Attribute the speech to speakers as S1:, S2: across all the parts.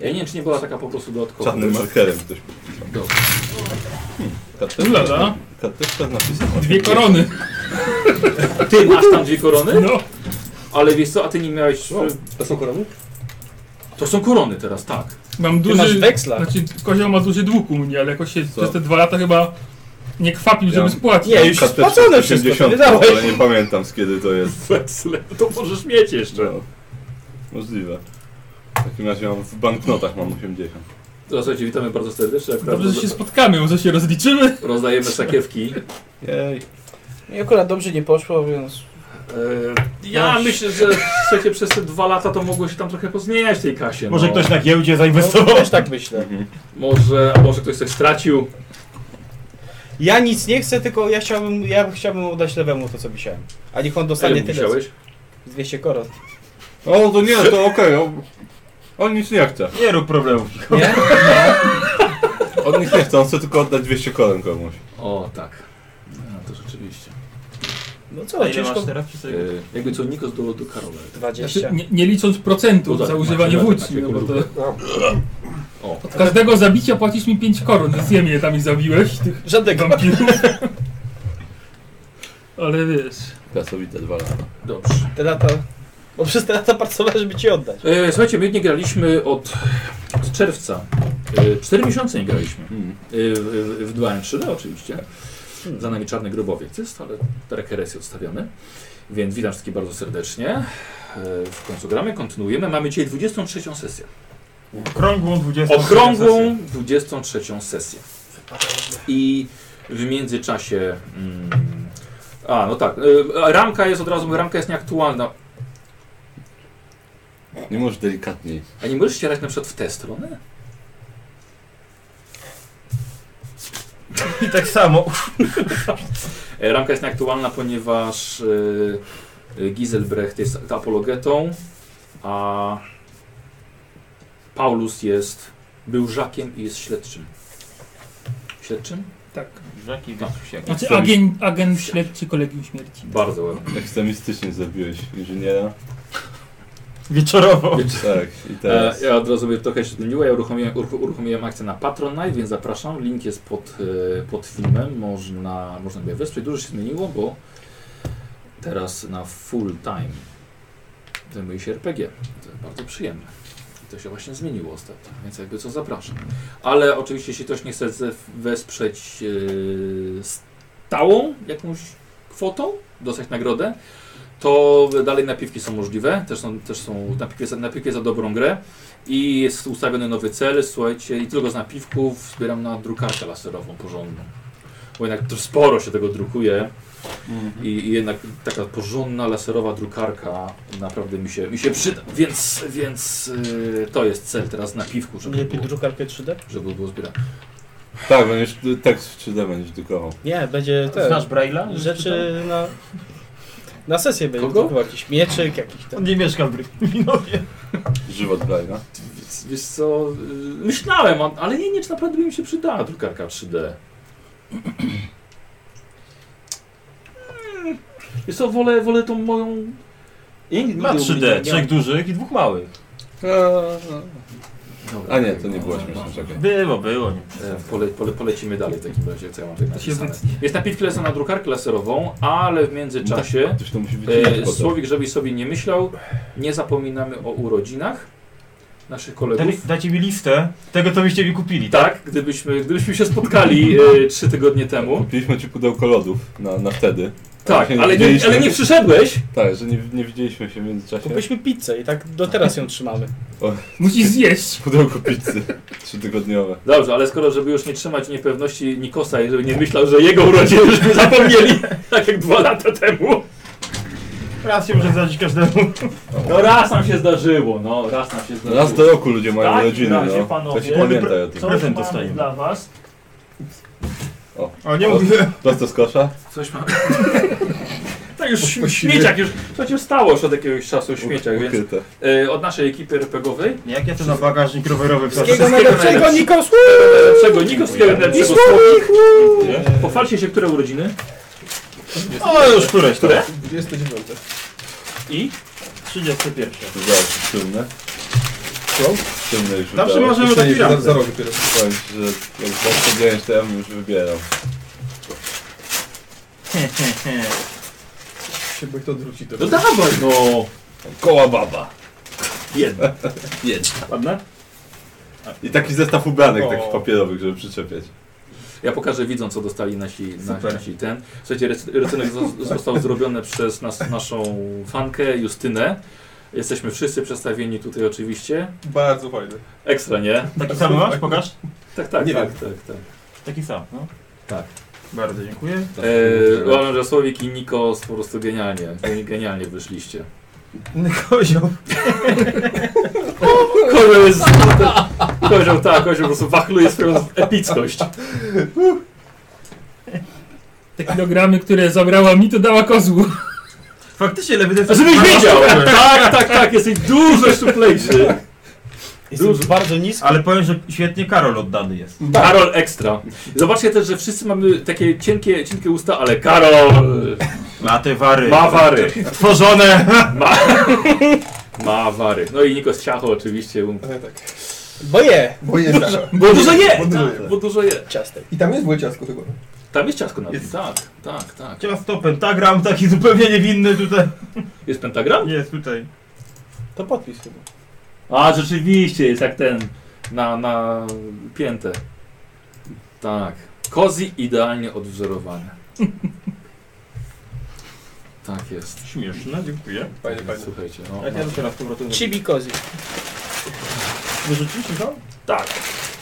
S1: Ja nie wiem, czy nie była taka po prostu dodatkowa.
S2: Czarnym markerem ktoś
S1: Dobra.
S2: pisał.
S3: Ulala,
S2: Kateczka napisała.
S3: dwie korony.
S1: Ty masz tam dwie korony?
S3: No.
S1: Ale wiesz co, a ty nie miałeś...
S4: O, to są korony?
S1: To są korony teraz, tak.
S3: Mam
S4: Ty masz
S3: duży...
S4: weksla.
S3: Znaczy, kozioł ma duży dług u mnie, ale jakoś się
S2: Co?
S3: przez te dwa lata chyba nie kwapił, żeby
S2: Ja-
S3: spłacić.
S4: Nie, już
S2: Karteczka
S4: spłacone wszystko, to nie
S2: 80,
S4: dałeś.
S2: Ale nie pamiętam z kiedy to jest.
S1: Weksle, to możesz mieć jeszcze.
S2: No, możliwe. W takim razie mam, w banknotach mam 80.
S1: Słuchajcie, witamy bardzo serdecznie. Akurat
S3: Dobrze, że się spotkamy, może się rozliczymy.
S1: rozdajemy sakiewki.
S2: Jej.
S4: Mi akurat dobrze nie poszło, więc...
S1: Ja myślę, że słuchajcie, przez te dwa lata to mogło się tam trochę pozmieniać w tej kasie.
S5: Może
S1: no.
S5: ktoś na giełdzie
S4: No,
S5: zainwestował?
S4: też tak myślę.
S2: Mhm.
S1: Może, a może ktoś coś stracił.
S4: Ja nic nie chcę, tylko ja chciałbym, ja chciałbym oddać lewemu to, co wisiałem. A niech on dostanie
S1: Ile
S4: tyle.
S1: musiałeś?
S4: co- 200 koron.
S2: O, to nie, to okej. on- On nic nie chce.
S5: Nie rób problemów.
S4: Nie?
S2: On nic nie chce, on chce tylko oddać 200 koron komuś.
S1: O, tak. No, to rzeczywiście.
S4: No co, ciężko...
S5: teraz
S1: Yy, jakby co, Nikos do, do Karola.
S3: Znaczy,
S4: 20.
S3: nie, nie licząc procentów
S1: Uda-
S3: za używanie
S1: macie
S3: wódki,
S1: taką
S3: no bo to...
S1: grupę.
S4: No.
S1: O,
S3: Od każdego zabicia płacisz mi 5 koron, więc nie mnie tam i zabiłeś, tych
S4: Żadnego.
S3: wampirów. Ale wiesz...
S2: Kasowite dwa lata.
S1: dobrze.
S4: Te lata... Bo przez te lata pracowałem, żeby ci oddać.
S1: E, słuchajcie, my nie graliśmy od, od czerwca. E, Cztery miesiące nie graliśmy.
S2: Mm.
S1: E, w, w Dualem 3D oczywiście. Za nami Czarny Grobowiec jest, ale rekeresję odstawiamy. Więc witam wszystkich bardzo serdecznie. E, W końcu gramy, kontynuujemy. Mamy dzisiaj 23 sesję.
S5: Okrągłą 20.
S1: Okrągłą 23 sesję. I w międzyczasie... Mm, a, no tak. e, Ramka jest od razu, ramka jest nieaktualna.
S2: Nie możesz delikatniej.
S1: A nie możesz ścierać na przykład w tę stronę?
S5: I tak samo.
S1: E, Ramka jest nieaktualna, ponieważ e, e, Giselbrecht jest apologetą, a Paulus jest był żakiem i jest śledczym. Śledczym?
S5: Tak. Żaki
S3: Znaczy agent, agent śledczy Kolegium Śmierci.
S1: Bardzo ładnie.
S2: Ekstremistycznie zrobiłeś inżyniera.
S5: Wieczorowo.
S2: Tak, i
S1: E,
S2: teraz.
S1: ja od razu sobie trochę się zmieniło. Ja uruchomiłem, uruch- uruchomiłem akcję na Patronite, więc zapraszam. Link jest pod, e, pod filmem. Można, można mnie wesprzeć. Dużo się zmieniło, bo teraz na full time zajmuję się RPG. To jest bardzo przyjemne. I To się właśnie zmieniło ostatnio, więc jakby co zapraszam. Ale oczywiście, jeśli ktoś nie chce ze- wesprzeć e, stałą jakąś kwotą, dostać nagrodę, to dalej napiwki są możliwe, też są, też są napiwki, za- napiwki za dobrą grę i jest ustawiony nowy cel, słuchajcie, i tylko z napiwków zbieram na drukarkę laserową porządną. Bo jednak to sporo się tego drukuje i, i jednak taka porządna laserowa drukarka naprawdę mi się, mi się przyda, więc, więc yy, to jest cel teraz napiwku, żeby
S4: Lepiej
S1: było,
S4: drukarkę 3D?
S1: żeby było zbierane.
S2: Tak, będziesz tekst w 3D będziesz drukował.
S4: Nie, będzie te
S5: Braille'a?
S4: rzeczy na... Na sesję będzie
S1: Kogo?
S4: drukował jakiś mieczyk, jakiś
S5: On
S4: tam...
S5: nie mieszka w Brytwinowie.
S2: Żywot Braille'a.
S1: Wiesz- Wiesz co, y, myślałem, a- ale nie, nie, czy naprawdę by mi się przydała drukarka 3D. Mm, Wiesz co, wolę, wolę tą moją... Ja nigdy
S5: Ma
S1: nie- nie-
S5: 3D, trzech dużych i dwóch małych.
S4: No,
S1: Dobra,
S2: A nie, to
S1: dobra,
S2: nie było
S1: dobra.
S2: śmieszne, czekaj.
S5: Było, było. Nie.
S1: E, Pole, pole, polecimy dalej w takim razie, co ja mam tutaj
S3: To się
S1: napisane.
S3: wytnie.
S1: Jest napiwki laser na drukarkę laserową, ale w międzyczasie...
S2: Ktoś Tak, to musi być
S1: E,
S2: e,
S1: Słowik, żebyś sobie nie myślał, nie zapominamy o urodzinach naszych
S5: Dali,
S1: kolegów.
S5: dajcie mi listę tego, co byście mi kupili.
S1: Tak, gdybyśmy, gdybyśmy się spotkali e, trzy tygodnie temu.
S2: Kupiliśmy ci pudełko lodów na, na wtedy.
S1: Tak,
S2: Się
S1: ale nie,
S2: widzieliśmy.
S1: ale nie przyszedłeś.
S2: Tak, że nie, nie widzieliśmy się w międzyczasie.
S4: Kupiliśmy pizzę i tak do teraz ją trzymamy.
S3: Musisz zjeść.
S2: Pudełko pizzy. Trzytygodniowe.
S1: Dobrze, ale skoro, żeby już nie trzymać niepewności Nikosa i żeby nie myślał, że jego urodziny już by zapomnieli, tak jak dwa lata temu.
S5: Raz się może zdarzyć każdemu.
S1: No raz nam się zdarzyło, no raz nam się zdarzyło.
S2: Raz do roku ludzie mają
S6: takim
S2: rodziny,
S6: razie,
S2: no.
S6: panowie,
S2: to się pamiętaj o tym.
S6: Coś
S5: Prezent
S6: mamy
S5: dostajemy.
S6: dla was.
S5: O, nie
S2: O.
S5: mówię.
S2: Prosto z kosza?
S1: Coś ma... tak już śm- śmieciak już, przecież stało się od jakiegoś czasu śmieciak, więc
S2: Ukryte.
S1: e, od naszej ekipy RPGowej,
S5: Jak ja to na bagażnik rowerowy
S4: Wszystkiego
S5: wsadzę?
S4: najlepszego, Nikos!
S1: lepszego Nikoskiego, lepszego Słowik. Pochwalcie się, które urodziny
S5: O, już któreś, tak?
S1: Które?
S5: które?
S4: 29.
S1: i
S5: 31.
S2: To zaraz przyjemne. weszło? Ciemne już
S5: Zawsze
S2: udało.
S5: możemy
S2: Jeszcze nie,
S5: dopiero.
S2: Za, za rok dopiero powiem ci, że jak zawsze podjąłeś, to ja bym już wybierał.
S6: Się bo to odwróci to.
S1: No dawaj, no!
S2: Koła baba.
S1: Jedna. Jedna. Ładne?
S2: I taki zestaw ubranek,
S5: O.
S2: takich papierowych, żeby przyczepiać.
S1: Ja pokażę widzom, co dostali nasi, nasi,
S5: Super.
S1: nasi ten. Słuchajcie, rec- recenek zo- został zrobiony przez nas, naszą fankę Justynę. Jesteśmy wszyscy przedstawieni tutaj oczywiście.
S6: Bardzo fajne.
S1: Ekstra, nie?
S5: Taki sam masz? Pokaż.
S1: Tak, tak,
S6: Nie
S1: tak, tak, tak, tak.
S5: Taki sam, no.
S1: Tak.
S5: Bardzo dziękuję.
S1: Eee, Uważam, że Słowik i Nikos po prostu genialnie, genialnie wyszliście.
S5: Kozioł.
S1: Kozioł jest... Kozioł, tak, kozioł po prostu wachluje swoją epickość.
S3: Te kilogramy, które zabrała mi, to dała kozłu.
S5: Faktycznie lewy
S1: A
S5: decyzja.
S1: żebyś wiedział! Tak, tak, tak, jesteś dużo szczuplejszy.
S4: Jestem
S1: Dużo.
S4: bardzo nisko.
S5: Ale powiem, że świetnie Karol oddany jest.
S1: Karol ekstra. Zobaczcie też, że wszyscy mamy takie cienkie, cienkie usta, ale Karol
S5: Ma te wary.
S1: ma wary.
S5: Tworzone.
S1: Ma, ma wary. No i Nikos Ciacho oczywiście.
S6: Ale tak.
S4: Bo je!
S6: Bo jest tak.
S1: Bo dużo je!
S6: Bo dużo
S1: tak,
S6: je.
S1: Bo dużo je.
S4: Ciastek.
S6: I tam jest błyciasko chyba.
S1: Tam jest ciastko na tym.
S5: Jest.
S1: Tak, tak, tak.
S5: Ciała to pentagram, taki zupełnie niewinny tutaj.
S1: Jest pentagram?
S5: Jest tutaj.
S4: To podpis chyba.
S1: A, rzeczywiście, jest jak ten na, na piętę. Tak. Kozi idealnie odwzorowane. Tak jest.
S5: Śmieszne, dziękuję.
S6: Fajnie, fajnie.
S1: Słuchajcie, no.
S5: Jak ja to teraz powrotem
S4: Chibi kozy.
S5: wyrzucisz, Michał?
S1: Tak.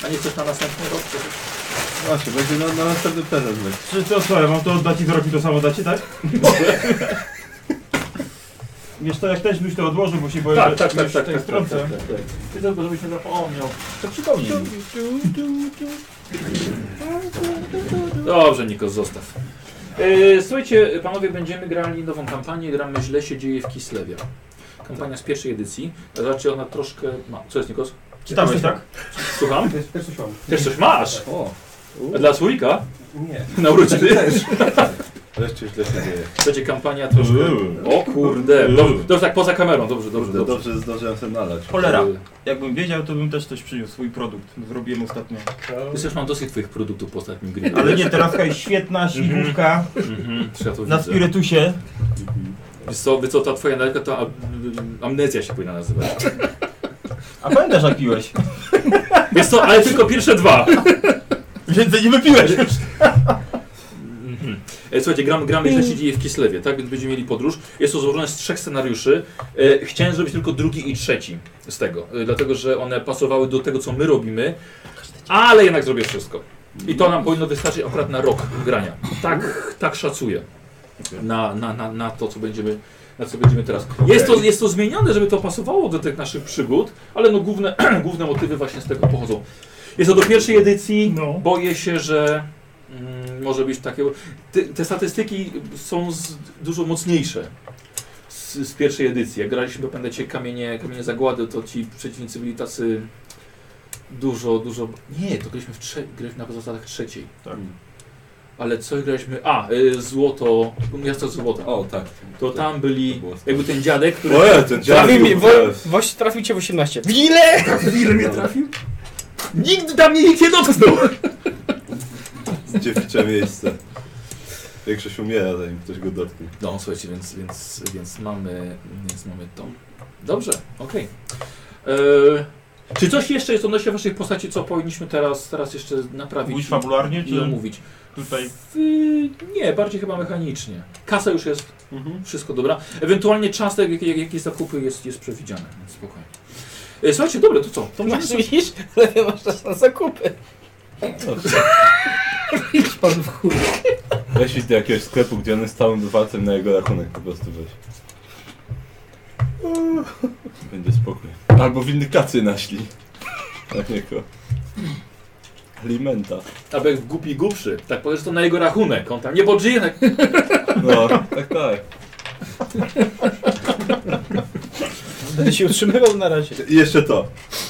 S1: A nie chcesz na następny rok?
S2: Właśnie, będzie na, na następny prezent. będzie.
S5: Czy to słuchaj, mam to oddać i do roku to samo dacie, tak? Wiesz to, jak też byś to odłożył, bo się boję,
S1: Tak,
S5: że
S7: Tak,
S5: już tej stronce.
S1: Ty to, żebyś nie zapomniał.
S5: To przypomnij mi.
S1: Dobrze, Nikos, zostaw. E, słuchajcie, panowie, będziemy grali nową kampanię. Gramy Źle się dzieje w Kislewie. Kampania z pierwszej edycji. Znaczy ona troszkę ma. Co jest, Nikos?
S5: Czytałeś, tak?
S1: Słucham?
S6: Też, też coś mam.
S1: Też coś masz?
S2: O,
S1: A Dla Słoika?
S6: Nie.
S1: Na urodziny?
S2: wreszcie źle się dzieje.
S1: Będzie kampania troszkę... O kurde. Dobrze, dobrze, tak poza kamerą. Dobrze, dobrze,
S2: Dobrze,
S1: dobrze.
S2: dobrze zdążyłem sobie nalać.
S5: Cholera.
S1: E,
S5: Jakbym wiedział, to bym też coś przyniósł, swój produkt. Zrobiłem ostatnio.
S1: Wiesz, już mam dosyć twoich produktów po ostatnim gry.
S5: Ale nie, teraz jest świetna śliwówka
S1: Mhm, ja to
S5: na
S1: widzę.
S5: spirytusie.
S1: Wiesz co, wiesz co, ta twoja nerka to am- amnezja się powinna nazywać.
S5: A pamiętasz jak piłeś?
S1: Wiesz co, ale tylko pierwsze dwa.
S5: Więcej nie wypiłeś!
S1: Mhm. E, Słuchajcie, gramy, gramy źle się dzieje w Kislewie, tak? Więc będziemy mieli podróż. Jest to złożone z trzech scenariuszy. E, chciałem zrobić tylko drugi i trzeci z tego, e, dlatego że one pasowały do tego, co my robimy, ale jednak zrobię wszystko. I to nam powinno wystarczyć akurat na rok grania. Tak, tak szacuję na, na, na, na to, co będziemy, na co będziemy teraz. Jest, to, jest to zmienione, żeby to pasowało do tych naszych przygód, ale no główne, główne motywy właśnie z tego pochodzą. Jest to do pierwszej edycji.
S3: No.
S1: Boję się, że mm, może być takie. Te, te statystyki są z, dużo mocniejsze z, z pierwszej edycji. Jak graliśmy, pamiętacie, kamienie, kamienie zagłady, to ci przeciwnicy byli tacy dużo, dużo. Nie, to graliśmy, w trze... graliśmy na zasadach trzeciej.
S5: Tak.
S1: Ale co graliśmy? A, y, złoto, miasto złota.
S2: O, tak.
S1: To tam byli,
S2: było
S1: jakby ten dziadek, który.
S2: O ja, ten dziadek.
S4: Trafił mi,
S2: był
S4: wo,
S2: teraz.
S4: woś, trafił cię w 18. W ile?
S1: Ile mnie trafił? Nigdy tam mnie nikt nie dotknął!
S2: Dziewicze miejsce. Większość umiera, zanim ktoś go dotknie.
S1: No, słuchajcie, więc, więc, więc, mamy, więc mamy to. Dobrze, okej. Eee, Czy coś jeszcze jest odnośnie waszej postaci, co powinniśmy teraz, teraz jeszcze naprawić
S5: Mówisz fabularnie,
S1: i, i
S5: czy
S1: omówić?
S5: tutaj?
S1: Yy, nie, bardziej chyba mechanicznie. Kasa już jest,
S5: Mhm.
S1: wszystko dobra. Ewentualnie czas, jak, jak, jakie zakupy jest, jest przewidziane, więc spokojnie. E, Słuchajcie, dobre, to co? To możemy
S4: Masz
S1: sobie-
S4: widzisz? Lewy masz czas na zakupy.
S3: Idź pan w chuj.
S2: Weź idź do jakiegoś sklepu, gdzie on jest całym dowalcem na jego rachunek, po prostu weź. Będzie spokój. Albo windykacy naśli. Na niego. Alimenta.
S1: Aby jak w głupi głupszy, tak powiesz to na jego rachunek, on tam nie podżyje, tak
S2: No, tak, tak.
S4: Będę się utrzymywał na razie.
S2: I jeszcze to.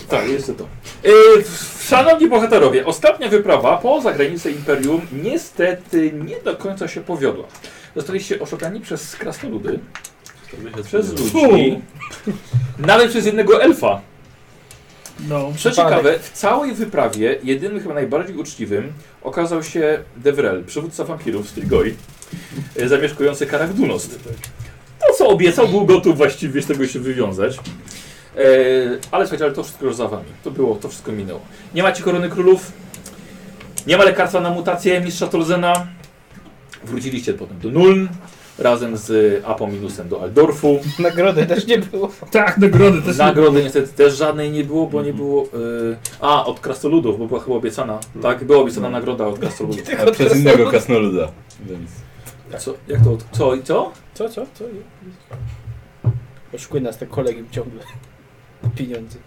S1: Tak, jest to. Yy, szanowni bohaterowie, ostatnia wyprawa poza granicę Imperium niestety nie do końca się powiodła. Zostaliście oszukani przez krasnoludy, przez ludzi, nawet przez jednego elfa.
S3: No.
S1: Przeciekawe, w całej wyprawie jedynym chyba najbardziej uczciwym okazał się Devrel, przywódca wampirów z Trigoi, e, zamieszkujący Karach Dunost. To co obiecał, był gotów właściwie z tego się wywiązać. E, ale słuchajcie, ale to wszystko już za wami. To było, to wszystko minęło. Nie macie korony królów, nie ma lekarstwa na mutację mistrza Tolzena. Wróciliście potem do Nuln, razem z Apominusem do Aldorfu.
S4: Nagrody też nie było.
S3: Tak, nagrody też.
S1: Nagrody niestety też żadnej nie było, bo nie było. y, A, od krasnoludów, bo była chyba obiecana. Tak, była obiecana nagroda od krasnoludów.
S2: Ale przez innego krasnoluda. Więc...
S1: Co, jak to? od- Co i co?
S4: Co, co, co? Oszukuje nas ten kolegium ciągle. Pieniądze.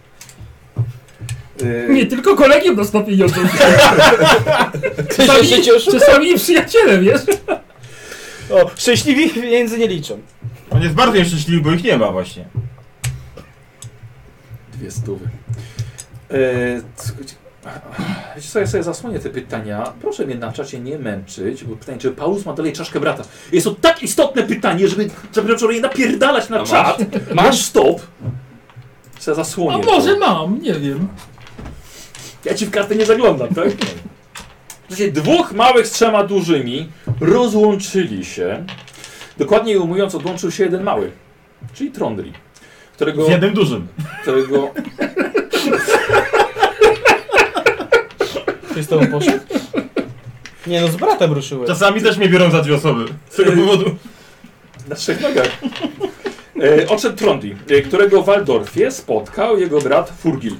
S1: E,
S3: Nie, tylko kolegiem dostał pieniądze.
S4: Czasami...
S3: Czasami, czasami i przyjaciele, wiesz?
S4: O, szczęśliwi pieniędzy nie liczą.
S5: On jest bardzo nieszczęśliwy, bo ich nie ma właśnie.
S1: Dwie stówy. E, c- gdzie- Wiecie co, ja sobie zasłonię te pytania. Proszę mnie na czacie nie męczyć, bo pytanie, czy Paulus ma dalej czaszkę brata. Jest to tak istotne pytanie, żeby, żeby na przykład nie napierdalać na
S2: masz?
S1: czat. Masz stop. Se zasłonię.
S3: A
S1: to.
S3: może mam, nie wiem.
S1: Ja ci w kartę nie zaglądam, tak? Znaczy, dwóch małych z trzema dużymi rozłączyli się. Dokładniej ujmując, odłączył się jeden mały, czyli Trondri, którego...
S5: Z jednym dużym.
S1: którego
S4: Ty z tobą poszedł? Nie no, z bratem ruszyłem.
S5: Czasami też mnie biorą za dwie osoby. Z tego powodu.
S1: na trzech nogach. E, odszedł Trondi, e, którego w Waldorfie spotkał jego brat Furgil.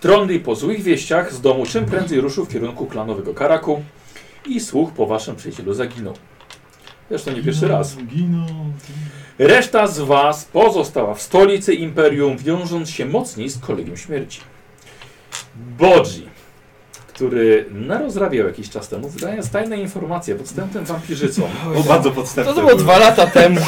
S1: Trondi po złych wieściach z domu czym prędzej ruszył w kierunku klanowego Karaku i słuch po waszym przyjacielu zaginął. Zresztą nie
S7: No.
S1: pierwszy raz.
S5: Giną.
S1: Reszta z was pozostała w stolicy Imperium, wiążąc się mocniej z kolegiem śmierci. Bodzi, który narozrabiał jakiś czas temu, wydając tajne informacje podstępnym wampirzycom.
S2: O, bardzo podstępne.
S4: To było dwa lata temu.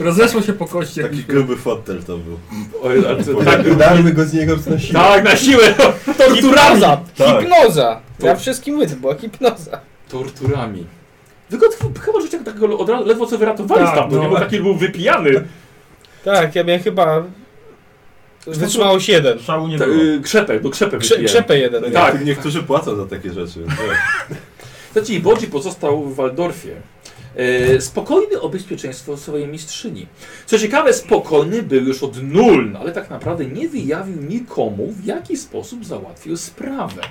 S3: Rozeszło się po kościach.
S2: Taki gruby fotel to był.
S1: O, ale to- tak,
S6: Tak, udarmy go z niego na siłę.
S1: tak, na siłę! Torturami!
S4: Hipnoza!
S2: Tak.
S4: Hipnoza! Ja wszystkim mówię, to była hipnoza.
S1: Torturami. Wy go chyba- chyba życia takiego od razu, ledwo co wyratowali
S3: Tak,
S1: stamtąd,
S3: no.
S1: nie? bo taki był wypijany.
S4: Tak, ja miałem chyba... Wytrzymało się jeden.
S5: Szału nie
S1: Ta,
S5: było.
S1: y, krzepę, do krzepy
S4: Krze
S1: wypijany.
S4: krzepę jeden.
S2: No,
S4: miałem.
S1: Tak.
S2: tak. Niektórzy płacą za takie rzeczy.
S1: Znaczy, i Bodzi pozostał w Waldorfie. E, spokojny o bezpieczeństwo swojej mistrzyni. Co ciekawe, spokojny był już od nul, ale tak naprawdę nie wyjawił nikomu, w jaki sposób załatwił sprawę.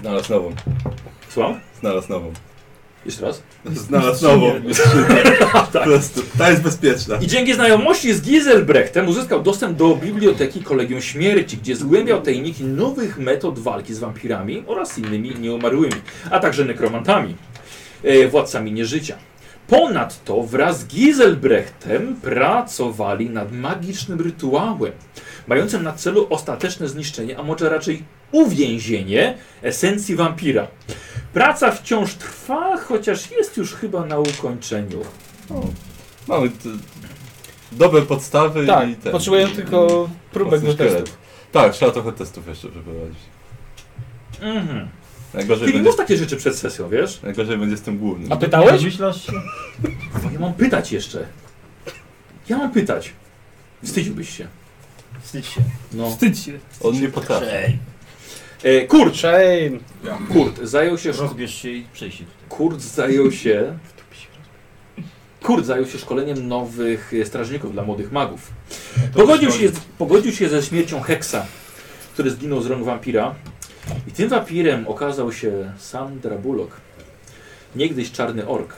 S2: Znalazł nową.
S1: Słucham?
S2: Znalazł nową.
S1: Jeszcze raz.
S2: Znalazł nową. Po prostu. Ta jest bezpieczna.
S1: I dzięki znajomości z Giselbrechtem uzyskał dostęp do biblioteki Kolegium Śmierci, gdzie zgłębiał tajniki nowych metod walki z wampirami oraz innymi nieumarłymi, a także nekromantami, e, władcami nieżycia. Ponadto wraz z Giselbrechtem pracowali nad magicznym rytuałem, mającym na celu ostateczne zniszczenie, a może raczej uwięzienie esencji wampira. Praca wciąż trwa, chociaż jest już chyba na ukończeniu.
S2: Mamy t- dobre podstawy
S4: Tak,
S2: i ten.
S4: potrzebuję tylko próbek
S2: Mocny
S4: do
S2: szkielet.
S4: testów.
S2: Tak, trzeba trochę testów jeszcze przeprowadzić.
S1: Mhm.
S2: Najgorzej
S1: Czyli
S2: będzie,
S1: mów takie rzeczy przed sesją, wiesz?
S2: najgorzej będzie z tym głównym.
S3: No,
S4: A pytałeś?
S5: Myślasz?
S1: No Ja mam pytać jeszcze. Ja mam pytać. Wstydziłbyś się.
S5: Wstydź się.
S1: No.
S3: Wstydź się.
S2: On nie potrafi.
S1: E, Kurt,
S4: Shame.
S1: Kurt zajął się szko-
S5: Rozbierz się i przejść tutaj.
S1: Kurt zajął się Kurt zajął się szkoleniem nowych e, strażników dla młodych magów. Pogodził się, z, pogodził się ze śmiercią Heksa, który zginął z rąk wampira. I tym wampirem okazał się sam Drabulok, niegdyś czarny ork.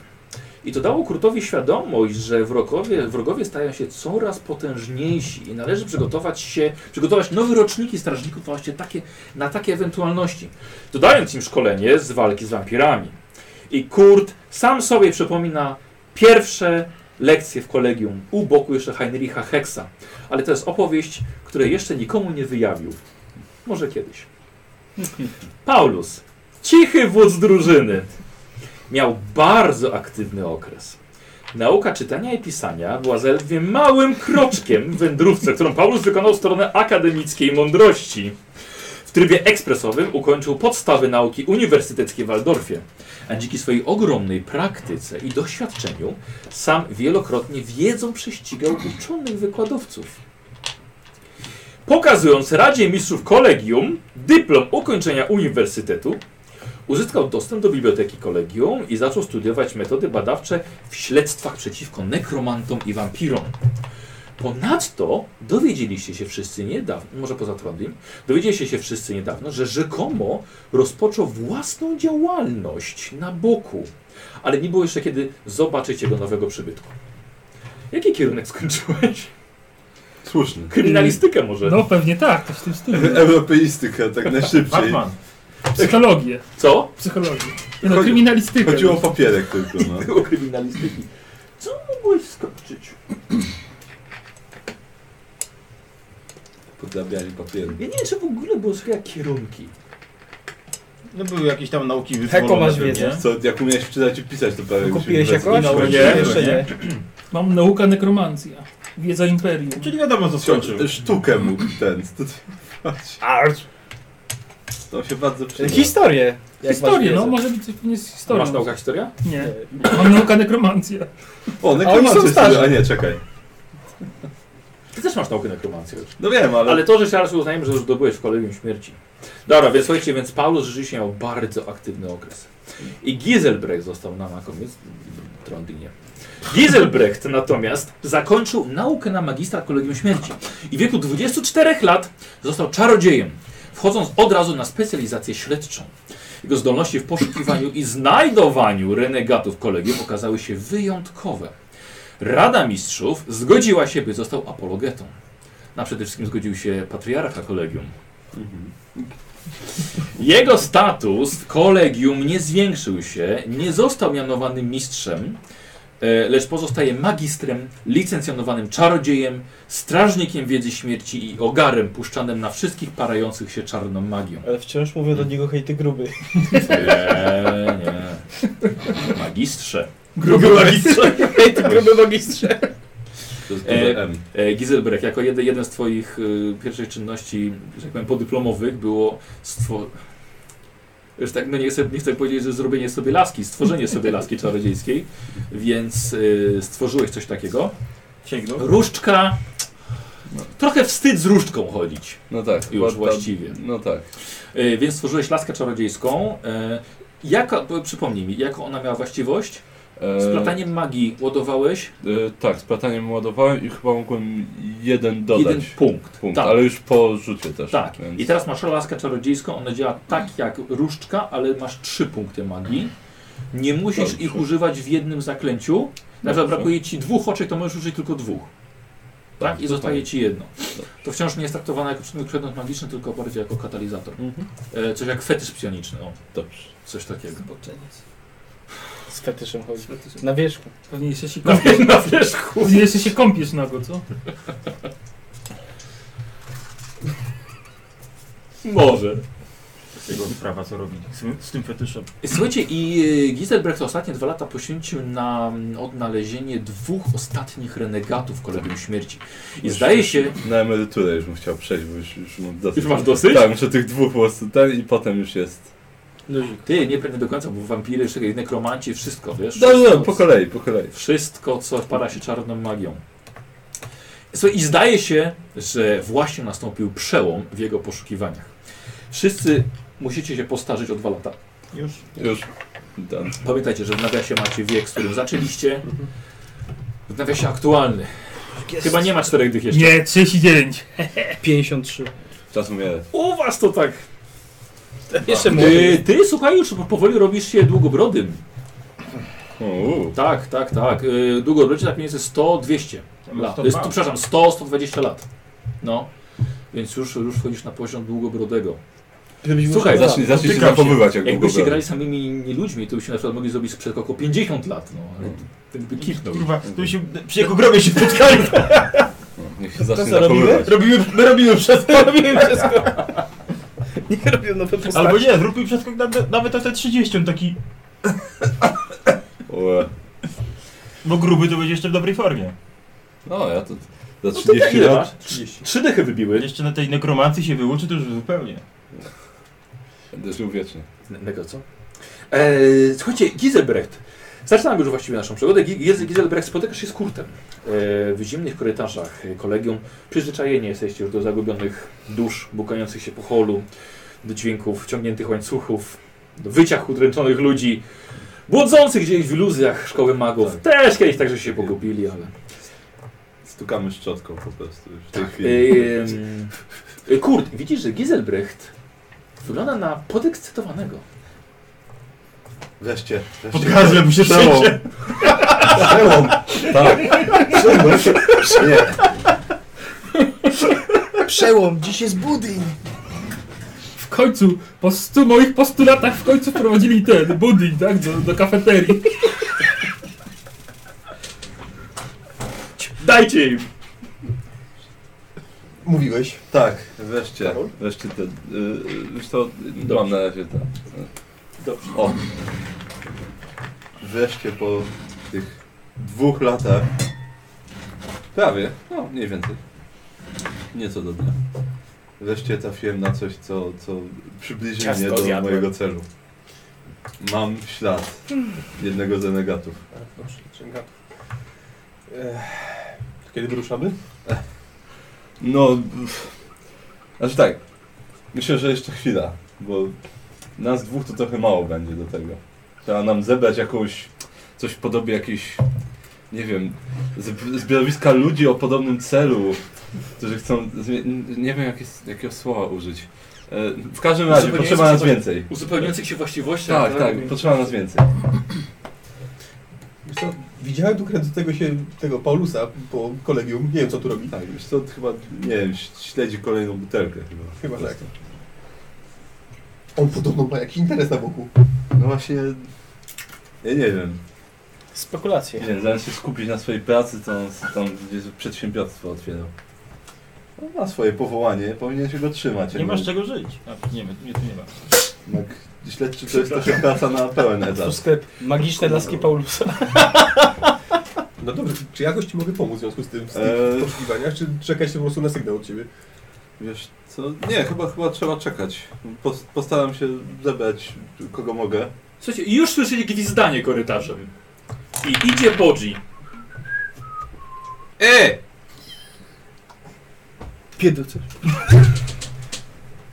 S1: I to dało Kurtowi świadomość, że wrogowie, wrogowie stają się coraz potężniejsi i należy przygotować się, przygotować nowe roczniki strażników właśnie takie, na takie ewentualności, dodając im szkolenie z walki z wampirami. I Kurt sam sobie przypomina pierwsze lekcje w kolegium u boku jeszcze Heinricha Hexa. Ale to jest opowieść, której jeszcze nikomu nie wyjawił. Może kiedyś. Paulus, cichy wódz drużyny, miał bardzo aktywny okres. Nauka czytania i pisania była zaledwie małym kroczkiem w wędrówce, którą Paulus wykonał w stronę akademickiej mądrości. W trybie ekspresowym ukończył podstawy nauki uniwersyteckiej w Waldorfie, a dzięki swojej ogromnej praktyce i doświadczeniu sam wielokrotnie wiedzą prześcigał uczonych wykładowców. pokazując Radzie Mistrzów Kolegium dyplom ukończenia uniwersytetu, uzyskał dostęp do biblioteki kolegium i zaczął studiować metody badawcze w śledztwach przeciwko nekromantom i wampirom. Ponadto dowiedzieliście się wszyscy niedawno, może poza Trondheim, dowiedzieliście się wszyscy niedawno, że rzekomo rozpoczął własną działalność na boku, ale nie było jeszcze kiedy zobaczyć jego nowego przybytku. Jaki kierunek skończyłeś?
S2: Słuszny.
S1: Kryminalistykę może?
S3: No pewnie tak, coś w tym stylu.
S2: Europeistyka, tak najszybciej.
S5: Batman.
S3: Psychologię,
S1: Co?
S3: psychologię. Nie no,
S2: Chodzi-
S3: kryminalistykę.
S2: Chodziło o papierek tylko, no.
S1: Było kryminalistyki. Co mogłeś skończyć?
S2: Podrabiali papierek.
S1: Ja nie wiem, czy w ogóle było sobie jak kierunki.
S7: No były jakieś tam nauki
S4: Heko
S7: wyzwolone
S4: masz
S7: pewnie.
S4: wiedzę.
S2: Co, jak umiałeś czytać i pisać, to prawie
S4: Kupiłeś
S2: byśmy
S4: jakoś?
S2: wezmę-
S5: No,
S4: Czy
S5: nie,
S4: Jeszcze
S5: nie.
S4: nie.
S3: Mam nauka nekromancja. Wiedza imperium.
S7: Czyli wiadomo co skończył.
S2: Sztukę mógł ten. To, patrz,
S4: Art.
S2: to się bardzo przyda.
S4: Historię. jak masz
S3: Historię,
S4: wiedzę.
S3: no może być coś pewnie z historią.
S1: Masz nauka historia?
S3: Nie. Mam nauka nekromancja.
S2: O,
S4: A oni są
S2: nekromancja
S4: starzy.
S2: sobie, a nie, czekaj.
S1: Ty też masz naukę nekromancji już.
S2: No wiem, ale...
S1: Ale to, że jeszcze raz uznajemy, że już zdobyłeś w kolegium śmierci. Dobra, więc słuchajcie, więc Paulus rzeczywiście miał bardzo aktywny okres. I Giselbrecht został na, na koniec Trondynie. Giselbrecht natomiast zakończył naukę na magistra kolegium śmierci i w wieku 24 lat został czarodziejem, wchodząc od razu na specjalizację śledczą. Jego zdolności w poszukiwaniu i znajdowaniu renegatów kolegium okazały się wyjątkowe. Rada Mistrzów zgodziła się, by został apologetą. Na przede wszystkim zgodził się patriarcha kolegium.
S2: Mhm.
S1: Jego status w kolegium nie zwiększył się, nie został mianowany mistrzem, e, lecz pozostaje magistrem, licencjonowanym czarodziejem, strażnikiem wiedzy śmierci i ogarem puszczanym na wszystkich parających się czarną magią.
S4: Ale wciąż mówię do niego hejty gruby.
S1: Nie, nie. Magistrze. Gruby magistrze.
S4: Hejty gruby magistrze.
S2: To jest
S1: E,
S2: duże M.
S1: E, Giselbrecht, jako jedy, jeden z Twoich y, pierwszych czynności, że tak powiem, podyplomowych było stwo... Już tak, no nie chcę, nie chcę powiedzieć, że zrobienie sobie laski, stworzenie sobie laski czarodziejskiej, więc y, stworzyłeś coś takiego.
S7: Sięgnął.
S1: Różdżka... Trochę wstyd z różdżką chodzić,
S2: No tak.
S1: już
S2: chyba tam-
S1: właściwie.
S2: No tak.
S1: Y, więc stworzyłeś laskę czarodziejską. Y, jaka, bo przypomnij mi, jaką ona miała właściwość?
S2: E,
S1: Splataniem magii ładowałeś
S2: E, tak, z plataniem ładowałem i chyba mogłem jeden dodać.
S1: jeden punkt.
S2: punkt,
S1: tak.
S2: ale już po rzucie też.
S1: Tak.
S2: więc-
S1: I teraz masz laskę czarodziejską, ona działa tak jak różdżka, ale masz trzy punkty magii. Nie musisz
S2: Dobrze.
S1: ich używać w jednym zaklęciu. Na przykład
S2: Dobrze.
S1: brakuje ci dwóch oczek, to możesz użyć tylko dwóch. Tak? I
S2: to
S1: zostaje
S2: fajnie.
S1: ci jedno. To wciąż nie jest traktowane jako przedmiot- przedmiot magiczny, tylko bardziej jako katalizator.
S2: Mhm.
S1: E, coś jak fetysz psioniczny, o,
S2: Dobrze.
S1: coś takiego.
S4: Z fetyszem chodzi. Na wierzchu.
S3: Pewnie jeszcze się
S1: Na,
S3: kąpiesz.
S1: na wierzchu.
S3: Jeszcze się kąpiesz nago, co?
S1: Może.
S7: Jego sprawa co robi z, tym- z tym fetyszem.
S1: Słuchajcie, i y, Giselbrecht ostatnie dwa lata poświęcił na mm, odnalezienie dwóch ostatnich renegatów Kolegium Śmierci. I zdaje się,
S2: Na emeryturę już bym chciał przejść, bo już, już mam dosyć.
S1: Już masz dosyć?
S2: Tak, muszę tych dwóch po prostu ten i potem już jest.
S4: Luzik.
S1: Ty, nie pewnie do końca, bo wampiry, jeszcze nekromanci, wszystko, wiesz?
S2: No, no,
S1: wszystko,
S2: po kolei, po kolei.
S1: Wszystko, co para się czarną magią. Słuchaj, I zdaje się, że właśnie nastąpił przełom w jego poszukiwaniach. Wszyscy musicie się postarzyć o dwa lata.
S7: Już.
S2: Już. Ten.
S1: Pamiętajcie, że w nawiasie macie wiek, z którym zaczęliście. W nawiasie aktualny. Chyba nie ma czterech dych jeszcze.
S3: Nie, 39.
S4: 53.
S2: Czas umierać.
S1: U was to tak.
S4: Jeszcze
S1: Ty,
S4: młody.
S1: ty słuchaj, już powoli robisz się długobrodym.
S2: Uuu.
S1: Tak, tak, tak. Yy, długo robicie tak mniej więcej 100-200 lat. To No. jest, to, przepraszam, 100-120 lat. No. Więc już, już wchodzisz na poziom długobrodego.
S4: Żebyś
S1: Słuchaj,
S4: musiał-
S2: Zacznij, zacznij się
S7: Dotykam się.
S2: zachowywać jak długo
S1: Jakbyście
S2: byłem.
S1: grali samymi nie ludźmi, to byście na przykład mogli zrobić sprzed około 50 lat, no. Ale ten by kipnął.
S7: Kurwa, tu się, przy jego grobie się spotkali.
S2: No, Niech się zacznie
S4: co robimy?
S2: zachowywać.
S7: Robimy, my robimy przez...
S4: Robiłem wszystko. Nie robię no nowe postaci.
S7: Albo nie, zróbmy przeskok nawet, nawet na te 30, on taki...
S2: Ue.
S7: Bo gruby to będzie jeszcze w dobrej formie.
S2: No, ja to za
S1: No to
S2: 30
S8: tak
S1: ile
S2: lat.
S1: masz? Trzy dechy wybiły.
S7: Jeszcze na tej nekromancji się wyłączy, to już zupełnie.
S2: Będę żył wiecznie.
S1: Nego co? Eee, słuchajcie, Gizelbrecht, E, Zaczynamy już właściwie naszą przygodę. Gi- Giz- Gizelbrecht, spotykasz się z Kurtem e, w zimnych korytarzach e, kolegium. Przyzwyczajeni jesteście już do zagubionych dusz bukających się po holu, do dźwięków ciągniętych łańcuchów, do wyciach udręczonych ludzi, błądzących gdzieś w iluzjach szkoły magów. Też kiedyś także się pogubili, ale...
S2: Stukamy szczotką po prostu już w tej
S1: tak.
S2: chwili.
S8: y,
S1: Ym, y, Kurt, widzisz, że Giselbrecht wygląda na podekscytowanego.
S8: Wreszcie,
S7: Pod
S8: wreszcie.
S7: gazlem się
S8: Przełom.
S7: szycie.
S8: Przełom. Tak. Przełom. Nie.
S4: Przełom, dziś jest budyń.
S3: W końcu, po stu moich postulatach w końcu wprowadzili ten budyń, tak? Do, do kafeterii.
S2: Dajcie im!
S6: Mówiłeś.
S8: Tak, wreszcie.
S2: Wreszcie
S8: y,
S2: te... Yy, już to...
S1: Dobrze.
S2: Mam na razie te...
S1: Dobrze.
S2: O,
S8: Wreszcie po tych dwóch latach
S2: prawie. No, mniej więcej. Nieco do dnia.
S8: wreszcie trafiłem na coś, co, co przybliży
S4: Ciasto
S8: mnie do
S4: zjadłem.
S8: mojego celu. Mam ślad jednego z renegatów.
S6: Dobrze, księga. Ech, to Kiedy wyruszamy?
S2: No... pff. Znaczy tak. Myślę, że jeszcze chwila, bo nas dwóch to trochę mało będzie do tego. Trzeba nam zebrać jakąś... coś w podobie jakiejś... Nie wiem, zb- zbiorowiska ludzi o podobnym celu, którzy chcą. Zmie- nie wiem, jak jest, jakiego słowa użyć. E, w każdym razie
S1: Zupełnie
S2: potrzeba
S1: jest-
S2: nas więcej.
S1: Uzupełniających się właściwościach.
S2: Tak, tak, potrzeba nas więcej.
S6: Wiesz co, widziałem tu kręcącego się tego Paulusa po kolegium. Nie wiem, co tu robi.
S8: Tak, wiesz co, chyba, nie wiem, ś- śledzi kolejną butelkę chyba.
S6: Chyba tak. On podobno ma jakiś interes na boku.
S8: No właśnie, ja nie wiem.
S4: Spekulacje.
S2: Nie, zamiast się skupić na swojej pracy, to on s- tam gdzieś przedsiębiorstwo otwierał.
S8: On No, ma swoje powołanie, powinien się go trzymać.
S7: Nie masz czego żyć. A, nie, nie, tu nie ma.
S8: Jak śledczy to jest taka praca na pełen
S4: To
S8: etat.
S4: sklep magiczne laski Paulusa.
S6: No dobrze, czy jakoś ci mogę pomóc w związku z tym, z tych
S8: Eee.
S6: poszukiwaniach, czy czekać po prostu na sygnał od ciebie?
S8: Wiesz co, nie, chyba, chyba trzeba czekać. Pos- postaram się zebrać kogo mogę.
S1: Słuchajcie, już słyszycie gwizdanie korytarzem. I idzie Bodzi.
S8: E!
S6: Pierdol coś.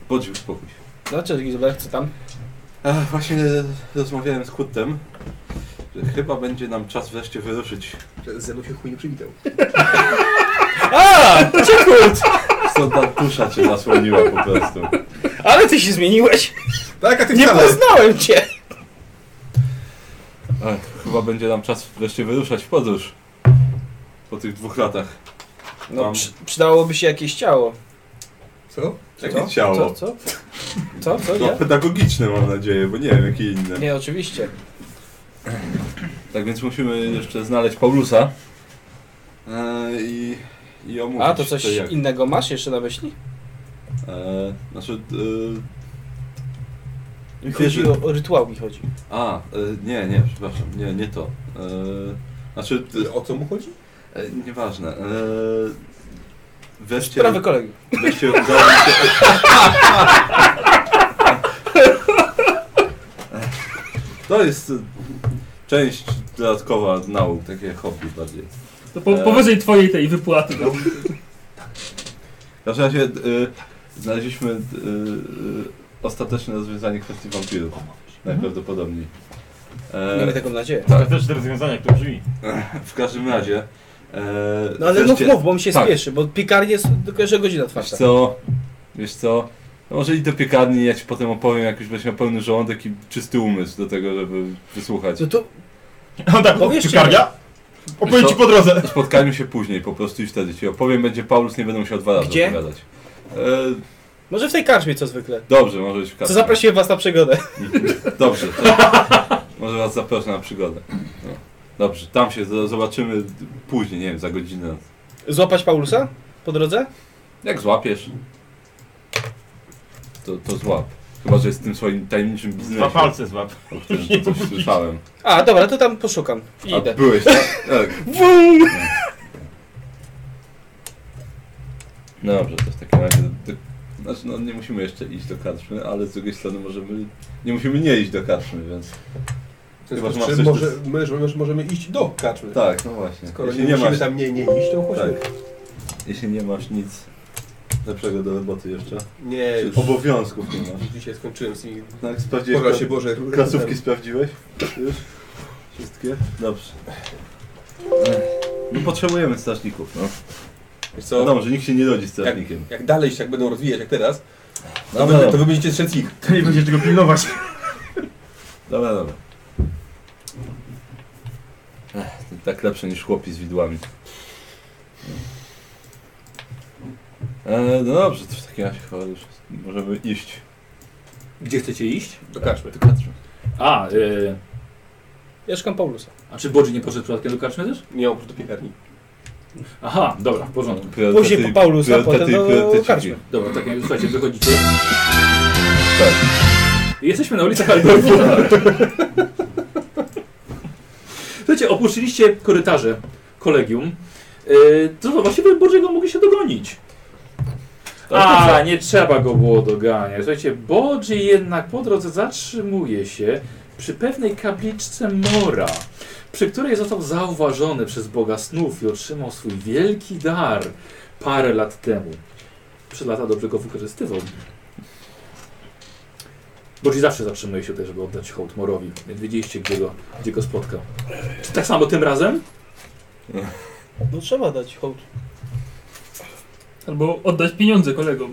S8: Bodzi, uspokój się.
S4: Dlaczego Gizbert, No, co tam?
S8: Ach, właśnie rozmawiałem z Kutem, że chyba będzie nam czas wreszcie wyruszyć.
S6: Ze mną się chuj nie przywitał.
S4: A, ciekurt!
S8: Co ta dusza cię zasłoniła po prostu.
S4: Ale ty się zmieniłeś!
S6: Tak, a ty
S4: Nie
S6: wcale.
S4: poznałem cię!
S8: Ach, chyba będzie nam czas wreszcie wyruszać w podróż. Po tych dwóch latach.
S4: No,
S8: Mam-
S4: przy, przydałoby się jakieś ciało.
S6: Co?
S8: Jakie
S4: Co,
S8: ciało?
S4: co? Co, co?
S8: No
S4: Nie?
S8: pedagogiczne mam nadzieję, bo nie wiem jakie inne.
S4: Nie, oczywiście.
S2: Tak więc musimy jeszcze znaleźć Paulusa.
S8: E, I, i omówić
S4: A, to coś
S8: jak.
S4: innego masz jeszcze na myśli?
S8: E, znaczy... E,
S4: Chodzi o, o rytuał mi chodzi.
S8: A, e, nie, nie, przepraszam, nie, nie to. E, znaczy,
S6: Ty, O co mu chodzi?
S8: e, nieważne. E, wreszcie,
S4: Sprawy kolegi.
S8: wreszcie udało mi się... To jest e, część dodatkowa nauk, takie hobby bardziej.
S3: To po,
S6: Eee.
S3: powyżej twojej tej wypłaty. No.
S8: W
S2: Znaczy,
S8: każdym razie y, znaleźliśmy y, y, ostateczne rozwiązanie kwestii wampirów.
S2: Mhm.
S8: Najprawdopodobniej. E,
S4: Miejmy taką nadzieję.
S7: Tak. To też te rozwiązania, które brzmi.
S8: w każdym razie. E,
S4: tak- No ale no
S8: wreszcie-
S4: mów, bo mi się
S8: tak.
S4: spieszy, bo piekarnie jest tylko jeszcze godzina
S2: Wiesz
S4: otwarta.
S2: co? Wiesz co? No może idź do piekarni, ja ci potem opowiem, jak już będziesz miał pełny żołądek i czysty umysł do tego, żeby wysłuchać.
S4: No to
S7: No tak,
S4: Powiedzcie
S7: piekarnia? Opowiem ci po drodze.
S2: Spotkajmy się później po prostu i wtedy ci opowiem, będzie Paulus, nie będę musiał dwa razy
S4: Gdzie?
S2: opowiadać. E,
S4: może w tej karczmie co zwykle.
S2: dobrze, może być w
S4: Co
S2: karczmie.
S4: zaprosiłem was na przygodę.
S2: Dobrze, to może was zaproszę na przygodę. No. Dobrze, tam się z- zobaczymy później, nie wiem, za godzinę.
S4: Złapać Paulusa? Po drodze?
S2: Jak złapiesz, to, to złap. Chyba, że jest w tym swoim tajemniczym biznesie,
S7: Dwa palce złap.
S2: o którym coś słyszałem.
S4: A, dobra, to tam poszukam. I
S2: A
S4: idę.
S2: byłeś, tak? tak. No dobrze, to w takim razie... Do, do, znaczy, no nie musimy jeszcze iść do karczmy, ale z drugiej strony możemy... Nie musimy nie iść do karczmy, więc...
S6: W związku
S2: Chyba, że
S6: z
S2: masz
S6: czym
S2: coś
S6: może, my, że my możemy iść do kaczmy.
S2: Tak, no właśnie.
S6: Skoro
S2: jeśli
S6: nie
S2: nie
S6: musimy
S2: masz,
S6: tam nie, nie iść, to chodźmy.
S2: tak. jeśli nie masz nic lepszego do roboty jeszcze,
S6: Nie,
S2: czy
S6: już
S2: obowiązków nie masz.
S6: dzisiaj skończyłem z nimi.
S2: Tak, sprawdziłeś
S6: Boże
S2: kla-
S6: się Boże.
S2: klasówki sprawdziłeś? Już? Wszystkie? Dobrze. Ech, No potrzebujemy strażników, no.
S6: Wiesz co?
S2: Wiadomo, że nikt się nie rodzi strażnikiem. No
S6: Jak dalej się tak będą rozwijać jak teraz, to,
S2: Dobra,
S6: wy, to wy
S2: dobra,
S6: będziecie strzec ich.
S7: To nie będziesz tego pilnować.
S2: dobra. dobra. Ech, to tak lepsze niż chłopi z widłami. E, no dobrze, to w takim razie chyba już możemy iść.
S1: Gdzie chcecie iść?
S6: Do kaczmy.
S2: Do Katrze.
S1: A, y,
S4: Ja szukam Paulusa.
S1: a czy Bodzi nie poszedł przypadkiem do karczmy też?
S6: Nie oprócz do piekarni.
S1: Aha, dobra, w porządku.
S2: Priorytety-
S4: Później po Paulusa,
S2: priorytety
S4: potem no,
S2: i
S4: do
S2: prioryteciki.
S4: karczmy.
S1: Dobra, tak jak słuchajcie, wychodzicie. Jesteśmy na ulicach Aldorfu. Słuchajcie, opuściliście korytarze kolegium. Yy, to właściwie Bożego mogli się dogonić. A, nie trzeba go było doganiać. Słuchajcie, Bodzi jednak po drodze zatrzymuje się przy pewnej kapliczce Mora, przy której został zauważony przez Boga snów i otrzymał swój wielki dar parę lat temu. Przez lata dobrze go wykorzystywał. Bodzi zawsze zatrzymuje się tutaj, żeby oddać hołd Morowi, więc wiedzieliście, gdzie go, gdzie go spotkał. Czy tak samo tym razem?
S4: No trzeba dać hołd.
S3: Albo oddać pieniądze kolegom.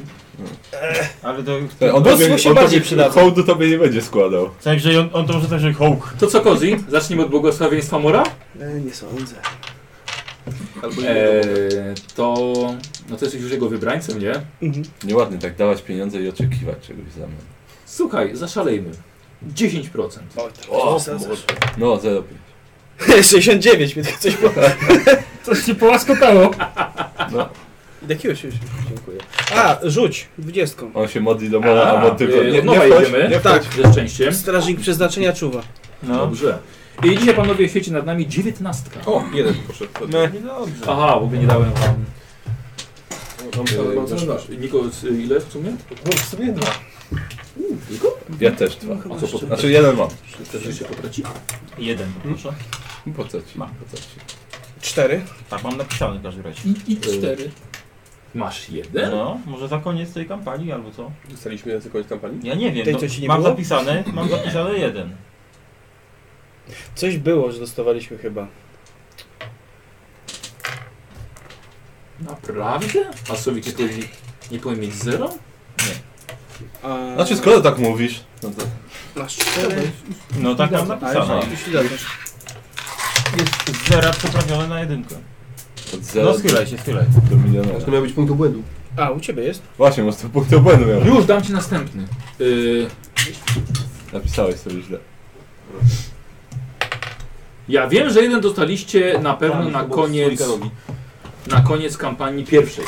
S7: Ale to...
S2: On
S4: Bóstwo się bardziej
S2: tobie,
S4: przydadzą.
S2: Hołdu tobie nie będzie składał.
S7: Także on, on to może także hołk.
S1: To co, Kozi? Zacznijmy od błogosławieństwa Mora?
S4: E, nie sądzę.
S6: Albo
S1: Eee, to... No to jesteś już jego wybrańcem, nie?
S4: Mhm.
S2: Nieładnie tak dawać pieniądze i oczekiwać czegoś w zamian.
S1: Słuchaj, zaszalejmy. 10%.
S2: O, No, 0,5.
S4: 69, mi to coś było.
S3: Coś się połaskotało.
S4: Jakiego się dziękuję. A, rzuć, dwudziestką.
S2: On się modli do Mora, a,
S1: A,
S2: on tylko...
S1: yy, od nowa
S2: wchodź,
S1: jedziemy.
S2: nie wchodź. No.
S4: Tak.
S1: Ze szczęściem.
S4: Strażnik przeznaczenia czuwa.
S1: Dobrze. I dzisiaj, panowie, świeci nad nami dziewiętnastka.
S6: O, jeden poszedł.
S7: No niedobrze.
S1: Aha, w ogóle nie dałem wam...
S6: Mam
S1: Yy,
S6: cały
S1: masz- Niko, y, ile w sumie?
S6: No w sumie dwa.
S2: Ja też dwa.
S1: A co potem?
S2: Znaczy jeden mam.
S1: Znaczy, się potraci?
S7: Jeden, proszę.
S2: Po co ci?
S7: Mam.
S2: Po co ci?
S4: Cztery.
S7: Tak, mam napisane w każdym razie.
S3: I, i
S6: Eee.
S3: cztery.
S1: Masz jeden?
S7: No, może za koniec tej kampanii albo co?
S6: Dostaliśmy na koniec kampanii.
S7: Ja nie wiem,
S4: Tej,
S7: no,
S4: co ci nie
S7: mam
S4: było?
S7: zapisane, mam zapisane jeden.
S4: Coś było, że dostawaliśmy chyba.
S1: Naprawdę? A Słowik nie powinien, nie powinien mieć zero?
S4: A...
S2: Znaczy skoro tak mówisz, no to...
S4: Masz cztery.
S7: No tak mam
S2: Aha.
S7: napisane. Jest z zera przeprawione na jedynkę.
S2: Od
S7: No
S2: zera
S7: schylaj się, schylaj.
S2: do milionera.
S6: To miał być punkt błędu.
S4: A, u ciebie jest?
S2: Właśnie, może to punkt obłędu miał.
S1: Już dam ci następny. Y,
S2: Napisałeś sobie źle.
S1: ja wiem, że jeden dostaliście na pewno na koniec, na koniec kampanii pierwszej.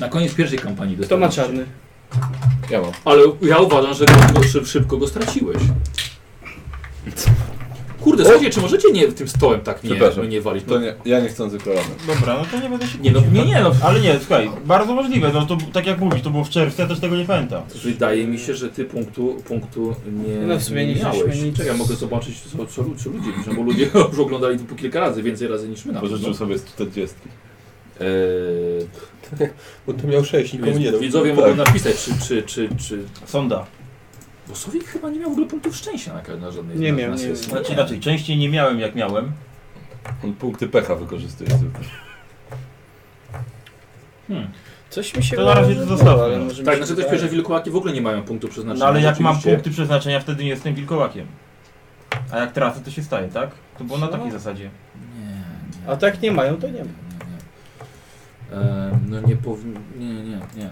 S1: Na koniec pierwszej kampanii
S4: Kto ma
S1: dostaliście.
S4: czarny?
S2: Ja mam.
S1: Ale ja uważam, że go, go, szyb- szybko go straciłeś. Kurde, słuchajcie, czy możecie nie tym stołem tak nie,
S2: Przepraszam.
S1: nie walić? No,
S2: To nie, ja nie chcący kolana.
S7: Dobra, no to nie będę się
S1: Nie, no, nie, nie, no.
S7: Ale nie, słuchaj, bardzo możliwe, no to tak jak mówisz, to było w czerwcu, ja też tego nie pamiętam.
S1: Wydaje mi się, że ty punktu, punktu nie
S4: No w sumie nie
S1: miałeś.
S4: wzięliśmy nic.
S1: Czekaj, mogę zobaczyć, co, co, lu- co ludzie piszą, bo ludzie już oglądali to po kilka razy, więcej razy niż my na
S2: No,
S1: pewno.
S2: Pożyczył sobie z 40.
S1: Eee,
S6: Bo to miał sześć, nikomu
S1: więc
S6: nie dał.
S1: widzowie
S2: Tak.
S1: mogą napisać, czy, czy, czy, czy...
S7: Sonda.
S1: Bo Sowik chyba nie miał w ogóle punktów szczęścia na, ka- na żadnej
S4: Nie
S1: na,
S4: miał,
S1: na
S4: nie
S1: sesji.
S7: Znaczy inaczej, częściej nie miałem jak miałem.
S2: On punkty pecha wykorzystuje tylko.
S1: Hmm.
S4: Coś mi się
S7: To na razie
S4: wydaje,
S7: to
S4: że
S7: zostawmy.
S4: było, ale może mi
S1: Tak,
S4: się
S1: znaczy też
S4: wydaje.
S1: pisze, że wilkołaki w ogóle nie mają punktu przeznaczenia.
S7: No ale jak mam
S1: Znaczy, rzeczywiście.
S7: punkty przeznaczenia, wtedy nie jestem wilkołakiem. A jak tracę, to się staje, tak? To było na takiej zasadzie.
S1: Nie, nie.
S4: A tak nie mają, to nie ma.
S1: nie. Eee, no nie powinien... Nie, nie, nie.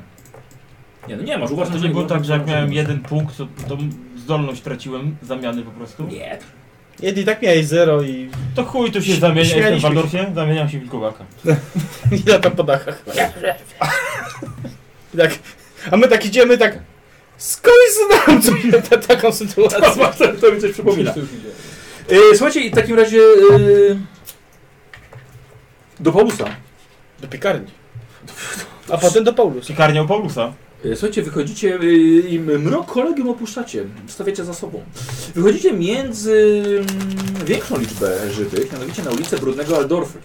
S1: Nie, no nie masz,
S7: Uważam,
S1: uważam,
S7: to nie było
S1: nie-
S7: tak, że jak
S1: nie-
S7: miałem jeden punkt, to, to zdolność traciłem, zamiany po prostu.
S1: Nie,
S4: Jedy i tak miałeś zero i
S7: To chuj, to się zamienia, jestem w
S4: Śmialiśmy
S7: Waldorfie, zamieniam się w wilkołaka.
S4: i lata po dachach. I tak. A my tak idziemy tak. Skąd znam co ta, taką sytuację?
S1: to, to mi coś przypomina.
S6: To już idzie.
S1: E, słuchajcie, i w takim razie e, do Paulusa.
S4: Do piekarni. A potem do Paulus.
S7: Piekarnia u Paulusa.
S1: E, Słuchajcie, wychodzicie e, i mrok kolegium opuszczacie, stawiacie za sobą. Wychodzicie między mm, większą liczbę żywych, mianowicie na ulicę Brudnego Aldorfy.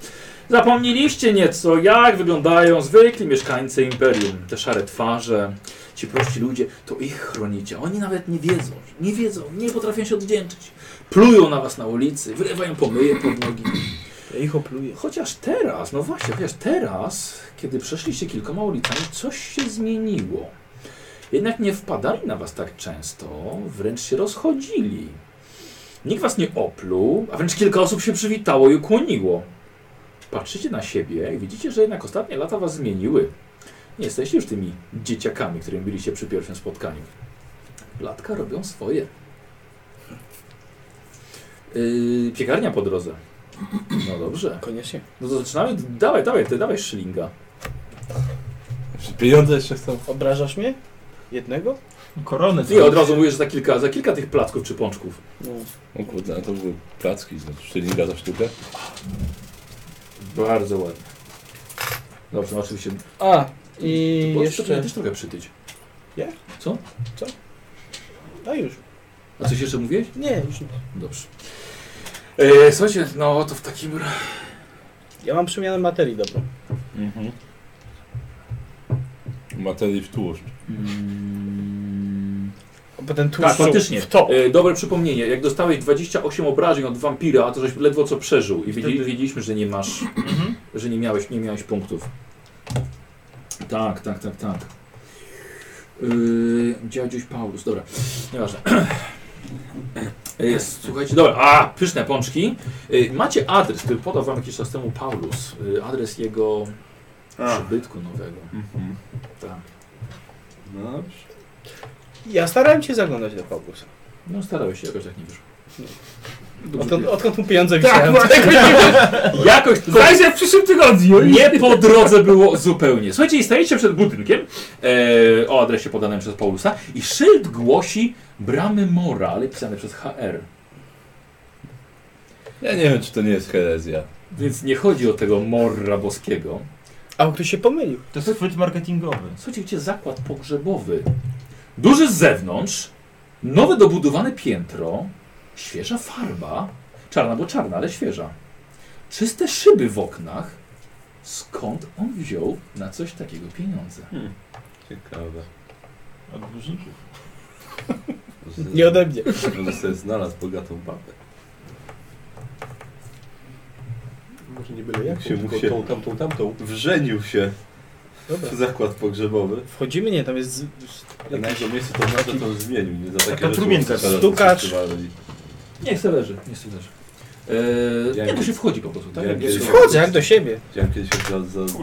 S1: Zapomnieliście nieco, jak wyglądają zwykli mieszkańcy Imperium. Te szare twarze, ci prości ludzie, to ich chronicie. Oni nawet nie wiedzą, nie wiedzą, nie potrafią się odwdzięczyć. Plują na was na ulicy, wylewają pomyje pod nogi.
S4: Ja ich opluję.
S1: Chociaż teraz, no właśnie, chociaż teraz, kiedy przeszliście kilkoma ulicami, coś się zmieniło. Jednak nie wpadali na was tak często, wręcz się rozchodzili. Nikt was nie opluł, a wręcz kilka osób się przywitało i ukłoniło. Patrzycie na siebie i widzicie, że jednak ostatnie lata was zmieniły. Nie jesteście już tymi dzieciakami, którymi byliście przy pierwszym spotkaniu. Latka robią swoje. Yy, piekarnia po drodze. No dobrze.
S4: Koniecznie.
S1: No to zaczynamy. Dawaj, dawaj, ty dawaj szylinga.
S2: Pieniądze jeszcze chcą.
S4: Obrażasz mnie? Jednego?
S7: Koronę.
S1: Ty od razu mówisz, że za kilka, za kilka tych placków czy pączków.
S4: No.
S2: O kurde, a to były placki, znaczy szczelinga za sztukę.
S1: Bardzo ładnie. Dobrze, no oczywiście.
S4: A, i
S1: Bo
S4: jeszcze...
S1: też trochę przytyć.
S4: A już.
S1: A coś jeszcze mówiłeś?
S4: Nie, już nie.
S1: Dobrze. E, słuchajcie, no to w takim razie.
S4: Ja mam przemianę materii dobrą.
S2: Mhm. Materii w tłuszcz.
S1: Mm,
S4: A potem
S1: tak,
S4: tłuszcz
S1: faktycznie.
S4: w to.
S1: E, dobre przypomnienie. Jak dostałeś 28 obrażeń od wampira, to żeś ledwo co przeżył. I wiedzieli, wiedzieliśmy, że nie masz. że nie miałeś, nie miałeś punktów. Tak, tak, tak, tak. Yy, dziadziuś Paulus, dobra. Nieważne. E, Jest, słuchajcie, dobra, a, pyszne pączki. Yy, macie adres, który podał wam jakiś czas temu Paulus. Yy, adres jego przybytku nowego.
S2: Mhm.
S1: Tak.
S2: No dobrze.
S4: Ja starałem się zaglądać do Paulus.
S1: No starałeś się, jakoś tak nie wyszło.
S4: Odkąd, odkąd mu pieniądze
S3: Tak,
S4: wziąłem.
S3: właśnie.
S1: Jakoś to...
S3: Zajrzę w przyszłym tygodniu. No i-
S1: Nie po drodze było zupełnie. Słuchajcie, i stajecie przed budynkiem e, o adresie podanym przez Paulusa i szyld głosi Bramy Mora, ale pisane przez HR.
S2: Ja nie wiem, czy to nie jest herezja.
S1: Więc nie chodzi o tego Morra boskiego.
S4: A ktoś się pomylił.
S7: To jest chwyt marketingowy.
S1: Słuchajcie, gdzie zakład pogrzebowy. Duży z zewnątrz, nowe dobudowane piętro, świeża farba, czarna bo czarna, ale świeża. Czyste szyby w oknach. Skąd on wziął na coś takiego pieniądze?
S8: Ciekawe.
S7: Od dłużników.
S8: Może
S4: Nie ode mnie.
S8: Może sobie znalazł bogatą babę.
S6: Może nie byle
S8: Jak
S6: jak,
S8: się
S6: tylko
S8: musie-
S6: tą, tamtą, tamtą.
S8: Wrzenił się
S4: Dobra.
S8: w zakład pogrzebowy.
S4: Wchodzimy? Nie, tam jest... z- z-
S8: A na jego miejscu to może to zmienił. Nie za takie
S7: Taka trumienka,
S8: rzeczy teraz
S4: stukacz.
S8: używali.
S1: Niech se leży, niech se leży. Eee,
S8: Ja
S1: jak
S8: kiedyś-
S1: się wchodzi po prostu, tak?
S8: ja
S1: Jak
S8: kiedyś-
S1: się-
S4: Wchodzę jak do siebie.
S8: Chciałem kiedyś jak za, za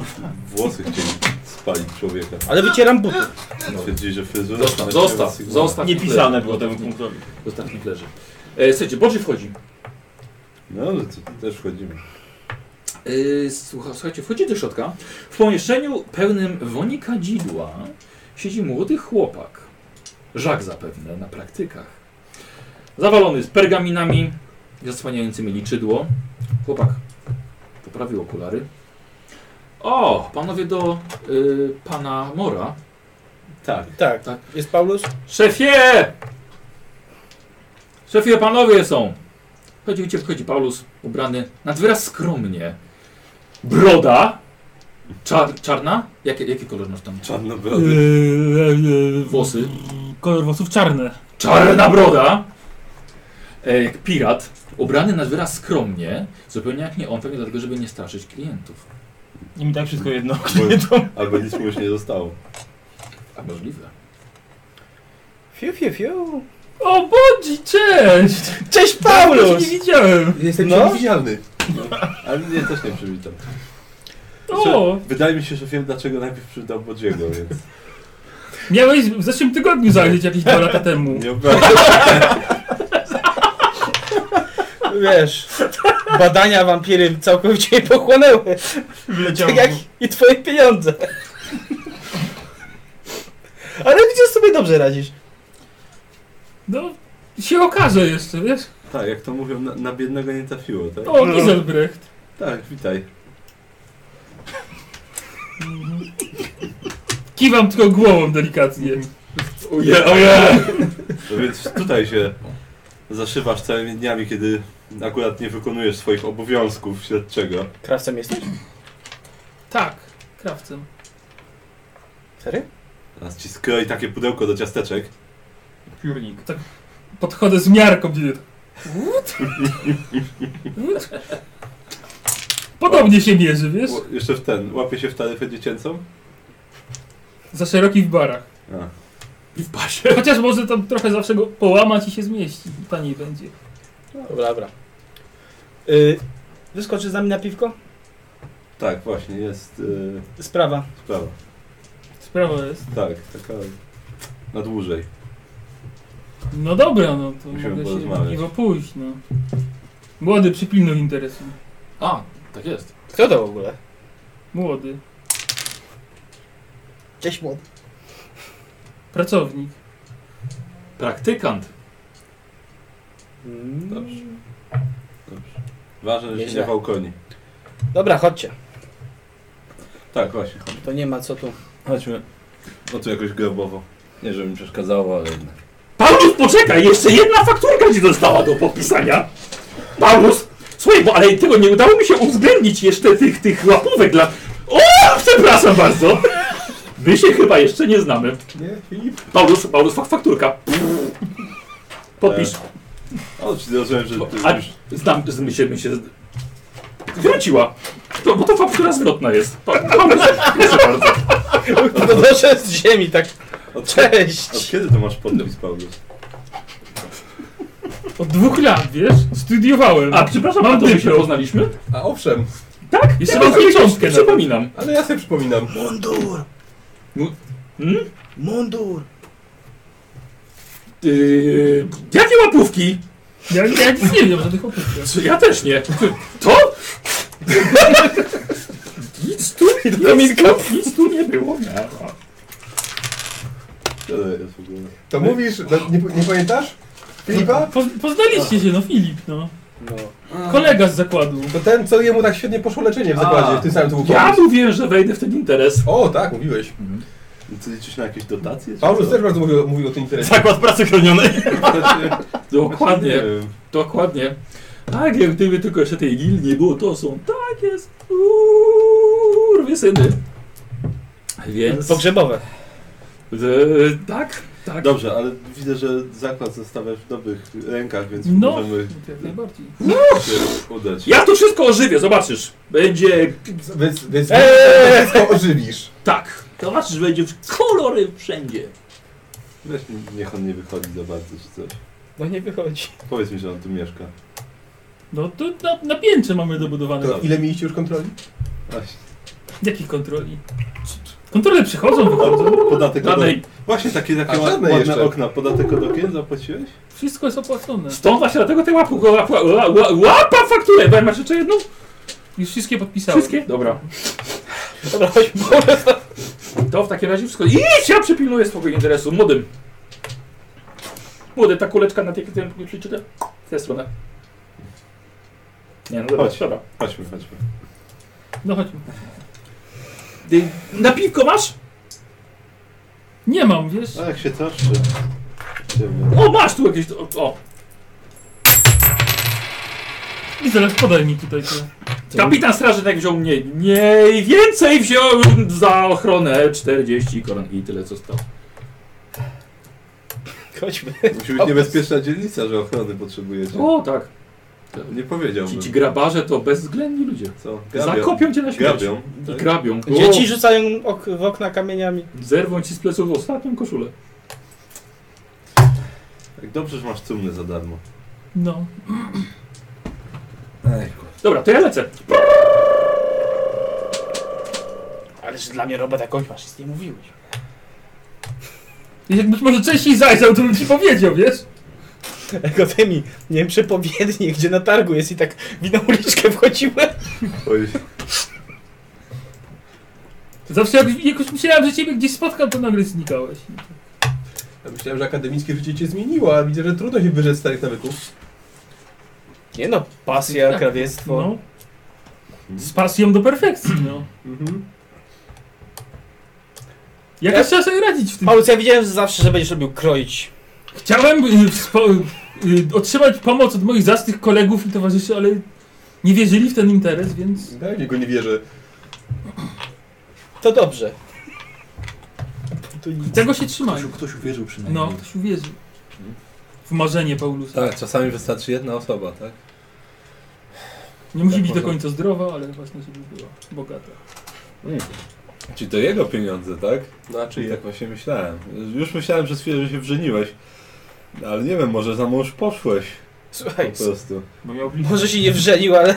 S8: włosy chcieli spalić człowieka.
S4: Ale wycieram buty.
S8: Twierdzili, że fryzura...
S1: Zostaw, zostaw, zostaw.
S7: Tak, Nie
S1: niech
S7: pisane
S1: leży.
S7: było temu punktowi.
S1: Zostaw, niech leży. Eee, słuchajcie, Bodzi wchodzi.
S8: No, ale to też wchodzimy.
S1: Yy, słucha- Słuchajcie, wchodzi do środka. W pomieszczeniu pełnym wonika dzidła siedzi młody chłopak. Żak zapewne na praktykach. Zawalony z pergaminami zasłaniającymi liczydło. Chłopak poprawił okulary. O, panowie do yy, pana Mora.
S8: Tak.
S4: Tak.
S1: Tak.
S4: Jest Paulus?
S1: Szefie! Szefie, panowie są! Chodzi, gdzie wchodzi Paulus, ubrany nad wyraz skromnie. Broda! Czar, czarna? Jakie, jaki kolor masz tam?
S8: Czarnobrody.
S1: Włosy?
S3: Eee, Kolor włosów czarne.
S1: Czarna broda! E, jak pirat, ubrany nad wyraz skromnie, zupełnie jak nie on, pewnie dlatego, żeby nie straszyć klientów.
S7: I mi tak wszystko jedno.
S8: Albo nic mu już nie zostało.
S1: A możliwe.
S4: Fiu, fiu, fiu.
S3: O, Bodzi, cześć!
S4: Cześć
S3: Dawno
S4: Paulus!
S3: cię nie widziałem.
S6: Jestem
S4: No.
S6: niewidzialny.
S8: No, Ale mnie też nie przywitam.
S3: O,
S8: Wydaje mi się, że wiem dlaczego najpierw przydał Bodziego, więc
S3: miałeś w zeszłym tygodniu zajrzeć jakieś dwa lata temu.
S8: nie obrażam.
S4: Wiesz, badania wampiry całkowicie mnie pochłonęły.
S7: Wleciało.
S4: Tak jak i twoje pieniądze. Ale widzisz, sobie dobrze radzisz.
S3: No, się okaże jeszcze, wiesz?
S8: Tak, jak to mówią, na, na biednego nie trafiło, tak?
S3: O, Giselbrecht.
S8: Tak, witaj.
S3: Kiwam tylko głową delikatnie.
S9: Ojej,
S2: No więc tutaj się zaszywasz całymi dniami, kiedy akurat nie wykonujesz swoich obowiązków śledczego.
S4: Krawcem jesteś?
S3: Tak, krawcem.
S4: Serio?
S2: Teraz ci skroi takie pudełko do ciasteczek.
S10: Piórnik.
S3: Podchodzę z miarką, gdzie Wód? Wód? Podobnie się mierzy, wiesz?
S2: Ło- Jeszcze w ten, łapie się w taryfę dziecięcą.
S3: Za szeroki w barach.
S2: A.
S1: I w pasie.
S3: Chociaż może tam trochę zawsze go połamać i się zmieści. Taniej będzie.
S4: No, Dobra, dobra. Y, wyskoczy z nami na piwko?
S2: Tak, właśnie, jest yy,
S4: Sprawa.
S2: sprawa.
S3: Sprawa jest.
S2: Tak, taka na dłużej.
S3: No dobra, no to
S2: Musimy
S3: mogę się
S2: porozmawiać.
S3: niego pójść, no. Młody, przypilnuj interesu.
S1: A, tak jest.
S4: Kto to w ogóle?
S3: Młody.
S4: Cześć młody.
S3: Pracownik.
S1: Praktykant.
S2: Dobrze.
S4: Mm.
S2: Dobrze. Ważne, że się
S4: Nieźle.
S2: nie wałkoni.
S4: Dobra, chodźcie.
S2: Tak, właśnie.
S4: To nie ma co tu.
S9: Chodźmy.
S2: No tu jakoś grobowo.
S9: Nie, żeby mi przeszkadzało, ale jednak.
S1: Paulus, poczekaj! Jeszcze jedna fakturka ci została do podpisania. Paulus! Słuchaj, bo ale tego nie udało mi się uwzględnić jeszcze tych, tych łapówek dla... O, przepraszam bardzo! My się chyba jeszcze nie znamy.
S7: Nie, Filip?
S1: Paulus, Paulus, fak- fakturka. Podpisz.
S3: E,
S2: O, czyli rozumiem, że ty
S1: A,
S2: już...
S1: znam, z, mi się, mi się... Wróciła. To, bo to faktura zwrotna jest. Pa, Paulus, proszę bardzo.
S4: Podnoszę z ziemi, tak.
S2: Od, od
S4: Cześć!
S2: kiedy to masz podpis, Paulus?
S3: Od dwóch lat, wiesz? Studiowałem.
S1: A, przepraszam, a to my się
S3: dyplom.
S1: poznaliśmy?
S7: A owszem,
S1: Tak?
S3: Jeszcze
S1: Ja
S3: mam
S1: sobie
S3: pieczątkę na to.
S1: Przypominam.
S7: ale ja sobie przypominam.
S1: Yy, jakie łapówki?
S3: Ja, ja nic nie wiem o żadnych opłatach.
S1: Czy Znaczy, ja też nie. To? nic tu, nic tu, nic tu nie było. Nie.
S2: Co to jest w ogóle?
S7: To mówisz, no, nie, nie pamiętasz? Filipa?
S3: Po, poznaliście się, no Filip, no.
S4: No.
S3: Kolega z zakładu.
S7: To ten, co jemu tak świetnie poszło leczenie w zakładzie, w tym samym to był
S1: Ja
S7: pomysł.
S1: mówiłem, że wejdę w ten interes.
S7: O, tak, mówiłeś.
S2: Ty liczysz na jakieś dotacje? czy
S7: Paulus
S2: co?
S7: też bardzo mówił, mówił o tym interesie.
S4: Zakład pracy chronionej.
S2: Nie
S1: Dokładnie,
S2: wiem.
S1: dokładnie. Tak, jak gdyby tylko jeszcze tej gildii nie było, to są. Tak jest. Kurwy syny. Więc.
S4: Y, Pogrzebowe.
S1: Yy, tak, tak.
S2: Dobrze, ale widzę, że zakład zostawiasz w dobrych rękach, więc
S3: No.
S2: możemy
S3: Jak najbardziej.
S2: się udać.
S1: Ja to wszystko ożywię, zobaczysz. Będzie.
S7: Więc, więc
S4: Eee!
S7: wszystko ożywisz.
S1: Tak. Zobaczysz, będzie kolory wszędzie.
S2: Weź, niech on nie wychodzi za bardzo czy coś.
S4: No nie wychodzi.
S2: Powiedz mi, że on tu mieszka.
S3: No to na, na piętrze mamy dobudowane.
S2: Tak.
S7: To ile mieliście już kontroli?
S2: Właśnie.
S3: Jakich kontroli? Kontrole przychodzą, wychodzą.
S2: Podatek od
S1: Żadnej.
S2: Właśnie takie,
S7: A,
S2: takie ład-
S7: żadne
S2: ładne
S7: jeszcze.
S2: okna. Podatek od okien zapłaciłeś?
S3: Wszystko jest opłacone.
S1: Stąd właśnie dlatego te łapy. Łapa, łapa, łapa fakturę. Bo ja masz jeszcze jedną?
S3: Już wszystkie podpisałem.
S1: Wszystkie? Dobra.
S4: Dobra, chodź, bo-
S1: To w takim razie wszystko. Idź, ja przypilnuję swojego interesu. Młodym. Młody, ta kuleczka na tej tym nie przeczyta? W tę stronę. Nie, no dobra,
S2: Chodź.
S1: dobra.
S2: Chodźmy, chodźmy.
S3: No chodźmy.
S1: Ty na piwko masz?
S3: Nie mam, wiesz?
S2: A No, jak się troszczy. Ciebie.
S1: O, masz tu jakieś. O, o.
S3: I zaraz podaj mi tutaj to.
S1: kapitan straży tak wziął mniej. Mniej więcej wziął za ochronę 40 koron i tyle zostało.
S4: chodźmy.
S2: Musi być niebezpieczna dzielnica, że ochrony potrzebujecie.
S1: O, tak.
S2: Nie
S1: Ci, ci
S2: powiedziałbym.
S1: grabarze to bezwzględni ludzie.
S2: Co?
S1: Zakopią cię na śmierć.
S2: Grabią.
S1: I
S2: tak?
S1: grabią. O,
S4: Dzieci rzucają ok w okna kamieniami.
S1: Zerwą ci z pleców ostatnią koszulę.
S2: Jak dobrze, że masz cumny za darmo.
S3: No.
S1: Dobra, to ja lecę.
S4: Ależ dla mnie robota jakąś masz, nic nie mówiłeś.
S3: Jakbyś może częściej zajrzał, to bym ci powiedział, wiesz?
S4: Jako ty mi, nie wiem, przepowiednie, gdzie na targu jest i tak winą uliczkę wchodziłem.
S2: Oj,
S3: Zawsze jak, jakoś myślałem, że ciebie gdzieś spotkam, to nagle znikałeś.
S7: Ja myślałem, że akademickie życie cię zmieniło, a widzę, że trudno się wyrzec starych nawyków.
S4: Nie no, pasja,
S3: Tak.
S4: krawiectwo.
S3: No.
S2: Mhm.
S3: Z pasją do perfekcji, no.
S7: Mhm.
S3: Jakoś trzeba sobie radzić w tym.
S4: Paulus, ja widziałem zawsze, że będziesz robił kroić.
S3: Chciałem y, spo, y, otrzymać pomoc od moich zacnych kolegów i towarzyszy, ale nie wierzyli w ten interes, więc...
S6: Ja w niego nie wierzę.
S4: To dobrze.
S3: Tego się trzymaj.
S1: ktoś uwierzył przynajmniej.
S3: No, ktoś uwierzy. W marzenie Paulusa.
S2: Tak, czasami wystarczy jedna osoba, tak?
S3: Nie musi
S2: tak
S3: być do
S2: można.
S3: końca zdrowa, ale właśnie żeby była bogata.
S2: Czyli to jego pieniądze, tak?
S6: Znaczy,
S2: Czyli tak właśnie myślałem. Już myślałem przez chwilę, że się wrzeniłeś. Ale nie wiem, może za mąż poszłeś po
S4: Słuchaj,
S2: prostu.
S7: Bo miał blisko.
S4: może się nie wrzenił, ale...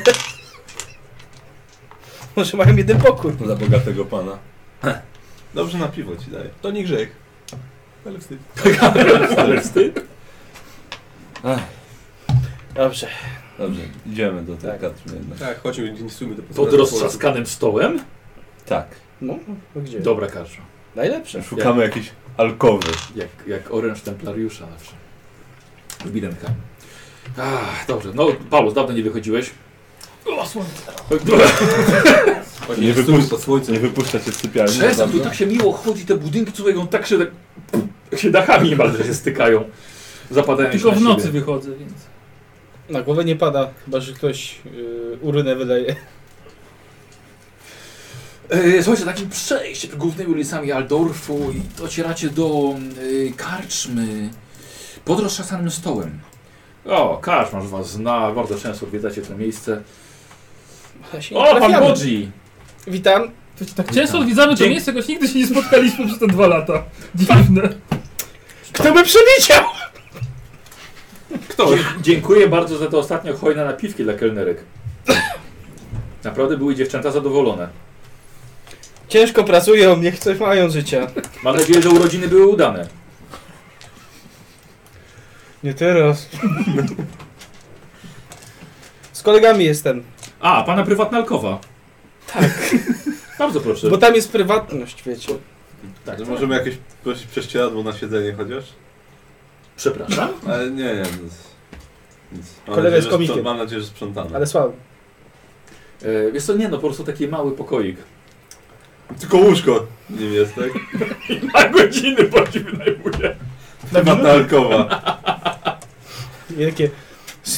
S4: Może mają jeden pokój.
S2: Za bogatego pana.
S8: Dobrze na piwo ci daję.
S6: to nie grzech. Ale wstyd.
S2: Ale wstyd.
S4: Dobrze.
S2: Dobrze, idziemy do tej
S4: Tak.
S2: Katry jednak.
S6: Tak, chodźmy, nie stójmy do
S1: Pod roztrzaskanym stołem?
S2: Tak.
S4: No, no gdzie?
S1: Dobra karza.
S8: Tak.
S4: Najlepsze.
S2: Szukamy jakiejś alkowy.
S1: Jak, jak oręż templariusza zawsze. Widenka. Ah, dobrze. No, Paulus, dawno nie No, wychodziłes.
S3: O, słońce. tak,
S6: Właśnie
S2: Nie
S6: nie
S2: wypuść-
S6: stójmy pod słońcem.
S2: Nie wypuszczać się z sypialni.
S1: Czasem tu
S2: naprawdę.
S1: tak się miło chodzi, te budynki tutaj on tak się tak, jak się dachami niemalże się stykają. Zapadają się
S3: Tylko
S1: na
S3: w nocy
S1: siebie.
S3: wychodzę, więc...
S4: Na głowę nie pada, chyba że ktoś yy, urynę wyleje.
S1: E, Słuchajcie, takim przejściem głównymi ulicami Aldorfu i docieracie do e, karczmy pod rozszasanym stołem. O, karczmarz was zna, bardzo często odwiedzacie to miejsce.
S4: Ja się nie
S1: O, pan
S4: trafiamy.
S1: Bodzi!
S4: Witam.
S3: To ci tak często odwiedzamy to
S4: Dzięki.
S3: miejsce, choć nigdy się nie spotkaliśmy przez te dwa lata. Dziwne.
S4: Kto by przewidział?
S1: Kto? Dziękuję bardzo za te ostatnio hojne napiwki dla kelnerek. Naprawdę były dziewczęta zadowolone.
S4: Ciężko pracują, niech coś mają życia.
S1: Mam nadzieję, że urodziny były udane.
S4: Nie teraz. Z kolegami jestem,
S1: A, pana prywatna alkowa. Tak. bardzo proszę.
S4: bo tam jest prywatność, wiecie.
S1: tak,
S8: Że możemy jakieś prosić prześcieradło na siedzenie chociaż?
S1: Przepraszam?
S8: Ale nie, nie. Nic. Nic. Mam
S4: Kolega
S8: nadzieję,
S4: jest
S8: że
S4: komikiem.
S8: sprząt- Mam nadzieję, że sprzątamy.
S4: Ale słabo.
S1: E, wiesz co, nie no, po prostu taki mały pokoik.
S8: Tylko łóżko w nim jest, tak?
S1: Na godziny bardziej wynajmuje.
S8: Prywatna alkowa.
S4: Wielkie.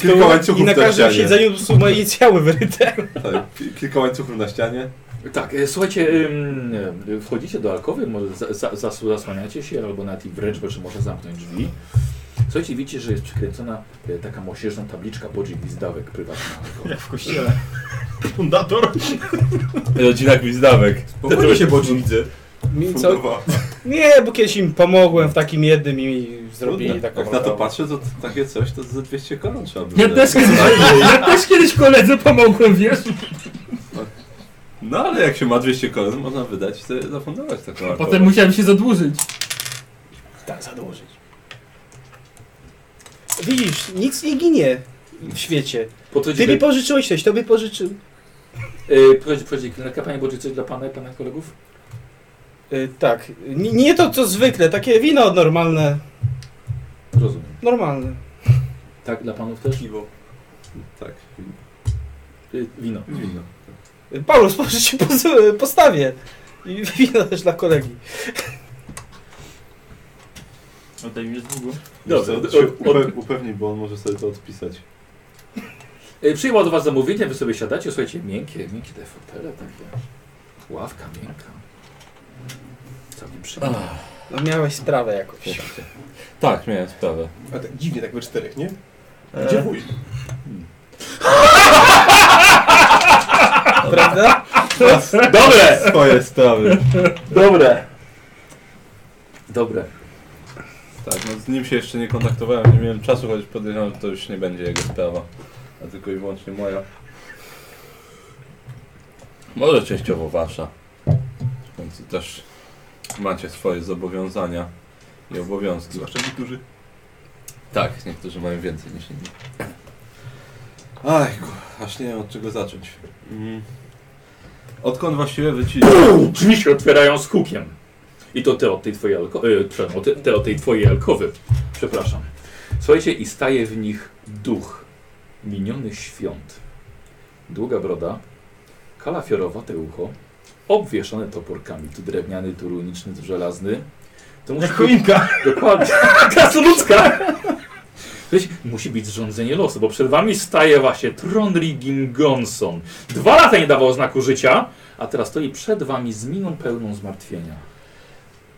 S8: Kilka łańcuchów
S4: I na
S8: na
S4: każdym
S8: ścianie.
S4: siedzeniu są moje inicjały wyryte.
S8: Tak, ki- kilka łańcuchów na ścianie.
S1: Tak, e, słuchajcie, ym, e, wchodzicie do alkowy, może za, za, zasu- zasłaniacie się, albo nawet i wręcz, bo czy można zamknąć drzwi. Słuchajcie, widzicie, że jest przykręcona e, taka mosiężna tabliczka Bodzi Gwizdawek prywatna. alkowa.
S7: w kościele. Fundator.
S2: Rodzina gwizdawek.
S6: Powoli się boczy, widzę.
S4: Mi co?
S8: Fundowa.
S4: Nie, bo kiedyś im pomogłem w takim jednym i mi zrobili
S8: Trudne.
S4: taką.
S8: Jak na to
S4: oprawę.
S8: patrzę, to t- takie coś to za 200 koron trzeba by
S3: Ja
S8: wydać.
S3: też kiedyś, ja też kiedyś koledze pomogłem, wiesz?
S2: No ale jak się ma 200 koron, można wydać i sobie zafundować taką alkohol.
S3: Potem musiałem się zadłużyć.
S4: Tak, zadłużyć. Widzisz, nic nie ginie w świecie.
S1: Po co
S4: Ty mi
S1: dziękuję?
S4: pożyczyłeś coś, tobie pożyczył.
S1: E, Prowadzi, prowadzi klinika. Panie Bodzi, coś dla Pana i Pana kolegów?
S4: Y, tak. Nie, nie to co zwykle, takie wino normalne.
S1: Rozumiem.
S4: Normalne.
S1: Tak, dla Panów też?
S6: Piwo.
S8: Tak,
S1: E, Wino.
S8: winno.
S4: Y, Paulus, proszę cię poz- postawię. I wino też dla kolegi.
S7: Oddaj mi długo.
S1: Dobrze,
S8: Dobrze,
S1: od-
S8: się
S1: od- od-
S8: upe- upewnij, bo on może sobie to odpisać.
S1: E, Przyjęła od Was zamówienie, Wy sobie siadacie, słuchajcie, miękkie, miękkie te fotele takie. Ławka miękka. Całkiem przyjemnie.
S4: No miałeś sprawę jakąś.
S2: Tak, miałem sprawę.
S6: A tak dziwnie tak we czterech, nie?
S8: E.
S2: Gdzie
S6: wuj?
S8: Hmm.
S4: Prawda?
S1: Dobre!
S2: Twoje sprawy.
S1: Dobre! Dobre.
S2: Tak, no z nim się jeszcze nie kontaktowałem, nie miałem czasu, choć podejrzewam, że to już nie będzie jego sprawa, a tylko i wyłącznie moja. Może częściowo wasza. W końcu też macie swoje zobowiązania i obowiązki.
S6: Zwłaszcza niektórzy.
S2: Tak, niektórzy mają więcej niż inni.
S8: Aj, ku- aż nie wiem od czego zacząć. Mm.
S2: Odkąd właściwie wyci...
S1: Drzwi się otwierają z hukiem. I to te od tej twojej alkowy. E, przepraszam, o te, te od tej twojej alkowy. Przepraszam. Słuchajcie, i staje w nich duch minionych świąt. Długa broda, kalafiorowa te ucho, obwieszony toporkami, tu drewniany, tu runiczny, tu żelazny. To musi
S7: Jak
S1: być-
S7: choinka.
S1: Dokładnie. Klasa ludzka. Wiesz, musi być zrządzenie losu, bo przed wami staje właśnie Tronry Gingonson. Dwa lata nie dawał znaku życia, a teraz stoi przed wami z miną pełną zmartwienia.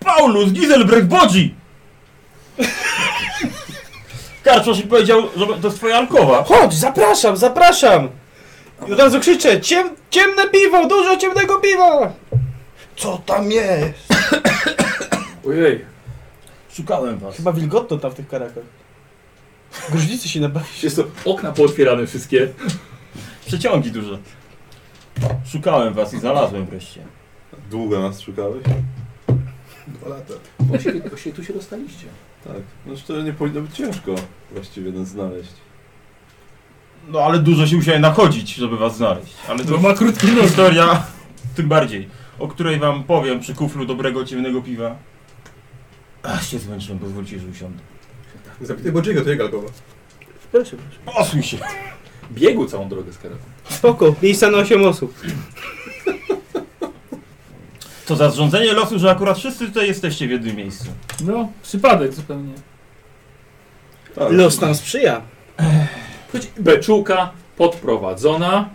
S7: Paulus Giselbrecht Bodzi! Karczosz i powiedział, że to jest twoja alkowa.
S4: Chodź, zapraszam, zapraszam! I od razu krzyczę, Ciem, ciemne piwo, dużo ciemnego piwa! Co tam jest?
S1: Ojej,
S7: Szukałem was.
S4: Chyba wilgotno tam w tych karakach. Gruźlicy się nabawi.
S1: jest to okna pootwierane wszystkie.
S7: Przeciągi duże. Szukałem was i znalazłem wreszcie.
S8: Długo nas szukałeś?
S6: Dwa lata.
S1: Właśnie, właśnie tu się dostaliście.
S8: Tak. No szczerze nie powinno być ciężko właściwie nas znaleźć.
S7: No ale dużo się musiałem nachodzić, żeby was znaleźć. Ale to
S3: Bo ma krótki
S7: inna
S3: nos.
S7: historia, tym bardziej, o której wam powiem przy kuflu dobrego, ciemnego piwa. Ach, się zmęczyłem, pozwólcie, że usiądę.
S6: Zapytaj Bodziego, to jego alkowa.
S4: Proszę, proszę.
S7: Posłuj się!
S1: Biegł całą drogę z karaką.
S4: Spoko, miejsca na 8 osób.
S7: To za zrządzenie losu, że akurat wszyscy tutaj jesteście w jednym miejscu.
S3: No, przypadek zupełnie.
S8: Tak.
S4: Los nam sprzyja.
S1: Słuchajcie, beczułka podprowadzona.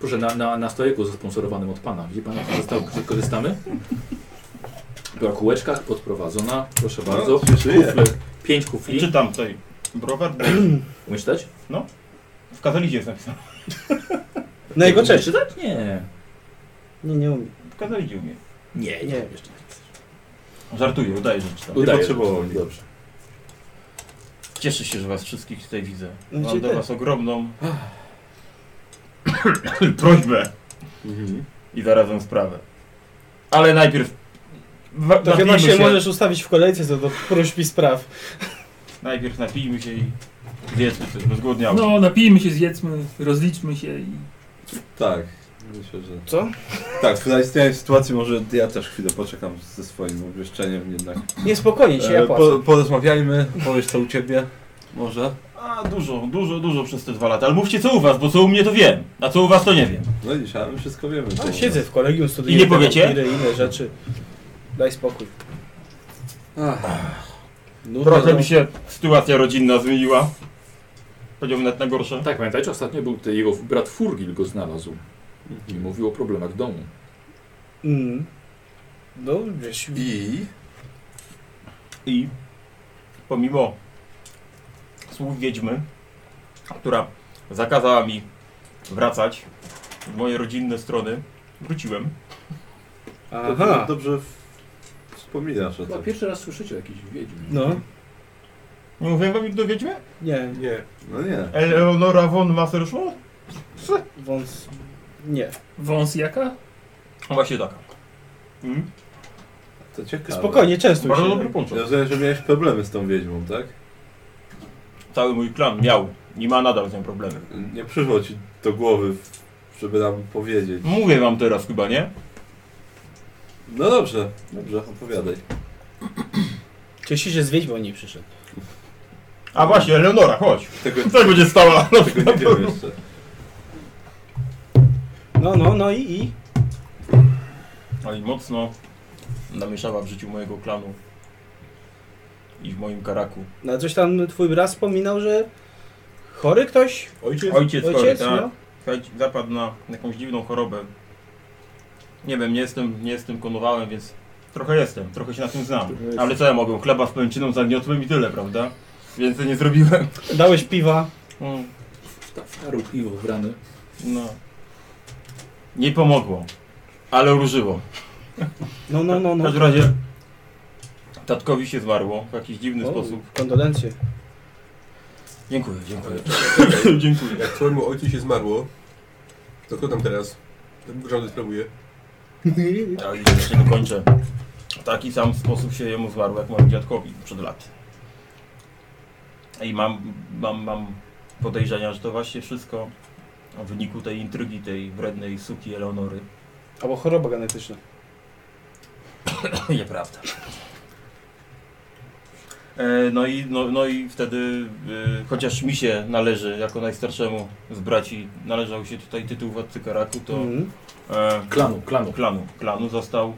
S1: Proszę, na, na, na stojaku zasponsorowanym od pana. Widzi pan, jak korzysta- korzystamy? Była kółeczka podprowadzona. Proszę bardzo.
S8: się żyje.
S1: Kufle, pięć kufli.
S7: Czytam tutaj. Browar?
S1: Umiesz czytać?
S7: W katolicie jest napisane.
S4: Na jego
S1: Umiesz
S4: cześć.
S1: czytać? Nie.
S4: Nie, nie umiem.
S7: W katolicie umie.
S1: Nie, nie
S4: Nie.
S1: umiesz czytać.
S7: Żartuję, udaję, że czytam.
S1: Udaje,
S8: potrzebował
S1: że-
S8: nic.
S1: Dobrze.
S7: Cieszę się, że was wszystkich tutaj widzę.
S4: No,
S7: Mam
S4: cię
S7: do
S4: też.
S7: was ogromną prośbę
S8: Mhm.
S7: i zarazem sprawę. Ale najpierw wa-
S4: To chyba
S7: napijmy
S4: się możesz ustawić w kolejce co do próśb i spraw.
S7: Najpierw napijmy się i zjedzmy coś, bo zgłodniało.
S3: No, napijmy się, zjedzmy, rozliczmy się i...
S8: Tak. Myślę, że...
S4: Co?
S2: Tak, w zaistniałej sytuacji może ja też chwilę poczekam ze swoim obwieszczeniem jednak.
S4: Niespokojnie się, ja
S2: E,
S4: płacę.
S2: po, porozmawiajmy, powiesz co u ciebie, może.
S7: A dużo, dużo, dużo przez te dwa lata. Ale mówcie co u was, bo co u mnie to wiem, a co u was to nie wiem.
S8: No i dzisiaj my wszystko wiemy.
S4: No,
S8: co
S4: siedzę w kolegium, studiuję.
S7: I nie powiecie?
S4: Ile, inne rzeczy. Daj spokój. Nudno.
S7: Trochę mi się sytuacja rodzinna zmieniła. Powiedziałbym nawet na gorsze.
S1: Tak, pamiętajcie, ostatnio był tutaj jego brat Furgil go znalazł. I mówił o problemach domu.
S4: Mm. No, wiesz,
S8: I
S7: I pomimo słów wiedźmy, która zakazała mi wracać w moje rodzinne strony, wróciłem.
S8: Aha.
S4: aha.
S8: dobrze w- wspominasz o
S1: Chyba
S8: tym.
S1: pierwszy raz słyszycie o jakichś wiedźm.
S4: No,
S7: Nie mówiłem wam do wiedźmy?
S4: nie,
S6: Nie.
S8: No nie.
S7: Eleonora von Masserschmidt?
S4: wąs... Nie.
S3: Wąs jaka?
S7: Właśnie taka. Mm.
S8: To ciekawe.
S4: Spokojnie, często
S7: Bardzo
S4: się.
S7: dobry
S2: E,
S7: początek.
S8: Ja rozumiem, że miałeś problemy z tą wiedźmą, tak?
S7: Cały mój klan miał i ma nadal z nią problemy.
S8: Nie przyszło ci do głowy, żeby nam powiedzieć.
S7: Mówię wam teraz chyba, nie?
S8: No dobrze, dobrze, opowiadaj.
S4: Cieszę się z wiedźmą nie przyszedł.
S7: A właśnie, Eleonora, chodź.
S8: Tego,
S7: Tak będzie stała.
S8: tego nie wiem jeszcze.
S4: No, no, no i, i.
S7: No i mocno namieszała w życiu mojego klanu i w moim karaku.
S4: No, coś tam twój brat wspominał, że chory ktoś?
S7: Ojciec, chory,
S4: Ojciec?
S7: tak.
S4: No.
S7: Słuchajcie, zapadł na jakąś dziwną chorobę. Nie wiem, nie jestem, nie jestem konowałem, więc trochę jestem, trochę się na tym znam. Ale co ja mogę? Chleba z pęczyną zagniotłem i tyle, prawda? Więcej nie zrobiłem.
S4: Dałeś piwa.
S7: Mm,
S1: Ta faru piwo w rany.
S7: No. Nie pomogło, ale użyło.
S4: No, no, no,
S7: W
S4: no.
S7: każdym razie tatkowi się zmarło w jakiś dziwny
S4: O,
S7: sposób.
S4: Kondolencje.
S7: Dziękuję, dziękuję. dziękuję.
S6: Jak twojemu ojcu się zmarło, to kto tam teraz rządy sprawuje?
S7: Ja i jeszcze dokończę. W taki sam sposób się jemu zmarł, jak mojemu dziadkowi przed laty. I mam, mam, mam podejrzenia, że to właśnie wszystko w wyniku tej intrygi, tej wrednej suki Eleonory.
S4: Albo choroba genetyczna.
S7: Nieprawda. E, No i, no, no i wtedy, y, chociaż mi się należy, jako najstarszemu z braci, należał się tutaj tytuł władcy Karaku, to
S4: Mhm.
S7: e,
S1: Klanu, klanu.
S7: klanu, klanu został,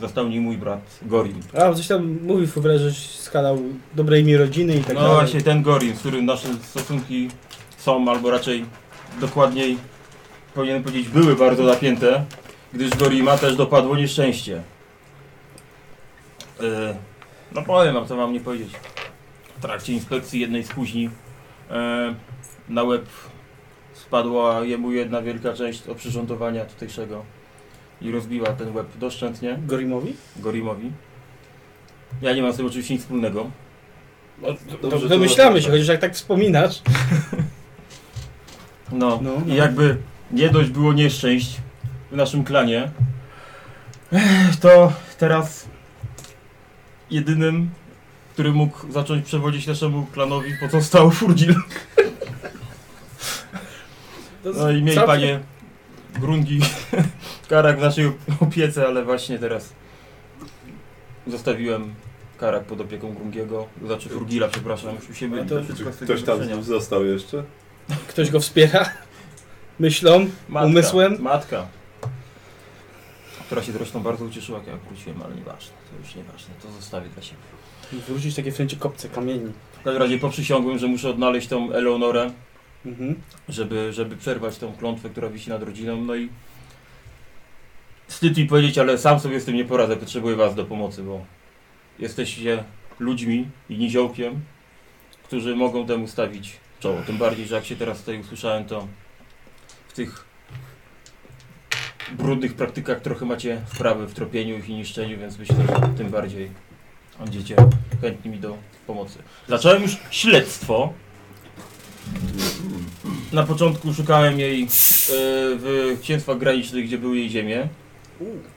S7: został nim mój brat Gorin.
S4: A, coś tam mówił Fubra, że skalał dobre imię rodziny i tak
S7: No
S4: dalej.
S7: właśnie ten Gorin, z którym nasze stosunki są, albo raczej dokładniej powinienem powiedzieć były bardzo napięte, gdyż Gorima też dopadło nieszczęście. Yy, no powiem wam, co mam nie powiedzieć. W trakcie inspekcji jednej z kuźni yy, na łeb spadła jemu jedna wielka część oprzyrządowania tutejszego i rozbiła ten łeb doszczętnie
S4: Gorimowi?
S7: Gorimowi. Ja nie mam z tym oczywiście nic wspólnego.
S4: Dobrze, Domyślamy się, chociaż jak tak wspominasz.
S7: No,
S4: No,
S7: i jakby nie dość było nieszczęść w naszym klanie, Ech, to teraz jedynym, który mógł zacząć przewodzić naszemu klanowi, pozostał Furdzil. No i mieli panie Grungi Karak w naszej opiece, ale właśnie teraz zostawiłem Karak pod opieką Grungiego, znaczy Furgila, przepraszam, już mi się myli.
S4: to
S7: wszystko z tego
S8: No, Ktoś tam
S7: zdarzenia.
S8: znów został jeszcze?
S4: Ktoś go wspiera. Myślą.
S7: Matka,
S4: Umysłem?
S7: Matka. Która się zresztą bardzo ucieszyła, jak ja wróciłem, ale nieważne. To już nieważne, to zostawię dla siebie.
S4: Wrócić takie wszędzie kopce, kamieni.
S7: W każdym razie poprzysiągłem, że muszę odnaleźć tą Eleonorę,
S4: Mhm.
S7: żeby, żeby przerwać tą klątwę, która wisi nad rodziną. No i wstyd mi powiedzieć, ale sam sobie z tym nie poradzę. Potrzebuję was do pomocy, bo jesteście ludźmi i niziołkiem, którzy mogą temu stawić czoło. Tym bardziej, że jak się teraz tutaj usłyszałem, to w tych brudnych praktykach trochę macie wprawy w tropieniu ich i niszczeniu, więc myślę, że tym bardziej będziecie chętni mi do pomocy. Zacząłem już śledztwo. Na początku szukałem jej e, w księstwach granicznych, gdzie były jej ziemie,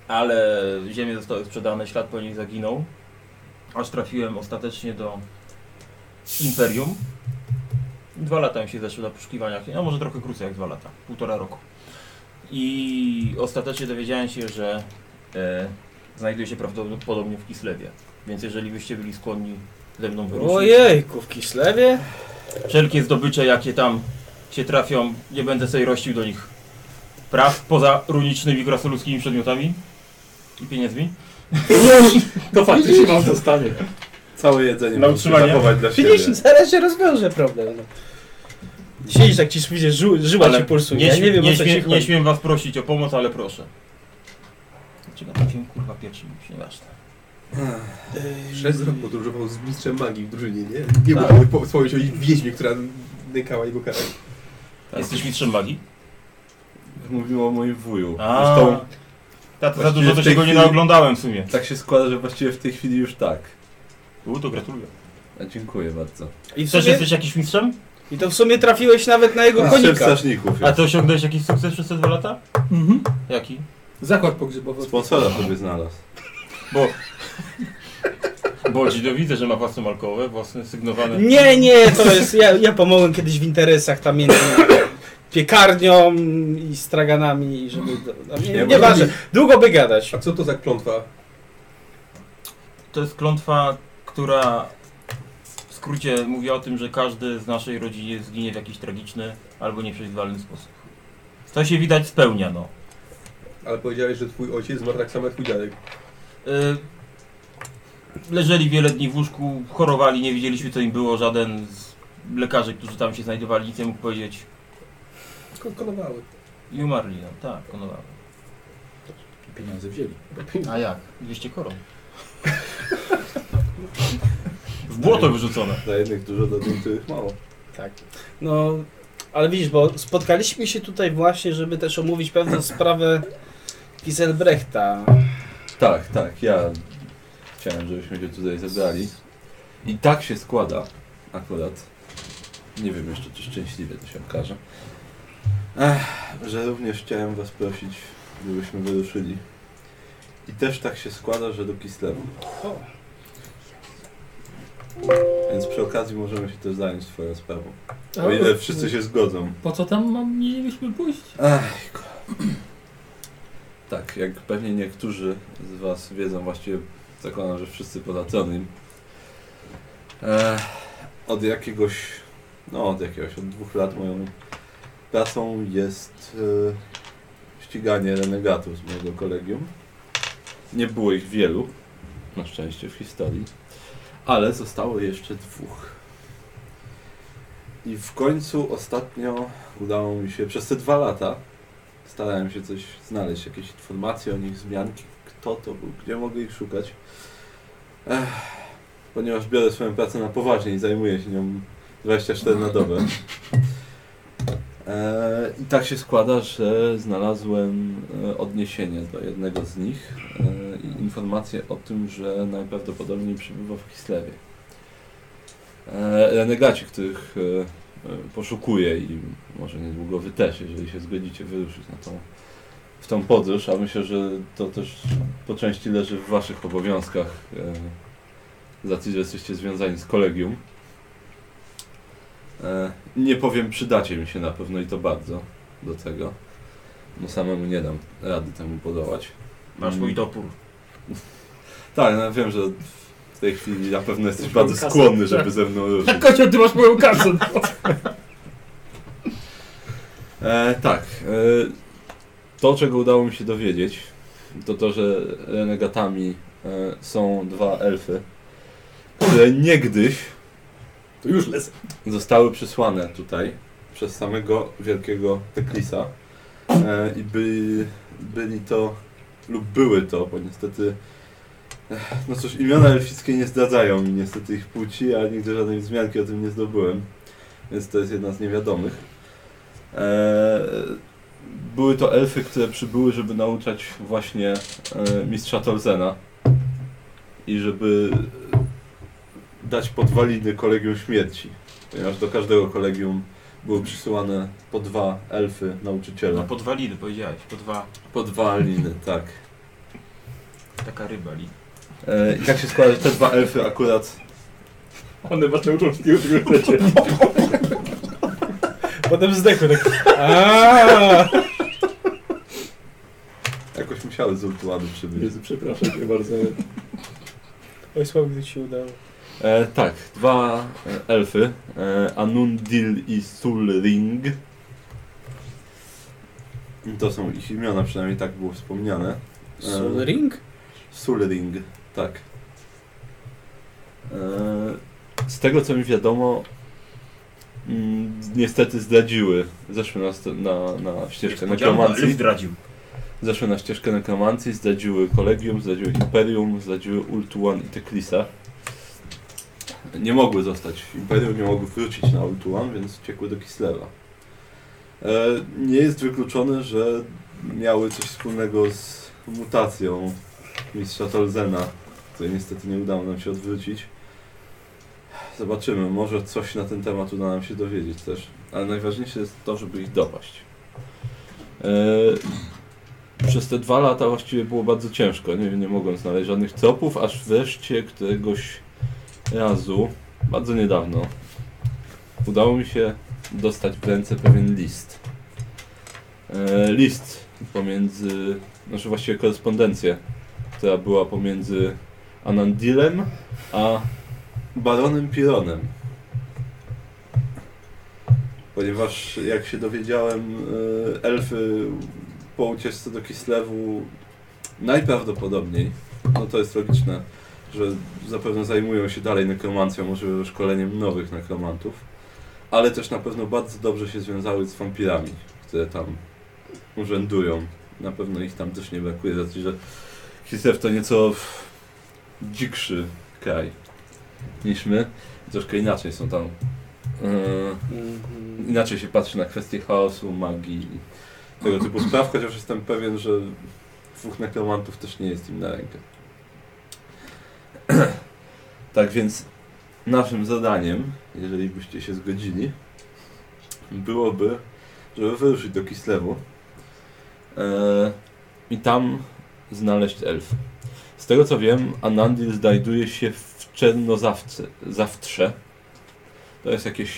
S7: ale ziemie zostały sprzedane, ślad po niej zaginął, aż trafiłem ostatecznie do Imperium. Dwa lata mi się zeszły na poszukiwaniach, a może trochę krócej jak dwa lata, półtora roku. I ostatecznie dowiedziałem się, że e, znajduje się prawdopodobnie w Kislewie, więc jeżeli byście byli skłonni ze mną wyruszyć...
S4: Ojejku, w Kislewie?
S7: Wszelkie zdobycze, jakie tam się trafią, nie będę sobie rościł do nich praw poza runicznymi, krasoludzkimi przedmiotami i pieniędzmi.
S1: To faktycznie mam zostanie.
S8: Całe jedzenie
S5: Na
S8: musisz
S5: utrzymanie?
S8: zachować dla siebie.
S4: Widzisz, zaraz się rozwiąże problem. No. Siedzisz tak ci widzę, ży, żyła
S7: Ale
S4: ci pulsuje.
S7: nie,
S4: ja
S7: śmie-
S4: nie wiem,
S7: nie,
S4: o co
S7: śmie-
S4: się
S7: nie
S4: chodzi.
S7: śmiem was prosić o pomoc, ale proszę. Dlaczego ten film kurwa pierwszy mi się nieważne.
S6: Przez rok podróżował z mistrzem magii w drużynie, nie? Nie
S7: Tak.
S6: udało mu po- wspomnieć o wieźmie, która nękała jego karę.
S7: Jesteś mistrzem magii?
S2: Mówimy o moim wuju.
S7: A.
S2: Zresztą
S7: Ta, za
S2: Właściwie
S7: dużo
S2: w
S7: to
S2: tej
S7: się go nie
S2: chwili-
S7: naoglądałem w sumie.
S2: tak się składa, że właściwie w tej chwili już tak.
S7: U, to gratuluję.
S2: A dziękuję bardzo.
S4: I, w
S7: Też
S4: sumie,
S7: jesteś jakiś mistrzem?
S4: I to w sumie trafiłeś nawet na
S7: No,
S4: jego
S8: Szef
S4: konika.
S8: strażników.
S7: A
S8: jest.
S7: ty osiągnąłeś jakiś sukces przez te dwa lata?
S3: Mhm.
S7: Jaki?
S3: Zakład pogrzebowy.
S8: Sponsora sobie znalazł.
S7: Bo dziś widzę, że ma własne alkoholowe, własne sygnowane.
S4: Nie, nie, to jest. Ja, ja pomogłem kiedyś w interesach tam między piekarnią i straganami, i żeby. a Nie, nie,
S2: Nie,
S4: nie
S2: bo-
S4: ważne, długo by gadać.
S6: A co to za klątwa?
S7: To jest klątwa, która w skrócie mówi o tym, że każdy z naszej rodziny zginie w jakiś tragiczny albo nieprzewidywalny sposób. To się widać spełnia, no.
S6: Ale powiedziałeś, że twój ojciec zmarł tak samo jak twój dziadek.
S7: Y, Leżeli wiele dni w łóżku, chorowali, nie wiedzieliśmy co im było, żaden z lekarzy, którzy tam się znajdowali, nic nie mógł powiedzieć.
S6: Tylko konowały.
S7: I umarli, no tak, konowały.
S1: Pieniądze wzięli.
S7: A jak? 200 koron. W błoto wyrzucone.
S8: Dla jednych dużo, dla niektórych mało.
S4: Tak. No, ale widzisz, bo spotkaliśmy się tutaj właśnie, żeby też omówić pewną sprawę Giselbrechta.
S2: Tak, tak, ja chciałem, żebyśmy się tutaj zebrali. I tak się składa, akurat. Nie wiem jeszcze, czy szczęśliwie to się okaże.
S8: Że również chciałem was prosić, gdybyśmy wyruszyli. I też tak się składa, że do Kislewu. Więc przy okazji możemy się też zająć twoją sprawą. O
S3: no.
S8: ile wszyscy się zgodzą.
S3: Po co tam mam, mielibyśmy pójść?
S2: Ech, ko- tak, jak pewnie niektórzy z was wiedzą, właściwie zakładam, że wszyscy poza Tronym, E, od jakiegoś, no od jakiegoś, od dwóch lat moją pracą jest e, ściganie renegatów z mojego kolegium. Nie było ich wielu, na szczęście w historii, ale zostało jeszcze dwóch. I w końcu ostatnio udało mi się, przez te dwa lata starałem się coś znaleźć, jakieś informacje o nich, zmianki, kto to był, gdzie mogę ich szukać. Ech, ponieważ biorę swoją pracę na poważnie i zajmuję się nią 24 na dobę. E, I tak się składa, że znalazłem e, odniesienie do jednego z nich e, i informację o tym, że najprawdopodobniej przebywa w Kislewie. E, renegaci, których e, e, poszukuję i może niedługo wy też, jeżeli się zgodzicie wyruszyć na tą, w tą podróż, a myślę, że to też po części leży w waszych obowiązkach e, z racji, że jesteście związani z kolegium. E, nie powiem, przydacie mi się na pewno i to bardzo do tego, bo samemu nie dam rady temu podołać.
S7: Masz mój topór.
S2: Tak, no, wiem, że w tej chwili na pewno jesteś
S1: Mam
S2: bardzo
S1: kasę.
S2: skłonny, żeby ze mną ruszyć.
S3: Tak, kocioł, ty masz moją kasę. No.
S2: E, tak. E, to, czego udało mi się dowiedzieć, to to, że renegatami e, są dwa elfy, które niegdyś
S1: To już lecę.
S2: zostały przysłane tutaj przez samego wielkiego Teklisa e, i by, byli to lub były to, bo niestety ech, no cóż, imiona elfickie nie zdradzają mi niestety ich płci, a nigdy żadnej wzmianki o tym nie zdobyłem, więc to jest jedna z niewiadomych. E, były to elfy, które przybyły, żeby nauczać właśnie e, mistrza Torzena i żeby dać podwaliny kolegium śmierci ponieważ do każdego kolegium były przysyłane po dwa elfy
S7: Na
S2: nauczyciela.
S7: podwaliny powiedziałeś, po dwa,
S2: Po dwa liny, tak.
S7: taka ryba li.
S2: E, I tak się składa, że te dwa elfy akurat...
S1: One was nauczą wszystkiego, czego chcecie.
S4: Potem zdechły tak. Aaaa!
S2: Jakoś musiały z ultuładu przybyć.
S1: Jezu, przepraszam cię bardzo.
S4: Oj, słabo, gdy ci się udało.
S2: E, tak, dwa e, elfy. E, Anundil i Sulring. To są ich imiona, przynajmniej tak było wspomniane. E,
S4: Ring?
S2: Sulring, tak. E, Z tego co mi wiadomo, mm, niestety zdradziły, zeszły na, st- na, na ścieżkę
S7: Elf
S2: nekromancji,
S7: zdradził.
S2: zeszły na ścieżkę nekromancji, zdradziły Kolegium, zdradziły Imperium, zdradziły Ultuan i Teklisa. Nie mogły zostać w Imperium, nie mogły wrócić na Ultuan, więc uciekły do Kislewa. E, Nie jest wykluczone, że miały coś wspólnego z mutacją mistrza Tolzena, której niestety nie udało nam się odwrócić. Zobaczymy, może coś na ten temat uda nam się dowiedzieć też. Ale najważniejsze jest to, żeby ich dopaść. E, przez te dwa lata właściwie było bardzo ciężko. Nie, nie mogłem znaleźć żadnych tropów, aż wreszcie któregoś razu, bardzo niedawno, udało mi się dostać w ręce pewien list. E, list pomiędzy, znaczy właściwie korespondencję, która była pomiędzy Anandilem a Baronem Pironem. Ponieważ jak się dowiedziałem, e, elfy po ucieczce do Kislewu najprawdopodobniej, no to jest logiczne, że zapewne zajmują się dalej nekromancją, może szkoleniem nowych nekromantów, ale też na pewno bardzo dobrze się związały z wampirami, które tam urzędują. Na pewno ich tam też nie brakuje, znaczy, że Kislew to nieco dzikszy kraj niż my. Troszkę inaczej są tam. e,
S4: Mhm.
S2: inaczej się patrzy na kwestie chaosu, magii i tego typu spraw, chociaż jestem pewien, że dwóch nekromantów też nie jest im na rękę. tak więc naszym zadaniem, jeżeli byście się zgodzili, byłoby, żeby wyruszyć do Kislewu e, i tam znaleźć elf. Z tego co wiem, Anandil znajduje się w Czernozawce, Zawtrze. To jest jakieś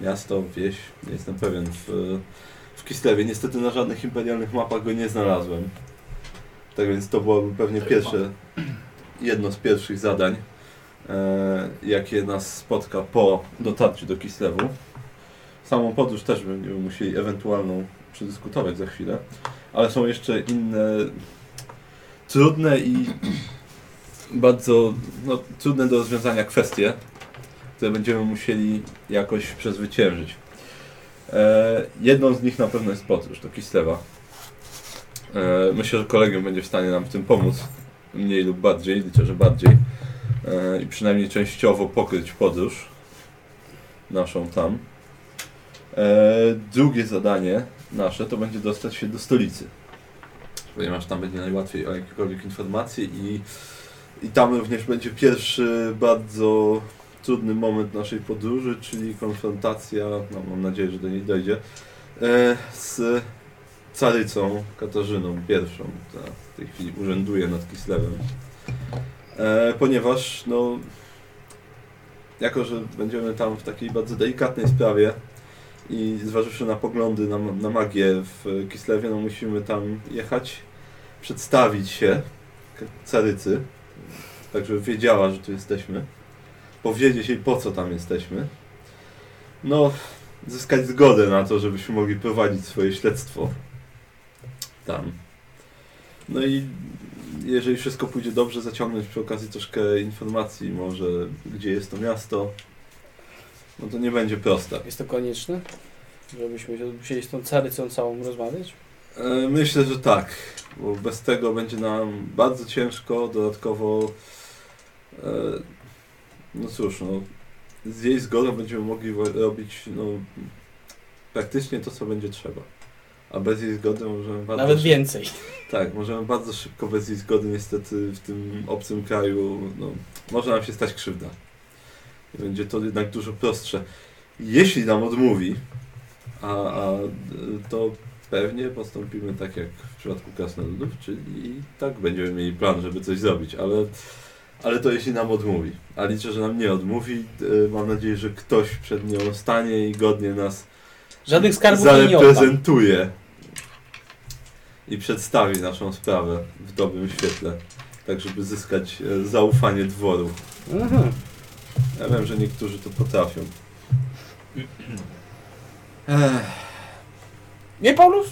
S2: miasto, wieś, nie jestem pewien, w, w Kislewie. Niestety na żadnych imperialnych mapach go nie znalazłem. Tak więc to byłoby pewnie pierwsze, jedno z pierwszych zadań, e, jakie nas spotka po dotarciu do Kislewu. Samą podróż też będziemy musieli ewentualną przedyskutować za chwilę, ale są jeszcze inne trudne i bardzo no, trudne do rozwiązania kwestie, które będziemy musieli jakoś przezwyciężyć. E, jedną z nich na pewno jest podróż do Kislewa. E, myślę, że kolegium będzie w stanie nam w tym pomóc, mniej lub bardziej, liczę, że bardziej. E, I przynajmniej częściowo pokryć podróż naszą tam. E, drugie zadanie nasze to będzie dostać się do stolicy, ponieważ tam będzie najłatwiej o jakiekolwiek informacje i, i tam również będzie pierwszy bardzo trudny moment naszej podróży, czyli konfrontacja, no, mam nadzieję, że do niej dojdzie, e, z carycą Katarzyną pierwszą, która w tej chwili urzęduje nad Kislewem. E, ponieważ, no, jako że będziemy tam w takiej bardzo delikatnej sprawie i zważywszy na poglądy na, na magię w Kislewie, no musimy tam jechać, przedstawić się k- carycy, tak żeby wiedziała, że tu jesteśmy, powiedzieć jej po co tam jesteśmy, no, zyskać zgodę na to, żebyśmy mogli prowadzić swoje śledztwo tam. No i jeżeli wszystko pójdzie dobrze, zaciągnąć przy okazji troszkę informacji, może gdzie jest to miasto. No to nie będzie proste.
S4: Jest to konieczne? Żebyśmy się musieli z tą carycą całą rozmawiać?
S2: E, Myślę, że tak, bo bez tego będzie nam bardzo ciężko. Dodatkowo, e, no cóż, no, z jej zgodą będziemy mogli wo- robić no, praktycznie to, co będzie trzeba. A bez jej zgody możemy bardzo
S4: Nawet
S2: szybko-
S4: więcej.
S2: Tak, możemy bardzo szybko bez jej zgody niestety w tym obcym kraju, no, może nam się stać krzywda. I będzie to jednak dużo prostsze. Jeśli nam odmówi, a, a y, to pewnie postąpimy tak jak w przypadku krasnoludów, czyli i tak będziemy mieli plan, żeby coś zrobić, ale, ale to jeśli nam odmówi. A liczę, że nam nie odmówi. Y, Mam nadzieję, że ktoś przed nią stanie i godnie nas
S4: Żadnych skarbów jej nie oddam.
S2: zareprezentuje i przedstawi naszą sprawę w dobrym świetle, tak żeby zyskać e, zaufanie dworu.
S4: Mhm.
S2: Ja wiem, że niektórzy to potrafią. Ech,
S4: Nie, Paulus?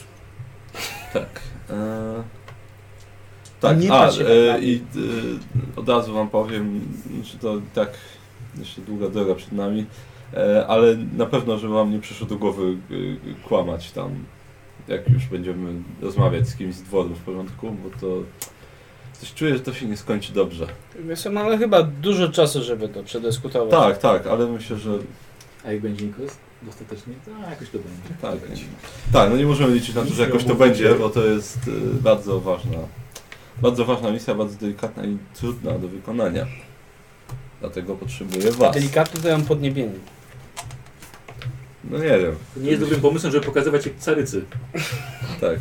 S2: tak. E, tak,
S4: Nie
S2: a,
S4: patrz się na
S2: e,
S4: mnie.
S2: i e, od razu wam powiem, że to tak jeszcze długa droga przed nami, e, ale na pewno, żeby wam nie przyszło do głowy e, e, kłamać tam, jak już będziemy rozmawiać z kimś z dworu w porządku, bo to coś czuję, że to się nie skończy dobrze.
S4: Wiesz, co, mamy chyba dużo czasu, żeby to przedyskutować.
S2: Tak, tak, ale myślę, że
S1: A jak będzie Nikos? Dostatecznie? A, jakoś to będzie.
S2: Tak, tak, no nie możemy liczyć na to, że jakoś to będzie, bo to jest y, bardzo ważna, bardzo ważna misja, bardzo delikatna i trudna do wykonania. Dlatego potrzebuję was.
S4: Delikatnie to ja mam podniebienie.
S2: No nie wiem,
S1: To nie jest dobrym pomysłem, żeby pokazywać jak carycy.
S2: tak.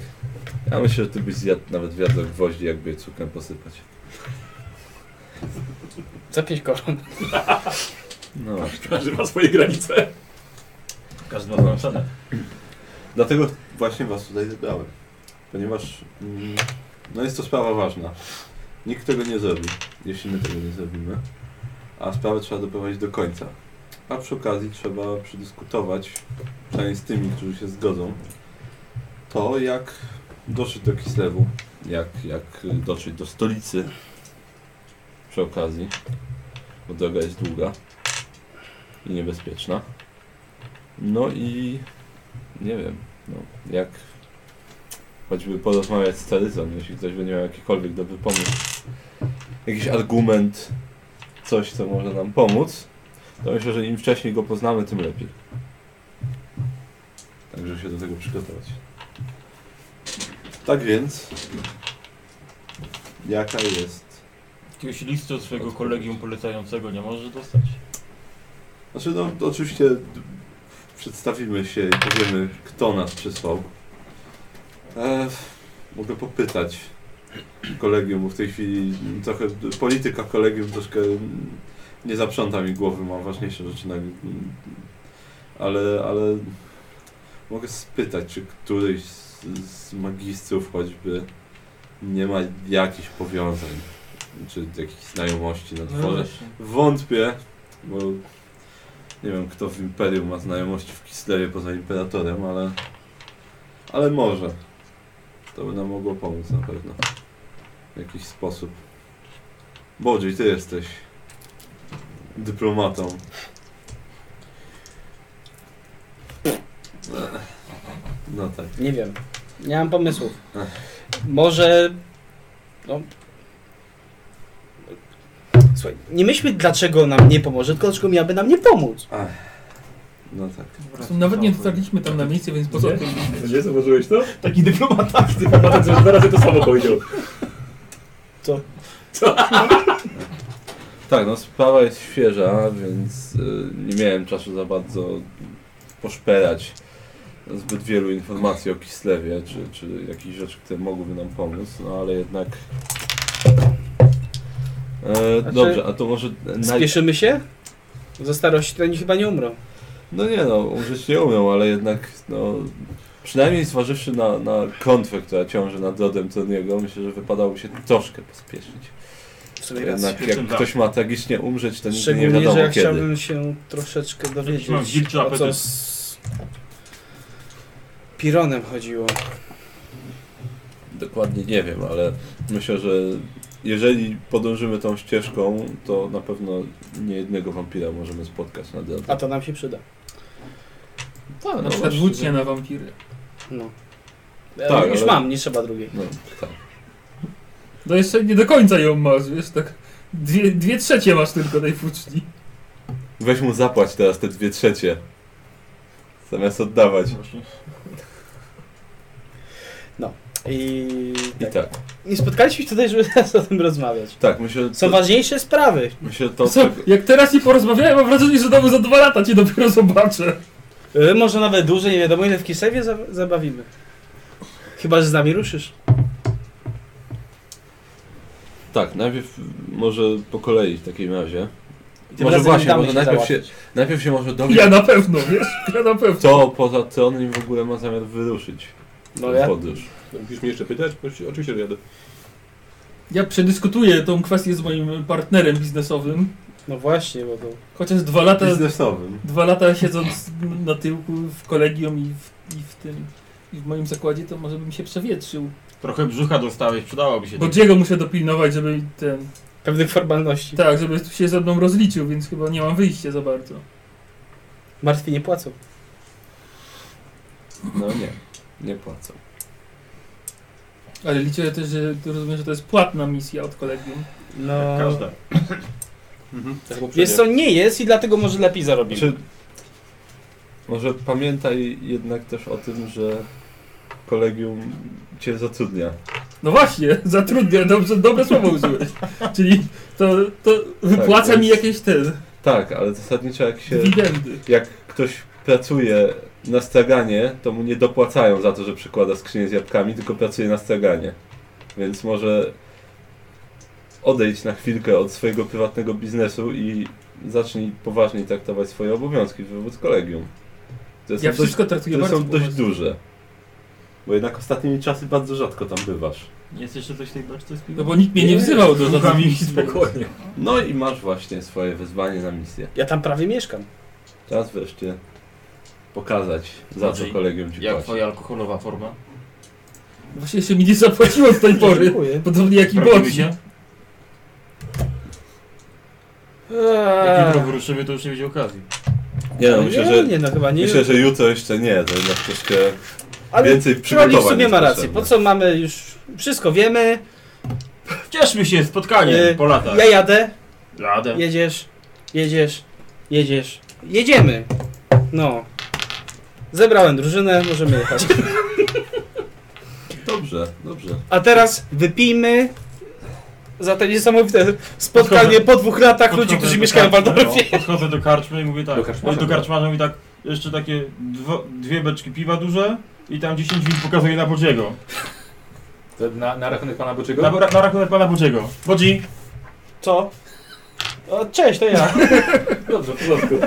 S2: Ja myślę, że ty byś zjadł nawet wiadro gwoździ, jakby je cukrem posypać.
S4: Za pięć koron.
S2: No właśnie.
S1: Każdy ma swoje granice.
S7: Każdy ma swoją cenę.
S2: Dlatego właśnie was tutaj zebrałem. Ponieważ mm, no jest to sprawa ważna. Nikt tego nie zrobi, jeśli my tego nie zrobimy. A sprawę trzeba doprowadzić do końca. A przy okazji trzeba przedyskutować, przynajmniej z tymi, którzy się zgodzą, to jak dotrzeć do Kislewu, jak, jak y, dotrzeć do stolicy przy okazji, bo droga jest długa i niebezpieczna. No i nie wiem, no, jak choćby porozmawiać z Teryzą, jeśli ktoś będzie miał jakikolwiek dobry pomysł, jakiś argument, coś, co może nam pomóc, to myślę, że im wcześniej go poznamy, tym lepiej. Także się do tego przygotować. Tak więc, jaka jest...
S7: Jakiegoś listu
S4: No
S7: od swojego kolegium polecającego nie możesz dostać?
S2: Znaczy, no to oczywiście przedstawimy się i powiemy, kto nas przysłał. E, mogę popytać kolegium, bo w tej chwili trochę polityka kolegium troszkę mm, nie zaprząta mi głowy, mam ważniejsze rzeczy na mm, ale, ale mogę spytać, czy któryś z, z magistrów choćby nie ma jakichś powiązań czy jakichś znajomości na dworze. Wątpię, bo nie wiem kto w Imperium ma znajomości w Kislewie poza Imperatorem, ale, ale może. To by nam mogło pomóc na pewno. W jakiś sposób. Bodziej, ty jesteś dyplomatą. Ech, No tak.
S4: Nie wiem. Nie mam pomysłów. Może. No. Słuchaj, nie myślmy dlaczego nam nie pomoże, tylko dlaczego miałaby nam nie pomóc.
S2: No tak.
S3: Zresztą Nawet nie dotarliśmy tam na miejsce, więc po co?
S1: Nie? No Nie zauważyłeś to?
S11: Taki dyplomata.
S1: Dyplomatem że dwa razy to samo powiedział.
S2: Tak, no sprawa jest świeża, więc y, nie miałem czasu za bardzo poszperać zbyt wielu informacji o Kislewie, czy, czy jakichś rzeczy, które mogłyby nam pomóc, no ale jednak... E,
S4: Znaczy-
S2: dobrze, a to może... naj-
S4: Spieszymy się? Za starości to oni chyba nie umrą.
S2: No nie no, umrzeć nie umiał, ale jednak no... Przynajmniej zważywszy na, na klątwę, która ciąży nad rodem Toniego, myślę, że wypadałoby się troszkę pospieszyć.
S4: W sumie racji.
S2: Jednak jak ktoś ma tragicznie umrzeć, to nigdy nie
S4: Szczególnie,
S2: wiadomo
S4: że ja
S2: kiedy.
S4: chciałbym się troszeczkę
S7: No Mam
S4: dowiedzieć,
S7: wilczy
S4: o co
S7: apetyt.
S4: z Pironem chodziło.
S2: Dokładnie nie wiem, ale myślę, że jeżeli podążymy tą ścieżką, to na pewno nie jednego wampira możemy spotkać na drodze.
S4: A to nam się przyda.
S2: tak,
S3: Na przykład włócznia na wampiry.
S4: No. Ja
S2: Tak,
S4: już
S2: ale-
S4: mam, nie trzeba drugiej.
S2: No, tak.
S3: No jeszcze nie do końca ją masz, wiesz, tak. Dwie, dwie trzecie masz tylko tej włóczni.
S2: Weź mu zapłać teraz te dwie trzecie. Zamiast
S4: No,
S2: oddawać.
S4: I,
S2: I
S4: tak.
S2: tak,
S4: Nie spotkaliśmy się tutaj, żeby teraz o tym rozmawiać.
S2: tak, myślę, że
S4: Są
S2: to,
S4: ważniejsze sprawy.
S2: myślę, że to tak,
S3: Co,
S2: czego-
S3: jak teraz nie porozmawiałem, mam wrażenie, że znowu za dwa lata cię dopiero zobaczę.
S4: Y, Może nawet dłużej, nie wiadomo ile w Kisewie za zabawimy. Chyba, że z nami ruszysz.
S2: Tak, najpierw może po kolei w takim razie.
S4: Tym
S2: Może
S4: razem
S2: właśnie,
S4: damy
S2: może
S4: się
S2: najpierw się,
S4: załatwić.
S2: najpierw się może dowiedzieć,
S3: Ja na pewno, wiesz? Ja na pewno.
S2: kto poza Tronem w ogóle ma zamiar wyruszyć
S4: No
S2: w
S4: ja,
S2: podróż.
S12: Musisz mnie jeszcze pytać? Oczywiście, oczywiście że jadę.
S3: Ja przedyskutuję tą kwestię z moim partnerem biznesowym.
S4: no właśnie, bo to...
S3: Chociaż dwa lata,
S2: Biznesowym.
S3: dwa lata siedząc na tyłku w kolegium i w, i w tym i w moim zakładzie, to może bym się przewietrzył.
S7: Trochę brzucha dostałeś, przydałoby się.
S3: Bo Diego muszę dopilnować, żeby ten.
S4: Pewnych formalności.
S3: Tak, żeby się ze mną rozliczył, więc chyba nie mam wyjścia za bardzo.
S4: Martwi nie płacą.
S2: No nie, nie płacą.
S3: Ale liczę też, że to rozumiem, że to jest płatna misja od kolegium.
S4: No...
S7: Każda.
S4: Wiesz co, nie jest i dlatego może lepiej zarobimy.
S2: Czy może pamiętaj jednak też o tym, że kolegium cię zatrudnia.
S3: No właśnie, zatrudnia, dobrze, dobre słowo użyłeś. Czyli to, to wypłaca
S2: więc-
S3: mi jakieś te
S2: Tak, ale zasadniczo jak się
S3: dywidendy.
S2: jak ktoś pracuje na straganie, to mu nie dopłacają za to, że przykłada skrzynię z jabłkami, tylko pracuje na straganie. Więc może odejdź na chwilkę od swojego prywatnego biznesu i zacznij poważniej traktować swoje obowiązki wobec kolegium. To
S3: Ja wszystko traktuję
S2: które
S3: bardzo
S2: są dość
S3: poważnie.
S2: duże. Bo jednak ostatnimi czasy bardzo rzadko tam bywasz.
S7: Jest jeszcze coś w tej beczce z piwem?
S3: No bo nikt mnie nie wzywał do żadnych
S1: Słucham ich
S3: misji.
S1: spokojnie.
S2: No i masz właśnie swoje wezwanie na misję.
S4: Ja tam prawie mieszkam.
S2: Czas wreszcie pokazać, za co
S7: Andrzej,
S2: kolegium ci
S7: Jak
S2: płaci.
S7: twoja alkoholowa forma?
S3: Właśnie się mi nie zapłaciło do tej pory.
S4: Dziękuję.
S3: Podobnie jak i
S7: Sprawdzimy
S3: Boci.
S7: się? Jak jutro
S4: Eee,
S7: wyruszymy, to już nie będzie okazji.
S2: Nie no, myślę, że
S4: nie, nie, no chyba nie.
S2: Myślę, że jutro jeszcze nie, to jednak troszkę
S4: Ale
S2: więcej
S4: Trolli
S2: przygotowań.
S4: w sumie
S2: jest
S4: ma rację.
S2: potrzebne.
S4: Po co mamy już... Wszystko wiemy.
S7: Cieszmy się, spotkanie
S4: Yy,
S7: po latach.
S4: Ja jadę.
S7: Ladę.
S4: Jedziesz. Jedziesz. Jedziesz. Jedziemy. No. Zebrałem drużynę, możemy jechać.
S2: Dobrze, dobrze.
S4: A teraz wypijmy za te niesamowite spotkanie po dwóch latach ludzi,
S7: Podchodzę
S4: którzy
S7: do
S4: mieszkają w
S7: karczmy,
S4: Waldorfie.
S7: no, Podchodzę do karczmy i mówię tak.
S1: Do
S7: Do
S1: karczmarza,
S7: karczmarza, do karczmarza mówi tak, jeszcze takie dwo, dwie beczki piwa duże i tam 10 win pokazuje na Bodziego.
S1: To Na, na rachunek pana Boczego?
S7: Na, na rachunek pana Bodziego. Bodzi!
S4: Co? O, cześć, to ja.
S1: Dobrze, w porządku.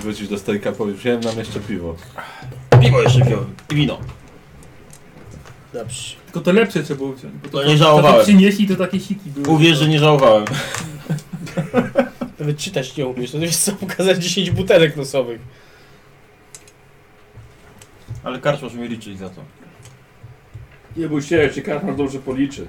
S2: Wrócisz do stolika, powiesz, wziąłem nam jeszcze piwo.
S7: Piwo jeszcze wziąłem. I wino.
S4: Dobrze.
S3: Tylko to lepsze trzeba było wziąć. Bo to,
S7: To nie
S3: to, to
S7: żałowałem.
S3: przynieśli, to takie siki były.
S7: Uwierz, że nie żałowałem.
S4: Nawet czytać nie umiesz, to wiesz co, pokazać 10 butelek nosowych.
S7: Ale karczmasz mnie liczyć za to.
S1: Nie bój się, jak cię karma dobrze policzy.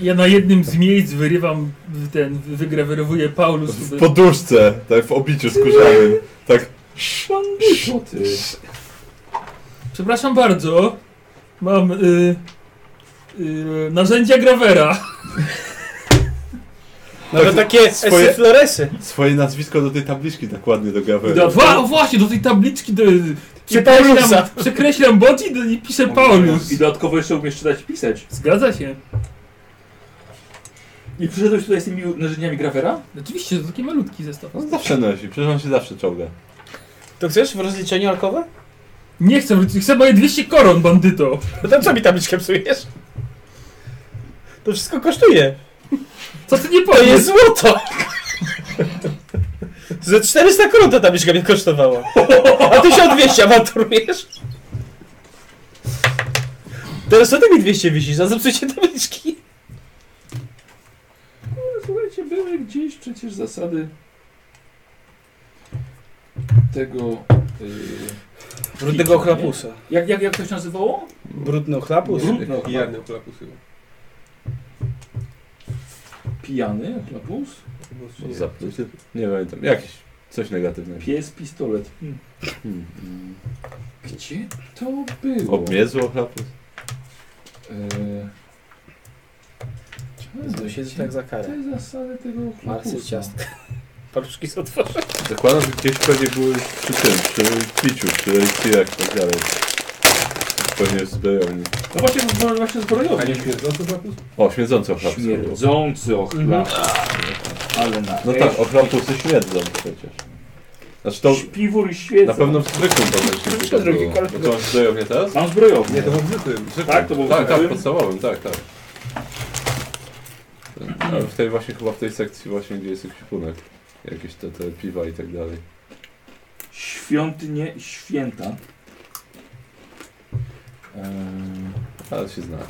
S3: Ja na jednym z miejsc wyrywam ten, wygrawerowuję Paulus.
S2: W poduszce, tak w obiciu skórzanym. Tak.
S1: Co ty?
S3: Przepraszam bardzo, mam y, y, narzędzia grawera.
S4: Nawet takie
S2: swoje-
S4: swoje... floresy.
S2: Swoje nazwisko do tej tabliczki tak ładnie do gawery.
S3: Do, wa, o właśnie, do tej tabliczki do,
S4: Czy
S3: przekreślam,
S4: Paulusa.
S3: przekreślam boci do- i piszę Paulus.
S1: I dodatkowo jeszcze umiesz czytać i pisać.
S3: Zgadza się.
S1: I przyszedłeś tutaj z tymi narzędziami grawera?
S3: Oczywiście, to taki malutki zestaw.
S2: No zawsze nosi, przecież on się zawsze czołga.
S4: To chcesz w rozliczeniu alkowe?
S3: Nie chcę wrócić, chcę moje 200 koron, bandyto.
S4: No to co mi tabliczkę psujesz? To wszystko kosztuje.
S3: Co ty nie
S4: To
S3: powiesz?
S4: jest złoto! Ze 400 koron ta tabliczka mnie kosztowała. A 1200 awanturujesz? Teraz co ty mi 200 wisisz? Za zepsucie tabliczki.
S1: No, Słuchajcie, były gdzieś przecież zasady tego... Yy,
S4: Brudnego chlapusa.
S1: jak, jak, jak to się nazywało?
S4: Brudny ochlapus?
S1: Brudno.
S6: Pijany chlapus chyba.
S1: Pijany, chlapus?
S2: Zapluty? Nie pamiętam, jakieś coś negatywnego.
S1: Pies, pistolet. Hmm.
S2: Hmm. mm.
S1: Gdzie to było?
S2: Obmiezło chlapus?
S1: Eee,
S4: To się tak za karę.
S1: Te zasady tego
S4: Marsy
S1: chlapusa.
S4: ciastka. Paluszki są otworzone.
S2: Zakładam, że gdzieś pewnie były przy tym, przy piciu, przy kijach i tak dalej. Pewnie w zbrojowni.
S1: No właśnie, no właśnie
S6: A
S1: zbrojownik.
S6: nie śmierdzący chlapus?
S2: O, śmierdzący ochlapus.
S1: Śmierdzący ochlap. Ale na
S2: No tak, ochlapusy śmierdzą przecież. Znaczy to
S1: Śpiwór i świecą.
S2: na pewno w zwykłym podręczniku
S1: Myślę,
S2: tak
S1: że
S2: było.
S1: kilka-
S2: No to masz zbrojownię teraz?
S1: Mam zbrojownię.
S6: Nie, to był zwykłym.
S1: Tak, to było
S2: Tak, tak,
S1: zbrojownię.
S2: podstawowym, tak, tak. Ale w tej właśnie, chyba w tej sekcji właśnie, gdzie jest ekwipunek. Jakieś te, te piwa i tak dalej.
S1: Świątynie święta. Eee,
S2: Ale się znałem.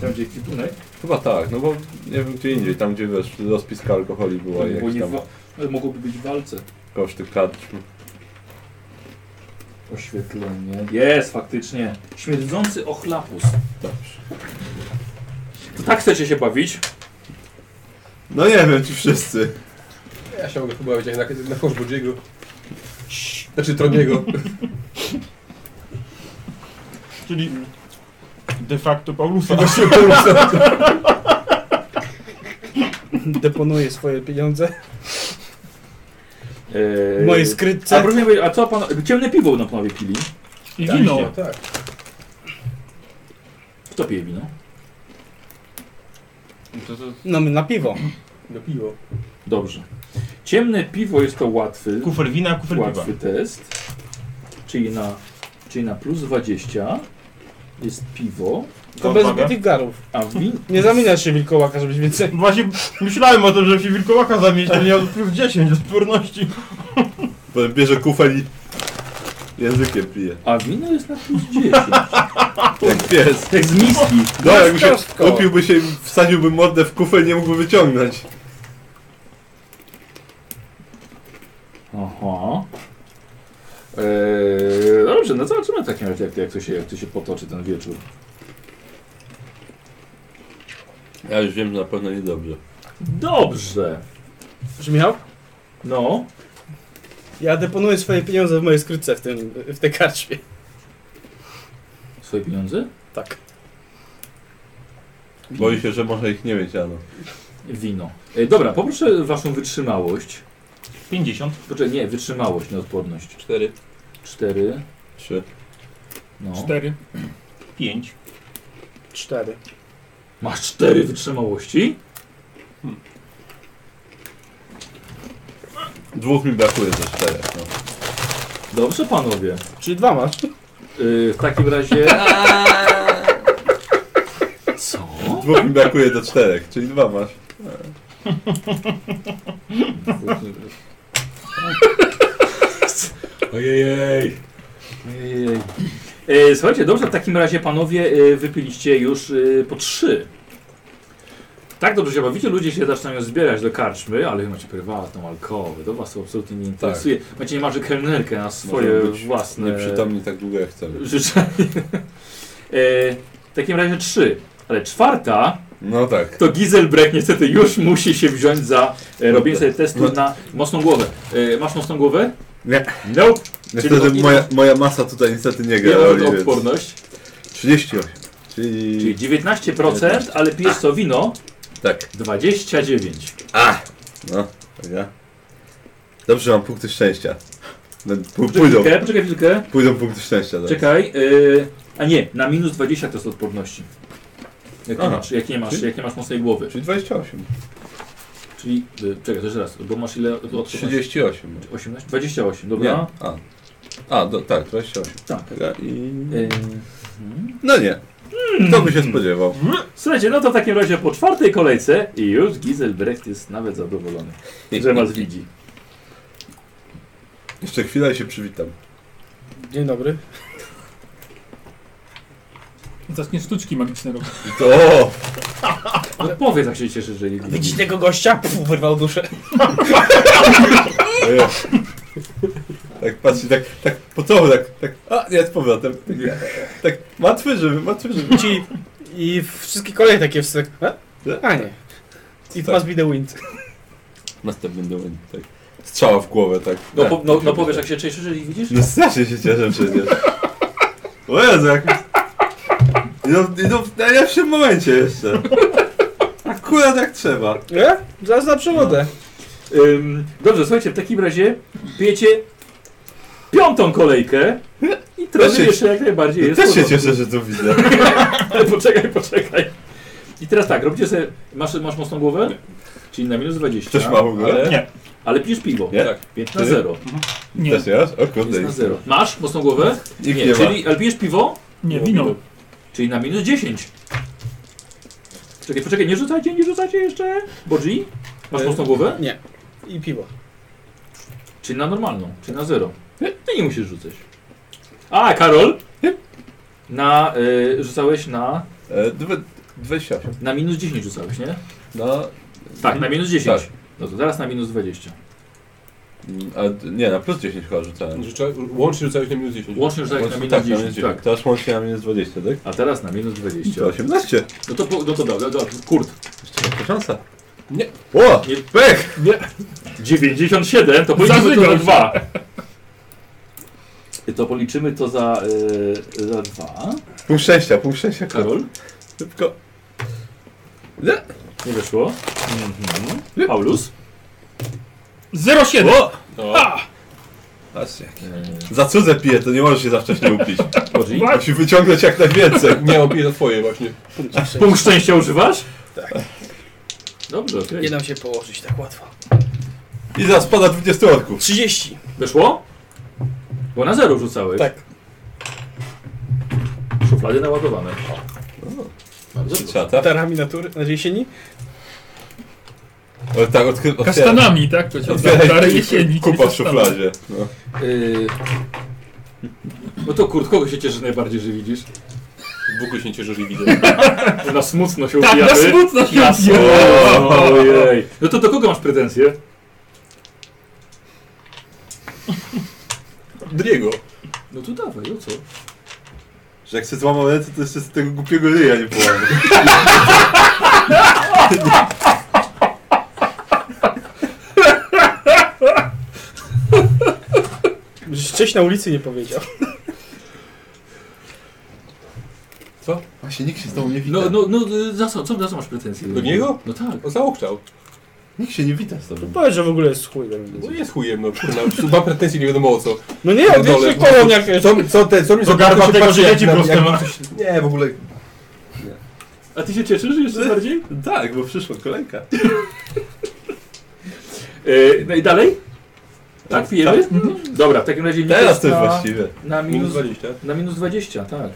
S1: Tam gdzie kwipunek,
S2: Chyba tak, no bo nie wiem gdzie indziej, tam gdzie wiesz, rozpiska alkoholi była i
S1: bo
S2: jakieś
S1: nie
S2: tam
S1: wa- ale mogłoby być w walce.
S2: koszty karczm.
S1: Oświetlenie. Jest, faktycznie. Śmierdzący ochlapus.
S2: Dobrze.
S1: To tak chcecie się bawić?
S2: No nie wiem ci wszyscy.
S6: Ja się mogę chyba jak na, na kosz Bodziego. Znaczy Troniego.
S5: Czyli de facto Paulusa.
S4: Deponuję swoje pieniądze
S1: Eee,
S4: w mojej
S1: a,
S4: skrytce.
S1: proszę mnie, a co pan. Ciemne piwo na panowie pili.
S3: I wino.
S6: No tak.
S1: Kto no? pije wino?
S5: To, to,
S4: No na piwo.
S6: No piwo.
S1: Dobrze. Ciemne piwo jest to łatwy,
S5: kufer wina, kufer piwa.
S1: łatwy test. Czyli na, czyli na plus 20 jest piwo,
S4: To bez zbitych garów.
S1: a win.
S4: Nie zamieniasz się wilkołaka, żebyś więcej...
S5: Właśnie myślałem o tym, żeby się wilkołaka zamienić, ale miał plus 10 odporności.
S2: Potem bierze kufel i językiem pije.
S1: A wino jest na plus 10.
S2: Jak pies.
S1: Tak z miski.
S2: No jakby się kupiłby się, i wsadziłby mordę w kufel nie mógłby wyciągnąć.
S1: Aha. Eee, dobrze, no zobaczymy w takim razie, jak, jak, to się, jak to się potoczy ten wieczór.
S2: Ja już wiem, że na pewno niedobrze.
S1: Dobrze.
S4: Brzmiał?
S1: No,
S4: Ja deponuję swoje pieniądze w mojej skrytce w, tym, w tej karczmie.
S1: swoje pieniądze?
S4: Tak.
S2: Boi się, że może ich nie mieć, Ano.
S1: Wino. E, dobra, poproszę waszą wytrzymałość.
S7: 50.
S1: Poczekaj, nie, wytrzymałość, nie odporność.
S6: Cztery.
S1: Cztery.
S2: Trzy.
S1: No.
S3: Cztery.
S7: 5.
S4: Cztery.
S1: Masz cztery wytrzymałości?
S2: Dwóch mi brakuje ze czterech, no.
S1: Dobrze, panowie.
S4: Czyli dwa masz.
S1: Yy, w takim razie... Co?
S2: Dwóch mi brakuje do czterech, czyli dwa masz. Ojej.
S1: Ojej. E, słuchajcie, dobrze, w takim razie panowie e, wypiliście już e, po trzy. Tak dobrze się bawicie, ludzie się zaczynają zbierać do karczmy, ale wy macie prywatną, alkohol, do was to absolutnie nie interesuje. Macie niemalże kelnerkę na swoje
S2: Możemy Tak. być
S1: własne
S2: Nieprzytomni tak długo jak chcemy.
S1: życzenie. E, w takim razie trzy, ale czwarta
S2: No tak.
S1: to Giselbrecht niestety już musi się wziąć za e, robienie sobie testu na mocną głowę. E, masz mocną głowę?
S2: No. Nie.
S1: No.
S2: Niestety
S1: od-
S2: moja, moja masa tutaj niestety nie gra
S1: Nie
S2: roli,
S1: mam
S2: więc...
S1: odporność.
S2: 38. Czyli...
S1: Czyli 19%, ale pijesz co wino?
S2: Tak.
S1: 29.
S2: A! No, tak ja. Dobrze, mam punkty szczęścia. No, pó- Pójdą,
S1: Chwilkę, poczekaj chwilkę.
S2: pójdą punkty szczęścia. Tak.
S1: Czekaj. Yy, a nie, na minus 20 to jest odporności. Jak nie
S2: Aha.
S1: masz, jak nie masz, jak nie masz mocnej głowy.
S2: Czyli 28.
S1: Czyli, yy, czekaj, to jeszcze raz, bo masz ile od- od
S2: 38.
S1: 18? 28,
S2: Nie.
S1: dobra.
S2: A. A, do, tak, 28.
S1: Tak.
S2: Taka I...
S1: Yy,
S2: No nie. Kto by się spodziewał?
S1: słuchajcie, no to w takim razie po czwartej kolejce i już Giselbrecht jest nawet zadowolony, że was widzi.
S2: Jeszcze chwilę i się przywitam.
S4: Dzień dobry.
S3: Zacznie sztuczki magiczne robić.
S2: To, o,
S1: No powiedz, jak się cieszy, że
S4: No Widzisz tego gościa? Pfu, wyrwał duszę.
S2: o jest. Tak patrzy, tak, tak po co, tak, tak, a nie, z powrotem. Tak, tak matwy żywy, matwy żywy.
S4: Ci... I wszystkie kolejne takie wstek... A? A nie. It must be the wind.
S2: Następny dołek, tak. Strzała w głowę, tak.
S1: No, po, no, no powiesz, jak się cieszy, że ich widzisz?
S2: No strasznie się cieszę przecież. O Jezu, jak... No, Idą, idą w najlepszym momencie jeszcze. Akurat jak trzeba.
S4: Nie? E? Zaraz na przewodę.
S1: Ym, dobrze, słuchajcie, w takim razie pijecie piątą kolejkę i trener
S2: się-
S1: jeszcze jak najbardziej jest.
S2: Też się
S1: porządku.
S2: cieszę, że to widzę.
S1: Ale poczekaj, poczekaj. I teraz tak, robicie sobie, masz, masz mocną głowę? Czyli na minus 20.
S2: Ktoś ma w ogóle?
S1: Ale,
S5: Nie.
S1: ale pijesz piwo.
S2: Nie?
S1: Więc na zero.
S3: Nie,
S2: Też jest? O kurde.
S1: Jest na zero. Masz mocną głowę?
S2: Nikt nie,
S1: Nie,
S2: ma.
S1: czyli, ale pijesz piwo?
S3: nie, wino.
S1: Czyli na minus 10. Czekaj, poczekaj, nie rzucajcie, nie rzucajcie jeszcze. Bodzi? Masz
S4: Y-
S1: mocną głowę?
S4: I piwo.
S1: Czyli na normalną, czyli na zero. Ty nie musisz rzucać. A, Karol? Na, y, rzucałeś na,
S2: E, dwa- 28.
S1: na minus 10 rzucałeś, nie?
S2: No,
S1: Tak, na minus 10.
S2: Tak.
S1: No to teraz na minus 20.
S2: mm, a, d- nie, na plus 10 chyba rzucałem.
S6: Życzę, łącznie rzucałeś na minus 10.
S1: Łącznie rzucałeś na
S2: Łącznie-
S1: minus
S2: tak,
S1: 10. Tak.
S2: Teraz łącznie na minus 20, tak?
S1: A teraz na minus 20.
S2: To 18.
S1: No to, po- no to dobra, dobra, kurt.
S2: Jeszcze jedna szansa.
S6: Nie.
S2: O!
S1: Nie-
S2: Pech!
S1: 97, to policzymy to za
S3: Zazygnął.
S1: 2. Y, To policzymy to za, y, za 2.
S2: Pół szczęścia, pół szczęścia.
S1: Karol?
S2: Szybko.
S1: Nie weszło. Mhm. Paulus?
S3: 07!
S2: Patrzcie.
S1: Yy,
S2: Za cudze piję, to nie możesz się za wcześnie upić.
S1: Bodzi?
S2: Musisz wyciągnąć jak najwięcej.
S6: Nie, opiję za twoje właśnie.
S1: Punkt szczęścia używasz? Tak. Dobrze, okej.
S4: Nie dam się położyć tak łatwo.
S2: I za spada 20 orków.
S4: 30.
S1: Weszło? Bo na zero rzucałeś.
S4: Tak.
S1: Szuflady naładowane. Bardzo dobrze.
S2: Trzata.
S6: Tak.
S4: Tarami natury. Na jesieni?
S2: O, tak, odkry... otwieram.
S3: Kasztanami, tak? To się
S2: Otwieraj
S3: stare jesieni.
S2: Kupa w
S3: Kasztana.
S2: szufladzie. No.
S1: Yy... No to kurt, kogo się cieszy najbardziej, że widzisz?
S6: W ogóle się nie cieszę, że widzę.
S1: Na smutno się
S3: Tak, na
S1: upijamy.
S3: smutno się
S1: Jasne.
S3: bije.
S1: Ojej. No to do kogo masz pretensje?
S6: Driego.
S1: No to dawaj, no co?
S2: Że jak się złamał ręce, to jeszcze z tego głupiego ryja nie połamę.
S4: Cześć na ulicy nie powiedział.
S2: Właśnie nikt się z tobą nie wita.
S1: No, no, no y, za co, co, za co masz pretensje?
S6: Do niego?
S1: No tak.
S6: On zaokrzał.
S2: Nikt się nie wita z tobą.
S4: Powiedz, że w ogóle jest chujem.
S6: No jest chujem, no kurna. Mam pretensje, nie wiadomo o co.
S4: No nie, on
S6: Pierdolę.
S4: jest kolon jak jest.
S6: Co, co, te, co mi
S5: Do garba
S6: garba
S5: tego, że leci prosto. no.
S6: Nie, w ogóle.
S1: A ty się cieszysz jeszcze bardziej?
S2: Tak, bo przyszła kolejka.
S1: Yy, no i dalej? Tak, pijemy? Dobra, w takim razie nie
S2: Teraz to jest
S1: na,
S2: właściwe.
S1: na
S6: Minus
S1: minus
S6: 20.
S1: Na minus 20, tak.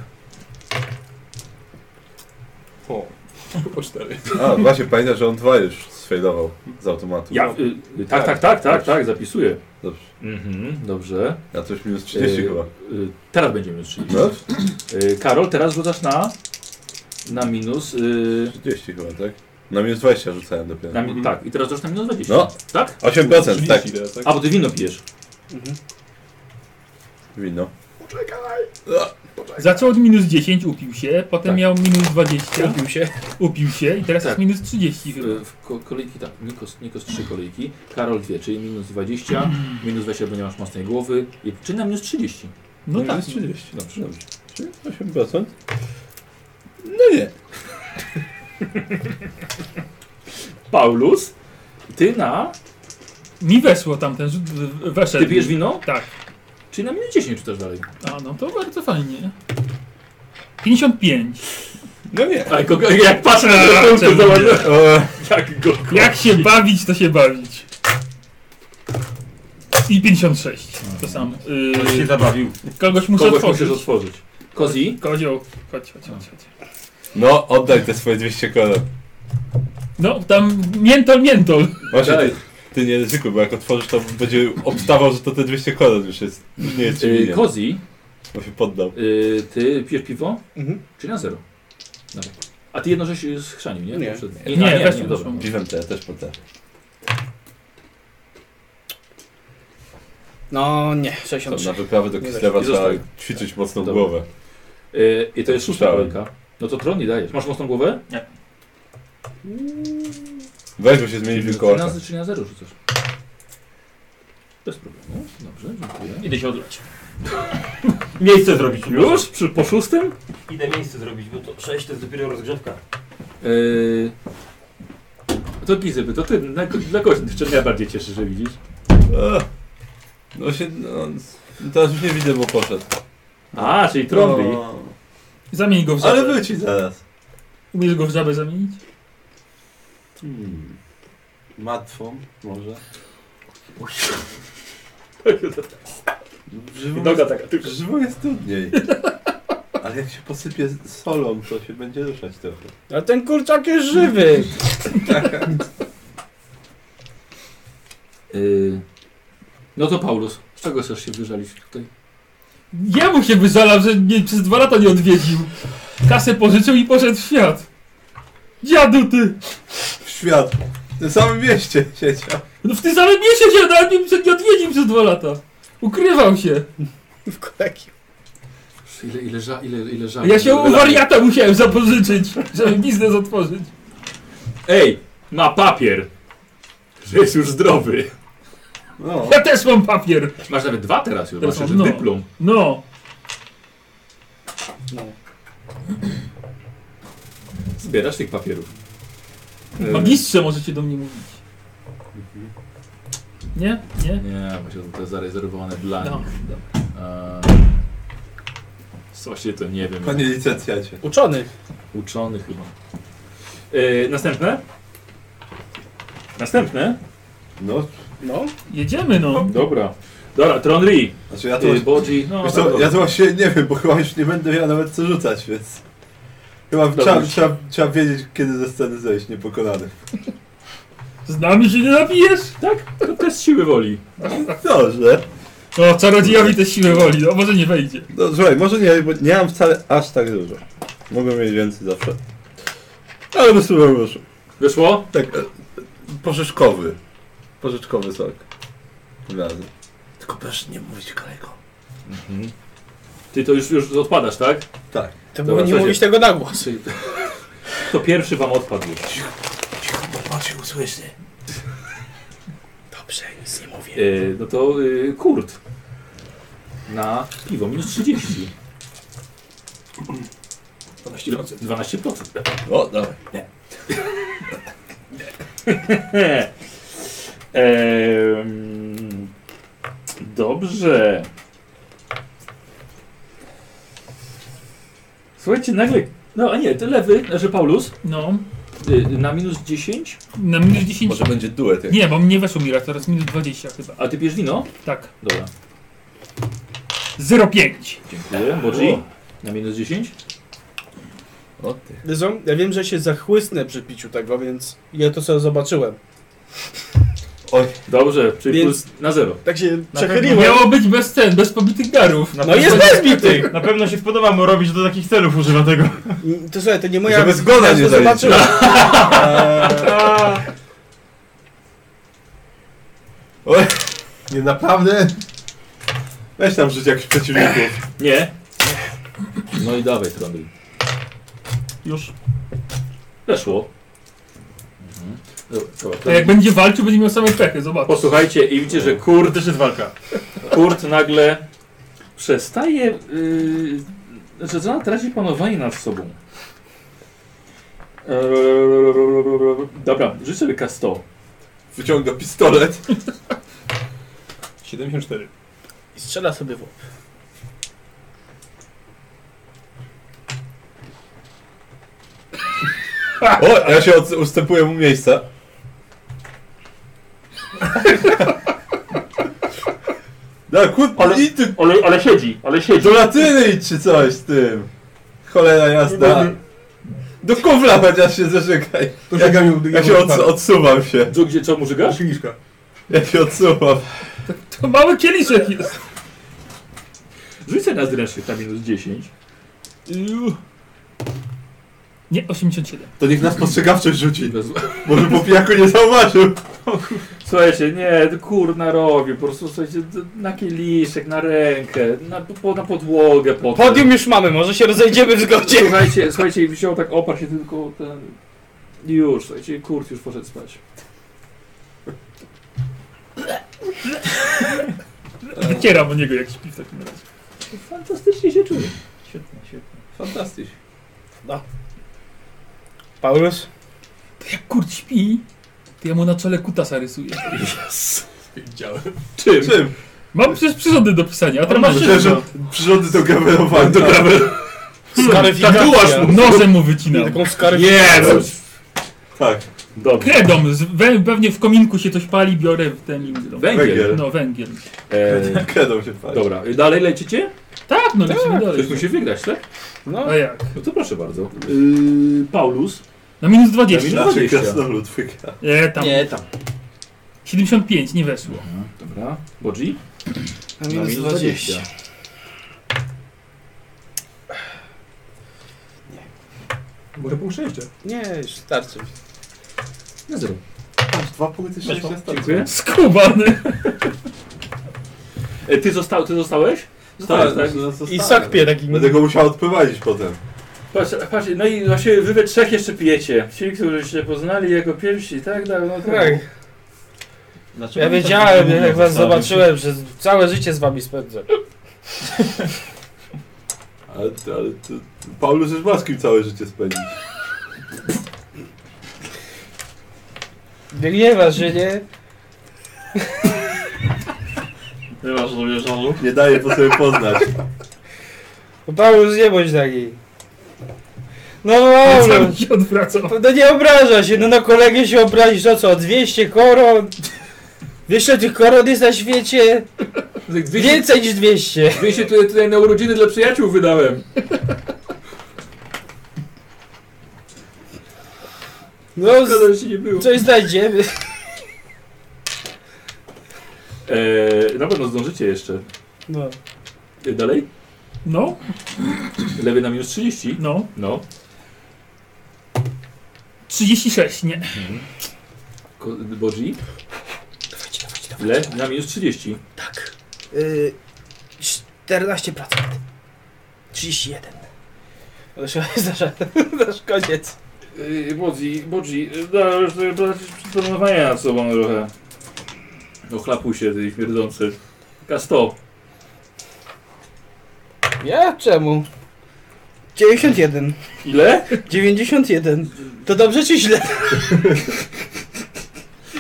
S6: O. Po cztery.
S2: A, właśnie, pamiętaj, że on dwa już sfejdował z automatu.
S1: Ja, y, y, tak, tak, tak, tak, tak, zapisuję.
S2: Dobrze.
S1: Mhm, dobrze.
S2: Ja coś minus 30
S1: Y,
S2: chyba.
S1: Y, teraz będziemy już 30.
S2: No,
S1: Y, Karol, teraz rzucasz na, na minus. Y,
S2: 30 chyba, tak? Na minus 20 rzucałem dopiero.
S1: na, mi- Tak, i teraz rzucasz na minus 20.
S2: No.
S1: Tak?
S2: 8%, tak.
S1: A, bo ty wino pijesz.
S4: Mhm.
S2: Wino.
S3: Zaczął od minus 10, upił się, potem
S1: Tak.
S3: miał minus 20,
S4: Kupił się.
S3: upił się i teraz
S1: Tak.
S3: jest minus 30 chyba.
S1: Y, W ko- kolejki, tak, Nikos, Nikos 3 kolejki, Karol 2, czyli minus 20, minus 20, bo nie masz mocnej głowy, i, czy na minus 30.
S3: No tak.
S2: Minus 30, dobrze, dobrze. Czyli 8%? No nie.
S1: Paulus, ty na...
S3: Mi weszło tam ten rzut, w- weszedł.
S1: Ty pijesz wino?
S3: Tak.
S1: Czyli na minus 10 rzucasz dalej.
S3: A no to bardzo fajnie. 55.
S2: No nie.
S1: Ale kogo, jak patrzę na
S3: A,
S1: to, to
S3: czemu
S1: zobacz,
S3: nie?
S2: E,
S1: jak go kur-
S3: Jak się bawić, to się bawić. I 56. To samo.
S7: Ktoś się
S3: Yy,
S7: zabawił.
S3: kogoś muszę
S1: Kogoś musisz
S3: otworzyć.
S1: otworzyć. Kozi?
S3: Kozioł, chodź, chodź, chodź, chodź.
S2: No, oddaj te swoje 200 koron.
S3: No, tam miętol, miętol.
S2: Właśnie,
S1: Daj.
S2: ty, ty nie ryzykuj, bo jak otworzysz, to będzie obstawał, że to te 200 koron już jest. Nie jest ci
S1: Yy,
S2: winien,
S1: Kozi,
S2: bo się poddał.
S1: yy, ty pijesz piwo?
S4: Mhm.
S1: Czyli na zero. Dobra. A ty jedno żeś z chrzanił, nie?
S4: Nie.
S1: Przed-
S2: Nie,
S1: a,
S3: nie,
S1: nie, no,
S3: weź
S1: nie
S3: mi
S1: dobra.
S3: proszę.
S2: Piwem te, też po te.
S4: No nie,
S2: To
S4: 63.
S2: na wyprawę do
S4: Nie
S2: Kislewa
S1: da się. I
S2: trzeba
S1: zostań.
S2: ćwiczyć mocną
S1: Dobra.
S2: głowę.
S1: Yy, I to jest szósta
S2: Słyszałem.
S1: kolejka. No to tron nie dajesz. Masz mocną głowę?
S2: Weź, bo się zmieni
S1: Czyli
S2: wilkołaka.
S1: na- Czyli na zero rzucasz. Bez problemu. Dobrze, dziękuję.
S7: Idę się odlać. Miejsce zrobić.
S1: Już? Przy, po szóstym?
S7: Idę miejsce zrobić, bo to 6 to jest dopiero rozgrzewka.
S1: Yy, to Gizyby, to ty. Na, dla kogoś jeszcze ja bardziej cieszę, że widzisz.
S2: Ech. No się, no, no teraz już nie widzę, bo poszedł.
S1: A, czyli trąbi.
S2: No,
S3: Zamień go w żabę.
S2: ale wróci zaraz.
S3: Umiesz go w żabę zamienić?
S2: Hmm. Matwą może.
S1: I
S2: Żywo
S1: Noga
S2: jest,
S1: taka tylko.
S2: żywo jest trudniej. Ale jak się posypie z- solą, to się będzie ruszać trochę.
S4: Ale ten kurczak jest żywy.
S1: Yy, no to Paulus, z czego chcesz się wyżalić tutaj?
S3: Ja mu się wyżalam, że mnie przez dwa lata nie odwiedził. Kasę pożyczył i poszedł w świat. Dziadu ty!
S2: W świat. W tym samym mieście siedział.
S3: No w tym samym mieście się nawet nie, nie odwiedził przez dwa lata. Ukrywał się.
S4: W kolegi.
S1: Ile, ile, ża, ile, ile żal.
S3: Ja się u wariata musiałem zapożyczyć, żeby biznes otworzyć.
S1: Ej, ma papier! Że jest już zdrowy.
S2: No.
S3: Ja też mam papier.
S1: Masz nawet dwa teraz już,
S3: Teraz
S1: masz
S3: mam,
S1: jeszcze
S3: no.
S1: dyplom.
S3: No.
S4: No.
S1: Zbierasz tych papierów.
S3: Magistrze możecie do mnie mówić. Nie? Nie?
S1: Yy, Nie, właśnie to jest zarezerwowane dla
S3: No.
S1: nich. Eee, Coś się to nie wiem.
S2: Panie licencjacie.
S4: Uczony.
S1: Uczony chyba. Eee, następne? Następne?
S2: No,
S4: No.
S3: Jedziemy no.
S1: Dobra. Dobra, Tronri.
S2: znaczy ja to...
S1: Yy, Bodzi. No,
S2: Wiesz co,
S1: dobra.
S2: ja to właśnie nie wiem, bo chyba już nie będę miał nawet co rzucać, więc... Chyba
S1: Dobra,
S2: trzeba,
S1: już.
S2: trzeba, trzeba wiedzieć, kiedy ze sceny zejść, niepokonany.
S3: Z nami się nie napijesz? Tak?
S1: To test siły woli.
S2: Dobrze.
S3: O, czarodziejowi też siłę woli, no może nie wejdzie.
S2: No słuchaj, może nie, bo nie mam wcale aż tak dużo. Mogę mieć więcej zawsze. Ale wysyłam już.
S1: Wyszło?
S2: Tak, e, porzeczkowy. Porzeczkowy sok. Tym razem. Tylko proszę nie mówić kolego.
S1: Ty to już, już odpadasz, tak?
S2: Tak.
S1: Dobra,
S4: To było nie
S1: słuchajcie.
S4: mówić tego na głos.
S1: Czyli- To pierwszy wam odpadł już.
S4: Dobrze, nic nie mówię.
S1: Yy, no to yy, kurt. Na piwo minus 30. 12%. 12%.
S2: O, dawaj.
S1: Em, Dobrze. Słuchajcie, nagle. No a nie, to lewy, że Paulus
S3: No.
S1: y, na minus 10,
S3: Na minus 10.
S2: Może będzie duet. Jak...
S3: Nie, bo mnie weszło Mira, teraz minus 20 chyba.
S1: a ty bierz wino?
S3: Tak.
S1: Dobra,
S3: 0,5.
S1: dziękuję. Bodzi na minus 10.
S2: O ty.
S4: Dyzą, ja wiem, że się zachłysnę przy piciu tego, więc ja to sobie zobaczyłem.
S1: Dobrze, czyli
S4: Więc-
S1: puls na zero.
S4: Tak się
S3: No
S4: przechyliłem.
S3: miało być bez ten, bez pobitych garów.
S4: No jest bezbity!
S5: Na pewno się spodoba mu robić, do takich celów używa tego.
S4: To słuchaj, to nie moja...
S2: Żeby zgoda
S4: ja
S2: nie
S4: to zobaczyłem.
S6: Nie, naprawdę?
S2: Weź tam żyć jakichś przeciwników.
S1: Nie. No i dawaj, Trondil.
S5: Już.
S1: Weszło. Mhm. Dobra, dobra,
S3: A jak będzie walczył, będzie miał same pechy, zobacz.
S1: Posłuchajcie i widzicie, że Kurt też jest walka. Kurt nagle przestaje, yy, że zaczyna traci panowanie nad sobą. Eee, Dobra, rzuć sobie K100.
S2: Wyciąga pistolet.
S6: 74.
S4: I strzela sobie w łeb.
S2: O, ja się od, ustępuję mu miejsca. No kurde,
S1: Ale-
S2: i ty
S1: Ale, ale siedzi, ale siedzi.
S2: do latyny idź czy coś z tym. Cholera jasna. Do kufla chociaż się zarzekaj.
S6: To
S2: Ja-
S6: ja, mi
S2: Ja się odsu- odsuwam się.
S1: Dżu, gdzie, czemu żygasz?
S6: Kieliszka.
S2: Ja się odsuwam.
S3: To mały kieliszek jest.
S1: Rzuć sobie na zręcznik na minus 10.
S3: Nie, 87.
S2: To niech nas postrzegawczość rzuci.
S1: Bez...
S2: Może po pijaku nie zauważył.
S1: Słuchajcie, nie, kurna robił, po prostu słuchajcie, d- na kieliszek, na rękę, na, po, na podłogę potem.
S4: Podium już mamy, może się rozejdziemy w zgodzie.
S1: Słuchajcie, słuchajcie, i wziął tak oparł się tylko ten... I Już, słuchajcie, Kurt już poszedł spać.
S3: Wycieram o niego jak śpi w takim razie.
S1: Fantastycznie się czuję.
S7: Świetnie, świetnie.
S2: Fantastycznie.
S4: Paulus?
S3: To jak kurt śpi, to ja mu na czole kutasa rysuję.
S6: Wiedziałem.
S1: Czym?
S2: Czym?
S3: Mam przecież przyrządy do pisania, a tam masz
S2: Myślę, że przyrządy do grawerowania. Do grawer...
S3: tak
S4: Skaryfikacja.
S3: Nożem mu wycinam.
S4: Tak, Taką skaryfikację.
S1: Nie, no.
S2: Tak.
S1: Dobrze.
S3: Kredą, z- we- pewnie w kominku się coś pali, biorę w ten im-
S1: Węgiel.
S2: Węgiel.
S3: No, węgiel.
S1: E,
S2: Kredą się pali.
S1: dobra, y, dalej lecicie?
S3: Tak, no lecimy dalej.
S1: Ktoś musi wygrać, tak?
S4: No.
S3: A jak?
S1: No to proszę bardzo. Yy, Paulus.
S3: Na minus
S1: Na
S3: 20.
S1: minus-
S2: Znaczy
S1: 20.
S2: krasnolud wygra.
S3: Nie, tam.
S4: Nie, tam.
S3: 75, nie weszło.
S1: Dobra. Bodzi?
S4: Na minus 20.
S6: Może punkt szczęścia.
S4: Nie, już starczy.
S1: Na zero.
S2: Dwa punkty szczęścia
S1: Dziękuję.
S3: Skubany.
S1: E, ty, został, ty zostałeś?
S2: No
S1: Zostałeś, tak?
S4: I sakpie taki...
S2: Będę go musiał odprowadzić potem.
S1: Patrz, patrz, no i właśnie wy we trzech jeszcze pijecie. Ci, którzy się poznali jako pierwsi i tak dalej, no tak.
S4: Tak.
S7: Dlaczego
S4: Ja
S7: mi tak
S4: wiedziałem,
S7: mówią
S4: jak was
S7: stary?
S4: zobaczyłem, że całe życie z wami spędzę.
S2: Ale, ale to, Paulus już ma z kim całe życie spędzić.
S4: Nie gniewasz się, nie?
S7: Nie masz sobie żalu.
S2: Nie daje to sobie poznać.
S4: No Paulus, nie bądź taki. No
S3: Sam
S4: Paulus,
S3: się odwracam.
S4: no nie obraża się, no na kolegę się obrazisz, o co, 200 koron? Wiesz, ile tych koron jest na świecie? Więcej niż 200.
S1: Wy się tutaj, tutaj na urodziny dla przyjaciół wydałem.
S4: No, z-
S1: Szkoda, że się nie było.
S4: coś znajdziemy.
S1: Eee, na pewno zdążycie jeszcze.
S4: No.
S1: E, Dalej?
S3: No,
S1: Lewy na minus 30.
S3: no.
S1: No.
S3: 36, nie.
S1: Ko- Bodzi? Lew na minus 30.
S4: Y, 14%. 31. No już nasz, nasz koniec.
S1: Yy, Bodzi, Bodzi, da, już planowania nad sobą trochę. No chlapuj się, ty śmierdzący. K100.
S4: Ja? Czemu? 91.
S1: Ile?
S4: 91. To dobrze czy źle?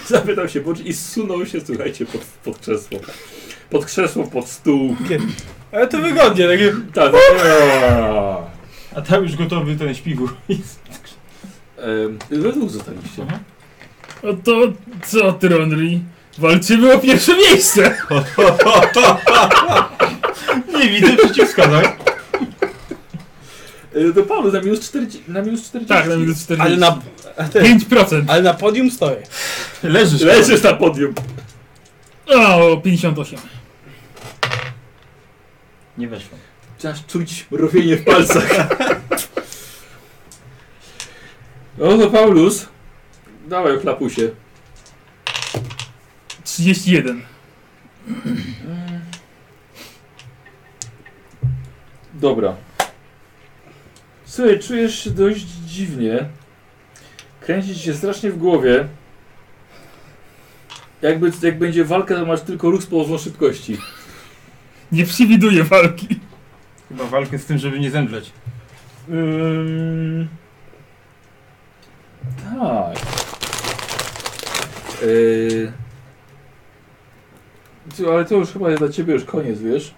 S1: Zapytał się Bodzi i zsunął się, słuchajcie, pod, pod krzesło. Pod krzesło, pod stół.
S4: Ale to wygodnie, takie...
S1: Tak. Eee.
S5: A tam już gotowy ten śpiwór.
S1: Eee, we dwóch zostaliście.
S3: No to co, Tronry? Walczymy o pierwsze miejsce!
S5: tak? Nie widzę przeciwwskazań.
S1: Y, Do Paulus na minus 40. Na minus 40.
S3: Tak, na minus 40.
S4: Ale na,
S3: 5%.
S4: ale na podium stoję.
S5: Leżysz.
S1: Leżysz na podium.
S3: O, 58.
S7: Nie weszło.
S1: Zaczynasz czuć rowienie w palcach. No to Paulus. Dawaj, chlapusie.
S3: 31.
S1: Dobra. Słuchaj, czujesz się dość dziwnie. Kręci ci się strasznie w głowie. Jakby, jak będzie walka, to masz tylko ruch z połową szybkości.
S3: Nie przewiduję walki.
S5: Chyba walkę z tym, żeby nie zemdleć.
S1: Ym... Tak. Yy... Ty, Ale to już chyba dla ciebie już koniec, wiesz?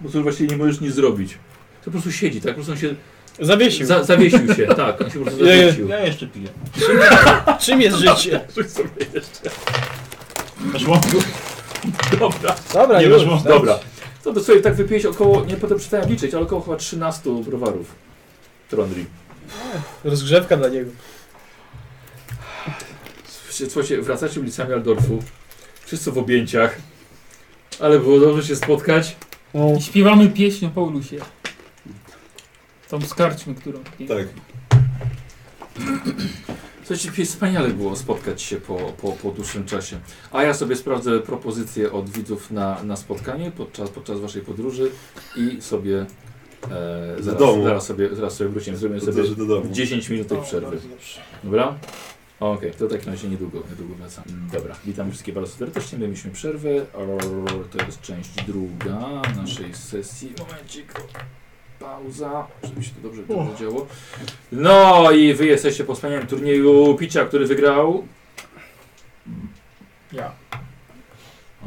S1: Bo tu już właściwie nie możesz nic zrobić. To po prostu siedzi, tak? Po prostu on się
S4: Zawiesił.
S1: za, zawiesił się, tak, on się po prostu
S4: Ja- ja-
S1: zawiesił.
S7: Ja jeszcze piję.
S4: Czym jest życie?
S1: Rzuć sobie jeszcze.
S5: Weszło?
S1: Dobra.
S4: Dobra,
S5: Nie
S4: już. tak.
S5: weszło.
S1: Dobra. No to sobie tak wypiłeś około, nie potem przestałem liczyć, ale około chyba 13 browarów. Trondri.
S4: Rozgrzewka dla niego.
S1: Słuchajcie, wracacie ulicami Aldorfu. Wszyscy w objęciach. Ale było dobrze się spotkać.
S4: No.
S3: I Śpiewamy pieśń o Paulusie. Tą skarczmy, którą.
S2: Tak.
S1: Słuchajcie, wspaniale było spotkać się po, po, po dłuższym czasie. A ja sobie sprawdzę propozycje od widzów na, na spotkanie podczas, podczas waszej podróży i sobie e, zaraz,
S2: domu.
S1: zaraz sobie zaraz sobie wrócimy. Zrobimy sobie
S2: Podróży do domu.
S1: 10 minut tej przerwy. Dobra? Okej, to tak na razie niedługo, niedługo wracam. Mm, Dobra, witam wszystkich bardzo serdecznie. My mieliśmy przerwę. Rrr, To jest część druga naszej sesji. Momencik. Pauza, żeby się to dobrze dobrze działo. No i wy jesteście po wspaniałym turnieju picia, który wygrał.
S5: Ja.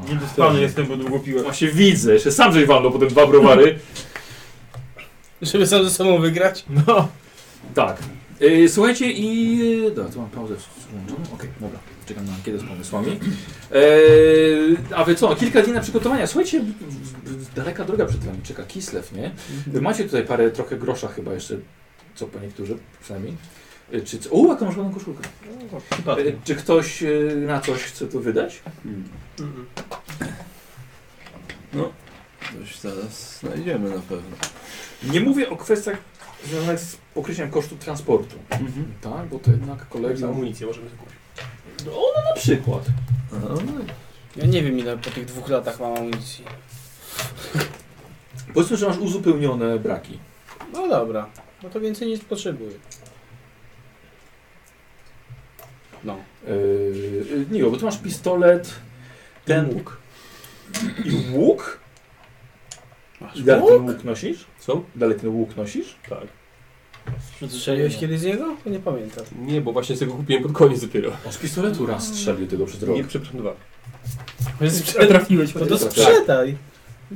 S1: O,
S5: Nie dospany jestem, bo długo piłem.
S1: Właśnie widzę, jeszcze sam żeś walnął potem dwa browary.
S4: Żeby sam ze sobą wygrać.
S5: No.
S1: Tak. Yy, słuchajcie i... e, Dobra, tu mam pauzę włączoną. Okej, dobra. Czekam na kiedy z pomysłami. Yy, a wy co? Kilka dni na przygotowania. Słuchajcie, w- w- w- daleka droga przed wami. Czeka Kislev, nie? Wy macie tutaj parę, trochę grosza chyba jeszcze. Co po niektórzy przynajmniej. Yy, czy... co- O, jaką masz ładną koszulkę.
S6: No,
S1: Yy, czy ktoś yy, na coś chce tu wydać?
S8: Coś zaraz znajdziemy na pewno.
S1: Nie mówię o kwestiach związanych z pokryciem kosztu transportu.
S8: Mhm.
S1: Tak, bo to jednak kolega...
S6: amunicję możemy kupić.
S1: No, no na przykład.
S4: Ja nie wiem ile po tych dwóch latach mam amunicji.
S1: Powiedzmy, że masz uzupełnione braki.
S4: No dobra. No to więcej nic potrzebuję. No.
S1: Yy, nie, bo tu masz pistolet, ten łuk. I łuk?
S4: Masz
S1: I dalej ten
S4: łuk?
S1: łuk nosisz? Co? Dalej ten łuk nosisz?
S6: Tak.
S4: No Strzeliłeś kiedyś z niego? To nie pamiętam.
S6: Nie, bo właśnie sobie go kupiłem pod koniec dopiero.
S1: On z pistoletu raz strzelił tego przez rok.
S6: Nie, przepraszam, dwa.
S3: A trafiłeś.
S4: No to sprzedaj.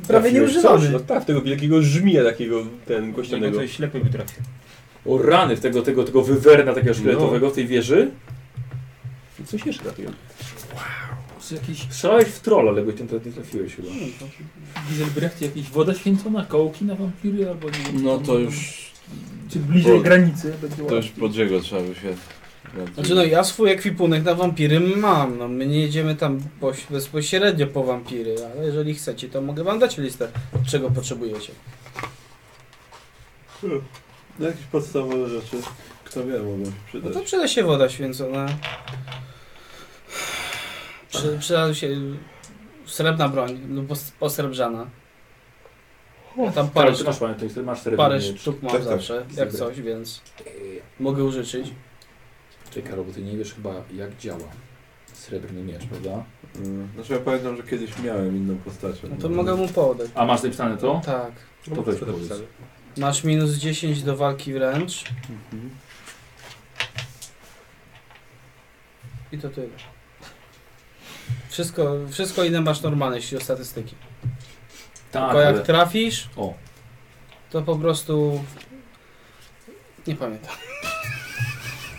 S4: Prawie nie
S6: Trafiłeś coś, No
S4: używamy.
S6: tak, tego wielkiego żmija takiego, ten
S7: Niego
S2: No
S6: kościanego.
S7: coś ślepy by trafił.
S1: O rany w tego, tego, tego wywerna takiego szkieletowego w tej wieży.
S6: Coś jeszcze takiego.
S1: Z jakiś... Strzelałeś w trolla, ale go ten nie trafiłeś chyba.
S3: Wieselbrecht, jakieś woda święcona, kołki na wampiry albo nie wiem,
S8: No
S3: co
S8: to
S3: tam-
S8: już,
S3: Czy bliżej
S8: Bo-
S3: granicy będzie
S8: to
S3: ładnie.
S8: już Bodziego trzeba by się...
S4: Znaczy no ja swój ekwipunek na wampiry mam, no my nie jedziemy tam poś- bezpośrednio po wampiry, ale jeżeli chcecie to mogę wam dać listę, czego potrzebujecie.
S2: No jakieś podstawowe rzeczy, kto wie, mogą się
S4: No
S2: przydać.
S4: to przyda się woda święcona. Przy, przyda się srebrna broń lub pos- posrebrzana. Ja tam parę,
S1: Parę, ty masz, pamiętaj, ty masz
S4: sztuk-
S1: srebrny
S4: parę
S1: miecz.
S4: sztuk mam
S2: Tak, tak.
S4: zawsze, jak coś, więc mogę użyczyć.
S1: Czekaj, Karol, bo ty nie wiesz chyba jak działa srebrny miecz, prawda?
S8: Mm, Znaczy ja pamiętam, że kiedyś miałem inną postacią.
S4: No to mogę mu podać.
S1: A masz napisane to?
S4: Tak.
S1: To weź powiedz.
S4: Masz minus 10 do walki wręcz. Mhm. I to tyle. Wszystko, wszystko inne masz normalne, jeśli o statystyki.
S1: Tak,
S4: Tylko jak
S1: ale...
S4: trafisz,
S1: O.
S4: to po prostu... Nie pamiętam.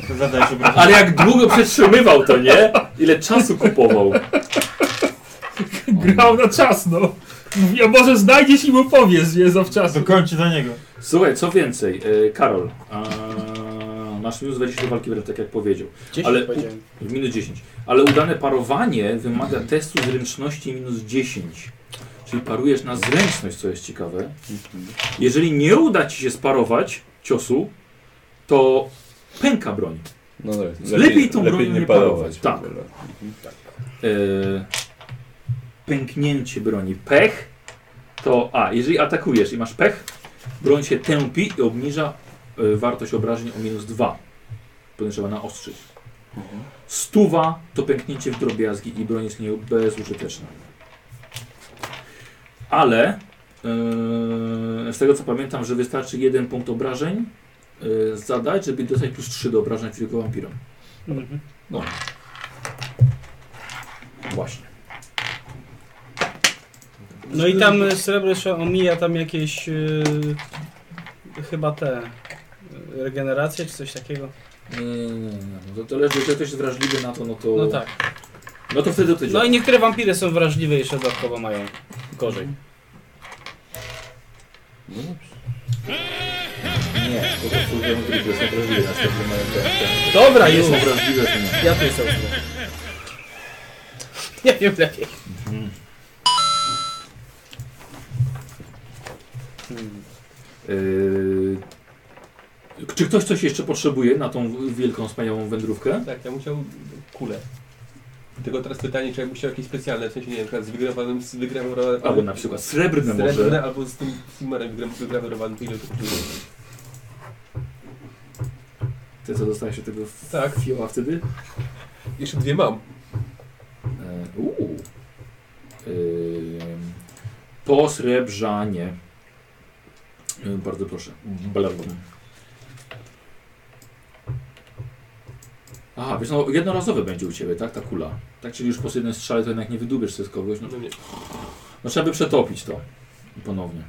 S7: To zadaj sobie
S1: ale jak długo przetrzymywał to, nie? Ile czasu kupował.
S3: Grał na czas, no. Mówi, a może znajdziesz i mu powiesz, nie, zawczasu.
S13: Dokończy za niego.
S1: Słuchaj, co więcej, e, Karol, a, masz minus 20 do walki wręcz, tak jak powiedział. Ale-
S4: powiedziałem.
S1: W Minus 10. Ale udane parowanie wymaga testu zręczności minus 10. Czyli parujesz na zręczność, co jest ciekawe. Jeżeli nie uda ci się sparować ciosu, to pęka broń.
S14: No tak.
S1: Lepiej tą bronią nie parować. Tak.
S14: w ogóle.
S1: E, pęknięcie broni. Pech to. A, jeżeli atakujesz i masz pech, broń się tępi i obniża e, wartość obrażeń o minus 2. Potem trzeba naostrzyć.
S2: Tak.
S1: Stuwa to pęknięcie w drobiazgi i broń jest nie bezużyteczna. Ale e, z tego co pamiętam, że wystarczy jeden punkt obrażeń e, zadać, żeby dostać plus 3 do obrażeń tylko wampirem.
S4: Mhm.
S1: Właśnie.
S4: No i tam e, srebro jeszcze omija tam jakieś e, chyba te e, regeneracje czy coś takiego.
S1: Nie, nie, nie, nie. No to, to leży, jeżeli ktoś jest wrażliwy na to, no to.
S4: No tak.
S1: No to wtedy to
S4: No
S1: działa.
S4: i niektóre wampiry są wrażliwe i jeszcze dodatkowo mają gorzej.
S1: Nie, bo to są węgry, które są wrażliwe na szczeblu mają te- te-
S4: Dobra,
S1: te- nie
S4: już.
S1: są wrażliwe, to nie.
S4: Ja tu jestem. ostro. Nie wiem lepiej.
S1: Yy, Czy ktoś coś jeszcze potrzebuje na tą wielką, wspaniałą wędrówkę?
S2: Tak, ja musiał kulę. Tylko teraz pytanie, czy ja musiał jakieś specjalne, w sensie nie wiem, na przykład z wygrawanym, z wygrawerowanym...
S1: Albo na przykład srebrne
S2: Srebrne
S1: może.
S2: albo z tym filmerem wygra- wygrawerowanym, to ile to kosztuje?
S1: Ty co dostałeś się tego w-
S2: Tak.
S1: fioła wtedy?
S2: Jeszcze dwie mam.
S1: E, Uuu. Yy, Posrebrzanie. Yy, Bardzo proszę. Blabum. Aha, wiesz, no jednorazowe będzie u Ciebie, tak? Ta kula. Tak, czyli już po jednym strzale to jednak nie wydubiesz sobie z kogoś. No,
S2: No nie.
S1: no trzeba by przetopić to ponownie.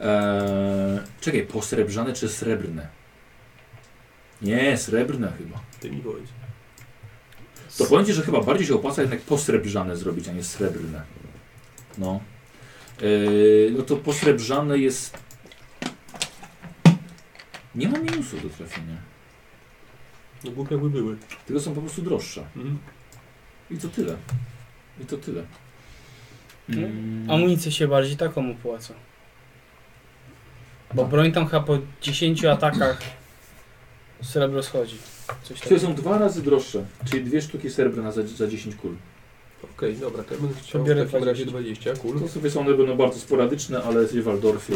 S1: Eee, czekaj, posrebrzane czy srebrne? Nie, srebrne chyba.
S2: Ty mi powiedz.
S1: To powiem ci, że chyba bardziej się opłaca jednak posrebrzane zrobić, a nie srebrne. No. Yy, no to posrebrzane jest... Nie ma minusu do trafienia.
S2: No głupie by były.
S1: Tylko są po prostu droższe.
S2: Mhm.
S1: I to tyle. I to tyle. Mm.
S4: Amunicję się bardziej taką opłaca. Bo broń tam chyba po 10 atakach srebro schodzi. Coś
S1: Czyli
S4: takiego.
S1: są dwa razy droższe, czyli dwie sztuki srebrna za, za 10 kul.
S2: Okej, dobra, to ja będę chciał
S4: Biorę
S2: w takim razie
S4: 20.
S2: 20 kul.
S1: To sobie są one będą bardzo sporadyczne, ale jesteś w Waldorfie.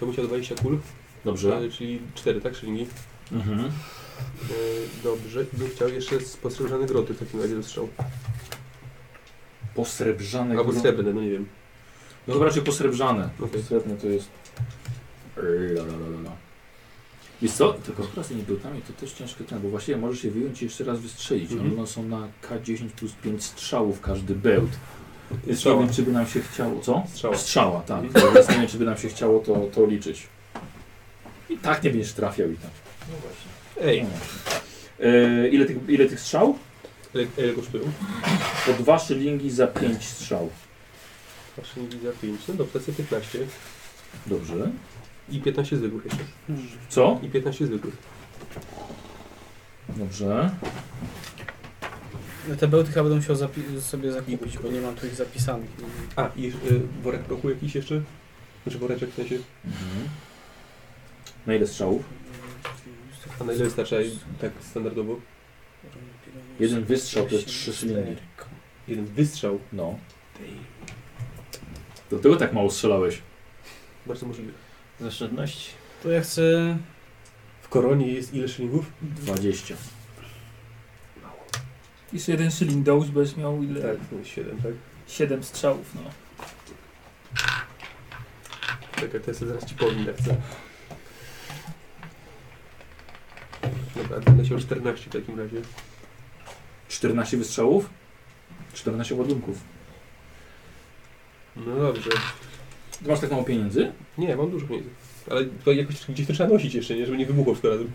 S2: To musiał 20 kul,
S1: Dobrze.
S2: e, czyli 4, tak? Szlingi.
S1: Mhm.
S2: E, dobrze, i bym chciał jeszcze spostrzeżone groty w takim razie dostrzał.
S1: Posrebrzane.
S2: Albo
S1: gro-
S2: srebrne, no nie wiem.
S1: No chyba raczej posrebrzane.
S2: Okej.
S1: Srebrne to jest. La, la, la, la. Wiesz co? Tylko teraz z tymi bełtami to też ciężko ten, bo właściwie możesz je wyjąć i jeszcze raz wystrzelić.
S2: Mhm.
S1: Ale one są na K10 plus 5 strzałów każdy bełt. Więc nie
S2: Strzała.
S1: wiem, czy by nam się chciało. Co?
S2: Strzała. Mhm.
S1: Strzała, tak. Więc nie wiem, czy by nam się chciało to, to liczyć. I tak nie będziesz trafiał i tak.
S2: Ej,
S1: E, ile, tych, ile tych strzał?
S2: ile, e, ile kosztują?
S1: Po dwa szylingi za 5 strzał.
S2: Patrzę, nie widzę 5, no dobrze, to jest 15.
S1: Dobrze.
S2: I 15 zwykłych jeszcze.
S4: Hmm.
S1: Co?
S2: I 15 zwykłych.
S1: Dobrze.
S4: No Te bełty chyba będę musiał zapi- sobie zakupić, bo nie mam tu ich zapisanych. Nie wiem.
S2: A, i e, worek prochu jakiś jeszcze? Znaczy woreczek w sensie?
S1: Mhm. Na ile strzałów?
S2: A na ile wystarcza tak standardowo?
S1: Jeden wystrzał to jest trzy sylingi.
S2: Jeden wystrzał.
S1: No. Do tego tak mało strzelałeś.
S2: Bardzo możliwe.
S7: Zaszczędności.
S4: To ja chcę...
S2: W koronie jest ile szylingów?
S1: 20.
S3: I jeszcze jeden szyling dołóż, będziesz miał ile?
S2: Tak, no 7, tak?
S3: Siedem strzałów, no.
S2: Czekaj, to ja sobie zaraz ci powiem, jak chcę. Dobra, będę się o 14 w takim razie.
S1: 14 wystrzałów? 14 ładunków.
S2: No dobrze.
S1: Ty masz tak mało pieniędzy?
S2: Nie, mam dużo pieniędzy. Ale to jakoś gdzieś to trzeba nosić jeszcze, nie? Żeby nie wybuchło wszystko razem.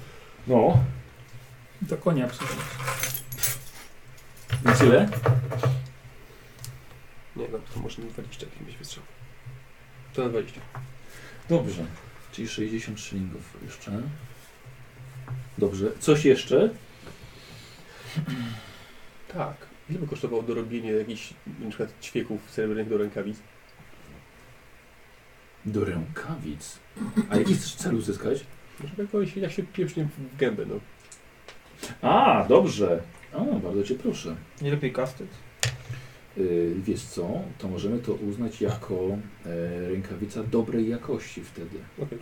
S1: No.
S3: Do konia przesunąć.
S1: I tyle?
S2: Nie, no to może nie 20 jak mieć wystrzał. To na 20.
S1: Dobrze. Czyli 60 szylingów jeszcze. Dobrze. Coś jeszcze?
S2: Tak. Ile by kosztowało dorobienie jakichś na przykład ćwieków srebrnych do rękawic?
S1: Do rękawic. A jaki chcesz cel uzyskać?
S2: No, Żeby jakoś, ja się pieprznie w gębę, no.
S1: A, dobrze. A, bardzo cię proszę.
S7: Nie lepiej kastet?
S1: Yy, wiesz co, to możemy to uznać jako e, rękawica dobrej jakości wtedy.
S2: Okej.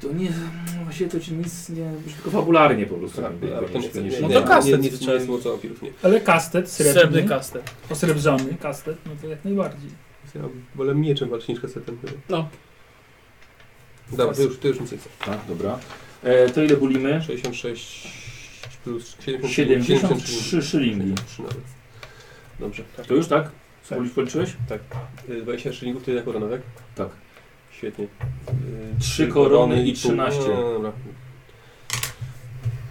S1: To nie, no właśnie to ci nic nie, tylko fabularnie po prostu.
S2: Tak,
S1: nie-
S2: ale to nie, nie,
S1: nie-
S2: nie,
S4: No
S2: nie,
S4: to
S2: nie,
S4: kastet
S2: nie, nie,
S4: trzeba-
S2: jest mocno opierów, nie.
S3: Ale kastet
S4: Srebrny
S3: srebrny,
S4: kastet.
S3: osrebrzony kastet, no to jak najbardziej.
S2: Ja wolę mieczem walczyć niż kasetem.
S4: No.
S2: Dobra, to już, to już nic nie chcę.
S1: Tak, dobra. E, to ile bulimy?
S2: 66 plus 70,
S1: 73 szylingi.
S2: 73 nawet. Dobrze, tak.
S1: To już tak? Spoli- Policzyłeś?
S2: Tak. Y, 20 szylingów to jedna korona, tak?
S1: Tak.
S2: Świetnie. Y,
S1: Trzy korony i
S2: pół.
S1: 13.
S2: No, dobra. Tak.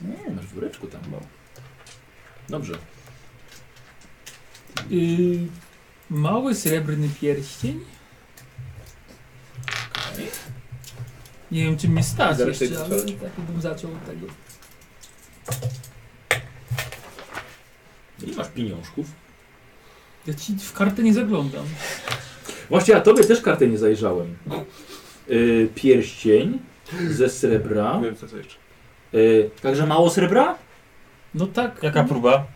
S1: Nie, masz w woreczku tam.
S2: Mam.
S1: Dobrze.
S3: Yy, mały srebrny pierścień? Nie wiem, czy mnie stać
S2: Zaraz
S3: jeszcze,
S2: tego
S3: ale
S2: strzelać.
S3: tak bym zaczął od tego.
S1: Ile masz pieniążków?
S3: Ja ci w kartę nie zaglądam.
S1: Właśnie, a tobie też kartę nie zajrzałem. E, pierścień ze srebra.
S2: Wiem co, co jeszcze.
S1: E, także mało srebra?
S3: No tak,
S7: Jaka próba?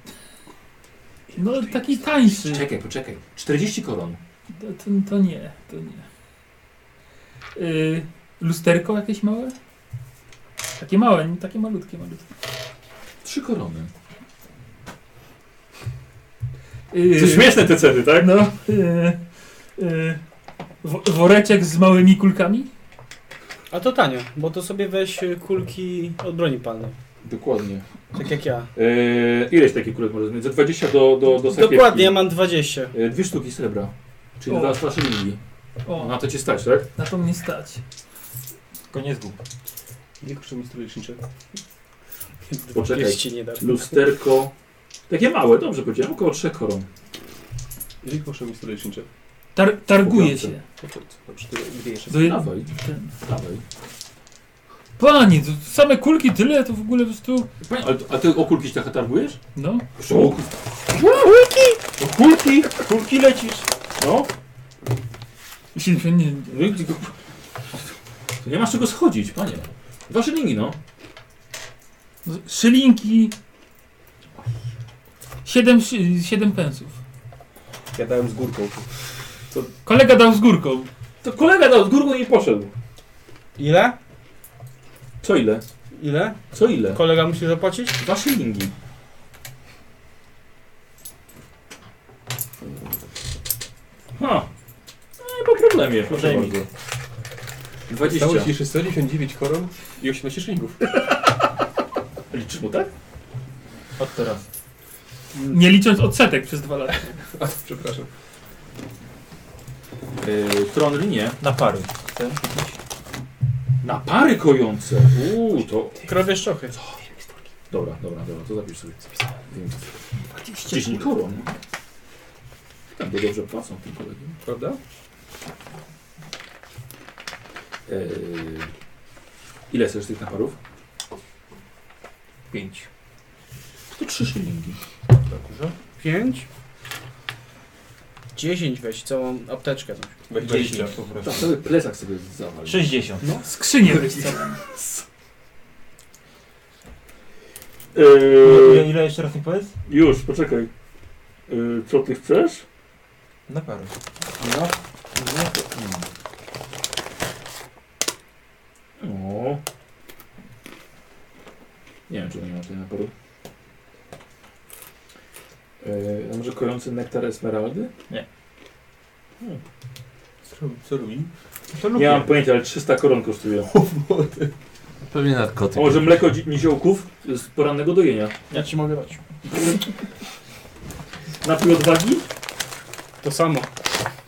S3: no taki tańszy.
S1: Czekaj, poczekaj. 40 koron.
S3: To, to, to nie, to nie. Yy, lusterko jakieś małe? Takie małe, nie- takie malutkie, malutkie.
S1: Trzy korony.
S3: Yy,
S1: To śmieszne te ceny, tak?
S3: No, yy, yy, wo- woreczek z małymi kulkami?
S4: A to tanio, bo to sobie weź y, kulki od broni palnej.
S1: Dokładnie.
S4: Tak jak ja.
S1: E, ileś takich kulek możesz mieć? Ze 20 do, do, do sakiewki.
S4: Dokładnie, ja mam 20.
S1: E, dwie sztuki srebra. Czyli
S3: O.
S1: dwa dwa szylingi.
S3: O,
S1: Na to cię stać, tak?
S3: na to mnie stać.
S7: Tylko nie zgub.
S2: Ile kosztują mi stroje lecznicze?
S4: Dwa
S1: Poczekaj.
S4: pierścień nie da.
S1: Lusterko. Takie małe, dobrze powiedziałem, około 3 koron.
S2: Ile kosztują mi stroje lecznicze?
S3: Tar targuje
S1: Kupiące.
S3: się.
S2: Dobrze, to gdzie jeszcze?
S3: Do jed-
S1: Dawaj,
S3: ten.
S1: dawaj.
S3: Panie, to same kulki tyle, to w ogóle po prostu...
S1: Panie, ale, a ty okulki się tak trochę targujesz?
S3: No,
S1: Kulki! Kulki! Kulki lecisz! No,
S3: jeśli się nie...
S1: no i tylko... To nie masz czego schodzić, panie. Dwa szylingi, no.
S3: no, Szylinki... Siedem, szy- siedem pensów.
S2: Ja dałem z górką.
S3: Kolega dał z górką.
S1: To kolega dał z górką i poszedł.
S4: Ile?
S1: Co ile?
S4: Ile?
S1: Co ile?
S4: Kolega musi zapłacić?
S1: Dwa szylingi. Ha. No i po problemie, proszę
S7: Podejmij.
S1: bardzo.
S2: Stało
S1: 20.
S2: ci 699 koron i 18 szylingów.
S1: Liczysz mu tak?
S7: Od teraz.
S3: Nie licząc odsetek przez dwa lata.
S2: A, przepraszam.
S1: Yy, tron linie.
S7: Na pary.
S1: Na pary kojące. Uuu, to...
S4: Krowie szczochy.
S1: Dobra, dobra, dobra, to zapisz sobie. Więc 10 koron. Tak, to dobrze płacą tym kolegom.
S2: Prawda?
S1: Eee, ile chcesz tych naparów?
S7: Pięć.
S1: To 3 szylingi.
S7: Dobrze.
S4: 5. 10 weź, całą apteczkę.
S2: Weź
S7: Dwadzieścia
S2: dwadzieścia.
S7: po prostu.
S1: Tak, cały plecak sobie zawal.
S7: 60.
S3: No. Skrzynię weź całą.
S7: E, Ile, ile jeszcze raz mi powiedz?
S1: Yy, już, poczekaj. Eee, co ty chcesz?
S7: Na pary.
S1: No. No. Nie wiem, czy nie ma tej naporu. Eee, a może kojący nektar esmeraldy?
S2: Co robi?
S7: To
S1: Nie mam pojęcia, ale 300 koron kosztuje.
S15: Pewnie
S1: A
S15: narkotyk.
S1: może mleko dzi- niziołków z porannego dojenia?
S4: Ja ci mogę dać.
S1: Napój odwagi?
S4: To samo.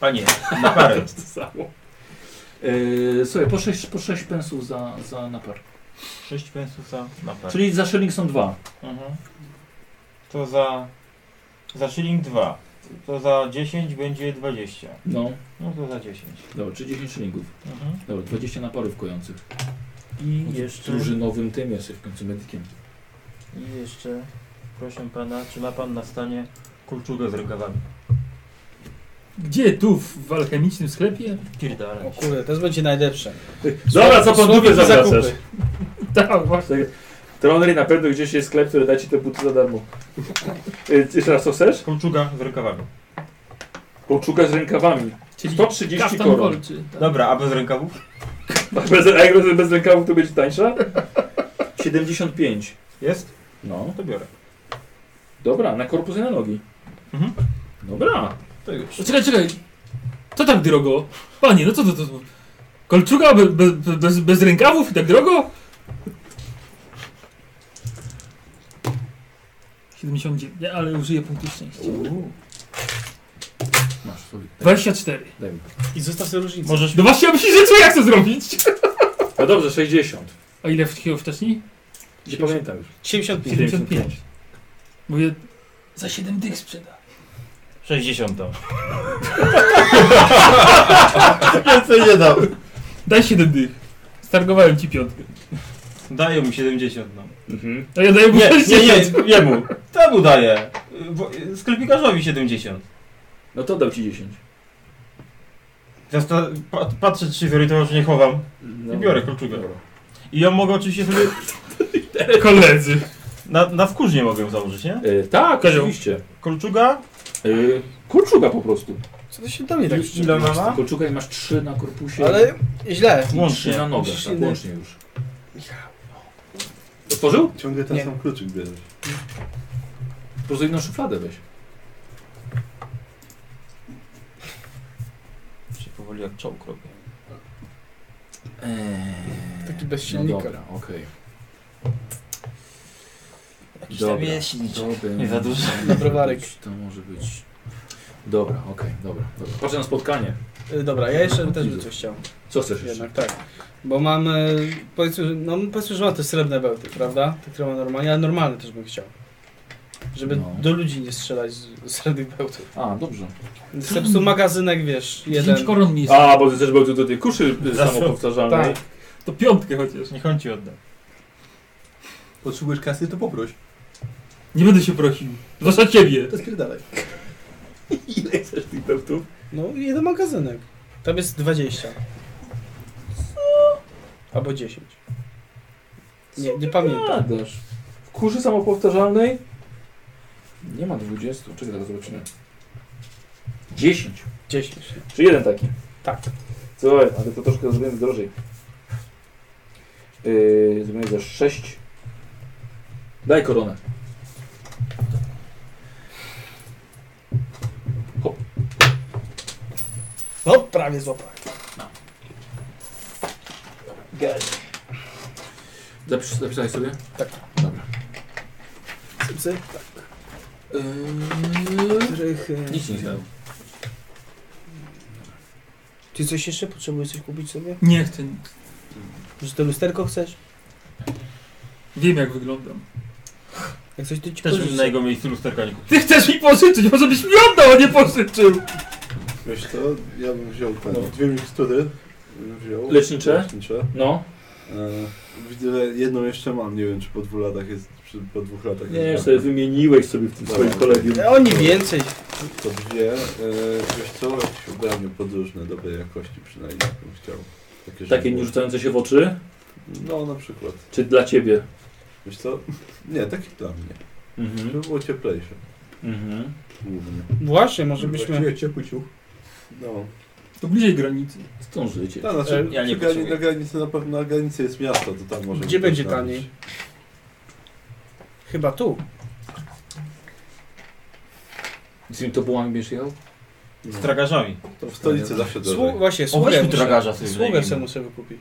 S7: Panie, na pary.
S1: To samo. Eee, słuchaj, po 6 po sześć pensów za, za napar.
S7: 6 Tak. pensów za na pary.
S1: Czyli za szyling są dwa.
S7: Mhm. To za Za shilling 2. To za 10 będzie 20.
S1: No,
S7: No to za 10.
S1: dobra, czyli 10 szylingów.
S7: Mhm.
S1: Dobra, 20 naporów kojących.
S7: I jeszcze.
S1: Drużynowym tym jesteś w końcu medykiem.
S7: I jeszcze. Proszę pana, czy ma pan na stanie kulczugę z rękawami?
S3: Gdzie? Tu, w, w alchemicznym sklepie?
S4: O
S7: Pierdalę.
S4: kurde, teraz będzie najlepsze.
S1: Dobra, co pan
S4: Słowo
S1: dupę
S4: i
S1: zawracasz?
S4: zakupy.
S3: Tak, właśnie.
S1: Tronry na pewno gdzieś jest sklep, który da ci te buty za darmo. Y, Jeszcze raz co chcesz?
S7: Kulczuga z rękawami.
S1: Poczuka z rękawami.
S3: Czyli
S1: 130
S3: kaftan
S1: koron. No,
S3: wolczy. Tak.
S7: Dobra, a bez rękawów?
S1: Bez, a jak bez, bez rękawów to będzie tańsza? 75.
S7: Jest?
S1: No,
S7: No to biorę.
S1: dobra, na korpus i na nogi.
S7: Mhm.
S1: Dobra.
S7: To już.
S3: O, Czekaj, czekaj. Co tak drogo? Panie, no co to to? to? Kolczuga be, be, be- bez, bez rękawów i tak drogo? 79, nie, ale użyję punktu szczęścia.
S1: Masz sobie.
S3: 24.
S1: Daj mi.
S4: I zostaw sobie różnicę.
S3: Możesz... No właśnie, ja myślę, że co ja chcę zrobić?
S1: No dobrze, 60.
S3: A ile takiego wcześniej?
S1: Nie pamiętam już.
S4: 75.
S3: 75. Mówię, za 7 dych sprzeda.
S7: 60.
S5: Więcej nie dam.
S3: Daj 7 dych. Stargowałem ci piątkę.
S7: Daję mu 70. No.
S1: Mhm.
S3: A ja daję mu
S7: Nie, nie,
S3: 60.
S7: nie, jemu. Temu daję. Y, wo- y, Sklepikarzowi 70.
S1: No to dał ci 10.
S7: Zasta pat patrzę, czy wyrytował, czy nie chowam.
S1: No.
S7: I biorę kolczugę.
S1: Dobra.
S7: I ja mogę oczywiście sobie...
S3: Koledzy.
S7: Na, na wkurznie mogę ją założyć, nie?
S1: E, tak,
S3: Kozioł.
S1: oczywiście.
S7: Kolczuga?
S1: E, kurczuga po prostu.
S4: Co to się do mnie tak
S7: Ile
S4: szczepia?
S7: ona ma?
S1: Kurczuga i masz 3 na korpusie.
S4: Ale źle.
S1: I 3
S7: Łącznie.
S1: na nogę.
S4: Musisz
S1: Tak,
S4: inny.
S1: łącznie już. Otworzył?
S8: Ciągle ten
S4: Nie.
S8: sam kluczyk bierzesz.
S1: Po prostu inną szufladę weź.
S7: Się powoli jak czołg robię.
S4: Taki bez
S1: No
S4: silnika.
S1: Eee, dobra, okej.
S7: Jakiś
S1: Dobra.
S7: tam jest silniczek.
S1: Okay.
S7: Nie za dużo.
S4: Browarek.
S1: To może być... Dobra, okej, dobra, dobra. Patrzę na spotkanie.
S4: Y, Dobra, ja
S1: No,
S4: jeszcze też bym coś chciał.
S1: Co chcesz jeszcze?
S4: Jednak tak. Bo mam, e, powiedzmy, no powiedzmy, że mam te srebrne bełty, prawda? Te, które mam normalnie, ale normalne też bym chciał. Żeby
S1: No.
S4: do ludzi nie strzelać z z srebrnych bełtów.
S1: A, dobrze.
S4: Zepsuł magazynek, wiesz,
S3: 10
S4: jeden.
S3: koron mi jest.
S1: A, bo ty też był do tej kuszy samopowtarzalnej.
S4: Tak.
S3: To piątkę chociaż.
S7: Niech on ci odda.
S2: Potrzebujesz kasy, to poproś.
S3: Nie będę się prosił. Zwłaszcza ciebie.
S2: To spierdalaj.
S1: Ile chcesz tych bełtów?
S4: No, jeden magazynek. Tam jest 20. Albo 10. Nie, nie pamiętam.
S1: Gadasz. W kurzy samopowtarzalnej? Nie ma 20. Czekaj, zaraz zobaczymy. 10.
S4: 10.
S1: Czy jeden taki?
S4: Tak.
S1: Co, ale to troszkę zrobimy drożej. Yy, zrobimy za 6. Daj koronę.
S4: No, prawie złapałem.
S1: Zapis, zapisałeś sobie?
S4: Tak.
S1: Dobra.
S4: Cycy, rychy.
S1: Yy, nic nie dało.
S4: Ty coś jeszcze potrzebujesz coś kupić sobie?
S3: Nie chcę. nic.
S4: Że to lusterko chcesz?
S3: Wiem jak wyglądam.
S4: Jak coś ty ci
S7: Też bym
S4: pożyczę.
S7: na jego miejscu lusterka nie kupił.
S3: Ty chcesz mi pożyczyć, może byś mi oddał, a nie pożyczył.
S8: Wiesz co, ja bym wziął
S2: No.
S8: ten, dwie mikstury. bym Wziął,
S1: Lecznicze?
S8: Lecznicze.
S1: No.
S8: E, widzę, że jedną jeszcze mam, nie wiem czy po dwóch latach jest, czy po dwóch latach
S1: Tak Nie,
S8: jest.
S1: sobie wymieniłeś sobie w tym
S8: Dobra.
S1: swoim kolegium.
S4: E, Oni więcej.
S8: To dwie, e, wiesz co, jakieś ubranie podróżne dobrej jakości przynajmniej bym chciał. żeby
S1: Takie
S8: było-
S1: nie rzucające się w oczy?
S8: No na przykład.
S1: Czy dla ciebie?
S8: Wiesz co, nie, takie dla mnie.
S1: Mhm.
S8: Żeby było cieplejsze.
S1: Mhm.
S8: Głównie.
S4: Właśnie, może byśmy...
S2: Właściwie ciepły ciuch.
S8: No.
S3: To bliżej granicy.
S1: Zdążycie.
S8: No, znaczy,
S7: Ja
S8: przy grani,
S7: nie potrzebuję.
S8: na granicy na pewno na granicy jest miasto, to tam może.
S4: Gdzie będzie taniej? Chyba tu.
S1: Z nim to bułami będziesz jechał?
S7: Z tragarzami.
S8: No. To w stolicy zawsze
S4: Słu
S8: drożej.
S4: właśnie,
S7: O,
S4: sługę
S7: weźmy
S4: muszę,
S7: tragarza sobie
S4: sługę
S7: wynajmijmy.
S4: sobie muszę wykupić.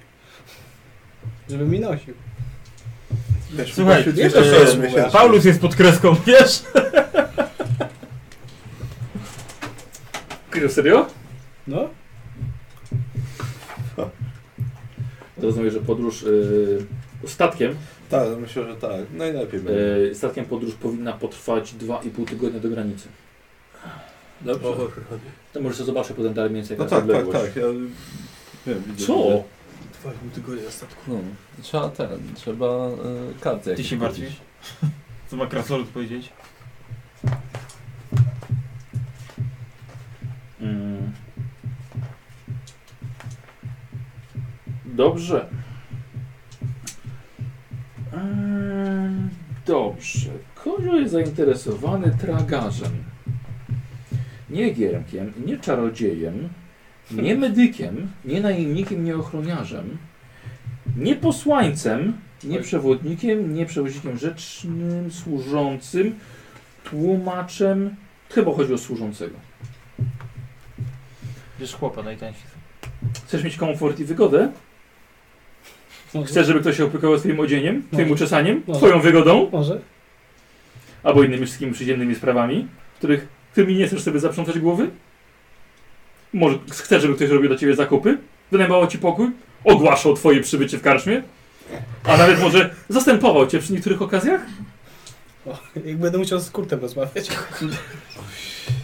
S4: Żeby mi nosił.
S8: Wiesz,
S7: Słuchaj,
S8: pośród
S7: wiesz,
S8: jeszcze
S7: że-
S8: sześć miesięcy.
S7: Paulus jest pod kreską, wiesz?
S1: Krył, serio?
S4: No?
S1: To rozumiem, że podróż yy, y, statkiem
S8: Tak, myślę, że tak. Najlepiej będzie.
S1: E, statkiem podróż powinna potrwać 2,5 tygodnia do granicy. Dobrze. To może sobie zobaczę potem dalej mniej więcej
S8: No
S1: jaka
S8: tak,
S1: jest
S8: tak,
S1: odległość.
S8: tak. Ja, wiem, widzę,
S1: Co?
S6: Dwa i pół tygodnia na statku.
S2: No, trzeba ten, trzeba y, karty
S7: Ty
S2: jakieś
S7: się
S2: kupić.
S7: martwisz? Co ma krasolud powiedzieć?
S1: Mm. Dobrze. Mm, Dobrze. Kozio jest zainteresowany tragarzem. Nie giermkiem, nie czarodziejem, nie medykiem, nie najemnikiem, nie ochroniarzem, nie posłańcem, nie przewodnikiem, nie przewoźnikiem rzecznym, służącym, tłumaczem. Chyba chodzi o służącego.
S7: Wiesz chłopa najtańszy.
S1: Chcesz mieć komfort i wygodę? Chcesz, żeby ktoś się opiekował twoim odzieniem, twoim
S4: Może.
S1: uczesaniem,
S4: Może.
S1: twoją wygodą,
S4: Może?
S1: albo innymi wszystkimi przyziemnymi sprawami, których ty mi nie chcesz sobie zaprzątać głowy? Może chcesz, żeby ktoś robił dla ciebie zakupy? Wynajmował ci pokój? Ogłaszał twoje przybycie w karczmie? A nawet może zastępował cię przy niektórych okazjach?
S4: Jak będę musiał z Kurtem rozmawiać.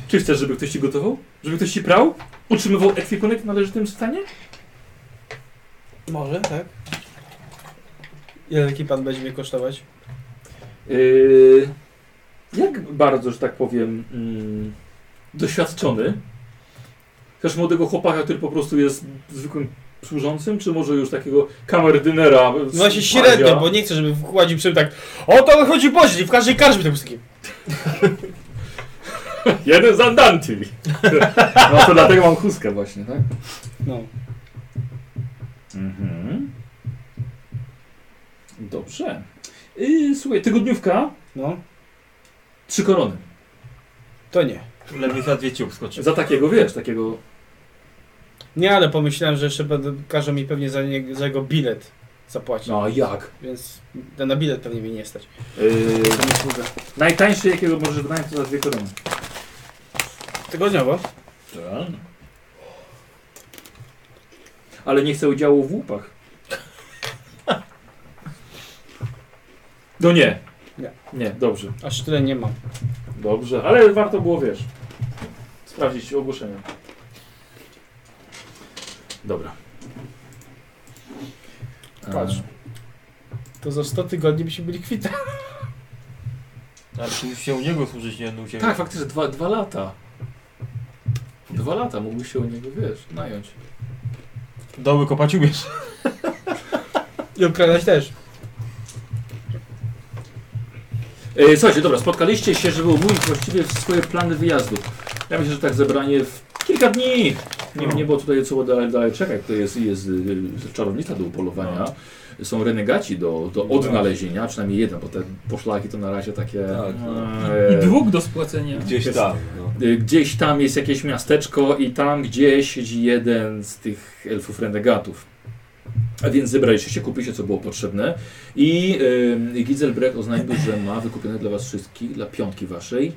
S1: Czy chcesz, żeby ktoś ci gotował? Żeby ktoś ci prał? Utrzymywał ekwipunek w należytym stanie?
S4: Może, tak? Ile taki pan będzie mnie kosztować? No
S1: Yy, jak bardzo, że tak powiem, mm, doświadczony? Chcesz młodego chłopaka, który po prostu jest zwykłym służącym, czy może już takiego kamerdynera?
S4: No właśnie średnio, bo nie chcę, żeby wchodził przy tak O, to wychodzi boźni, w każdej karczmie to był taki
S1: Jeden z Andanty! No to dlatego mam chustkę właśnie, tak?
S4: No.
S1: Mhm. Dobrze. Yy, słuchaj, tygodniówka,
S4: No,
S1: trzy korony.
S4: to nie.
S7: Lepiej za dwie ciup skoczy.
S1: Za takiego, wiesz, takiego...
S4: Nie, ale pomyślałem, że jeszcze będę, każą mi pewnie za, nie, za jego bilet zapłacić.
S1: No a jak?
S4: Więc na na bilet pewnie mi nie stać.
S1: Yy,
S4: To nie sługa.
S1: najtańszy, jakiego możesz wynająć, to za dwie korony.
S4: Tygodniowo?
S1: Tak. Ale nie chcę udziału w łupach. No nie.
S4: Nie.
S1: Nie, dobrze.
S4: Aż tyle nie mam.
S1: Dobrze, ale warto było, wiesz, sprawdzić ogłoszenie. Dobra.
S4: Patrz. To za 100 tygodni byśmy byli kwita.
S7: Ale ty już się u niego służyć, nie u
S1: E,
S7: ciebie.
S1: tak, faktycznie, dwa, dwa lata. Dwa lata, mógłbyś się u niego, wiesz, nająć.
S7: Doły kopać umiesz.
S4: I okradać też.
S1: E, Słuchajcie, dobra, spotkaliście się, żeby omówić właściwie swoje plany wyjazdu. Ja myślę, że tak zebranie w kilka dni. Nie, nie było tutaj co dalej, dalej czekać. To jest, jest y, czarownica do upolowania. Są renegaci do, do odnalezienia, przynajmniej jeden, bo te poszlaki to na razie takie...
S2: Tak, no.
S1: e,
S3: I dług do spłacenia.
S2: Gdzieś tam, no.
S1: y, Gdzieś tam jest jakieś miasteczko i tam gdzieś siedzi jeden z tych elfów renegatów. A więc zebraliście się, kupiliście co było potrzebne i yy, Gizelbrecht oznajmił, że ma wykupione dla was wszystkich, dla piątki waszej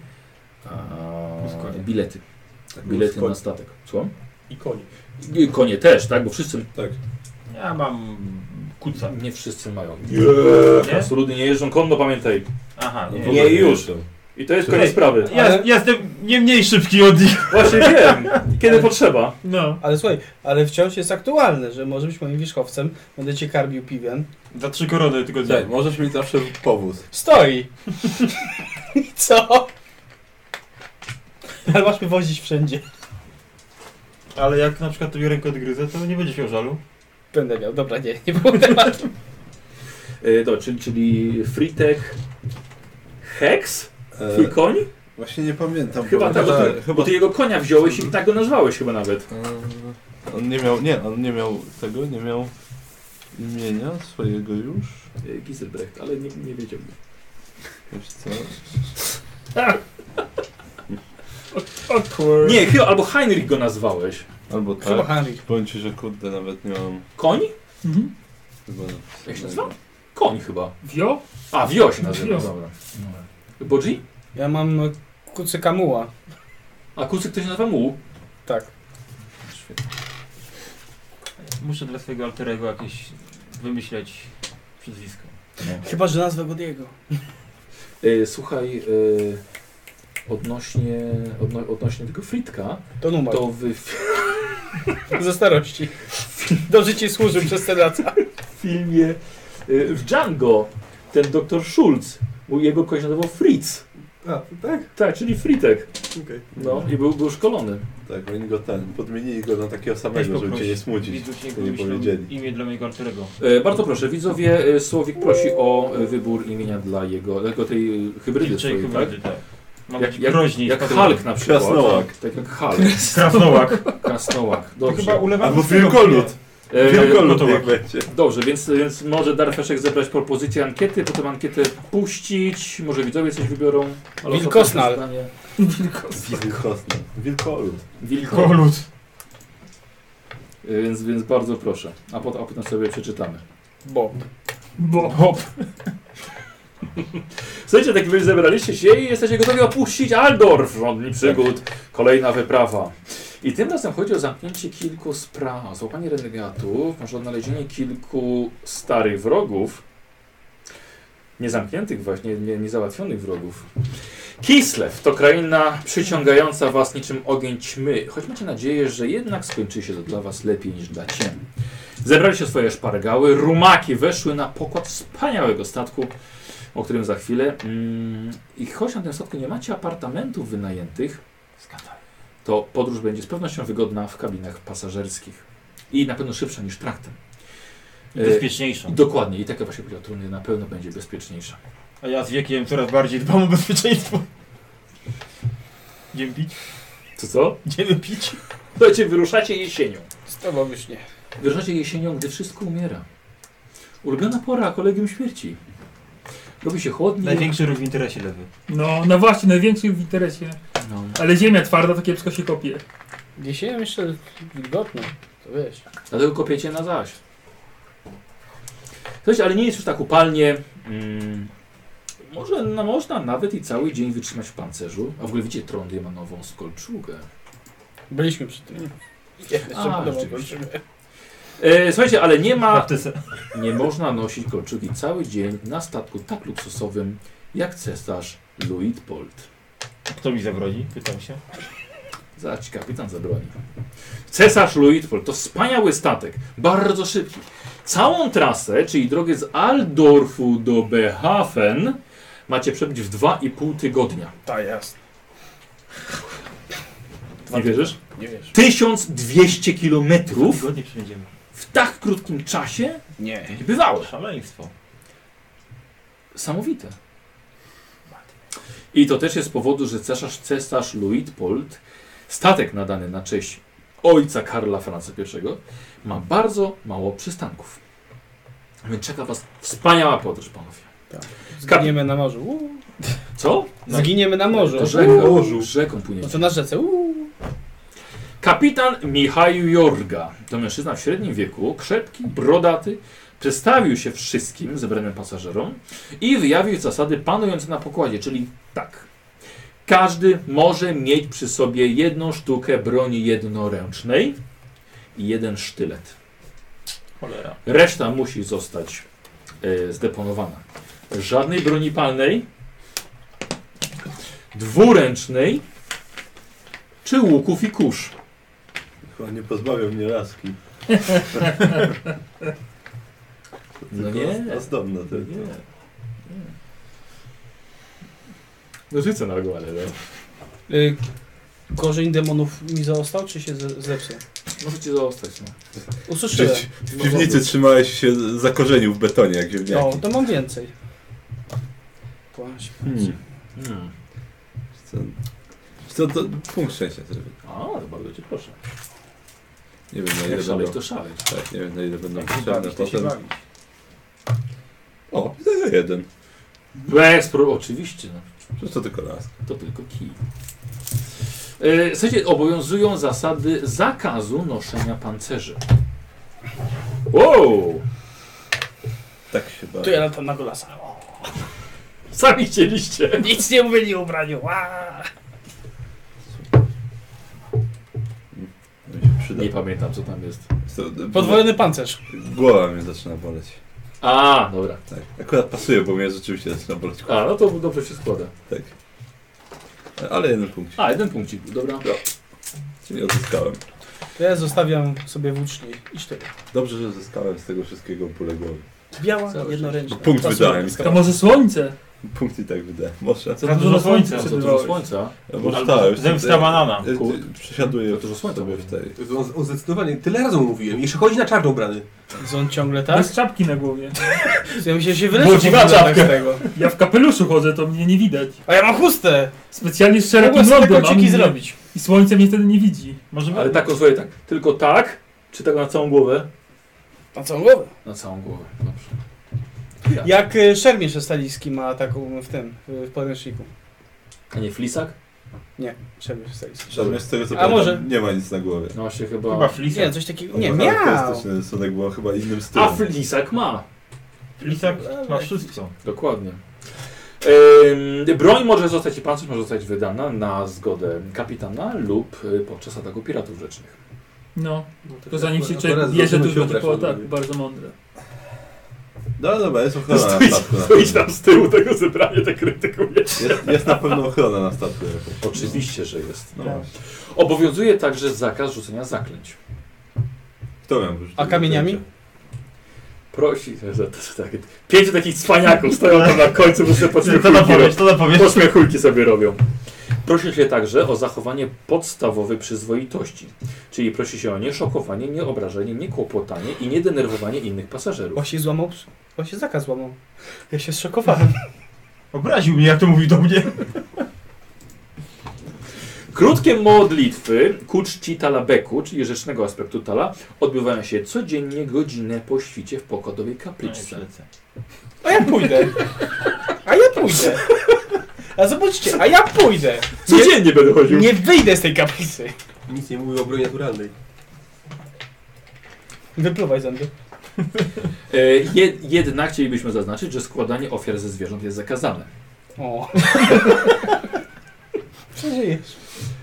S1: a,
S7: Uskonie.
S1: bilety. Bilety na statek. Co?
S6: I konie.
S1: I Konie też, tak? Bo wszyscy,
S7: Ja mam kuca.
S1: nie wszyscy mają.
S7: Nie?
S1: Absolutnie nie jeżdżą konno, pamiętaj.
S7: Aha,
S1: Nie,
S7: no.
S1: nie już. I to jest koniec sprawy.
S7: Ja,
S4: Ale-
S7: Jestem nie mniej szybki od nich.
S1: Właśnie wiem, kiedy potrzeba.
S3: No.
S4: Ale słuchaj, ale wciąż jest aktualne, że może być moim wierzchowcem, będę cię karmił piwem.
S7: Za trzy korony tylko
S8: Tak, możesz mieć zawsze powóz.
S4: Stoi! I co? Ale masz mnie wozić wszędzie.
S7: Ale jak na przykład tobie rękę odgryzę, to nie będziesz miał żalu.
S4: Będę miał, dobra, nie, nie było tematu.
S1: Yy, dobra, czyli, czyli Freetech Hex?
S8: E,
S1: Twój koń?
S8: właśnie nie pamiętam.
S1: Chyba
S8: bo-
S1: tak, bo ty,
S8: chyba
S1: bo ty jego konia wziąłeś i tak go nazwałeś chyba nawet.
S8: Eee, On nie miał, nie, on nie miał tego, nie miał imienia swojego już.
S1: Y, Giselbrecht, ale nie, nie wiedział.
S8: Wiesz co?
S3: Awkward.
S1: Nie, chyba, albo Heinrich go nazwałeś.
S8: Albo
S4: Chyba
S8: tak.
S4: Henry.
S8: Bądź, że kurde, nawet nie mam
S1: Koń?
S3: Mhm.
S8: chyba
S1: Jak się nazywa? Koń chyba.
S3: Wio?
S1: A, Wio się nazywa,
S3: Wio.
S1: dobra. Bodzi?
S4: Ja mam e, kucyka muła.
S1: A kucyk ktoś nazywa muł?
S4: Tak.
S7: Muszę dla swojego alterego jakieś wymyśleć przyzwisko.
S4: Chyba, że nazwę Godiego.
S1: E, słuchaj, e, odnośnie, odno, odnośnie tego fritka,
S4: To numer.
S1: to wy...
S4: Ze starości. Dobrze ci służy przez te lata.
S1: W filmie y, w Django ten doktor Schulz, bo jego kogoś nazywał Fritz.
S8: A, tak?
S1: Tak, czyli Fritek.
S8: Okej.
S1: No i był, był szkolony.
S8: Tak, oni go ten, podmienili go na takiego
S7: Weź
S8: samego, żeby
S7: poproś
S8: cię nie smucić.
S7: widzów, niech
S8: to nie
S7: wymyślą
S8: powiedzieli.
S7: Imię dla mojego alterego.
S1: E, bardzo proszę, widzowie, e, Słowik prosi o e, wybór imienia dla jego, tego tej e, hybrydy
S7: Czyli
S1: swojej, tak?
S7: hybrydy, tak. Ma
S1: Jak-
S7: być
S1: jak-
S7: groźniej.
S1: Jak Hulk na przykład.
S8: Krasnołak.
S1: Tak jak Hulk.
S5: Krasnołak.
S1: Krasnołak.
S5: To
S1: Dobrze.
S5: chyba ulewam.
S8: Albo wielkolut.
S1: E,
S8: Wielkolut
S5: to tak.
S8: jak będzie.
S1: Dobrze, więc, więc może Darfeszek zebrać propozycję ankiety, potem ankietę puścić, może widzowie coś wybiorą. ale
S4: Wilkosnal.
S1: ostatnie zdanie.
S8: Wilkosny. Wilkolut.
S1: Wilko.
S5: Kolut.
S1: E, Więc, więc bardzo proszę, a, pot, a potem sobie przeczytamy.
S4: Bo.
S5: Bo. Hop.
S1: Słuchajcie, tak wy zebraliście się i jesteście gotowi opuścić Aldorf w rządni przygód. Kolejna wyprawa. I tym razem chodzi o zamknięcie kilku spraw, złapanie renegatów, może odnalezienie kilku starych wrogów, niezamkniętych właśnie, nie, niezałatwionych wrogów. Kislev to kraina przyciągająca was niczym ogień ćmy, choć macie nadzieję, że jednak skończy się to dla was lepiej niż dla ciebie. Zebraliście swoje szpargały, rumaki weszły na pokład wspaniałego statku, o którym za chwilę. Mm, I choć na tym statku nie macie apartamentów wynajętych, to podróż będzie z pewnością wygodna w kabinach pasażerskich. I na pewno szybsza niż traktem. E,
S7: Bezpieczniejsza.
S1: i dokładnie, i taka właśnie powiedział Truny, na pewno będzie bezpieczniejsza.
S7: A ja z wiekiem coraz bardziej dbam o bezpieczeństwo. Idziemy pić?
S1: Co co?
S7: Idziemy pić?
S1: Słuchajcie, wyruszacie jesienią.
S4: Z tobą już nie.
S1: Wyruszacie jesienią, gdy wszystko umiera. Ulubiona pora, kolegium śmierci. Robi się chłodniej.
S7: Największy ruch w interesie lewy.
S3: No, no właśnie, największy w interesie.
S1: No.
S3: Ale ziemia twarda to kiepsko się kopie.
S4: Jesienią jeszcze wilgotno. To wiesz.
S1: Dlatego kopiecie na zaś. Słuchajcie, ale nie jest już tak upalnie. Mm, może no, można nawet i cały dzień wytrzymać w pancerzu. A w ogóle widzicie, Trondy ma nową skolczugę.
S4: Byliśmy przy tym. Jeszcze
S1: A,
S4: podobno
S1: rzeczywiście.
S4: kończymy.
S1: E, słuchajcie, ale nie
S7: W
S1: ma
S7: Praktyce.
S1: Nie można nosić kolczyki cały dzień na statku tak luksusowym jak cesarz Luitpold.
S7: Kto mi zabroni? Pytam się.
S1: Zaraz ci kapitan zabroni. Cesarz Luitpold to wspaniały statek, bardzo szybki. Całą trasę, czyli drogę z Aldorfu do Behafen, macie przebyć w 2,5 tygodnia.
S4: Ta jasne.
S1: Nie wierzysz?
S4: Nie wiesz.
S1: 1200 kilometrów
S7: Zgodnie przejdziemy.
S1: w tak krótkim czasie
S4: Nie.
S1: nie bywało.
S7: Szaleństwo.
S1: Samowite. I to też jest z powodu, że cesarz, cesarz Luitpold, statek nadany na cześć ojca Karla Franca I, ma bardzo mało przystanków. Więc czeka Was wspaniała podróż, panowie.
S4: Zginiemy na morzu. Uuu.
S1: Co?
S4: Zginiemy na morzu.
S1: To rzeką,
S4: Uuu.
S1: rzeką
S4: No
S1: płyniecie.
S4: to na rzece. Uuu.
S1: Kapitan Michał Jorga to mężczyzna w średnim wieku, krzepki, brodaty, przedstawił się wszystkim zebranym pasażerom i wyjawił zasady panujące na pokładzie, czyli tak. Każdy może mieć przy sobie jedną sztukę broni jednoręcznej i jeden sztylet.
S7: Cholera.
S1: Reszta musi zostać e, zdeponowana. Żadnej broni palnej, dwuręcznej czy łuków i kurz.
S8: Chyba nie pozbawią mnie laski.
S1: No
S8: Tylko
S1: nie.
S8: Ozdobna tylko.
S1: Nie. No rzucę na głowę, ale
S4: Y, korzeń demonów mi został, czy się ze- zepsuł?
S1: Możecie zostać, no.
S4: Usłyszałem.
S8: W piwnicy trzymałeś się zakorzenił w betonie jak ziemniaki.
S4: No, to mam więcej. Płaś.
S8: Hmm.
S1: Hmm.
S8: Co, co to punkt szczęścia zrobię.
S1: A, to bardzo cię proszę.
S8: Nie wiem na ile
S1: Jak szaleć,
S8: będą.
S1: to szaleć.
S8: Tak, nie wiem na ile będą
S7: Jak się
S8: potrzebne
S7: bawić, to się
S8: potem.
S7: bawić.
S8: O, zero jeden.
S1: Bez pro... oczywiście, no.
S8: Przecież to tylko raz.
S1: To tylko kij. E, Słuchajcie, obowiązują zasady zakazu noszenia pancerzy. Wow!
S8: Tak się bawi.
S4: Tu ja latam na golasa.
S1: Sami chcieliście.
S4: Nic nie mówili o ubraniu. Ła!
S8: Mi się przyda.
S1: Nie pamiętam, co tam jest.
S8: Co,
S4: Podwojony pancerz.
S8: Głowa mnie zaczyna boleć.
S1: A, dobra.
S2: Tak. Akurat pasuje, bo mnie rzeczywiście zaczyna boleć
S1: A, no to dobrze się składa.
S2: Tak. Ale jeden punkt,
S1: A, jeden punkcik, dobra.
S2: czyli odzyskałem.
S4: To ja zostawiam sobie w uczniu. Idź ty.
S2: Dobrze, że zyskałem z tego wszystkiego bóle głowy.
S4: Biała,
S1: Cały
S4: jednoręczna.
S2: Punkt wydałem.
S3: To może słońce?
S2: Punkt i tak wydałem. Może?
S3: Za dużo słońca
S1: Co dużo
S3: przebywało.
S1: słońca.
S2: Może tak. już
S7: Zemsta banana.
S2: Ja- ja-
S1: Kur-
S2: Przesiaduję
S1: To dużo słońca
S2: sobie w
S1: mówię.
S2: tej.
S6: To On, on zdecydowanie, tyle razy mu mówiłem. Jeszcze chodzi na czarną brany.
S4: Co on ciągle tak?
S3: Bez czapki na głowie.
S4: Ja myślę, że się
S3: Bo
S4: wyleczył
S3: ci
S4: w ogóle
S3: maczapkę.
S4: tak z tego.
S3: Ja w kapeluszu chodzę, to mnie nie widać.
S4: A ja mam chustę!
S3: Specjalnie z
S4: Mogłem
S3: szerokim
S4: sobie
S3: lądem mam
S4: kociki
S3: i-
S4: zrobić.
S3: i słońce mnie wtedy nie widzi.
S7: Może
S1: Ale tak, o, słuchaj, tak. Tylko tak, czy tak na całą głowę?
S4: Na całą głowę.
S1: Na całą głowę, dobrze.
S4: Jak y, Szermierz Staliski ma taką w tym, y, w podręczniku.
S1: A nie flisak?
S4: Nie, Szermierz Staliski.
S2: Żadne z tego co
S4: A
S2: pamiętam,
S4: może-
S2: nie ma nic na głowie.
S1: No właśnie
S7: chyba
S1: chyba...
S7: flisak.
S4: Nie, coś takiego, nie,
S2: To
S4: miał!
S2: Charakterystyczny rysunek było chyba innym stylem.
S1: A flisak ma!
S7: Flisak ma wszystko.
S1: Dokładnie. Ym, broń może zostać i pancerz może zostać wydana na zgodę kapitana lub y, podczas ataku piratów rzecznych.
S3: No,
S6: No to,
S3: to zanim się
S6: akurat
S3: człowiek
S6: zaraz
S3: bierze, to
S6: zaczynam
S3: już będzie
S6: obrażać
S3: po
S6: na
S3: ataku.
S6: ludzi.
S3: Bardzo mądre.
S2: No tak. dobra, jest ochrona na statku. na
S1: Stoić
S2: pewno.
S1: tam z tyłu tego zebrania, tak krytykujesz.
S2: Jest, jest na pewno ochrona na statku jakoś.
S1: Oczywiście, że jest.
S2: No.
S4: Tak.
S2: właśnie.
S1: Obowiązuje także zakaz rzucenia zaklęć.
S2: Kto miał wyrzucić?
S4: A kamieniami?
S1: Prosi, że to, to, tak, pięciu takich cwaniaków stoją tam na końcu, bo sobie
S5: To
S1: podsłuchują.
S5: napowiedź, to napowiedź.
S1: Pośmiechujki sobie robią. Prosi się także o zachowanie podstawowej przyzwoitości, czyli prosi się o nieszokowanie, nieobrażenie, niekłopotanie i niedenerwowanie innych pasażerów.
S4: Właśnie złamał, ps- właśnie zakaz złamał. Ja się zszokowałem.
S5: Obraził mnie, jak to mówi do mnie.
S1: Krótkie modlitwy ku czci Talabeku, czyli rzecznego aspektu Tala, odbywają się codziennie godzinę po świcie w pokodowej
S7: No
S1: kapliczce.
S4: A ja pójdę. A ja pójdę. A zobaczcie, a ja pójdę.
S1: Codziennie będę chodził.
S4: Nie wyjdę z tej kaplicy.
S6: Nic nie mówił o broni naturalnej.
S4: Wypluwaj zęby.
S1: E, Je, jednak chcielibyśmy zaznaczyć, że składanie ofiar ze zwierząt jest zakazane.
S4: O. Przeżyjesz.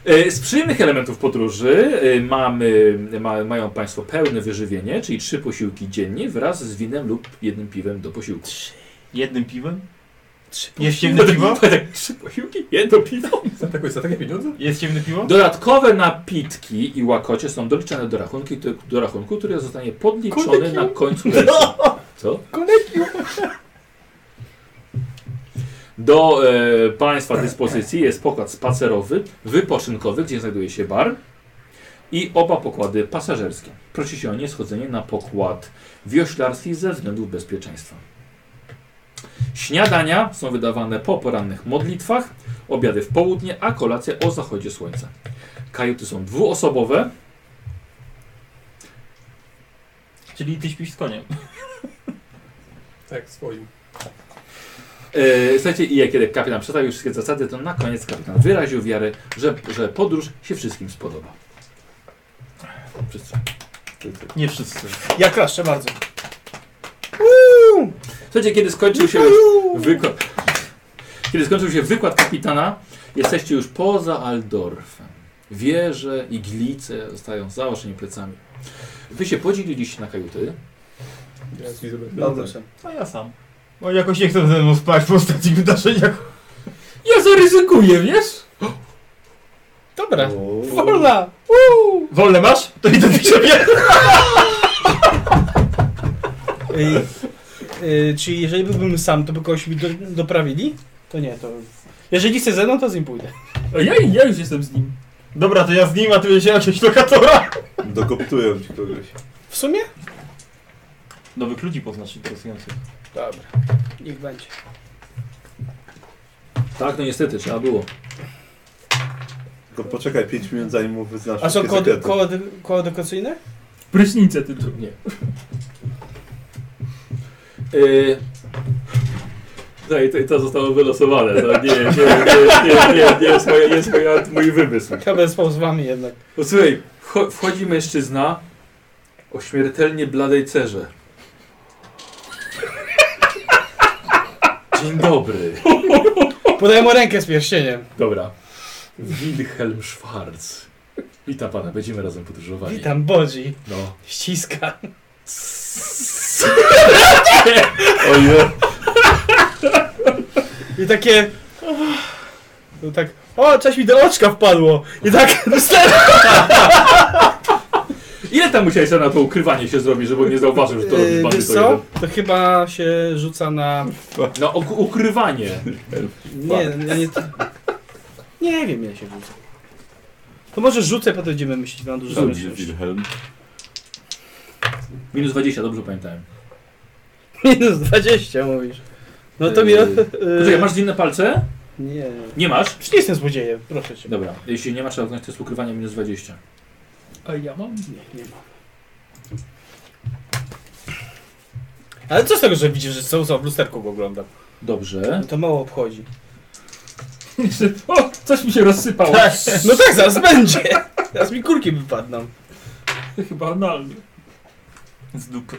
S1: E, Z przyjemnych elementów podróży e, mamy, ma, mają Państwo pełne wyżywienie, czyli trzy posiłki dziennie wraz z winem lub jednym piwem do posiłku.
S7: Jednym piwem?
S4: Trzy
S7: Jest ciemne piwo?
S1: Tak, Trzy posiłki? Jedno piwo?
S6: Za, taką, za takie pieniądze?
S7: Jest ciemne piwo?
S1: Dodatkowe napitki i łakocie są doliczane do, rachunki, do rachunku, który zostanie podliczony na końcu rejsu. Co? Do e, Państwa dyspozycji jest pokład spacerowy, wypoczynkowy, gdzie znajduje się bar i oba pokłady pasażerskie. Prosi się o nieschodzenie na pokład wioślarski ze względów bezpieczeństwa. Śniadania są wydawane po porannych modlitwach, obiady w południe, a kolacje o zachodzie słońca. Kajuty są dwuosobowe.
S7: Czyli ty śpisz z koniem.
S6: Tak, swoim.
S1: E, słuchajcie, i jak kiedy kapitan przedstawił wszystkie zasady, to na koniec kapitan wyraził wiarę, że, że podróż się wszystkim spodoba. Wszyscy.
S7: Nie wszyscy.
S4: Ja klaszczę bardzo.
S1: Słuchajcie, kiedy skończył się już wykład, kiedy skończył się wykład kapitana, jesteście już poza Aldorfem. Wieże i glice zostają założeni plecami. Wy się podzieliliście na kajuty.
S6: Ja ci zrobię.
S2: No tak.
S4: Dobrze.
S7: A ja sam.
S5: Bo jakoś nie chcę ze mną spać po ostatnich wydarzeniach.
S3: Ja zaryzykuję, wiesz?
S4: Dobra.
S2: O.
S4: Wolna!
S5: Wolne masz? To idę do ciebie.
S4: Ej, y, czyli jeżeli byłbym sam, to by kogoś mi do, doprawili? To nie, to... Jeżeli chce ze mną, to z nim pójdę.
S3: A ja, ja już jestem z nim.
S5: Dobra, to ja z nim, a ty będziesz jakiegoś lokatora.
S2: Dokoptują ci kogoś.
S4: W sumie?
S7: Nowych ludzi poznasz interesujących.
S4: Dobra. Niech będzie.
S1: Tak, no niestety, trzeba było.
S2: Tylko poczekaj 5 minut zanim mu wyznasz
S4: A są
S2: wszystkie
S4: koło,
S2: sekrety.
S4: koło, koło dekoracyjne?
S3: Prysznicę tylko.
S1: Nie. Yy, Daj, no to, to zostało wylosowane. To nie, nie, nie, nie, nie, nie jest, moja, nie jest moja, mój wymysł.
S4: Chyba spał z wami jednak.
S1: No słuchaj, wcho- wchodzi mężczyzna o śmiertelnie bladej cerze. Dzień dobry.
S4: Podaję mu rękę z pierścieniem.
S1: Dobra. Wilhelm Schwarz. Witam pana, będziemy razem podróżowali.
S4: Witam, Bodzi.
S1: No.
S4: Ściska.
S2: Ojej.
S4: I takie... No tak... O, coś mi do oczka wpadło! I tak...
S1: Ile tam musiałeś na to ukrywanie się zrobić, żeby on nie zauważył, że to robi
S4: Yy, wiesz
S1: bandyto
S4: co?
S1: jeden?
S4: To chyba się rzuca na...
S1: No uk- ukrywanie.
S4: Nie, no nie, nie... Nie wiem, ja się rzucę. To może rzucę, potem będziemy myśleć, mam dużo
S2: Rzuć,
S4: myśli.
S2: Wilhelm.
S1: Minus 20, dobrze pamiętałem.
S4: Minus 20 mówisz. No to mi...
S1: Yy,
S4: yy,
S1: Poczekaj, masz inne palce?
S4: Nie.
S1: Nie masz?
S4: Przecież nie jestem złodziejem, proszę cię.
S1: Dobra, jeśli nie masz razności, to jest ukrywanie minus 20.
S3: A ja mam?
S4: Nie, nie ma. Ale co z tego, że widzisz, że są, są w lusterku go oglądam?
S1: Dobrze.
S4: No to mało obchodzi.
S3: Że- o, coś mi się rozsypało.
S4: No tak, zaraz będzie! Zaraz mi kurki wypadną.
S3: Chyba analnie.
S4: Tak.
S7: Z dupy.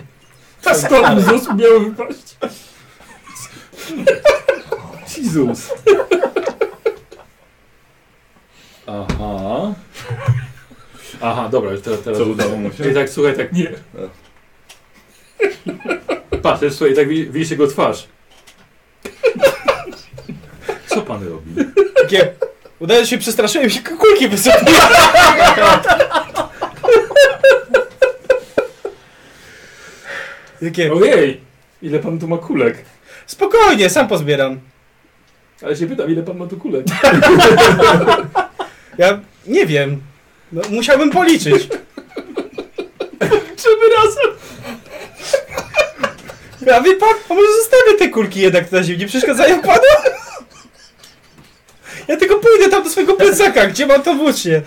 S3: Ta stąd mi z osób miało wypaść.
S1: Jezus. Aha. Aha, dobra, już teraz, teraz
S2: Co udało mu
S1: I
S2: się?
S1: tak, słuchaj, tak,
S3: Nie.
S1: patrz, też, słuchaj, tak wi- widzisz jego twarz. Co pan robi?
S4: Takie... Udaje że się przestraszyłem i się kulki wysypały. Jakie?
S1: Ojej, ile pan tu ma kulek?
S4: Spokojnie, sam pozbieram.
S1: Ale się pytam, ile pan ma tu kulek?
S4: Ja nie wiem. No, musiałbym policzyć.
S1: Czemu razem?
S4: A wie pan, a może zostawię te kulki jednak na ziemi, nie przeszkadzają panu? Ja tylko pójdę tam do swojego plecaka, gdzie mam to włócznie.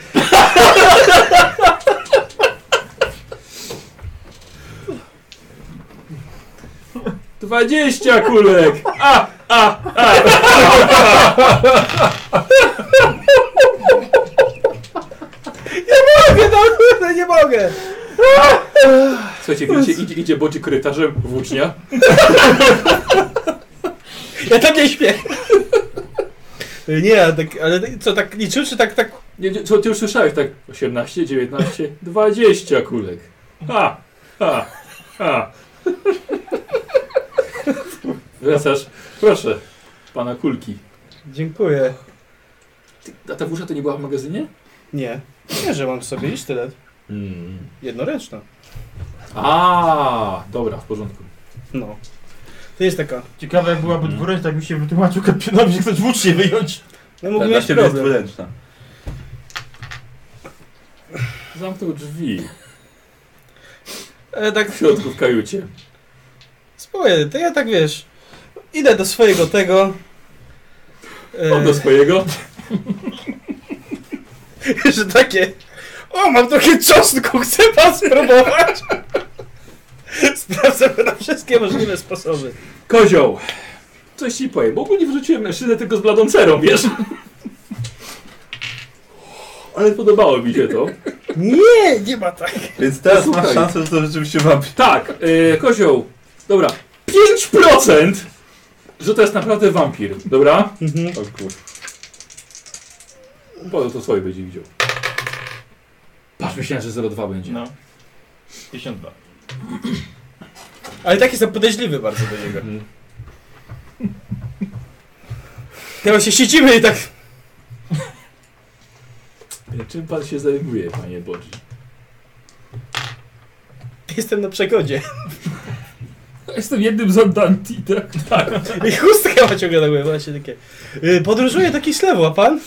S1: Dwadzieścia kulek!
S4: Nie mogę, no kurde, nie mogę.
S1: Słuchajcie, widzicie, idzie, idzie boci korytarzem włócznia.
S4: Ja tam nie śpię. Nie, a tak, ale co, tak liczył, czy tak, tak...
S1: Nie, nie, co ty już słyszałeś, tak 18, 19, 20 kulek. Ha, ha, ha. Wracasz, proszę, pana kulki.
S4: Dziękuję.
S1: Ty, A ta włócznia to nie była w magazynie?
S4: Nie. Nie, że mam w sobie iść tyle.
S1: Mm.
S4: Jednoręczna.
S1: A, dobra, w porządku.
S4: No. To jest taka...
S5: Ciekawe jak byłaby
S7: Mm.
S1: Mhm.
S5: dwuręczna, jak mi się wytłumaczył kapitanowi, że chcesz włócznie wyjąć.
S4: No
S2: Dla
S4: mógłbym
S2: dla
S4: mieć
S2: ciebie jest
S4: problem.
S2: dwuręczna.
S1: Zamknął drzwi
S4: Ale tak...
S1: w środku w kajucie.
S4: Spokojnie, to ja tak wiesz. Idę do swojego tego.
S1: On
S4: no.
S1: do swojego.
S4: E, że takie. O, mam trochę czosnku, chcę pan spróbować. Sprawdzę na wszystkie możliwe sposoby.
S1: Kozioł! Coś ci powiem, bo ogólnie wrzuciłem mężczyznę tylko z bladą cerą, wiesz? Ale podobało mi się to.
S4: Nie, nie ma tak.
S2: Więc teraz
S1: Słuchaj.
S2: masz szansę, że to rzeczywiście wabi.
S1: Tak, yy, kozioł. Dobra, 5%! Że to jest naprawdę wampir, dobra?
S4: Mhm.
S2: O kur...
S1: Bo to swoje będzie widział. Patrz, myślałem, że 0,2 będzie.
S7: No. 52.
S4: Ale tak jestem podejrzliwy bardzo do niego.
S1: Mhm.
S4: Teraz się siedzimy i tak.
S1: E, Czym pan się zajmuje, panie Bodzi?
S4: Jestem na przegodzie.
S3: Jestem jednym z Andanti, tak?
S4: I chustkę ma ciągle na głowie, właśnie takie. y, Podróżuję taki ślewo, a pan?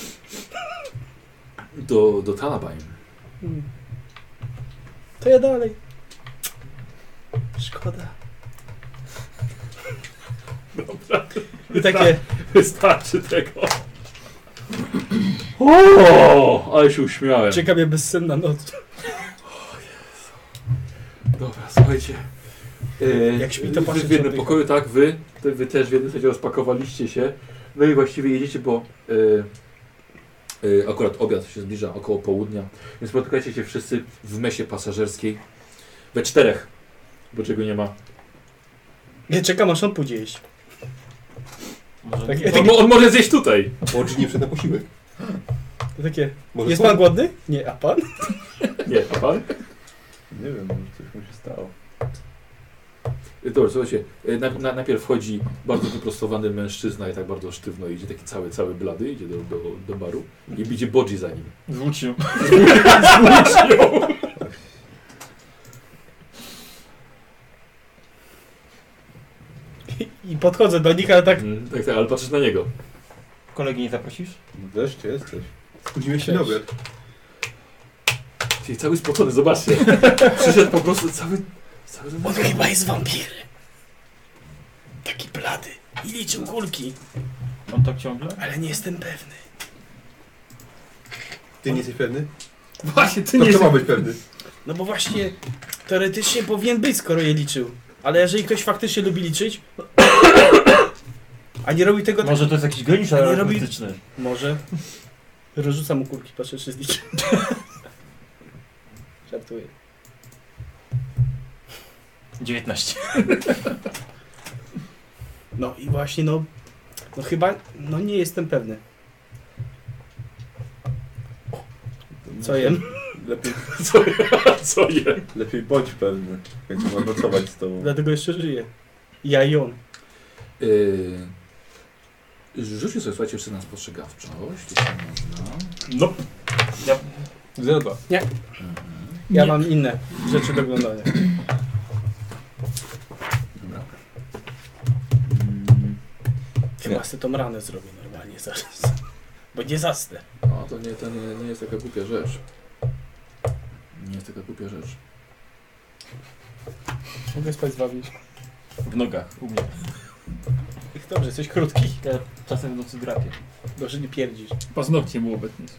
S1: Do, do Talabain.
S4: To ja dalej. Szkoda. I takie.
S1: Wystarczy tego. O, ale się uśmiałem.
S4: Czeka mnie bezsenna noc.
S1: Dobra, słuchajcie. E,
S4: Jak śpi, to
S1: wy
S4: patrzeć
S1: w jednym
S4: na tych-
S1: pokoju, tak? Wy, to wy też w jednym sensie rozpakowaliście się. No i właściwie jedziecie, bo e, e, akurat obiad się zbliża około południa. Więc spotykacie się wszyscy w mesie pasażerskiej. We czterech, bo czego nie ma.
S4: Nie czekam aż on pójdzie jeść.
S7: Może
S4: Tak,
S7: nie.
S4: tak.
S1: On, mo- on może zjeść tutaj.
S6: Łodzi nie przed na posiłek.
S4: To takie.
S6: Może
S4: jest
S6: są-
S4: pan głodny? Nie, a pan?
S1: Nie, a pan?
S2: Nie wiem, może coś mu się stało.
S1: Y, Dobra, słuchajcie, y, na, na, najpierw wchodzi bardzo wyprostowany mężczyzna i tak bardzo sztywno idzie, taki cały, cały blady, idzie do, do, do baru i idzie Bodzi za nim.
S5: Zwróć ją.
S4: I podchodzę do nich, ale tak
S1: Mm, tak, tak, ale patrzysz na niego.
S7: Kolegi nie zaprosisz?
S2: No Wreszcie jesteś.
S5: Spóźniłeś
S2: Dzień dobry.
S1: Czyli cały spocony, zobaczcie. Przyszedł po prostu cały... cały
S4: On chyba jest wampir. Taki blady. I liczył kulki,
S7: On tak ciągle?
S4: ale nie jestem pewny.
S8: Ty nie jesteś pewny?
S3: Właśnie, ty
S8: To
S3: nie
S8: kto
S3: jesteś.
S8: ma być pewny?
S4: No bo właśnie teoretycznie powinien być, skoro je liczył. Ale jeżeli ktoś faktycznie lubi liczyć, a nie robi tego tak...
S7: Może to jest jakiś geniusz
S4: Ale robi-
S7: arytmetyczny.
S4: Może. Rozrzucam mu kulki, patrzę czy zliczy. Żartuję.
S7: 19.
S4: No i właśnie, no... No chyba... No nie jestem pewny, co jem.
S2: Lepiej,
S1: Co, co je?
S2: lepiej bądź pewny, jak ma nocować z tobą.
S4: Dlatego jeszcze żyję. Ja i on.
S1: Yy, rzućmy sobie, słuchajcie, jeszcze na spostrzegawczość, jeśli można.
S7: No.
S6: Zero dwa.
S1: Mhm.
S4: Ja
S3: Nie.
S4: mam inne rzeczy do oglądania.
S1: Dobra. Mm,
S4: Chyba sobie tą ranę zrobię normalnie zaraz. Bo nie zasnę.
S1: No to nie, to nie, nie jest taka głupia rzecz. Nie jest taka głupia rzecz.
S4: Mogę spać z wami.
S7: W nogach, u mnie.
S4: Dobrze, jesteś krótki.
S7: Ja czasem w nocy drapie.
S4: Dobrze, nie pierdzisz.
S3: Paznokcie mu obetniesz.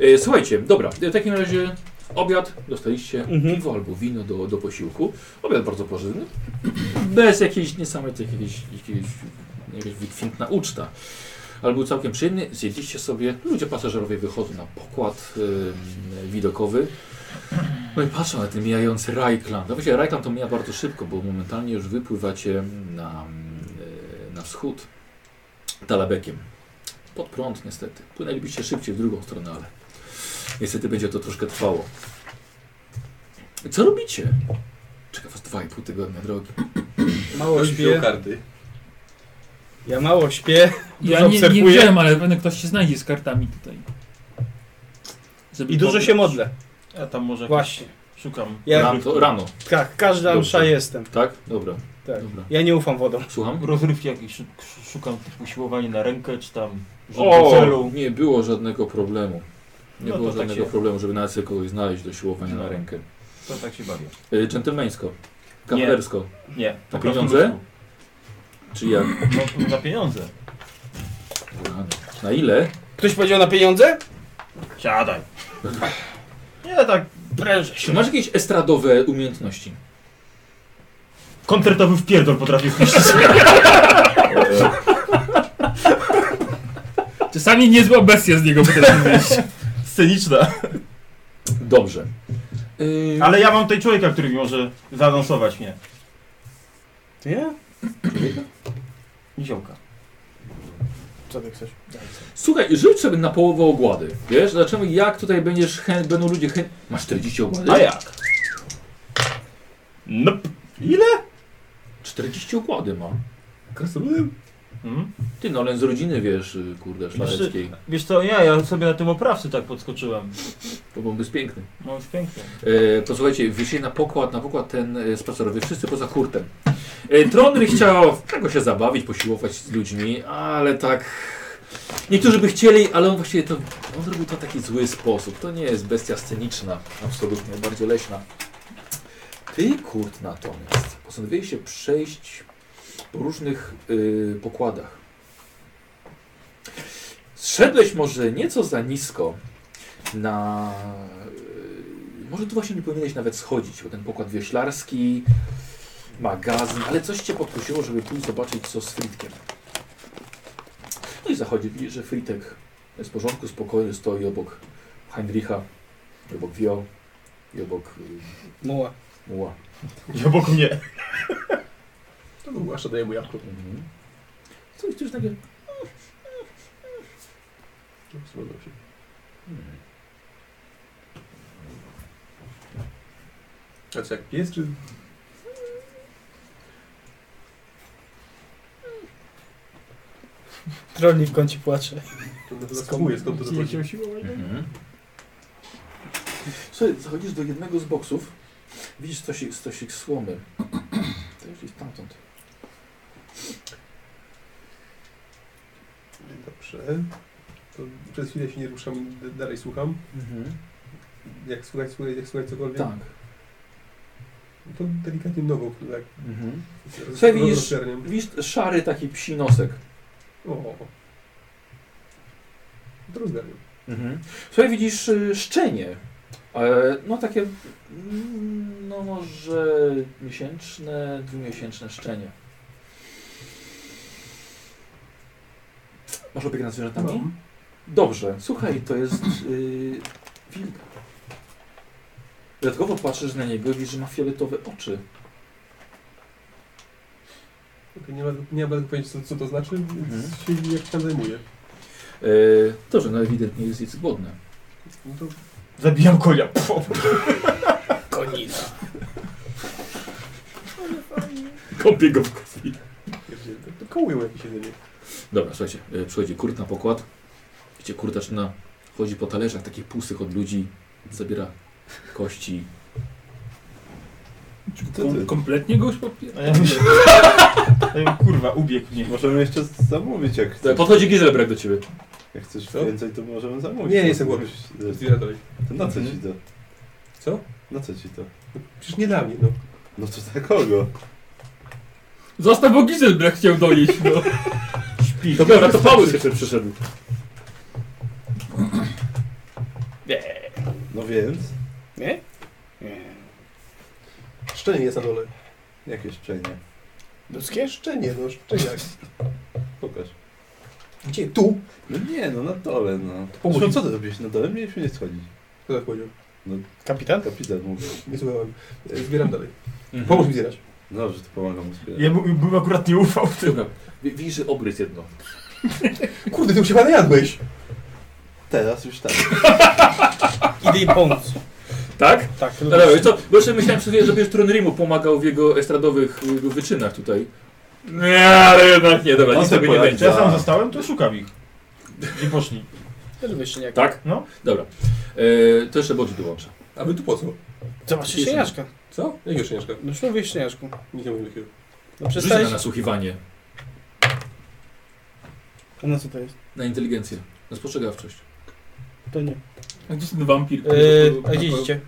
S1: E, słuchajcie, dobra, w takim razie obiad dostaliście
S4: Mhm.
S1: piwo albo wino do, do posiłku. Obiad bardzo pożywny. Bez jakiejś niesamowitej jakiejś, jakiejś, jakaś wykwintna uczta. Ale był całkiem przyjemny. Zjedliście sobie. Ludzie pasażerowie wychodzą na pokład ym, widokowy. No i patrzą na ten mijający Rajkland. No wiecie, Rajkland to mija bardzo szybko, bo momentalnie już wypływacie na, y, na wschód Talabekiem. Pod prąd niestety. Płynęlibyście szybciej w drugą stronę, ale niestety będzie to troszkę trwało. Co robicie? Czeka was 2,5 tygodnia drogi.
S4: Mało
S2: Wziął
S4: śpię.
S2: karty.
S4: Ja mało śpię.
S3: Ja
S4: Dużo
S3: nie, nie
S4: obserwuję.
S3: wiem, ale pewnie ktoś się znajdzie z kartami tutaj. Żeby
S4: I dużo
S3: pobrać.
S4: się modlę.
S7: Ja tam może jakoś
S4: Właśnie.
S7: szukam.
S4: Ja,
S1: Rano, to rano,
S4: tak, każda
S1: Dobrze.
S4: msza jestem.
S1: tak? Dobra.
S4: Tak.
S1: Dobra.
S4: Ja nie ufam wodą.
S1: Słucham?
S7: Rozrywki jakieś szu- szukam typu siłowanie na rękę, czy tam rzut do
S1: O,
S7: celu.
S1: nie było żadnego problemu. Nie
S7: No to
S1: było
S7: tak
S1: żadnego
S7: się-
S1: problemu, żeby nawet sobie kogoś znaleźć do siłowania na
S7: No.
S1: rękę.
S7: To tak się bawię.
S1: Y, Dżentelmeńsko. Kawalersko.
S7: Nie, po prostu
S1: pieniądze?
S7: ludzku.
S1: Czy jak?
S7: No, za pieniądze.
S1: Rany. Na ile?
S4: Ktoś powiedział na pieniądze?
S7: Siadaj. Nie, tak prężę
S1: Czy
S7: się.
S1: masz jakieś estradowe umiejętności?
S5: Koncertowy wpierdol potrafię wpić.
S3: Czasami niezła bestia z niego potrafi wyjść.
S5: Sceniczna.
S1: Dobrze. Y,
S5: Ale ja mam tutaj człowieka, który może zaanonsować mnie.
S4: Nie?
S7: Niziołka.
S4: Co ty chcesz?
S1: Słuchaj, rzuć sobie na połowę ogłady. Wiesz, zobaczymy jak tutaj będziesz chęt, będą ludzie chęt. Masz 40 ogłady?
S7: A jak?
S5: Nope.
S1: 40 ogłady ma.
S2: Krasnoludem?
S7: Mhm.
S1: Ty no, ale z rodziny wiesz, y, kurde, szlacheckiej.
S7: Wiesz co, ja, ja sobie na tym oprawcy tak podskoczyłem.
S1: To byłby piękny.
S7: No jest pięknie.
S1: E, posłuchajcie, wyszli na pokład, na pokład ten e, spacerowy, wszyscy poza kurtem. E, Tronry chciał tego się zabawić, posiłować z ludźmi, ale tak. Niektórzy by chcieli, ale on właściwie to. On zrobił to w taki zły sposób. To nie jest bestia sceniczna, absolutnie, bardziej leśna. Ty, kurt, natomiast postanowiłeś się przejść po różnych y, pokładach. Zszedłeś może nieco za nisko na. y, Może tu właśnie nie powinieneś nawet schodzić, bo ten pokład wioślarski, magazyn, ale coś cię podkusiło, żeby pójść zobaczyć, co z Fritkiem. No i zachodzi, widzisz, że Fritek jest w porządku, spokojny, stoi obok Heinricha, i obok Wio i obok y,
S4: Muła.
S1: Muła.
S5: I obok mnie.
S6: To był aż daje mu jabłko.
S1: Mhm. Coś, coś takiego.
S6: Zgadzam się.
S1: Hmm.
S6: A co, jak pies, czy...
S4: Trolli w kącie płacze.
S2: Skamuję, skąd to
S7: Gdzie
S2: zachodzi.
S7: się usiłować?
S1: Mhm. Słuchaj, zachodzisz do jednego z boksów, widzisz stosik, stosik słomy. To już jest tamtąd.
S2: Dobrze. To przez chwilę się nie ruszam, d- dalej słucham.
S1: Mhm.
S2: Jak słuchać, słuchać, jak słuchać cokolwiek.
S1: Tak.
S2: To delikatnie nogą, tak.
S1: Mhm.
S2: roz-
S1: Słuchaj, widzisz-
S2: rozszerniam.
S1: Widzisz szary taki psi nosek.
S2: O. To rozgarniam.
S1: Mhm. Słuchaj, widzisz y, szczenie. E, No takie, mm, no może miesięczne, dwumiesięczne szczenie. Masz opiekę nad zwierzętami?
S2: Mam.
S1: Dobrze, słuchaj, to jest yy, wilk. Dodatkowo patrzysz na niego i widzisz, że ma fioletowe oczy.
S2: Okej, nie ma, nie ma powiedzieć, co, co to znaczy, więc
S1: Mhm.
S2: się jak tam zajmuję.
S1: Yy, dobrze, no ewidentnie jest, jest głodny.
S2: No to
S7: Zabijam konia. Pff,
S1: Kąpie go w krwi.
S2: pierdzielę, to- to kołują jakieś jedzenie.
S1: Dobra, słuchajcie, yy, przychodzi kurt na pokład. Wiecie, kurt zaczyna, chodzi po talerzach takich pustych od ludzi, zabiera kości.
S3: Kom kompletnie go już popier...
S7: A ja mówię. Ej, Kurwa, ubiegł mnie.
S16: Możemy jeszcze zamówić, jak chcesz.
S1: Tak, Podchodzi Gizelbrek do ciebie.
S16: Jak chcesz
S2: Co?
S16: więcej, to możemy zamówić.
S2: Nie, nie jestem głodny. Zbiera dalej.
S16: To na co ci to?
S2: Co?
S16: Na co ci to?
S2: Przecież nie dla mnie, no.
S16: No to dla kogo?
S3: Zostaw, bo Gizelbrek chciał dojeść, no.
S7: Śpi.
S1: Dobra, to Paulus jeszcze przyszedł.
S16: No więc,
S4: Nie? Nie.
S2: Szczenie jest na dole.
S16: jakie szczenie?
S2: Ludzkie? Szczenie, no szczeniak.
S16: Pokaż.
S2: Gdzie? Tu?
S16: No nie, no na dole, no.
S2: pomóż
S16: No
S2: mi.
S16: co ty robisz? Na dole mieliśmy nie schodzić.
S2: Kto tak powiedział?
S4: Kapitan?
S16: Kapitan mówił.
S2: Nie słuchałem. E, Zbieram dalej.
S1: Mhm.
S2: Pomóż mi zbierać.
S16: No Dobrze, to pomagam mu zbierać.
S7: Ja mu- bym akurat nie ufał w tym.
S1: Dobra, wi- widzisz, że obryz jedno.
S2: Kurde, ty już się chyba najadłeś.
S16: Teraz już tak.
S4: Idę i pomóc.
S1: Tak?
S4: Tak,
S1: No dobra, wiesz co? Bo jeszcze myślałem przed chwilą, że będziesz Tronrimu pomagał w jego estradowych y, wyczynach tutaj. Nie, ale jednak nie, dobra,
S16: On
S1: nic
S16: sobie
S1: tego nie
S16: poradzi.
S7: Czy
S1: będzie. Tak?
S7: ja sam zostałem, to szukam ich. Gdzie poszli?
S4: Wyszczeniak.
S1: Tak?
S7: No.
S1: Dobra. E, to jeszcze Bodzi dołączę.
S2: A wy tu po co?
S4: Zobaczysz szczeniaczka.
S2: Co? Jakiego szczeniaczka?
S4: No już mówię szczeniaczku.
S2: Nikt nie mówił takiego.
S4: No
S1: Rzuć na
S4: przestałeś...
S1: nasłuchiwanie,
S4: A na co to jest?
S1: na inteligencję, na spostrzegawczość.
S4: To nie.
S3: A gdzie ten wampir?
S4: Yy, a gdzie idziecie?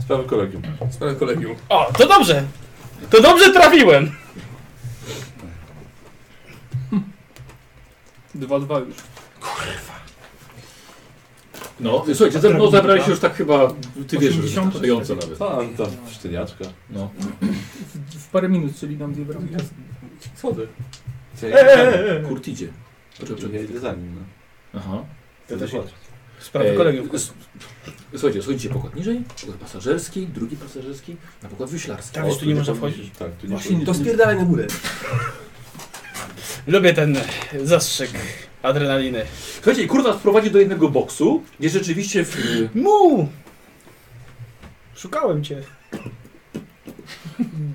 S16: Sprawy kolegium.
S7: Tak.
S2: Sprawy kolegium.
S4: O, to dobrze! To dobrze trafiłem!
S3: Dwa, dwa już.
S1: No, słuchajcie, ze mną zabrali się już tak chyba, ty wiesz, że
S3: 80
S1: wystarczająco nawet.
S2: Tak.
S16: Tam, tam, szczeniaczka.
S1: No.
S3: W, w parę minut, czyli nam dwie bramki.
S2: Schodzę.
S7: Eee!
S1: Kurt idzie. Poczekaj,
S16: Ja
S1: poczekaj.
S16: idę za nim, no.
S1: Aha.
S16: To też
S4: Sprawy
S1: Ej,
S4: kolegium.
S1: s- Słuchajcie, schodzicie pokład niżej, pokład pasażerski, drugi pasażerski, na pokład wyślarski.
S4: Tak, wiesz, tu nie można wchodzić.
S16: Tak, tu nie
S3: Właśnie
S16: wchodzi.
S3: nie.
S2: To spierdalaj na górę.
S4: Lubię ten zastrzyk adrenaliny.
S1: Słuchajcie, i kurwa wprowadzi do jednego boksu, gdzie rzeczywiście w...
S4: Mu! Szukałem cię.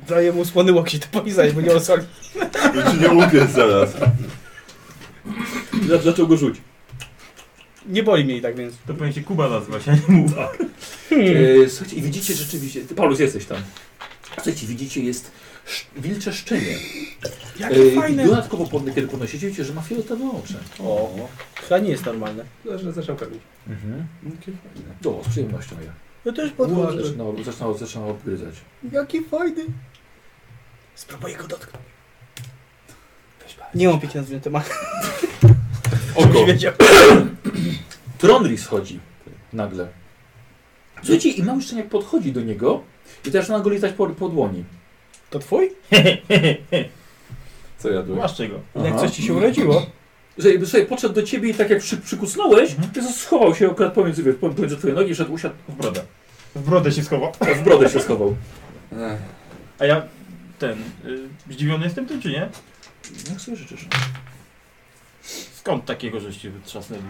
S4: Daję mu słony łokcie to polizać, bo nie osłoni.
S16: Ja ci nie łupię zaraz.
S1: za- zaczął go rzucić.
S4: Nie boli mnie i tak, więc...
S7: To powinien się Kuba nazywać, a nie Muba.
S1: E, słuchajcie, i widzicie rzeczywiście... Ty, Paulus, jesteś tam. Słuchajcie, widzicie, jest sz... wilcze szczenie.
S4: Jakie
S1: E,
S4: fajne!
S1: I dodatkowo, podne, kiedy podnosicie, widzicie, że ma fioletowe oczy.
S16: O,
S4: Chyba nie jest normalne.
S2: Zaraz zaczynam kamień.
S1: Mhm.
S16: jakie fajne.
S1: Do, z przyjemnością je.
S4: No też
S1: Zaczyna,
S2: Podchodzę.
S1: zaczyna, zaczyna odgryzać.
S4: Jaki fajny. Spróbuj go dotknąć. Nie mam pięknie nazwy na temat.
S1: Oko.
S4: wiedział.
S1: Tronris chodzi nagle. Słuchajcie, i mały szczeniak podchodzi do niego i zaczyna go lizać po, po dłoni.
S4: To twój?
S16: Co jadłeś?
S7: Masz czego?
S4: Jak coś ci się urodziło.
S1: Słuchaj, słuchaj, podszedł do ciebie i tak jak przy, przykucnąłeś,
S7: Mhm.
S1: to schował się akurat pomiędzy, wiesz, pomiędzy twoje nogi, szedł, usiadł,
S7: W brodę. W brodę się schował.
S1: a w brodę się schował.
S16: Ech,
S7: A ja ten. Y, zdziwiony jestem tym, czy nie?
S1: No, Jak sobie życzysz?
S7: Skąd takiego żeście wytrzasnęli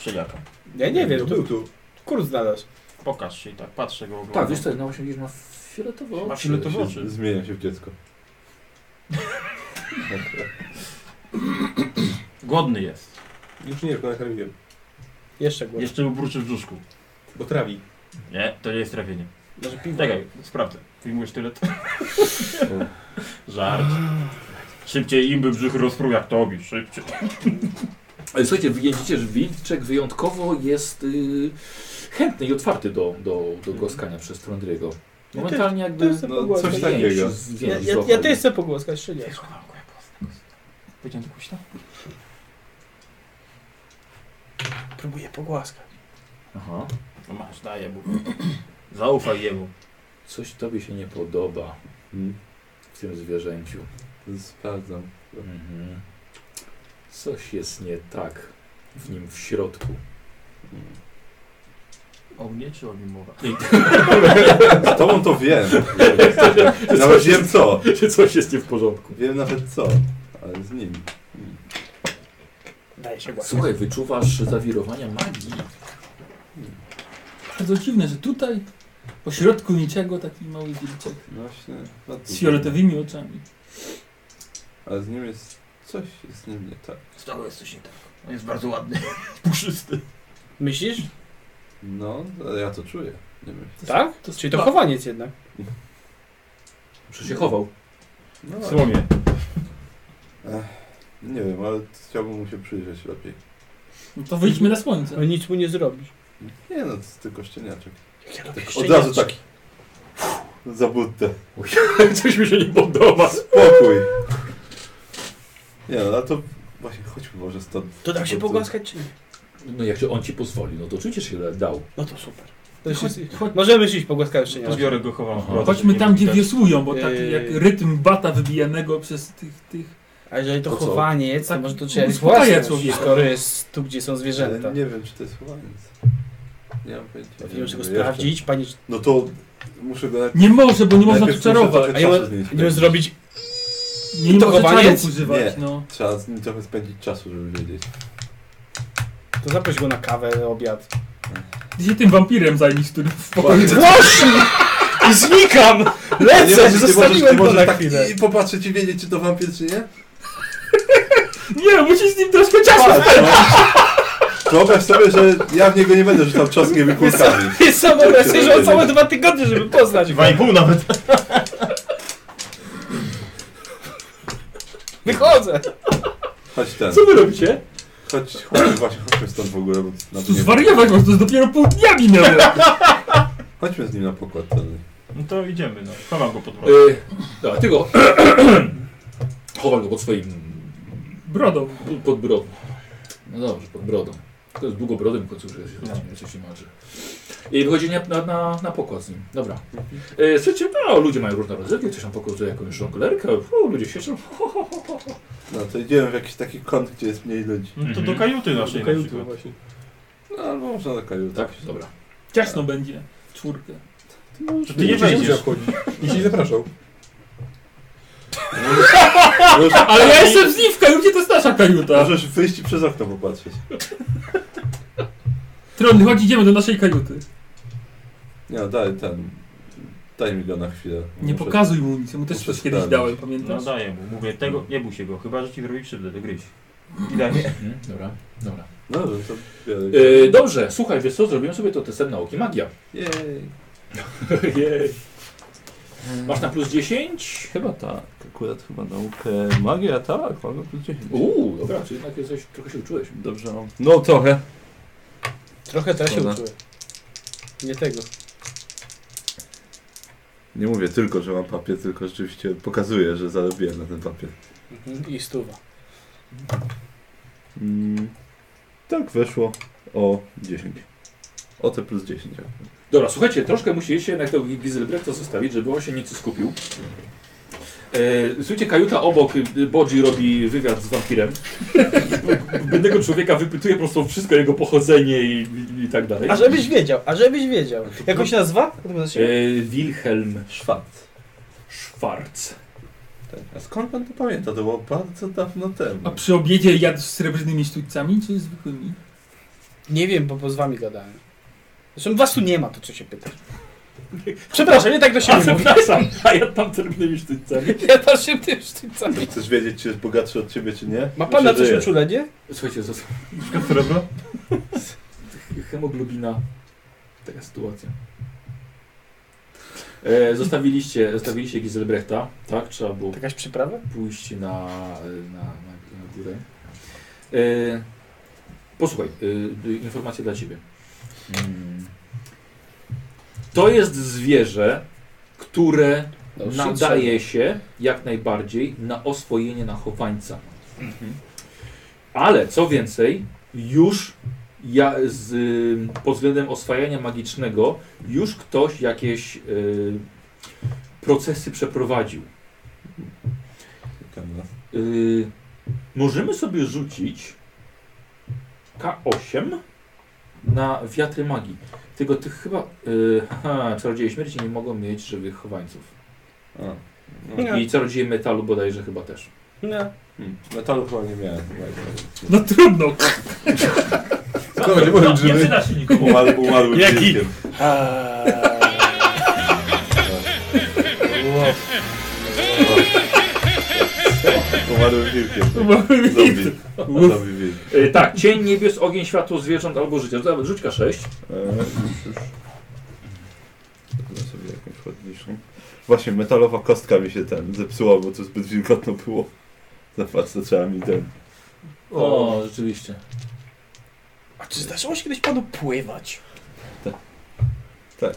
S7: szczeniaka?
S4: Ja nie wiem,
S2: był
S4: tu
S2: tu.
S4: kurs znalazł.
S7: Pokaż się i tak, patrzę go oglądam.
S1: Tak, wiesz co, no właśnie widzisz, ma fioletowe
S7: Ma
S1: oczy.
S7: fioletowe
S16: się-
S7: oczy.
S16: Zmieniam się w dziecko.
S7: Głodny jest.
S6: Już nie, tylko nakarmiłem.
S4: Jeszcze głośniej.
S7: Jeszcze mu burczy w brzuszku.
S6: Bo trawi.
S7: Nie, to nie jest trafienie.
S4: Może piwo.
S7: Czekaj, sprawdzę. Wyjmuję sztylet. Żart. Szybciej imby brzuch rozpruł jak tobie, szybciej.
S1: Ale słuchajcie, widzicie, że wilczek wyjątkowo jest y, chętny i otwarty do, do, do głaskania przez Trondriego. Momentalnie jakby...
S4: też sobie pogłaskam.
S1: coś
S2: No, takiego.
S1: większy z-
S4: Ja,
S1: większy
S4: ja,
S1: złapał.
S4: ja też chcę pogłaskać szczeliać.
S7: Powiedziałem to kuśno?
S4: Próbuję pogłaskać.
S1: Aha.
S7: No masz, daję mu. Zaufaj jemu.
S1: Coś tobie się nie podoba
S2: Hmm.
S1: w tym zwierzęciu.
S2: Sprawdzam.
S1: Mhm. Coś jest nie tak w nim w środku.
S7: O mnie czy o nim mowa?
S2: Z tobą to wiem. Nawet wiem co.
S1: Czy coś jest nie w porządku?
S2: Wiem nawet co. Ale z nim.
S4: Daję się głaskać.
S1: Słuchaj, wyczuwasz zawirowania magii.
S3: Bardzo dziwne, że tutaj, pośrodku niczego, taki mały wilczek
S2: Właśnie. no
S3: z fioletowymi oczami.
S2: Ale z nim jest... Coś jest z nim nie tak.
S7: Z tobą jest coś nie tak. On jest bardzo ładny. Puszysty.
S4: Myślisz?
S2: No, ale ja to czuję. Nie wiem.
S4: Tak?
S3: To jest
S4: Czyli to chowaniec jednak.
S1: Że się chował.
S2: No,
S7: W słomie.
S2: nie wiem, ale chciałbym mu się przyjrzeć lepiej.
S3: No to wyjdźmy na słońce.
S4: Ale nic mu nie zrobisz.
S2: Nie no, to jest tylko szczeniaczek.
S4: Ja lubię
S2: Od razu tak. Za buttę.
S1: Coś mi się nie podoba.
S2: Spokój. Nie no, a to właśnie chodźmy może stąd.
S4: To da się pogłaskać czy nie?
S1: No jak się on ci pozwoli, no to oczywiście się da- dał.
S4: No to super. To już
S3: Chodź,
S4: jest...
S3: chodź,
S4: Możemy iść pogłaskać szczeniaczka.
S7: Zbiorę go, chowam w
S1: Aha.
S7: brodę,
S3: chodźmy
S7: żeby
S3: tam,
S7: nie
S3: gdzie
S7: widać.
S3: wiosłują, bo taki
S4: Eee.
S3: jak rytm bata wybijanego przez tych... tych...
S4: A jeżeli to,
S1: To co?
S4: chowaniec, to
S3: Tak
S4: może to trzeba jest
S3: uspokaja
S4: własność,
S3: człowieka.
S4: skoro jest tu, gdzie są
S2: Ale
S4: zwierzęta.
S2: nie wiem, czy to jest chłaniec. Nie mam pojęcia.
S4: Nie możesz tego
S2: Jeszcze.
S4: sprawdzić, No pani...
S2: No to muszę go najpierw...
S3: Nie może, bo nie można tu
S2: najpierw muszę
S3: czarować.
S2: trochę
S4: A nie ma-
S2: czasu z nim
S4: Nie możesz
S2: spędzić.
S4: zrobić...
S3: Nie, nie można
S4: Tokowaniec?
S3: czarów używać,
S2: Nie.
S3: no.
S2: Trzeba z nim trochę spędzić czasu, żeby wiedzieć.
S4: To zaproś go na kawę, obiad.
S3: Ty się tym wampirem zajmij, który w pokoju...
S4: Właśnie! I znikam!
S2: A nie
S4: Lecę!
S2: możesz- nie możesz-
S4: Zostawiłem
S2: nie
S4: go
S2: możesz
S4: na
S2: tak
S4: chwilę.
S2: I popatrzeć i wiedzieć, czy to wampir, czy nie?
S3: Nie, musisz z nim troszkę czasu
S2: Patrz, no. Wyobraź sobie, że ja w niego nie będę rzucał czosnkiem i kulkami.
S4: Jest samo wrażenie, że on całe dwa tygodnie, żeby poznać go.
S5: Dwa i pół nawet.
S4: Wychodzę!
S2: Chodź ten.
S1: Co wy robicie?
S2: Chodź, chodźmy właśnie, chodźmy stąd w ogóle. Bo na
S3: Tu zwariować, bo to jest dopiero pół dnia minęło.
S2: Chodźmy z nim na pokład. Ten.
S5: No to idziemy, no. Chowam go pod brodę.
S1: Yy, dobra, ty go... Chowal go pod swoim
S3: Brodą.
S1: Bu- Pod brodą. No dobrze, pod brodą. To jest długobrodym w końcu, że się, no. się marzy. I wychodzi na, na, na, na pokład z nim. Dobra. E, słuchajcie, no ludzie mają różne rozrywki, ktoś tam pokrótce jakąś żonglerkę, o, ludzie siedzą. Ho, ho, ho, ho.
S2: No to idziemy w jakiś taki kąt, gdzie jest mniej ludzi.
S5: No to
S1: Mhm.
S5: do kajuty naszej
S6: Do
S5: na
S6: kajuty
S5: przykład.
S6: właśnie.
S2: No albo można do kajuty.
S1: Tak? Dobra.
S3: Ciasno będzie. W czwórkę.
S5: Czy ty nie wejdziesz?
S6: Jeśli zapraszał.
S2: Możesz,
S3: Ale ja jestem z nim w kajucie, to jest nasza kajuta.
S2: możesz wyjść i przez okno popatrzeć.
S3: Tron, chodź, idziemy do naszej kajuty.
S2: Nie, no, daj ten. Daj mi go na chwilę.
S3: Nie
S2: Muszę-
S3: pokazuj mu nic, mu też
S2: muszę
S3: coś
S2: sprawdzić.
S3: kiedyś dałem,
S7: No
S3: pamiętasz?
S7: daję mu. Mówię, tego, nie bój się go, chyba że ci zrobi krzywdę, to gryź. I daj mi.
S1: Mhm, dobra, dobra.
S2: No dobrze, to biorę.
S1: E, dobrze, słuchaj, wiesz co, zrobiłem sobie to testem nauki magia.
S2: Jej.
S1: Jej. Masz na plus 10?
S8: Chyba tak. Akurat chyba naukę magia, tak. Mam plus 10.
S1: Uuu, dobra, czy jednak jesteś, trochę się uczyłeś.
S8: Dobrze mam. No trochę.
S4: Trochę teraz się
S8: Szkoda.
S4: uczyłem. Nie tego.
S2: Nie mówię tylko, że mam papier, tylko rzeczywiście pokazuję, że zarobiłem na ten papier.
S4: Mhm. I stuwa.
S2: Mm, tak weszło o 10. O te plus 10. jak
S1: Dobra, słuchajcie, troszkę musieliście jednak tego Gizelbrechta zostawić, żeby on się nieco skupił. E, słuchajcie, kajuta obok y, Bodzi robi wywiad z wampirem. Biednego człowieka wypytuje po prostu wszystko, jego pochodzenie i, i tak dalej.
S4: A żebyś wiedział, a żebyś wiedział. Jak on się nazywa?
S1: E, Wilhelm
S2: Szwat.
S1: Schwarz.
S2: Tak. A skąd pan to pamięta? To było bardzo dawno temu.
S3: A przy obiedzie jadł z srebrnymi sztućcami, czy zwykłymi?
S4: Nie wiem, bo, bo z wami gadałem. Zresztą was tu nie ma, to co się pytasz. Przepraszam, nie tak do
S1: A
S4: siebie mówię.
S1: przepraszam, a ja tam terminem sztućcami.
S4: Ja tam się tym sztycami.
S2: Chcesz wiedzieć, czy jest bogatszy od ciebie, czy nie?
S4: Ma pan na
S2: Myślę,
S4: coś
S2: że jest.
S4: uczulenie?
S1: Słuchajcie, to jest
S17: Srebro?
S1: hemoglobina. Taka sytuacja. E, zostawiliście, zostawiliście Giselbrechta, tak? Trzeba było
S4: Jakaś przyprawa?
S1: pójść na, na, na, na górę. E, posłuchaj, e, informacja dla Ciebie. Mm. To jest zwierzę, które nadaje się jak najbardziej na oswojenie na chowańca. Ale co więcej, już ja, z, y, pod względem oswajania magicznego, już ktoś jakieś y, procesy przeprowadził. Y, możemy sobie rzucić K8 na wiatry magii. Tylko tych chyba. Yy, haha, czarodzieje śmierci nie mogą mieć żywych chowańców.
S2: A,
S4: Nie.
S1: I czarodzieje metalu bodajże chyba też.
S4: Nie.
S2: hmm. Metalu chyba nie miałem.
S3: No trudno.
S2: Skoro nie byłem
S17: Nie
S2: żywy,
S17: przyda się nikomu.
S2: umarł, umarł
S17: Jaki?
S2: dzieckiem. Umarłym wilkiem.
S3: Umarłym
S2: wilkiem. Zombie wilk.
S1: Y, tak, cień niebios, ogień, światło zwierząt albo życie. Dobra, Rzuć K6.
S2: Eee, już, już. Wezmę sobie jakąś ładniejszą. Właśnie, metalowa kostka mi się ten zepsuła, bo to zbyt wilgotno było. Zobacz, to trzeba mi ten...
S1: O, rzeczywiście.
S4: A czy zdarzyło się kiedyś panu pływać?
S2: Tak.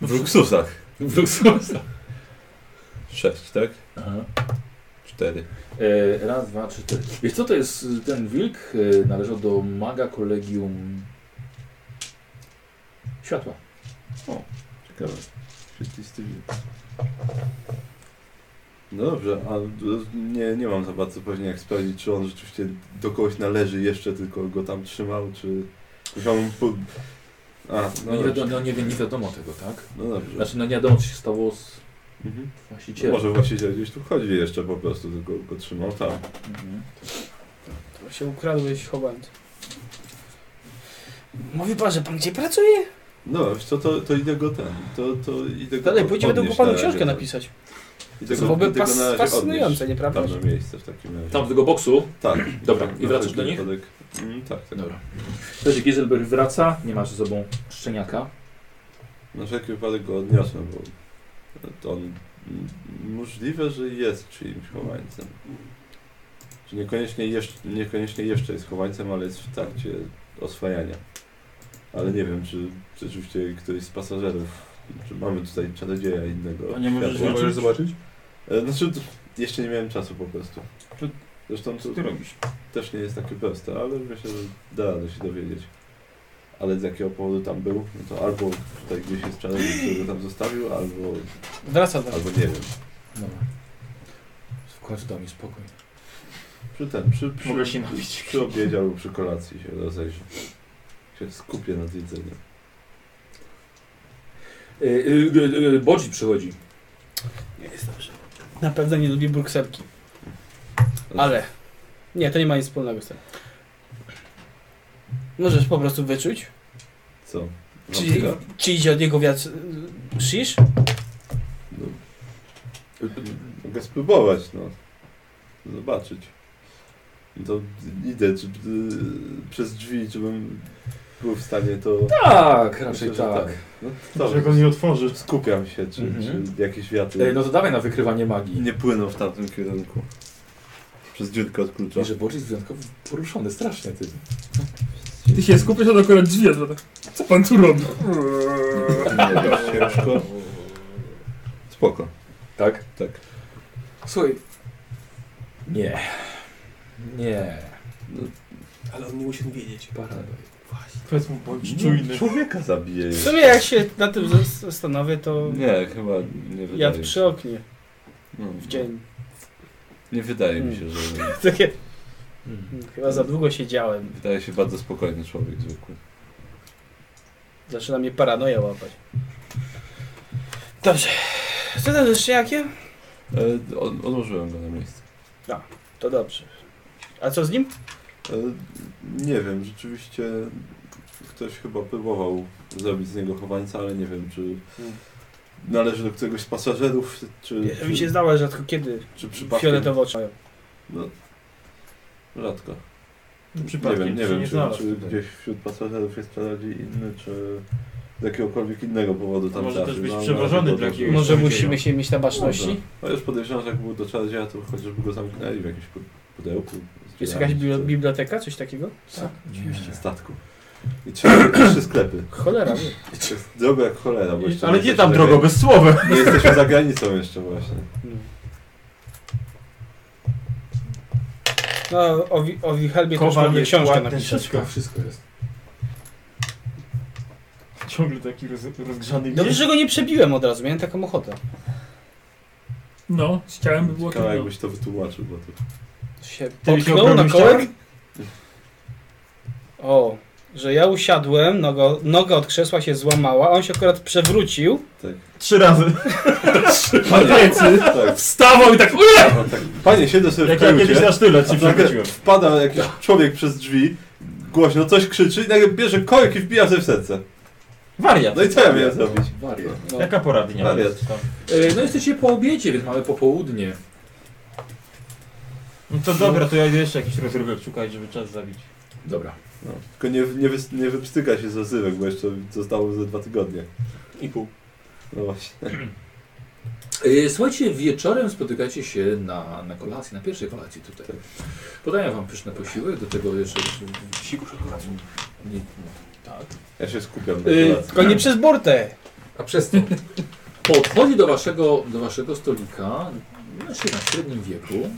S2: W luksusach.
S1: W luksusa.
S2: Sześć, tak?
S1: Aha.
S2: Cztery.
S1: E, raz, dwa, trzy, cztery. Wiesz co to jest y, ten wilk? Y, Należał do maga kolegium światła.
S2: Ciekawe. Świetlisty wilk. No dobrze, a d- nie, nie mam za bardzo pewnie jak sprawdzić, czy on rzeczywiście do kogoś należy jeszcze, tylko go tam trzymał, czy... Musiał mu... Po... A,
S1: No,
S2: no,
S1: nie,
S2: dobrze.
S1: wiadomo, no nie, wi- nie wiadomo tego, tak?
S2: No dobrze.
S1: Znaczy, no nie wiadomo, co się stało z
S2: Mhm.
S1: właścicielem.
S2: Może właściciel gdzieś tu chodzi jeszcze po prostu, tylko go trzymał tam.
S1: Mhm.
S4: To się ukradłeś chowant. Mówi pan, że pan gdzie pracuje?
S2: No, wiesz co, to, to idę go ten, to, to idę go
S4: Dalej, pójdziemy do
S2: podnieść
S4: panu
S2: na razie,
S4: książkę
S2: tak.
S4: napisać.
S2: Idę
S4: To
S2: go-
S4: byłoby
S2: idę go
S4: pas,
S2: na razie
S4: fascynujące, nieprawda?
S2: odnieść Tam na miejsce w takim razie.
S1: Tam do tego boksu.
S2: Tak.
S1: Dobra,
S2: Na
S1: i wracasz do
S2: wszelki
S1: nich?
S2: wypadek. Mm, tak, tak.
S1: Dobra. Wtedy Giselberg wraca, nie masz ze sobą szczeniaka.
S2: Na wszelki wypadek go odniosę, bo to on m- możliwe, że jest czyimś chowańcem. Czy niekoniecznie jeszcze, niekoniecznie jeszcze jest chowańcem, ale jest w trakcie oswajania. Ale nie wiem, czy rzeczywiście któryś z pasażerów, czy mamy tutaj czarodzieja innego.
S7: A nie możesz
S2: światła.
S7: zobaczyć?
S18: zobaczyć?
S2: E, Znaczy, t- jeszcze nie miałem czasu po prostu.
S7: To-
S2: Zresztą to
S7: Co ty robisz?
S2: też nie jest takie proste, ale myślę, że da radę się dowiedzieć. Ale z jakiego powodu tam był, no to albo tutaj gdzieś jest czarodziej, który go tam zostawił, albo,
S4: Wraca do
S2: albo nie wiem.
S1: Dobra. W końcu dał mi spokój.
S2: Przy ten, przy, przy,
S1: Mogę się napić.
S2: przy obiedzie albo przy kolacji się rozejrzę. Się skupię nad jedzeniem.
S1: Y, y, y, y, Bodzi przychodzi.
S4: Na pewno nie lubi brukselki. Ale. Nie, to nie ma nic wspólnego z tym. Możesz po prostu wyczuć,
S2: Co?
S4: czy,
S2: Wampira?
S4: czy idzie od niego wiatr y, shish,
S2: No. Mogę spróbować, no. Zobaczyć. No To idę czy, y, przez drzwi, żebym był w stanie to...
S1: Tak,
S2: Myślę,
S1: raczej
S2: że
S1: tak.
S2: No to
S17: Może jak on nie otworzy.
S2: Skupiam się, czy,
S1: Mhm.
S2: czy jakieś
S1: Ej,
S2: wiatry
S1: no to dawaj na wykrywanie magii.
S2: nie płyną w tamtym kierunku. Przez dziurkę od klucza.
S1: I że Bodzi jest wyjątkowo poruszony, strasznie ty.
S3: Ty się skupisz na akurat drzwi, a tak. Co pan tu robi?
S2: Nie, dość ciężko. Spoko.
S1: Tak?
S2: Tak.
S1: Słuchaj. Nie. Nie.
S19: Ale on nie musi wiedzieć.
S1: Paradoj.
S17: Powiedz mu, bądź
S2: Nie,
S17: czujny.
S2: Człowieka zabije.
S4: W sumie jak się na tym zas- zastanowię, to
S2: Nie, chyba nie wydaje
S4: jadł
S2: mi się.
S4: przy oknie
S2: No,
S4: w dzień.
S2: Nie wydaje mi się, że...
S4: Takie,
S1: Hmm.
S4: chyba za długo siedziałem.
S2: Wydaje się bardzo spokojny człowiek zwykły.
S4: Zaczyna mnie paranoja łapać. Dobrze. Co tam ze szczeniakiem?
S2: E, od, odłożyłem go na miejsce.
S4: To dobrze. A co z nim?
S2: E, Nie wiem, rzeczywiście Ktoś chyba próbował zrobić z niego chowańca, ale nie wiem, czy należy do któregoś z pasażerów, czy,
S4: Hmm. Ja- Mi się
S2: czy,
S4: zdało rzadko kiedy
S2: czy przypadkiem.
S4: fioletowe oczy mają.
S2: No, rzadko. Nie
S20: Przypadkiem
S2: wiem, nie
S20: się
S2: wiem,
S20: nie
S2: czy,
S20: znalazł
S2: czy
S20: tutaj.
S2: gdzieś wśród pasażerów jest czarodziej inny, czy z jakiegokolwiek innego powodu tam
S7: Może
S2: trafił.
S7: też być
S2: No,
S7: przewożony
S2: no,
S7: dla
S2: no,
S7: jakiegoś-
S4: Może
S7: Może.
S4: musimy się mieć na baczności?
S2: Może. No już podejrzewam, że jak był do czarodzieja, to chociażby go zamknęli w jakimś pu- pudełku.
S4: Jest
S2: zbierali,
S4: jakaś
S2: czy-
S4: bi- biblioteka, coś takiego?
S2: Nie. statku. I trzy, trzy sklepy.
S4: Cholera, wie.
S2: To jest drogo jak cholera. Bo jeszcze
S20: Ale nie
S2: jesteśmy
S20: tam
S2: za
S20: drogo,
S2: granic-
S20: bez słowa.
S2: Nie jesteśmy za granicą jeszcze właśnie.
S4: No, o, wi- o Wichelbie też
S20: Kowal
S4: mamy
S20: jest
S4: książkę
S20: ładny,
S4: napisać.
S20: Wszystko.
S1: Wszystko jest.
S20: Ciągle taki roz, rozgrzany
S4: Dobrze, że go nie przebiłem od razu, miałem taką ochotę.
S3: No, z ciałem by było
S2: Ciekawe
S3: trudno.
S2: jakbyś to wytłumaczył, bo to...
S4: Się
S20: Ty się
S4: potknął na
S20: obronił
S4: kołek?
S7: tak?
S4: O, że ja usiadłem, noga, noga od krzesła się złamała, a on się akurat przewrócił.
S20: Trzy razy.
S2: Panie, tak,
S20: Wstawał i tak. Ue!
S2: on tak, panie siedzę sobie
S20: Jak
S2: w
S20: ja kiedyś
S2: kajucie,
S20: na sztylet
S2: a
S20: ci
S2: nagle
S20: przewróciłem.
S2: wpada jakiś człowiek przez drzwi, głośno coś krzyczy i nagle bierze korek i wbija sobie w serce.
S7: Wariat.
S2: No i co ja miałem zrobić?
S1: Wariat.
S4: No.
S7: Jaka pora dnia?
S2: Wariat.
S7: jest tam?
S1: E, No jesteście po obiedzie, więc mamy popołudnie.
S7: No to dobra, to ja idę jeszcze jakiś rozrywek szukać, żeby czas zabić.
S1: Dobra.
S2: No, tylko nie, nie, wys- nie wypstyka się z rozrywek, bo jeszcze zostało ze dwa tygodnie.
S21: I pół.
S2: No właśnie.
S1: E, Słuchajcie, wieczorem spotykacie się na, na kolacji, na pierwszej kolacji tutaj. Podaję wam pyszne posiłek, do tego jeszcze... Siku szokoladzie. Nie, tak.
S2: Ja się skupiam na
S4: Yy,
S2: kolacji.
S4: tylko nie przez burtę.
S1: A przez to podchodzi do waszego, do waszego stolika mężczyzna w średnim wieku,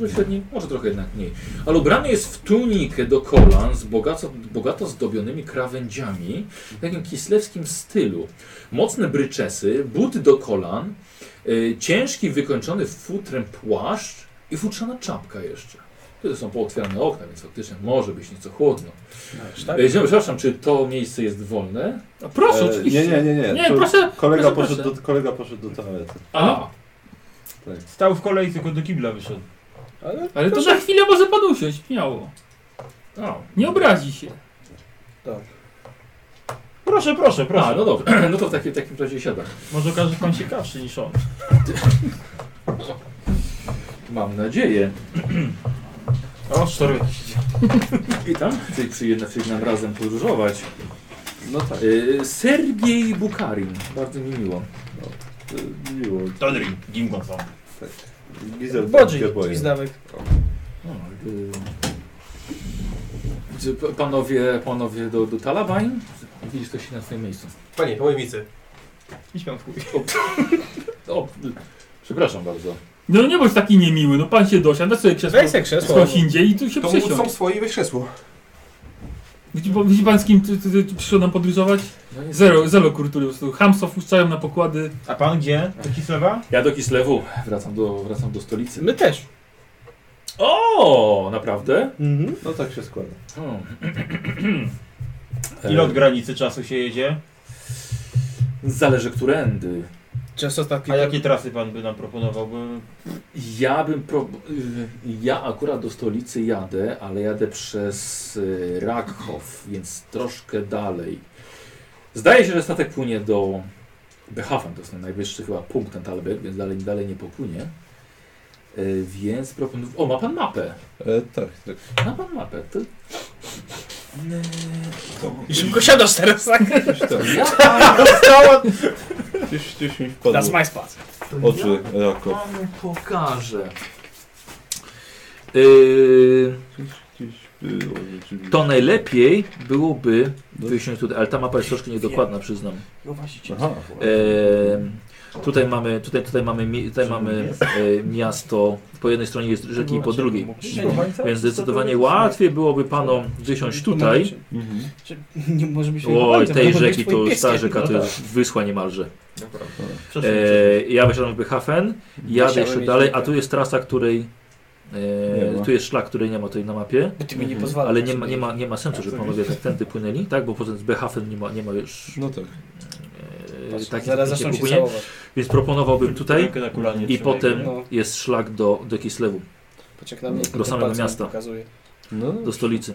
S1: może średnim, może trochę jednak mniej, ale ubrany jest w tunikę do kolan z bogato, bogato zdobionymi krawędziami w takim kislewskim stylu. Mocne bryczesy, buty do kolan, yy, ciężki wykończony futrem płaszcz i futrzana czapka jeszcze. Tutaj są pootwierane okna, więc faktycznie może być nieco chłodno.
S4: tak?
S1: Yy, Przepraszam, czy to miejsce jest wolne?
S3: A proszę,
S2: E,
S3: oczywiście.
S2: nie, nie, nie, nie.
S3: Nie,
S2: To
S3: proszę.
S2: kolega,
S3: proszę,
S2: poszedł
S3: proszę.
S2: do, kolega poszedł do toalety.
S1: A,
S7: Stał w kolei, tylko do kibla wyszedł.
S3: Ale to za chwilę może pan usiąść, śmiało.
S1: a,
S3: Nie obrazi się.
S7: Proszę, proszę, proszę.
S1: A, no dobrze, no to w takim, takim razie siada.
S7: Może okaże się pan ciekawszy niż on.
S1: Mam nadzieję.
S7: O, cztery.
S1: Witam. Czyli przyjemna przyjdzie nam razem podróżować. No tak. Y, Sergiej Bukarin. Bardzo mi miło. No, y,
S2: E, Miło.
S7: Tonry, Gimgon są.
S2: Gizel
S4: Bodzi,
S2: się boję.
S4: Gwizdawek.
S1: No, y, czy p- y, Panowie, panowie do, do Talabain? Widzisz, to się na swoim miejscu.
S21: Panie, po mojej micy.
S7: Idź pan w chuj.
S1: O, y, przepraszam bardzo.
S3: No nie bądź taki niemiły, no pan się dosiadł, da sobie krzesło.
S4: Weź se krzesło.
S3: Skądś indziej i tu się
S21: To mu są
S3: przysiąść.
S21: swoje i weź krzesło.
S3: Widzi, pan- widzi pan z kim ty, ty, ty, przyszło nam podróżować?
S1: No nie-
S3: Zero, zero kurtury po prostu. Hamstwo wpuszczają na pokłady.
S7: A pan gdzie? Do Kislewa?
S1: Ja do Kislewu. Wracam do, wracam do stolicy.
S4: My też.
S1: O, naprawdę?
S4: Mhm.
S2: No tak się składa.
S1: Hmm. E.
S7: Ile od granicy czasu się jedzie?
S1: Zależy którędy.
S4: Często ostatni.
S7: A jakie trasy pan by nam proponował? Bo
S1: Ja bym. Pro... y, Ja akurat do stolicy jadę, ale jadę przez y, Rakhow, więc troszkę dalej. Zdaje się, że statek płynie do Behafen, to jest ten najwyższy chyba punkt ten Talbek, więc dalej, dalej nie popłynie. Y, Więc proponuję. O, ma pan mapę.
S2: E, tak, tak.
S1: Ma pan mapę. To...
S4: I szybko siadasz teraz, tak?
S2: Gdzieś tam.
S1: Ja
S2: Gdzieś, gdzieś mi wpadło
S4: That's my spot.
S2: oczy rako.
S1: panu pokażę. Y,
S2: Gdzieś było rzeczywiście.
S1: To najlepiej byłoby
S2: No.
S1: wyjść tutaj, ale ta mapa jest troszkę niedokładna, przyznam.
S21: No właśnie.
S2: Aha.
S1: E, tutaj mamy, tutaj, tutaj mamy, mi- tutaj mamy e, miasto, po jednej stronie jest rzeki i po drugiej. Więc zdecydowanie łatwiej byłoby panom gdzieś tutaj.
S2: Mhm.
S4: Czy- Nie może być
S1: Oj, tej rzeki to już ta
S4: No tak.
S1: rzeka to jest wyschła niemalże.
S7: przeszło.
S1: E, ja wysiadam w Behafen, jadę
S4: Musiałem
S1: jeszcze
S4: mieć
S1: dalej, a
S4: rękę.
S1: tu jest trasa, której
S2: Nie
S1: e,
S2: ma.
S1: tu jest szlak, której nie ma tutaj na mapie.
S4: Bo ty mi nie
S2: Mhm.
S4: pozwalasz.
S1: Ale nie ma, nie ma, nie ma sensu, żeby panowie tak tędy płynęli, tak? Bo poza tym z Behafen nie ma, nie ma już
S2: No
S1: e,
S2: tak.
S4: Patrz,
S1: takich
S4: Zaraz
S1: takich
S4: zaczną się
S1: płynie.
S4: całować.
S1: Więc proponowałbym tutaj
S7: Rękę na kolanie
S1: i
S7: trzymaj,
S1: potem
S7: nie?
S4: No.
S1: jest szlak do, do Kislewu,
S4: Poczekaj na mnie.
S1: Do samego
S4: palcem
S1: miasta.
S4: Pokazuje.
S2: No,
S1: do stolicy.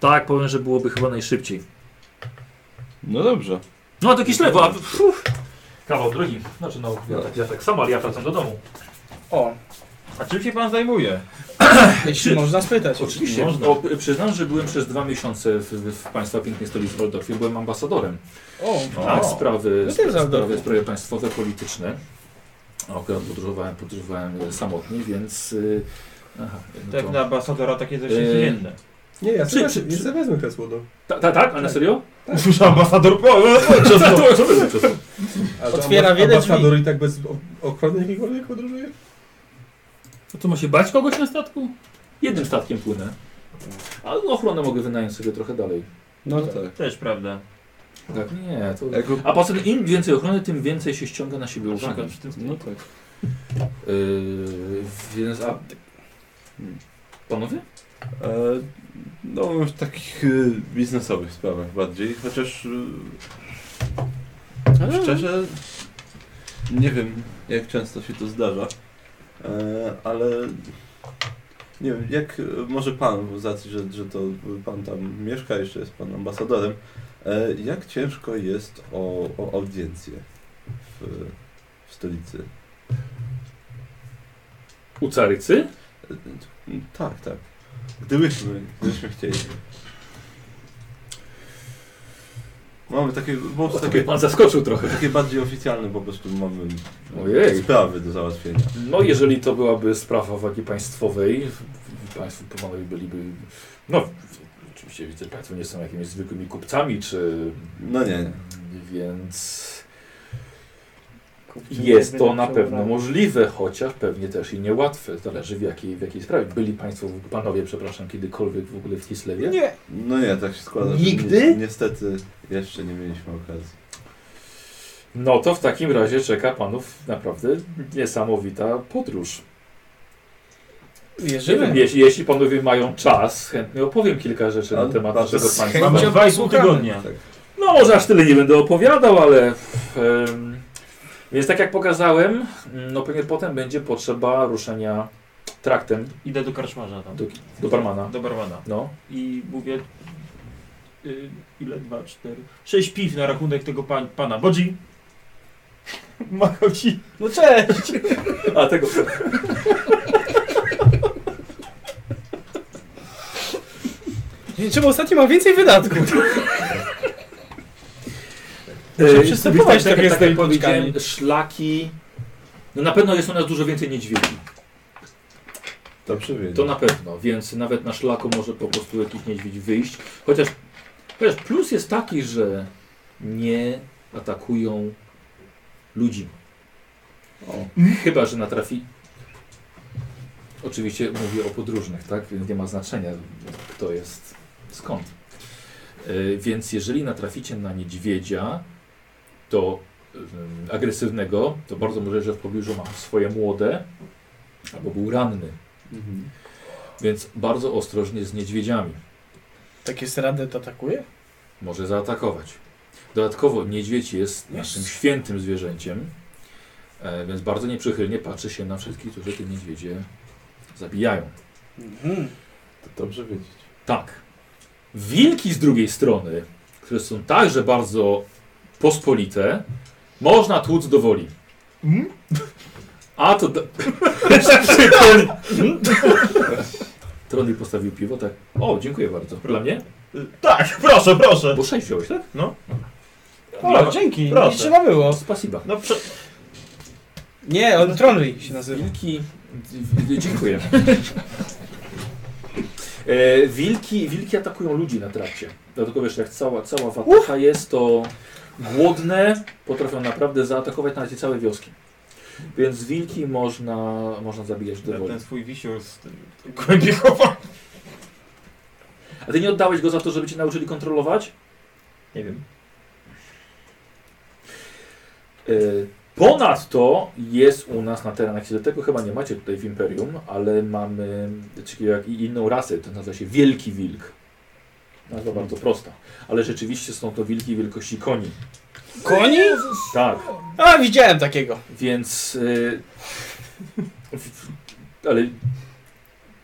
S1: Tak, powiem, że byłoby chyba najszybciej.
S2: No dobrze.
S22: No to Kislewo, a puf, kawał drogi. Znaczy no, ja tak, ja tak samo, ale ja wracam do domu.
S4: O,
S5: A czym się pan zajmuje?
S4: jeśli można spytać.
S1: Oczywiście. O, p- przyznam, że byłem przez dwa miesiące w, w, w Państwa pięknej stolicy Waldorfie. Byłem ambasadorem.
S4: O,
S1: Tak, sprawy,
S4: No też
S1: sprawy,
S4: Waldorfu.
S1: sprawy, sprawy państwowe, polityczne. A Akurat podróżowałem, podróżowałem e, samotnie, więc... y, Aha, no
S5: Tak
S1: to-
S5: na ambasadora takie coś jest
S1: Eee,
S5: inne.
S6: Nie, ja
S1: Przy-
S6: sobie,
S1: przy-
S6: ja
S1: przy-
S6: sobie wezmę kresło do...
S1: Ta- ta- Tak? A na serio?
S5: Słyszę ambasador po...
S1: Co to- co to jest?
S6: A to
S4: Otwiera
S6: ambas-
S4: wiele
S6: Ambasador i tak bez o- ochrony jakiejkolwiek podróżuje?
S3: To co, ma się bać kogoś na statku?
S1: Jednym statkiem płynę. A ochronę mogę wynająć sobie trochę dalej.
S4: No tak.
S2: tak.
S5: Też prawda.
S1: Tak, nie, to...
S2: Jako...
S1: A poza tym im więcej ochrony, tym więcej się ściąga na siebie uwagę.
S2: No tak.
S1: Yy, więc... A... Panowie?
S2: E, no w takich e, biznesowych sprawach bardziej, chociaż e, szczerze nie wiem jak często się to zdarza, e, ale nie wiem, jak e, może pan, z racji, że, że to pan tam mieszka, jeszcze jest pan ambasadorem, e, jak ciężko jest o, o audiencję w, w stolicy?
S1: U carycy?
S2: E, Tak, tak. Gdybyśmy, gdybyśmy chcieli. Mamy takie, po
S1: O,
S2: prostu
S1: tak mnie
S2: takie,
S1: pan zaskoczył trochę.
S2: takie bardziej oficjalne, po prostu mamy
S1: Ojej.
S2: sprawy do załatwienia.
S1: No, jeżeli to byłaby sprawa wagi państwowej, państwo panowie byliby. No, oczywiście widzę, państwo nie są jakimiś zwykłymi kupcami, czy.
S2: No nie, nie.
S1: Więc jest
S4: tak
S1: to na pewno możliwe, chociaż pewnie też i niełatwe. Zależy w jakiej, w jakiej sprawie. Byli państwo, panowie, przepraszam, kiedykolwiek w ogóle w Kislewie?
S4: Nie.
S2: No nie, tak się składa. że
S4: Nigdy?
S2: ni- niestety jeszcze nie mieliśmy okazji.
S1: No to w takim razie czeka panów naprawdę niesamowita podróż.
S4: Wierzymy.
S1: Jeśli, jeśli panowie mają czas, chętnie opowiem kilka rzeczy na
S2: Ale
S1: temat
S2: bardzo
S1: naszego
S2: z
S1: państwa.
S4: chęcią
S5: Mamy dwa i pół
S4: Słuchamy.
S2: Tak,
S5: tygodnia.
S1: No może aż tyle nie będę opowiadał, ale... em, więc tak jak pokazałem, mm, no pewnie potem będzie potrzeba ruszenia traktem
S5: Idę do karczmarza tam.
S1: do, do barmana.
S5: Do barmana.
S1: No,
S5: I mówię... y, ile? Dwa, cztery... Sześć piw na rachunek tego pań, pana. Bodzi! Machał ci.
S4: No cześć.
S1: a tego...
S4: Czemu ostatnio ma więcej wydatków?
S1: E,
S4: przystępować
S1: tak,
S4: takie
S1: jak- tak, jak
S4: z tymi
S1: powiedziałem, szlaki... No na pewno jest u nas dużo więcej niedźwiedzi.
S2: To przywiedzie.
S1: To na pewno, więc nawet na szlaku może po prostu jakiś niedźwiedź wyjść. Chociaż, chociaż plus jest taki, że nie atakują ludzi. Chyba, że natrafi. Oczywiście mówię o podróżnych, tak? Więc nie ma znaczenia, kto jest skąd. Yy, Więc jeżeli natraficie na niedźwiedzia, to ym, agresywnego, to bardzo może, że w pobliżu ma swoje młode, albo był ranny.
S2: Mhm.
S1: Więc bardzo ostrożnie z niedźwiedziami.
S4: Takie sradę Tak to atakuje?
S1: Może zaatakować. Dodatkowo niedźwiedź jest naszym świętym zwierzęciem, e, więc bardzo nieprzychylnie patrzy się na wszystkich, którzy te niedźwiedzie zabijają.
S4: Mhm.
S2: To dobrze wiedzieć.
S1: Tak. Wilki z drugiej strony, które są także bardzo pospolite, można tłuc do woli. A to... Do... Trony postawił piwo, tak? O, dziękuję bardzo. Dla mnie?
S5: Y, Tak, proszę, proszę.
S1: Bo sześć wziąłeś, tak?
S4: O, dzięki.
S5: Proszę.
S4: Nie trzeba było.
S1: Spasiba.
S5: No prze...
S4: Nie, on Tronry się nazywa.
S1: Wilki. d- d- Dziękuję. E, wilki, wilki atakują ludzi na trakcie. Dlatego wiesz, jak cała, cała watacha jest, to głodne potrafią naprawdę zaatakować nawet i całe wioski. Więc wilki można, można zabijać do
S5: Ten,
S1: woli.
S5: ten swój wisior z tym tym głębi chowa.
S1: A ty nie oddałeś go za to, żeby cię nauczyli kontrolować?
S5: Nie wiem.
S1: E, Ponadto jest u nas na terenach, się- tego chyba nie macie tutaj w Imperium, ale mamy czyli jak i inną rasę, to nazywa się Wielki Wilk. Nazwa bardzo prosta, ale rzeczywiście są to wilki wielkości koni.
S4: Koni?
S1: Tak,
S4: A, widziałem takiego.
S1: więc... y, w- ale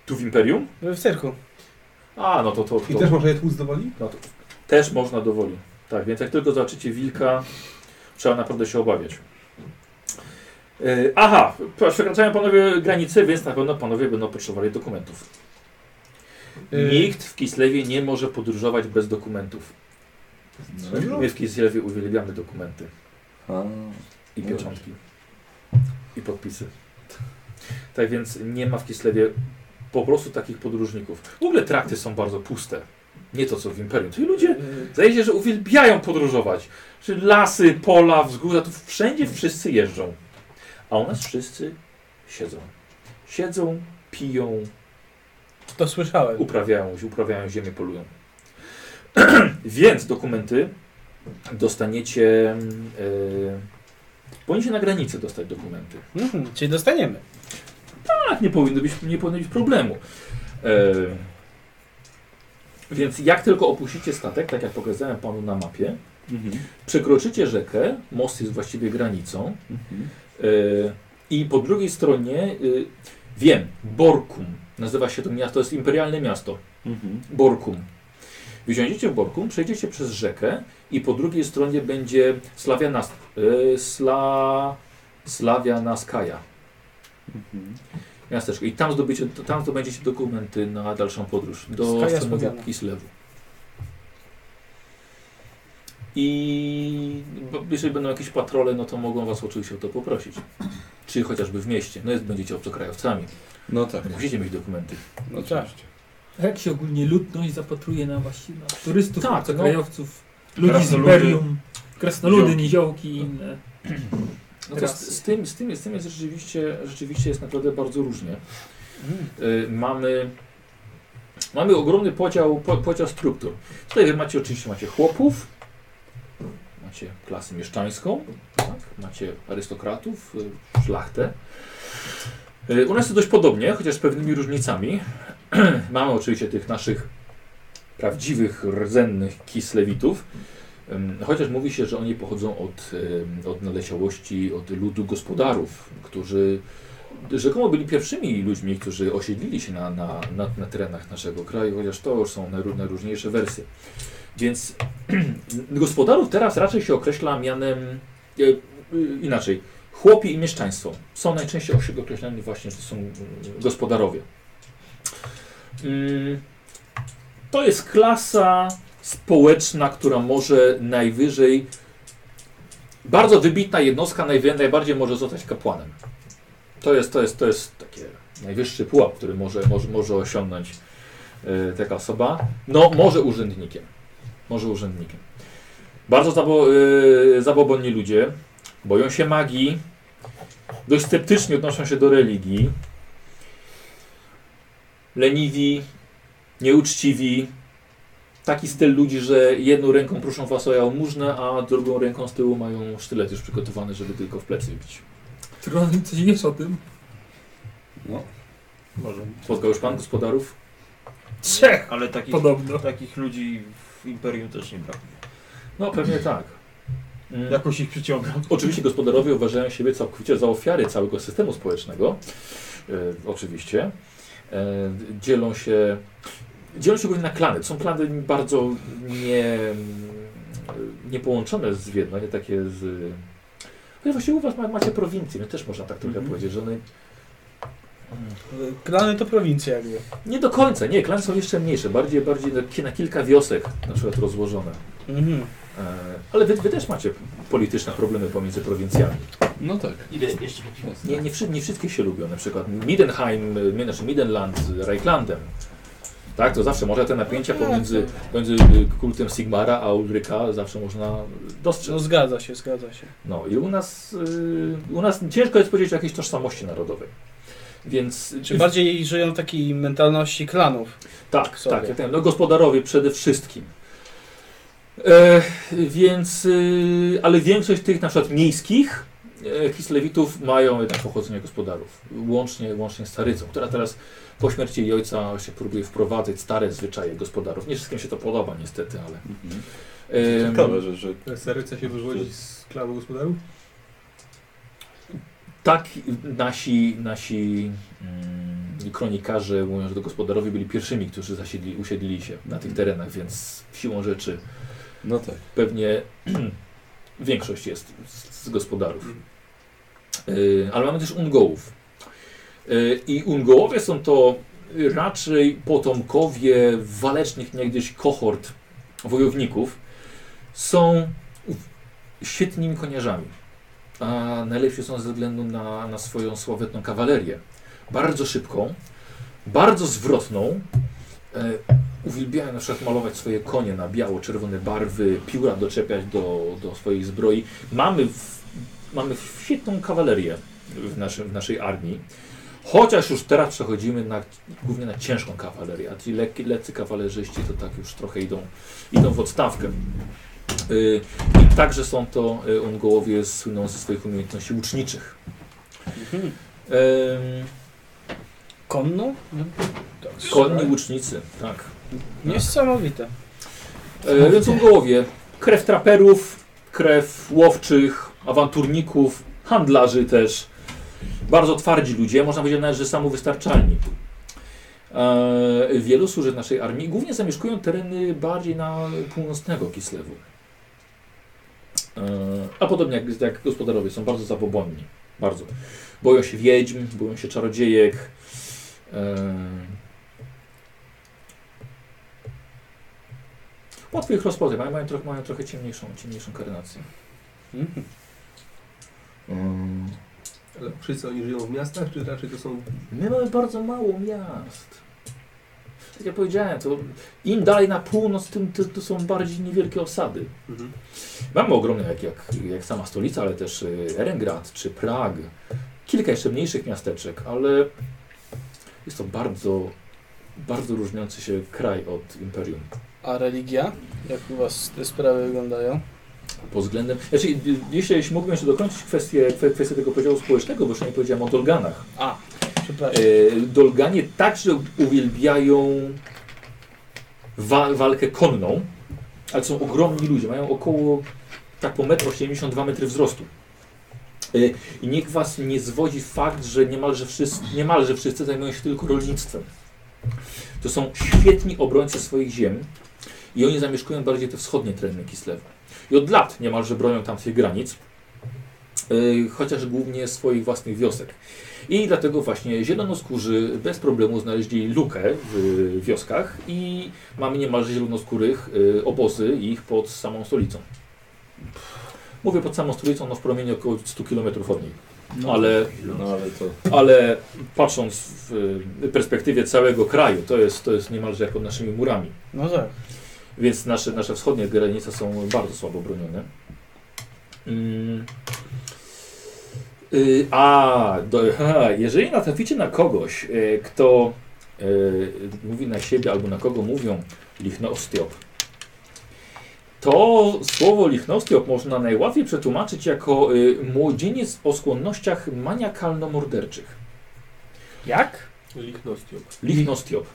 S1: tu w Imperium?
S4: W cyrku.
S1: A, no to to,
S6: I
S1: to,
S6: też może je tłuc do woli?
S1: no to też można dowoli. Tak, więc jak tylko zobaczycie wilka, trzeba naprawdę się obawiać. E, aha, przekraczają panowie granice, więc na pewno panowie będą potrzebowali dokumentów.
S6: E,
S4: Y,
S1: Nikt w Kislewie nie może podróżować bez dokumentów.
S6: no.
S1: My w Kislewie uwielbiamy dokumenty
S2: No. A,
S1: i
S2: No
S1: pieczątki i podpisy. Tak więc nie ma w Kislewie po prostu takich podróżników. W ogóle trakty są bardzo puste. Nie to co w Imperium. Czyli ludzie Zdaje się, że uwielbiają podróżować. Czy lasy, pola, wzgórza, tu wszędzie wszyscy jeżdżą. A u nas wszyscy siedzą. Siedzą, piją,
S4: To słyszałem.
S1: uprawiają, uprawiają ziemię, polują. Więc dokumenty dostaniecie. Yy, powinniście na granicy dostać dokumenty.
S4: Mhm, czyli dostaniemy.
S1: Tak, nie powinno być, nie powinno być problemu. E, więc jak tylko opuścicie statek, tak jak pokazałem panu na mapie,
S2: Mhm.
S1: przekroczycie rzekę, most jest właściwie granicą
S2: Mhm.
S1: e, i po drugiej stronie, e, wiem, Borkum, nazywa się to miasto, to jest imperialne miasto,
S2: Mhm.
S1: Borkum. Wysiądziecie w Borkum, przejdziecie przez rzekę i po drugiej stronie będzie Slawianas, e, Sla, Slawianaskaja
S2: Mhm.
S1: miasteczko. I tam zdobycie, tam zdobędziecie dokumenty na dalszą podróż do
S4: Skaja
S1: samego
S4: Słowiana.
S1: Kislewu. I bo jeżeli będą jakieś patrole, no to mogą was oczywiście o to poprosić. Czy chociażby w mieście. No jest, będziecie obcokrajowcami.
S2: No tak.
S1: Musicie mieć dokumenty.
S4: No tak.
S3: A jak się ogólnie ludność zapatruje na właściwie na turystów,
S1: Tak, no.
S3: tak, krajowców, ludzi z
S5: Krasnoludy.
S3: imperium, krasnoludy, niziołki i inne.
S1: No to
S3: Rasy.
S1: z, z, tym, z, tym, z tym jest rzeczywiście, rzeczywiście jest naprawdę bardzo różnie.
S4: Mhm.
S1: Y, mamy, mamy ogromny podział, po, podział struktur. Tutaj wy macie oczywiście macie chłopów, macie klasę mieszczańską, tak? macie arystokratów, y, szlachtę. Y, U nas jest dość podobnie, chociaż z pewnymi różnicami. mamy oczywiście tych naszych prawdziwych, rdzennych kislewitów, Ym, Chociaż mówi się, że oni pochodzą od, ym, od naleciałości, od ludu gospodarów, którzy rzekomo byli pierwszymi ludźmi, którzy osiedlili się na, na, na, na terenach naszego kraju, chociaż to już są najró- najróżniejsze wersje. Więc gospodarów teraz raczej się określa mianem e, y, inaczej. Chłopi i mieszczaństwo są najczęściej osi- określani właśnie, że to są mm, gospodarowie. Mm, To jest klasa społeczna, która może najwyżej. Bardzo wybitna jednostka najwy- najbardziej może zostać kapłanem. To jest, to jest, to jest takie najwyższy pułap, który może, może, może osiągnąć e, taka osoba. No, może urzędnikiem. Może urzędnikiem. Bardzo zabo, y, zabobonni ludzie. Boją się magii. Dość sceptycznie odnoszą się do religii. Leniwi, nieuczciwi, taki styl ludzi, że jedną ręką proszą was o jałmużnę, a drugą ręką z tyłu mają sztylet już przygotowany, żeby tylko w plecy bić.
S3: Trudno, coś wiesz o tym?
S1: Spotkał już pan gospodarów?
S3: Trzech
S5: Ale takich,
S3: podobno.
S5: takich ludzi w Imperium też nie brakuje.
S1: No pewnie tak. Mm.
S5: Jakoś ich przyciąga.
S1: Oczywiście gospodarowie uważają siebie całkowicie za ofiary całego systemu społecznego. E, oczywiście. E, dzielą się. Dzielą się głównie na klany. Są klany bardzo nie, nie połączone z jedno, nie takie z. Ale właściwie u was ma, macie prowincje, no też można tak trochę
S5: Mhm.
S1: powiedzieć, że one
S4: Klany to prowincja jakby.
S1: Nie do końca, nie, klany są jeszcze mniejsze, bardziej, bardziej na, ki- na kilka wiosek na przykład rozłożone.
S4: Mhm.
S1: E, ale wy, wy też macie polityczne problemy pomiędzy prowincjami.
S2: No tak.
S22: Idę jeszcze po piwo.
S1: Nie, nie, wszy- nie wszystkie się lubią, na przykład Midenheim, e, znaczy Midenland z Reichlandem. Tak, to zawsze może te napięcia pomiędzy, pomiędzy e, kultem Sigmara a Ulryka zawsze można
S4: No
S1: dostrzec.
S4: zgadza się, zgadza się.
S1: No i u nas, e, u nas ciężko jest powiedzieć o jakiejś tożsamości narodowej. Więc
S4: Czy bardziej żyją w takiej mentalności klanów.
S1: Tak,
S4: sobie.
S1: tak. Jak ten, no gospodarowie przede wszystkim. E, więc, y, ale większość tych na przykład miejskich e, Kislewitów mają jednak pochodzenie gospodarów. Łącznie, łącznie z Tarycą, która teraz po śmierci jej ojca się próbuje wprowadzać stare zwyczaje gospodarów. Nie wszystkim się to podoba niestety, ale...
S2: Mhm.
S1: Em,
S2: Ciekawe, że, że
S6: Seryca się wywodzi z klanu gospodarów?
S1: tak nasi, nasi mm, kronikarze mówią, że to gospodarowie byli pierwszymi, którzy zasiedli, usiedlili się na tych terenach, więc siłą rzeczy
S8: No tak.
S1: pewnie większość jest z, z gospodarów. Y, ale mamy też Ungołów. Y, I Ungołowie są to raczej potomkowie walecznych niegdyś kohort wojowników. Są u- świetnymi koniarzami. A najlepsi są ze względu na, na swoją sławetną kawalerię. Bardzo szybką, bardzo zwrotną. Y, Uwielbiają na przykład malować swoje konie na biało-czerwone barwy, pióra doczepiać do, do swoich zbroi. Mamy, w, mamy świetną kawalerię w, naszym, w naszej armii. Chociaż już teraz przechodzimy na, głównie na ciężką kawalerię, a ci lekki, leccy kawalerzyści to tak już trochę idą, idą w odstawkę. Y, I także są to y, Ungołowie słyną ze swoich umiejętności łuczniczych. Ym,
S4: Konno?
S1: konni łucznicy, tak.
S4: Niesamowite.
S1: E, Więc Ungołowie, krew traperów, krew łowczych, awanturników, handlarzy też. Bardzo twardzi ludzie, można powiedzieć nawet, że samowystarczalni. E, Wielu służy w naszej armii, głównie zamieszkują tereny bardziej na północnego Kislewu. E, A podobnie jak, jak gospodarowie, są bardzo zabobonni. Bardzo. Boją się wiedźm, boją się czarodziejek. E, Łatwo ich rozpoznać, mają, mają, trochę, mają trochę ciemniejszą, ciemniejszą karnację. Mm.
S6: Ale wszyscy oni żyją w miastach, czy raczej to są...
S1: My mamy bardzo mało miast. Tak jak powiedziałem, to im dalej na północ, tym to, to są bardziej niewielkie osady.
S6: Mhm.
S1: Mamy ogromne, jak, jak, jak sama stolica, ale też y, Erengrad czy Prag. Kilka jeszcze mniejszych miasteczek, ale jest to bardzo, bardzo różniący się kraj od imperium.
S4: A religia? Jak u was te sprawy wyglądają?
S1: pod względem. Znaczy, y, jeśli, jeśli mógłbym jeszcze dokończyć kwestię, kwe- kwestię tego podziału społecznego, bo jeszcze nie powiedziałem o Dolganach.
S4: A, przepraszam.
S1: E, Dolganie także uwielbiają wa walkę konną, ale są ogromni ludzie. Mają około tak po 1,82 m wzrostu. E, I niech was nie zwodzi fakt, że niemalże wszyscy, niemalże wszyscy zajmują się tylko rolnictwem. To są świetni obrońcy swoich ziem i oni zamieszkują bardziej te wschodnie tereny Kislewa. I od lat niemalże bronią tamtych granic, e, chociaż głównie swoich własnych wiosek. I dlatego właśnie zielonoskórzy bez problemu znaleźli lukę w wioskach i mamy niemalże zielonoskórych y, obozy ich pod samą stolicą. Mówię pod samą stolicą, no w promieniu około 100 km od niej. ale,
S2: No ale to...
S1: ale patrząc w y, perspektywie całego kraju, to jest, to jest niemalże jak pod naszymi murami.
S4: No tak.
S1: Więc nasze, nasze wschodnie granice są bardzo słabo bronione. Mm. Y, a, do, ha, jeżeli natraficie na kogoś, y, kto y, mówi na siebie albo na kogo mówią lichnostiop, to słowo lichnostiop można najłatwiej przetłumaczyć jako y, młodzieniec o skłonnościach maniakalno-morderczych.
S4: Jak?
S6: Lichnością.
S1: Lichnostiop.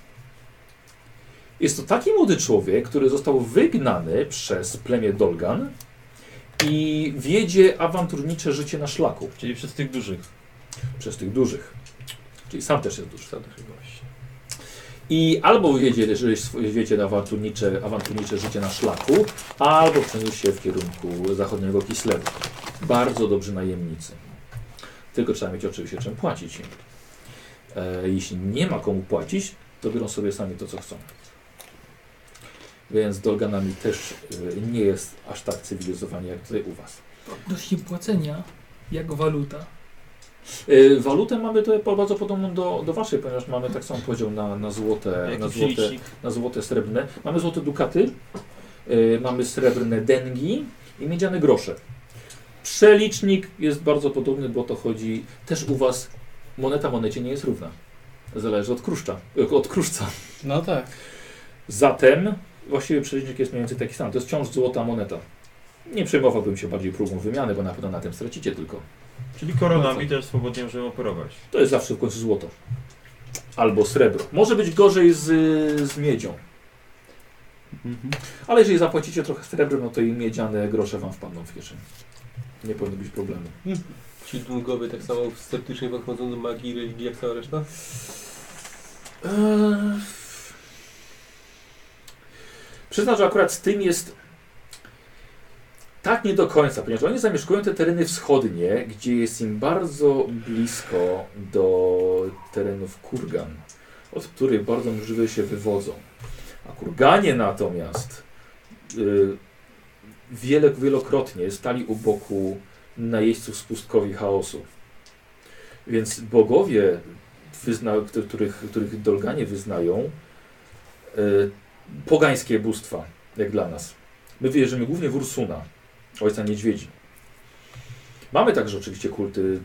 S1: Jest to taki młody człowiek, który został wygnany przez plemię Dolgan i wiedzie awanturnicze życie na szlaku
S5: Czyli przez tych dużych.
S1: przez tych dużych. Czyli sam też jest duży.
S6: Tam też właśnie.
S1: I albo wiedzie, że jest- wiedzie na awanturnicze, awanturnicze życie na szlaku, albo przeniósł się w kierunku zachodniego Kislewu. Bardzo dobrzy najemnicy. Tylko trzeba mieć oczywiście czym płacić im. E, jeśli nie ma komu płacić, to biorą sobie sami to, co chcą. Więc z Dolganami też e, nie jest aż tak cywilizowanie jak tutaj u Was.
S3: Odnośnie płacenia, jak waluta.
S1: E, walutę mamy tutaj po- bardzo podobną do, do Waszej, ponieważ mamy tak samo podział na, na złote, E, na
S5: Jakiś
S1: złote,
S5: licznik.
S1: na złote, srebrne. Mamy złote dukaty, y, mamy srebrne dengi i miedziane grosze. Przelicznik jest bardzo podobny, bo to chodzi też u Was. Moneta monecie nie jest równa. Zależy od kruszcza, y, od kruszca.
S4: No tak.
S1: Zatem właściwie przelicznik jest mniej więcej taki sam. To jest wciąż złota moneta. Nie przejmowałbym się bardziej próbą wymiany, bo na pewno na tym stracicie tylko.
S5: Czyli koronami też swobodnie możemy operować.
S1: To jest zawsze w końcu złoto. Albo srebro. Może być gorzej z, z miedzią. Ale jeżeli zapłacicie trochę srebrem, no to i miedziane grosze wam wpadną w kieszeń. Nie powinno być problemu.
S6: Ci długowie tak samo sceptycznie podchodzą do magii i religii jak cała reszta?
S1: Eee... Przyznam, że akurat z tym jest Tak nie do końca, ponieważ oni zamieszkują te tereny wschodnie, gdzie jest im bardzo blisko do terenów kurgan, od których bardzo możliwe się wywodzą. A kurganie natomiast y, wiele, wielokrotnie stali u boku najeźdźców z pustkowi chaosu. Więc bogowie, wyzna, których, których dolganie wyznają, y, pogańskie bóstwa, jak dla nas. My wierzymy głównie w Ursuna, ojca niedźwiedzi. Mamy także oczywiście kulty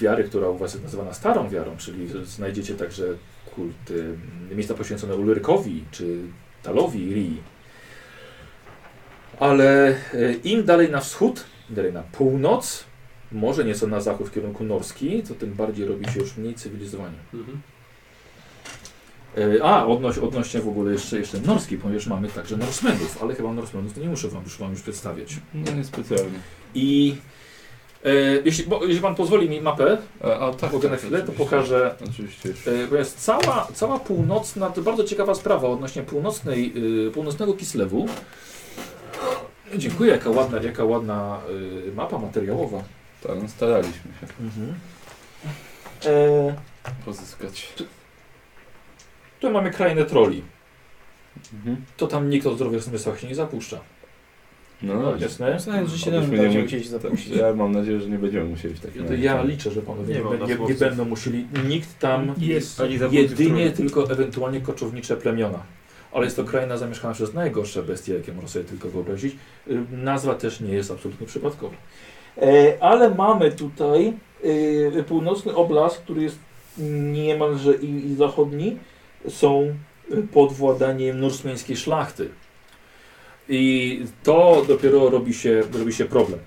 S1: wiary, która u Was jest nazywana starą wiarą, czyli znajdziecie także kulty miejsca poświęcone Ulrykowi czy Talowi Rii. Ale e, im dalej na wschód, im dalej na północ, może nieco na zachód w kierunku norski, to tym bardziej robi się już mniej cywilizowani.
S6: Mhm.
S1: E, A, odnoś, odnośnie w ogóle jeszcze, jeszcze norski, ponieważ mamy także Norsemenów, ale chyba Norsemenów to nie muszę wam już, wam już przedstawiać.
S2: No nie specjalnie.
S1: I e, jeśli, bo, jeśli Pan pozwoli mi mapę,
S2: A, a tak,
S1: mogę na
S2: tak,
S1: chwilę, to
S2: oczywiście.
S1: pokażę.
S2: Oczywiście. już.
S1: E, bo jest cała, cała północna, to bardzo ciekawa sprawa odnośnie północnej, e, północnego Kislewu. Dziękuję, jaka ładna, jaka ładna e, mapa materiałowa.
S2: Tak, no staraliśmy się
S1: E,
S2: pozyskać.
S1: tu mamy krainę troli.
S2: Mhm.
S1: To tam nikt o zdrowych zmysłach się nie zapuszcza.
S2: No dobrze.
S1: Jasne?
S4: Znając, że się
S2: Obyśmy
S4: tam
S2: nie
S4: będziemy
S2: mieli-
S4: musieli
S2: Tak,
S4: zapuścić.
S2: ja mam nadzieję, że nie będziemy musieli w takim
S1: Ja, ja liczę, że panowie
S5: Nie
S1: nie,
S5: ma
S1: nie, nie,
S5: dosłowców.
S1: będą musieli, nikt tam,
S3: Jest.
S5: Ani za
S1: jedynie tylko ewentualnie koczownicze plemiona. Ale jest to kraina zamieszkana przez najgorsze bestie, jakie można sobie tylko wyobrazić. Y, Nazwa też nie jest absolutnie przypadkowa. E, ale mamy tutaj y, północny oblast, który jest niemalże i, i zachodni, są y, pod władaniem norsmeńskiej szlachty. I to dopiero robi się, robi się problem.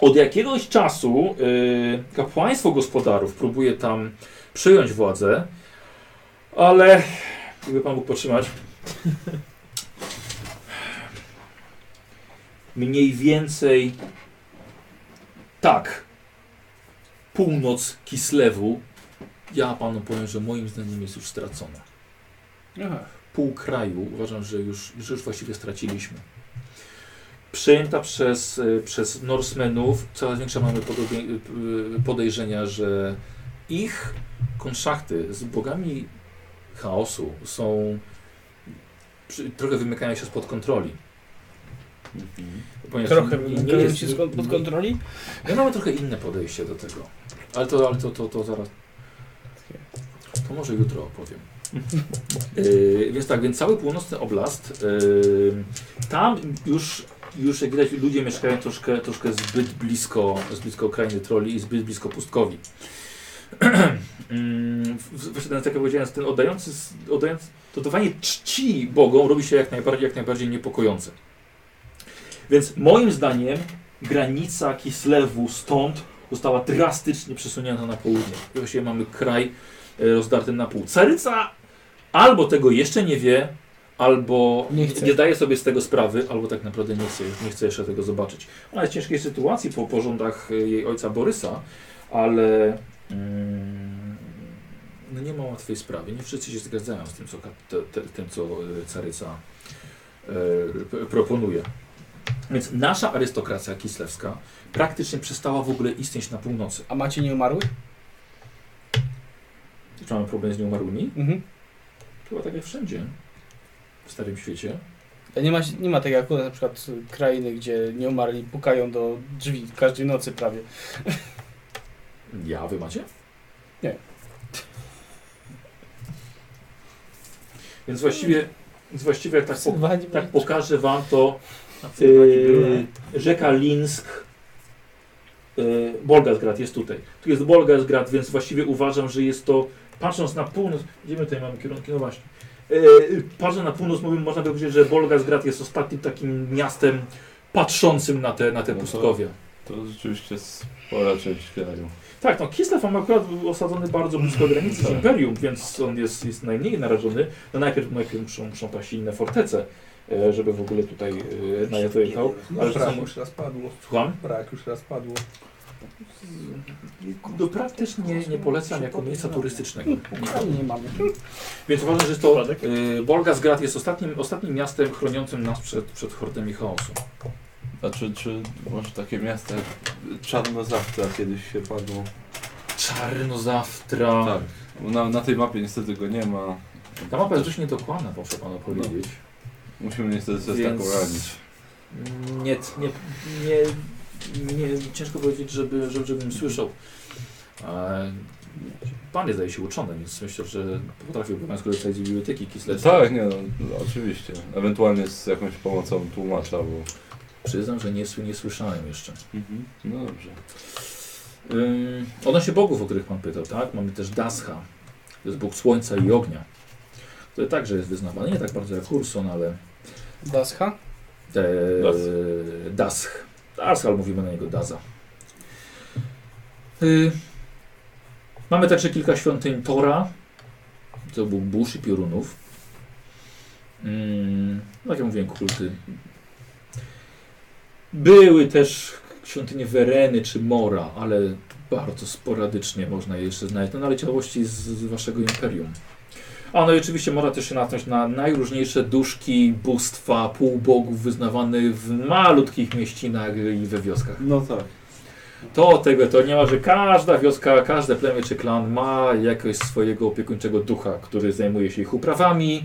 S1: Od jakiegoś czasu y, kapłaństwo gospodarów próbuje tam przyjąć władzę, ale gdyby Pan mógł potrzymać. Mniej więcej tak. Północ Kislewu. Ja panu powiem, że moim zdaniem jest już stracona. Pół kraju uważam, że już, że już właściwie straciliśmy. Przyjęta przez, y, przez Norsemenów, coraz większe mamy podobie- y, podejrzenia, że ich konszachty z bogami chaosu są. Przy, trochę wymykają się spod kontroli.
S2: Mhm.
S1: Ponieważ
S4: Trochę
S1: nie- nie
S4: wymagają
S1: jest-
S4: się skąd- pod
S1: nie-
S4: kontroli.
S1: Ja mamy trochę inne podejście do tego. Ale to, ale to, to, to zaraz. To może jutro opowiem. Yy, więc tak, więc cały północny oblast. Yy, tam już, już jak widać, ludzie mieszkają troszkę, troszkę zbyt blisko, zbyt blisko krainy troli i zbyt blisko pustkowi. Mm, w- w- Właśnie ten, tak jak powiedziałem, ten oddający, s- oddający, to dawanie czci Bogom robi się jak najbardziej, jak najbardziej niepokojące. Więc moim zdaniem granica Kislewu stąd została drastycznie przesunięta na południe. I Właściwie mamy kraj e, rozdarty na pół. Caryca albo tego jeszcze nie wie, albo
S4: Nie
S1: nie,
S4: chce.
S1: daje sobie z tego sprawy, albo tak naprawdę nie chce, nie chce jeszcze tego zobaczyć. Ona jest w ciężkiej sytuacji po porządach e, jej ojca Borysa, ale mm, no nie ma łatwej sprawy. Nie wszyscy się zgadzają z tym, co, kap- te, te, tym, co e, caryca e, p- proponuje. Więc nasza arystokracja kislewska praktycznie przestała w ogóle istnieć na północy.
S4: A macie nieumarłych?
S1: Czy mamy problem z nieumarłymi?
S4: Mhm.
S1: Chyba tak jak wszędzie w starym świecie.
S4: A Nie ma, nie ma tak jak u nas na przykład y, krainy, gdzie nieumarli pukają do drzwi każdej nocy prawie.
S1: Ja, wy macie?
S4: Nie.
S1: Więc właściwie, więc właściwie jak tak, po,
S4: Sylwanie
S1: tak pokażę wam to
S5: Yy,
S1: yy, rzeka Linsk yy, Bolgasgrad jest tutaj. Tu jest Bolgasgrad, więc właściwie uważam, że jest to patrząc na północ, gdzie my tutaj mamy kierunki, no właśnie. Yy, patrząc na północ, mówię, można by powiedzieć, że Bolgasgrad jest ostatnim takim miastem patrzącym na te, na te
S2: No to-
S1: pustkowia.
S2: To rzeczywiście spora część kraju.
S1: Tak, no Kislev on akurat był osadzony bardzo blisko granicy z
S2: Tak.
S1: Imperium, więc on jest, jest najmniej narażony. No najpierw, najpierw muszą, muszą paść inne fortece, e, żeby w ogóle tutaj e, na nie dojechał.
S2: No,
S1: Ale to
S6: Brak
S1: są...
S6: już raz padło.
S1: Słucham?
S6: Brak już raz padło.
S1: Do Prag też nie, nie polecam jako miejsca turystycznego.
S4: nie mamy.
S1: Więc uważam, że jest to y, e, Bolgasgrad jest ostatnim, ostatnim miastem chroniącym nas przed, przed hordami chaosu.
S2: A czy, czy może takie miasta jak Czarnozawca kiedyś się padło?
S1: Czarno zawtra.
S2: Tak. Na, na tej mapie niestety go nie ma.
S1: No. Ta mapa jest dość niedokładna, muszę panu powiedzieć.
S2: Musimy niestety sobie
S1: Więc-
S2: taką radzić.
S1: No. Nie, nie, nie, nie, ciężko powiedzieć, żeby, żeby, żebym słyszał. E, Pan jest, zdaje się, uczony, więc myślę, że potrafił obowiązku dostać z biblioteki Kislewa.
S2: Tak, nie no, no, oczywiście. Ewentualnie z jakąś pomocą tłumacza, bo...
S1: Przyznam, że nie, sły- nie słyszałem jeszcze.
S2: No dobrze.
S1: Ym, odnośnie bogów, o których Pan pytał, tak? Mamy też Dascha. To jest bóg słońca i ognia. Który także jest wyznawany, nie tak bardzo jak Hurson, ale
S4: Dascha?
S1: te,
S2: Dasch.
S1: Dasch. Dasch, E, ale mówimy na niego Daza. Y, mamy także kilka świątyń Tora. To był burz i piorunów. Ym, no jak ja mówiłem, kulty. Były też świątynie Wereny czy Mora, ale bardzo sporadycznie można je jeszcze znaleźć. No naleciałości z, z waszego imperium. A no i oczywiście można też się natknąć na najróżniejsze duszki, bóstwa, półbogów wyznawanych w malutkich mieścinach i we wioskach.
S2: No tak.
S1: To tego to nie ma, że każda wioska, każde plemię czy klan ma jakiegoś swojego opiekuńczego ducha, który zajmuje się ich uprawami,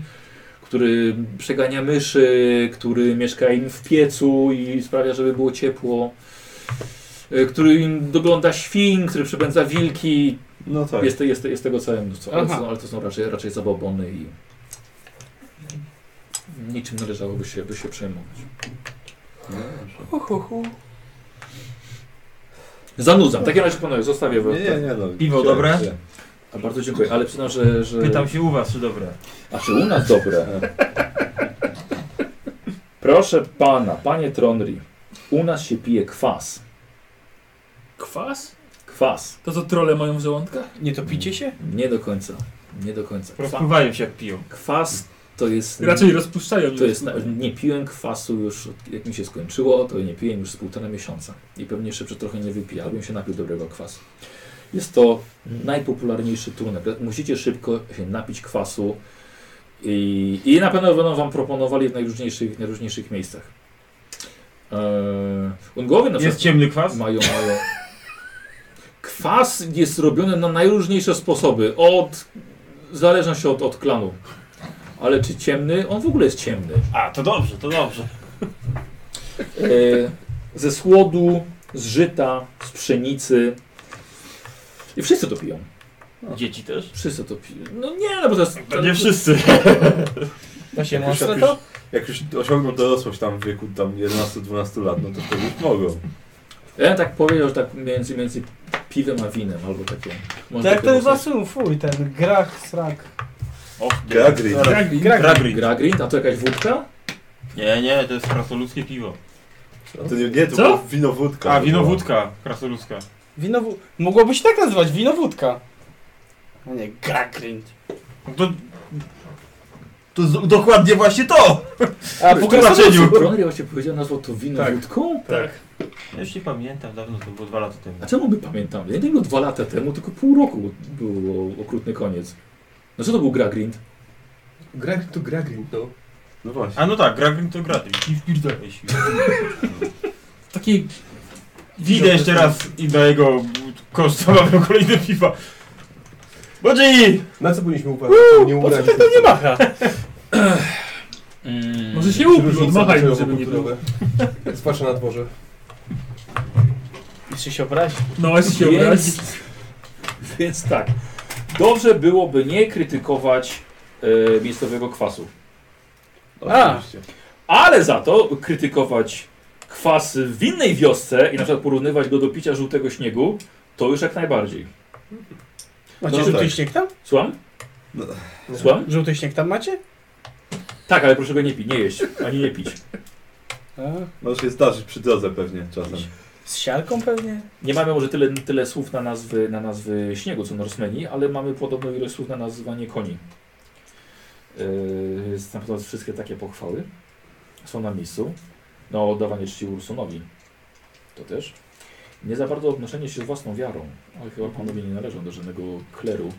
S1: który przegania myszy, który mieszka im w piecu i sprawia, żeby było ciepło, y, który im dogląda świn, który przepędza wilki.
S2: No tak.
S1: Jest, jest, jest tego całe mnóstwo, ale to,
S4: Aha.
S1: są- ale to są raczej, raczej zabobony i niczym należałoby się, by się przejmować.
S2: No dobrze.
S1: Zanudzam, w takim razie panowie, zostawię
S2: Nie,
S1: wam.
S2: nie, nie. No,
S7: Piwo
S2: chciałem
S7: dobre?
S2: się.
S1: A Bardzo dziękuję, ale przyznam, że... że...
S7: Pytam się u was, czy dobre.
S1: A czy u nas dobre? Proszę pana, panie Tronri, u nas się pije kwas.
S3: Kwas?
S1: Kwas.
S3: To co trole mają w żołądkach?
S4: Nie topicie się?
S1: Nie do końca. Nie do końca. Kwa,
S7: Rozpływają się jak piją.
S1: kwas to jest.
S3: Raczej rozpuszczają.
S1: Mm. To
S3: niż-
S1: jest, tak. nie piłem kwasu już, jak mi się skończyło, to nie piłem już z półtora miesiąca. I pewnie jeszcze przez trochę nie wypiję, abym się napił dobrego kwasu. Jest to najpopularniejszy trunek. Musicie szybko się napić kwasu i, i na pewno będą wam proponowali w najróżniejszych, najróżniejszych miejscach. Eee, Ungowie na przykład
S7: Jest ciemny kwas?
S1: mają, mają... Kwas jest robiony na najróżniejsze sposoby. Od... Zależą się od, od klanu. Ale czy ciemny? On w ogóle jest ciemny.
S7: A, to dobrze, to dobrze.
S1: E, ze słodu, z żyta, z pszenicy. I wszyscy to piją.
S7: Dzieci też?
S1: Wszyscy to piją. No nie, no bo to jest...
S7: No. To nie wszyscy.
S4: Da się
S2: Jak już-
S4: mocno
S2: jak
S4: to?
S2: Jak już osiągną dorosłość tam w wieku tam 11-12 lat, no to wtedy już mogą.
S1: Ja bym tak powiedział, że tak między, między piwem a winem albo takie... może
S4: Tak,
S1: takie
S4: to jest
S1: mocne-
S4: wasun, fuj, ten grach, srak.
S7: Och,
S2: Gagrin.
S7: Gragrin.
S4: Gragrin.
S7: Gragrin.
S1: Gra Green, a to jakaś wódka?
S7: Nie, nie, to jest krasoludzkie piwo.
S2: A to nie, nie to
S3: Co?
S2: było winowódka.
S7: A, winowódka krasoludzka.
S4: Winowu... Mogłoby się tak nazywać, winowódka. A nie, gragrind.
S7: No To... To z- dokładnie właśnie to!
S4: A
S7: W
S4: po
S7: tłumaczeniu.
S4: krasnoludzku.
S1: Ronry właśnie powiedział, nazwał to wino
S7: Tak.
S1: wódką?
S7: Tak. Ja już nie pamiętam, dawno to było dwa lata temu.
S1: A czemu my pamiętamy? Nie tylko dwa lata temu, tylko pół roku było okrutny koniec. No co to był gra Green?
S23: Gragrin to Gragrin, no.
S2: No właśnie.
S7: A no tak, Gragrin to Gragrin. I wpierdolę się.
S3: Taki...
S7: Idę jeszcze raz i na jego koszt zamawiam kolejne piwa. Bodzi!
S23: Na co powinniśmy uważać? żeby nie ubrać się Znaczy, w
S7: macha!
S3: Może się upić,
S23: różnice
S3: odmachaj mu, żeby nie było.
S23: kulturowe. Zwłaszcza na dworze.
S4: Jeszcze się obrazi.
S3: No, jeśli się obrazi.
S1: Więc, więc tak. Dobrze byłoby nie krytykować e, miejscowego kwasu.
S2: Oczywiście.
S1: Ale za to krytykować kwas w innej wiosce i na przykład porównywać go do picia żółtego śniegu, to już jak najbardziej.
S4: Macie
S1: No
S4: żółty
S2: tak.
S4: śnieg tam?
S1: Słucham?
S2: No.
S1: Słucham?
S4: Żółty śnieg tam macie?
S1: Tak, ale proszę go nie pić, nie jeść, ani nie pić.
S4: A,
S2: Może się zdarzyć przy drodze pewnie czasem.
S4: z siarką pewnie?
S1: Nie mamy może tyle, tyle słów na nazwy, na nazwy śniegu, co Norsemeni, ale mamy podobną ilość słów na nazwanie koni. Yy, Stamtąd wszystkie takie pochwały są na miejscu. No, oddawanie czci Ursunowi. To też. Nie za bardzo odnoszenie się z własną wiarą. Ale chyba panowie nie należą do żadnego kleru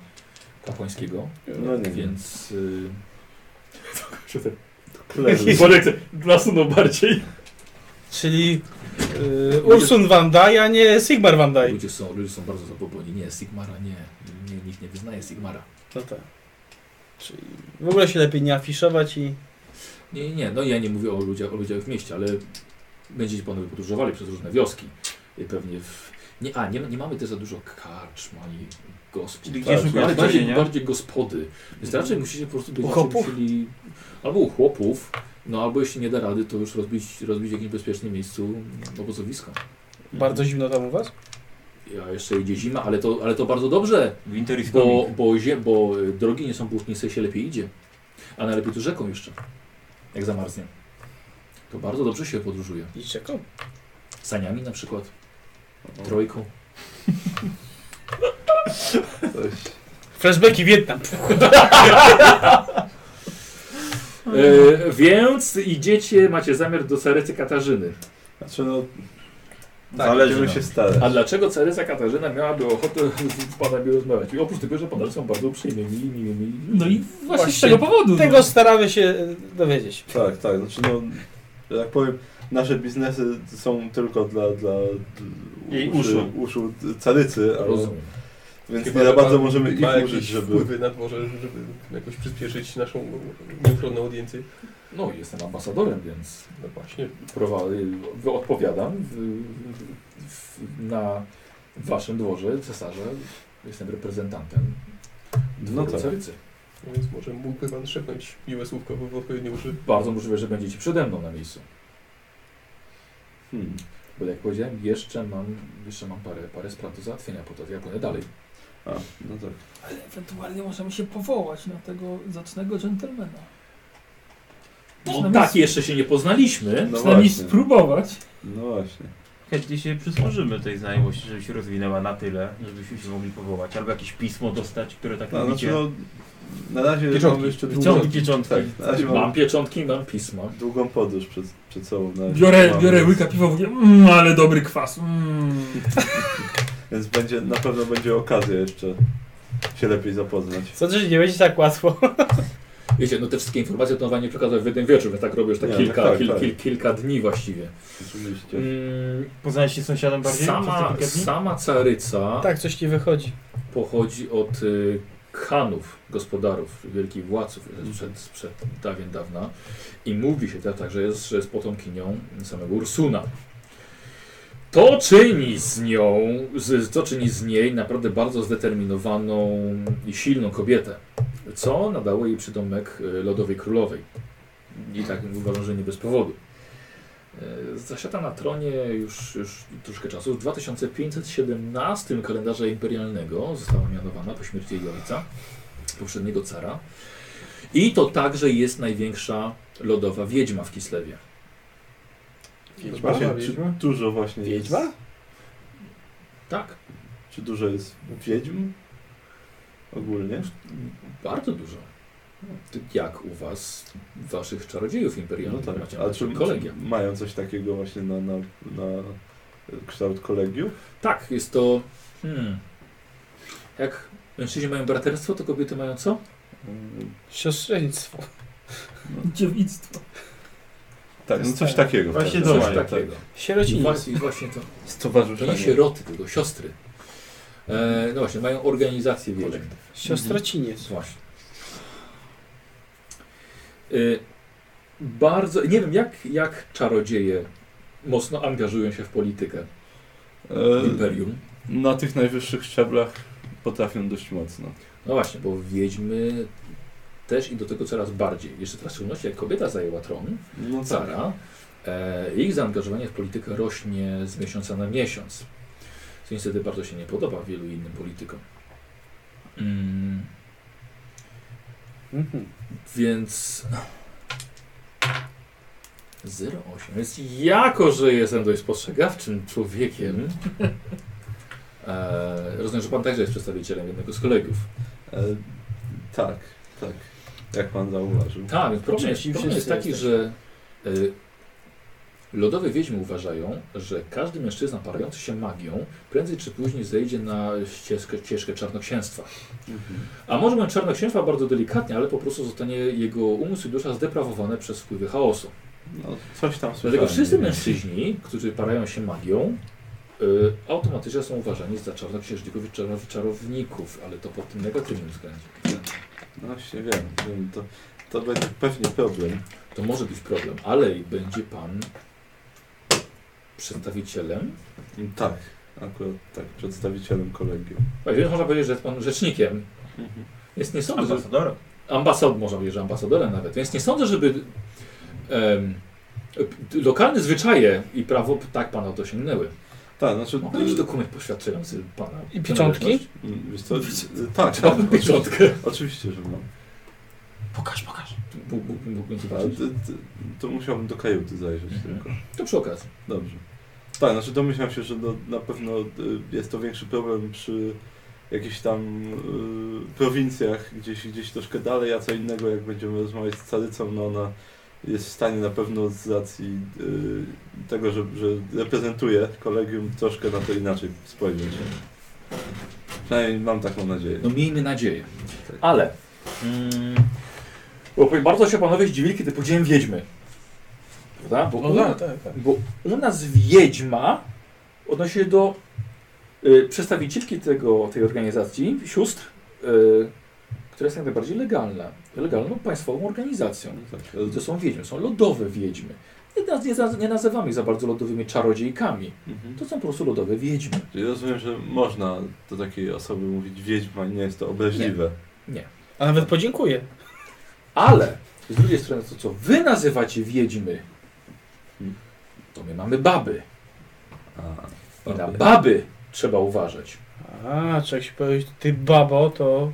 S1: kapłańskiego,
S2: No nie wiem.
S1: więc... Yy... Kurde,
S2: Klery.
S1: Boże, jak się nasunął bardziej.
S4: Czyli y, Ursun Van Dai, a nie Sigmar Van Dai.
S1: Ludzie są, ludzie są bardzo zapobiegli. Nie, Sigmara nie. nie. Nikt nie wyznaje Sigmara.
S4: No tak. Czyli w ogóle się lepiej nie afiszować i...
S1: Nie, nie, nie, no ja nie mówię o ludziach, o ludziach w mieście, ale będziecie panowie podróżowali przez różne wioski. I Pewnie w... Nie, a, nie, nie mamy też za dużo karczm ani gospod.
S5: Czyli
S1: Tak,
S5: gdzie
S1: ale
S5: szukasz
S1: bardziej,
S5: jedzenia?
S1: bardziej gospody. Więc raczej
S5: Mm.
S1: musicie po prostu będziecie
S4: chłopów?
S1: musieli... Albo u chłopów, no albo jeśli nie da rady, to już rozbić, rozbić w jakimś bezpiecznym miejscu mm, obozowisko.
S4: Bardzo zimno tam u was?
S1: Ja jeszcze idzie zima, ale to, ale to bardzo dobrze,
S5: Winter is
S1: bo,
S5: coming.
S1: bo, zie, bo y, drogi nie są błotniste, się lepiej idzie. A najlepiej tu rzeką jeszcze, jak zamarznie. To bardzo dobrze się podróżuje.
S4: I czekam.
S1: Saniami na przykład. Trojką.
S4: Flashbacki Wietnam.
S1: E, więc idziecie, macie zamiar do Carecy Katarzyny.
S2: Znaczy no...
S7: Tak,
S2: zależy no.
S7: będziemy
S2: nam.
S7: się
S1: A dlaczego Caryca Katarzyna miałaby ochotę z panami rozmawiać? I oprócz tego, że panowie są bardzo uprzejmi, mili, mili, mili.
S3: No i właśnie, z
S4: Właśnie
S3: tego powodu. no.
S4: Tego staramy się e, dowiedzieć.
S2: Tak, tak, znaczy no... że tak powiem, nasze biznesy są tylko dla... dla d-
S5: Jej
S2: uszu.
S5: uszu.
S2: uszu carycy, ale,
S1: Rozumiem.
S2: więc
S6: Chyba
S2: nie za
S6: ma-
S2: bardzo możemy
S6: ma
S2: ich
S6: jakieś
S2: użyć, żeby...
S6: wpływy na to, że- żeby jakoś przyspieszyć naszą nieuchronną audiencję.
S1: No, jestem ambasadorem, więc
S6: No właśnie.
S1: prowadzi, odpowiadam w, w, na waszym dworze, cesarze. Jestem reprezentantem
S2: No tak.
S1: Carycy.
S6: Więc może mógłby pan szepnąć miłe słówko w odpowiednie uszy.
S1: Bardzo możliwe, że będziecie przede mną na miejscu.
S2: Hmm.
S1: Bo jak powiedziałem, jeszcze mam, jeszcze mam parę, parę spraw do załatwienia, po to ja płynę dalej.
S2: A, no tak.
S3: Ale ewentualnie możemy się powołać na tego zacnego dżentelmena.
S1: No
S3: Przynajmniej
S1: tak, jeszcze się nie poznaliśmy.
S2: No
S3: Przynajmniej
S2: właśnie.
S3: spróbować.
S2: No właśnie.
S5: Chętnie się przysłużymy tej znajomości, żeby się rozwinęła na tyle, żebyśmy się mogli powołać. Albo jakieś pismo dostać, które tak
S2: No, znaczy
S5: mówicie.
S2: no... Na razie
S6: Pieczątki.
S2: mamy jeszcze długą...
S5: Wyciągnij pieczątki.
S2: Tak, na razie
S1: Mam
S2: mamy
S1: pieczątki, mam pisma.
S2: długą podróż przed, przed sobą. Na razie
S3: Biorę,
S2: No mamy,
S3: biorę
S2: więc-
S3: łyka piwa, mówię, mmm, ale dobry kwas. Mm.
S2: Więc będzie, na pewno będzie okazja jeszcze się lepiej zapoznać.
S4: Sądzę, że nie będzie tak łatwo.
S1: Wiecie, no te wszystkie informacje to wam nie przekazałem w jeden wieczór, więc tak robię już tak,
S2: Nie,
S1: kilka,
S2: tak,
S1: kil,
S2: tak.
S1: Kil, kilka dni właściwie.
S2: Oczywiście.
S1: Mm,
S5: Poznałeś się z sąsiadem bardziej? przez te
S1: sama,
S5: kilka dni?
S1: sama caryca
S4: Tak, coś nie wychodzi.
S1: pochodzi od y, Khanów, gospodarów, wielkich władców y, sprzed, sprzed dawien dawna i mówi się tak, tak, że jest, że jest potomkinią samego Ursuna. To czyni z nią, z, to czyni z niej naprawdę bardzo zdeterminowaną i silną kobietę, co nadało jej przydomek y, Lodowej Królowej. I tak uważam, że nie bez powodu. Y, Zasiada na tronie już, już troszkę czasu. W 2517 kalendarza imperialnego została mianowana po śmierci jej ojca, poprzedniego cara. I to także jest największa lodowa wiedźma w Kislewie.
S6: Wiedźma?
S2: Właśnie, czy
S6: Wiedźma?
S2: dużo właśnie
S4: Wiedźma?
S2: Jest,
S1: Tak,
S2: czy dużo jest wiedźm? Ogólnie?
S1: bardzo dużo. Jak u was, waszych czarodziejów
S2: No
S1: imperialnych,
S2: tak.
S1: macie
S2: A czy,
S1: kolegia.
S2: czy mają coś takiego właśnie na, na, na kształt kolegiów?
S1: Tak, jest to... Hmm, jak mężczyźni mają braterstwo, to kobiety mają co?
S2: Mm,
S4: Siostrzeństwo.
S3: Dziewictwo.
S2: Tak, no coś takiego.
S5: Właśnie
S2: tak,
S5: to
S2: coś
S5: mają,
S2: takiego.
S1: I
S4: Sierocinie.
S1: właśnie, i właśnie to. Nie
S2: Stowarzyszenie.
S1: sieroty, tylko siostry. E, no właśnie, mają organizację wiele.
S4: Siostraciniec.
S1: Właśnie. E, bardzo, nie wiem, jak, jak czarodzieje mocno angażują się w politykę
S2: E,
S1: imperium.
S2: na tych najwyższych szczeblach potrafią dość mocno.
S1: No właśnie, bo wiedźmy też i do tego coraz bardziej. Jeszcze teraz w szczególności, jak kobieta zajęła tron,
S4: Mhm.
S2: No tak.
S1: cara, e, ich zaangażowanie w politykę rośnie z miesiąca na miesiąc. Co niestety bardzo się nie podoba wielu innym politykom. Mm,
S4: Mhm.
S1: Więc. no. 08. Więc jako, że jestem dość spostrzegawczym człowiekiem. E, rozumiem, że pan także jest przedstawicielem jednego z kolegów.
S2: E, tak, tak. Jak pan zauważył.
S1: Tak, więc problem jest,
S4: Czyli
S1: problem jest
S4: wszyscy
S1: taki,
S4: jesteśmy.
S1: że y, lodowe wiedźmy uważają, że każdy mężczyzna parujący się magią prędzej czy później zejdzie na ścieżkę, ścieżkę czarnoksięstwa.
S2: Mhm.
S1: A może bądź czarnoksięstwa bardzo delikatnie, ale po prostu zostanie jego umysł i dusza zdeprawowane przez wpływy chaosu.
S2: No, coś tam słyszałem.
S1: Dlatego wszyscy
S2: nie wiem.
S1: mężczyźni, którzy parają się magią, y, automatycznie są uważani za czarnoksiężników i czarnow- czarowników, ale to pod tym negatywnym względzie.
S2: No właśnie wiem, wiem to, to będzie pewnie problem.
S1: To może być problem, ale będzie pan przedstawicielem,
S2: Tak, akurat tak, przedstawicielem kolegium.
S1: właściwie można powiedzieć, że jest pan rzecznikiem.
S2: Mhm.
S1: Jest nie sądzę, że-
S7: Ambasadora.
S1: ambasad, można powiedzieć, że ambasadorem nawet, więc nie sądzę, żeby em, p- lokalne zwyczaje i prawo tak pana dosięgnęły.
S2: Tak, znaczy...
S1: Mogę mieć dokument poświadczający pana.
S4: I pieczątki?
S2: Mm, Wiesz co, tak, tak,
S1: Chciałbym
S2: oczywiście,
S1: pieczątkę.
S2: oczywiście, że mam.
S7: Pokaż, pokaż.
S1: Mógłbym- Mógłbym
S2: A,
S1: zobaczyć.
S2: to, Znaczy, to, to musiałbym do kajuty zajrzeć
S1: Tak. Mhm.
S2: tylko.
S1: To przy okazji.
S2: Dobrze. Tak, znaczy domyślam się, że no, na pewno y, jest to większy problem przy jakichś tam y, prowincjach, gdzieś, gdzieś troszkę dalej, a co innego jak będziemy rozmawiać z Carycą, no ona jest w stanie na pewno z racji y, tego, że, że reprezentuje kolegium troszkę na to inaczej spojrzeć. Przynajmniej mam taką nadzieję.
S1: No miejmy nadzieję.
S2: Tak.
S1: Ale. Mm, bo powiem, bardzo się panowie zdziwili, kiedy powiedziałem wiedźmy. Prawda? Bo,
S4: No
S1: u,
S24: tak, tak.
S1: bo u nas wiedźma odnosi się do y, przedstawicielki tego, tej organizacji, sióstr, y, która jest jak najbardziej legalna. Legalną państwową organizacją.
S2: No tak,
S1: I to są wiedźmy, są lodowe wiedźmy. Nie, naz- nie, za- nie nazywamy ich za bardzo lodowymi czarodziejkami.
S2: mhm.
S1: To są po prostu lodowe wiedźmy.
S2: Czyli rozumiem, że można do takiej osoby mówić wiedźma, nie jest to obraźliwe.
S4: A nawet podziękuję.
S1: Ale z drugiej strony to, co wy nazywacie wiedźmy, to my mamy baby.
S2: A,
S1: I na baby trzeba uważać.
S4: A, trzeba się powiedzieć, ty babo, to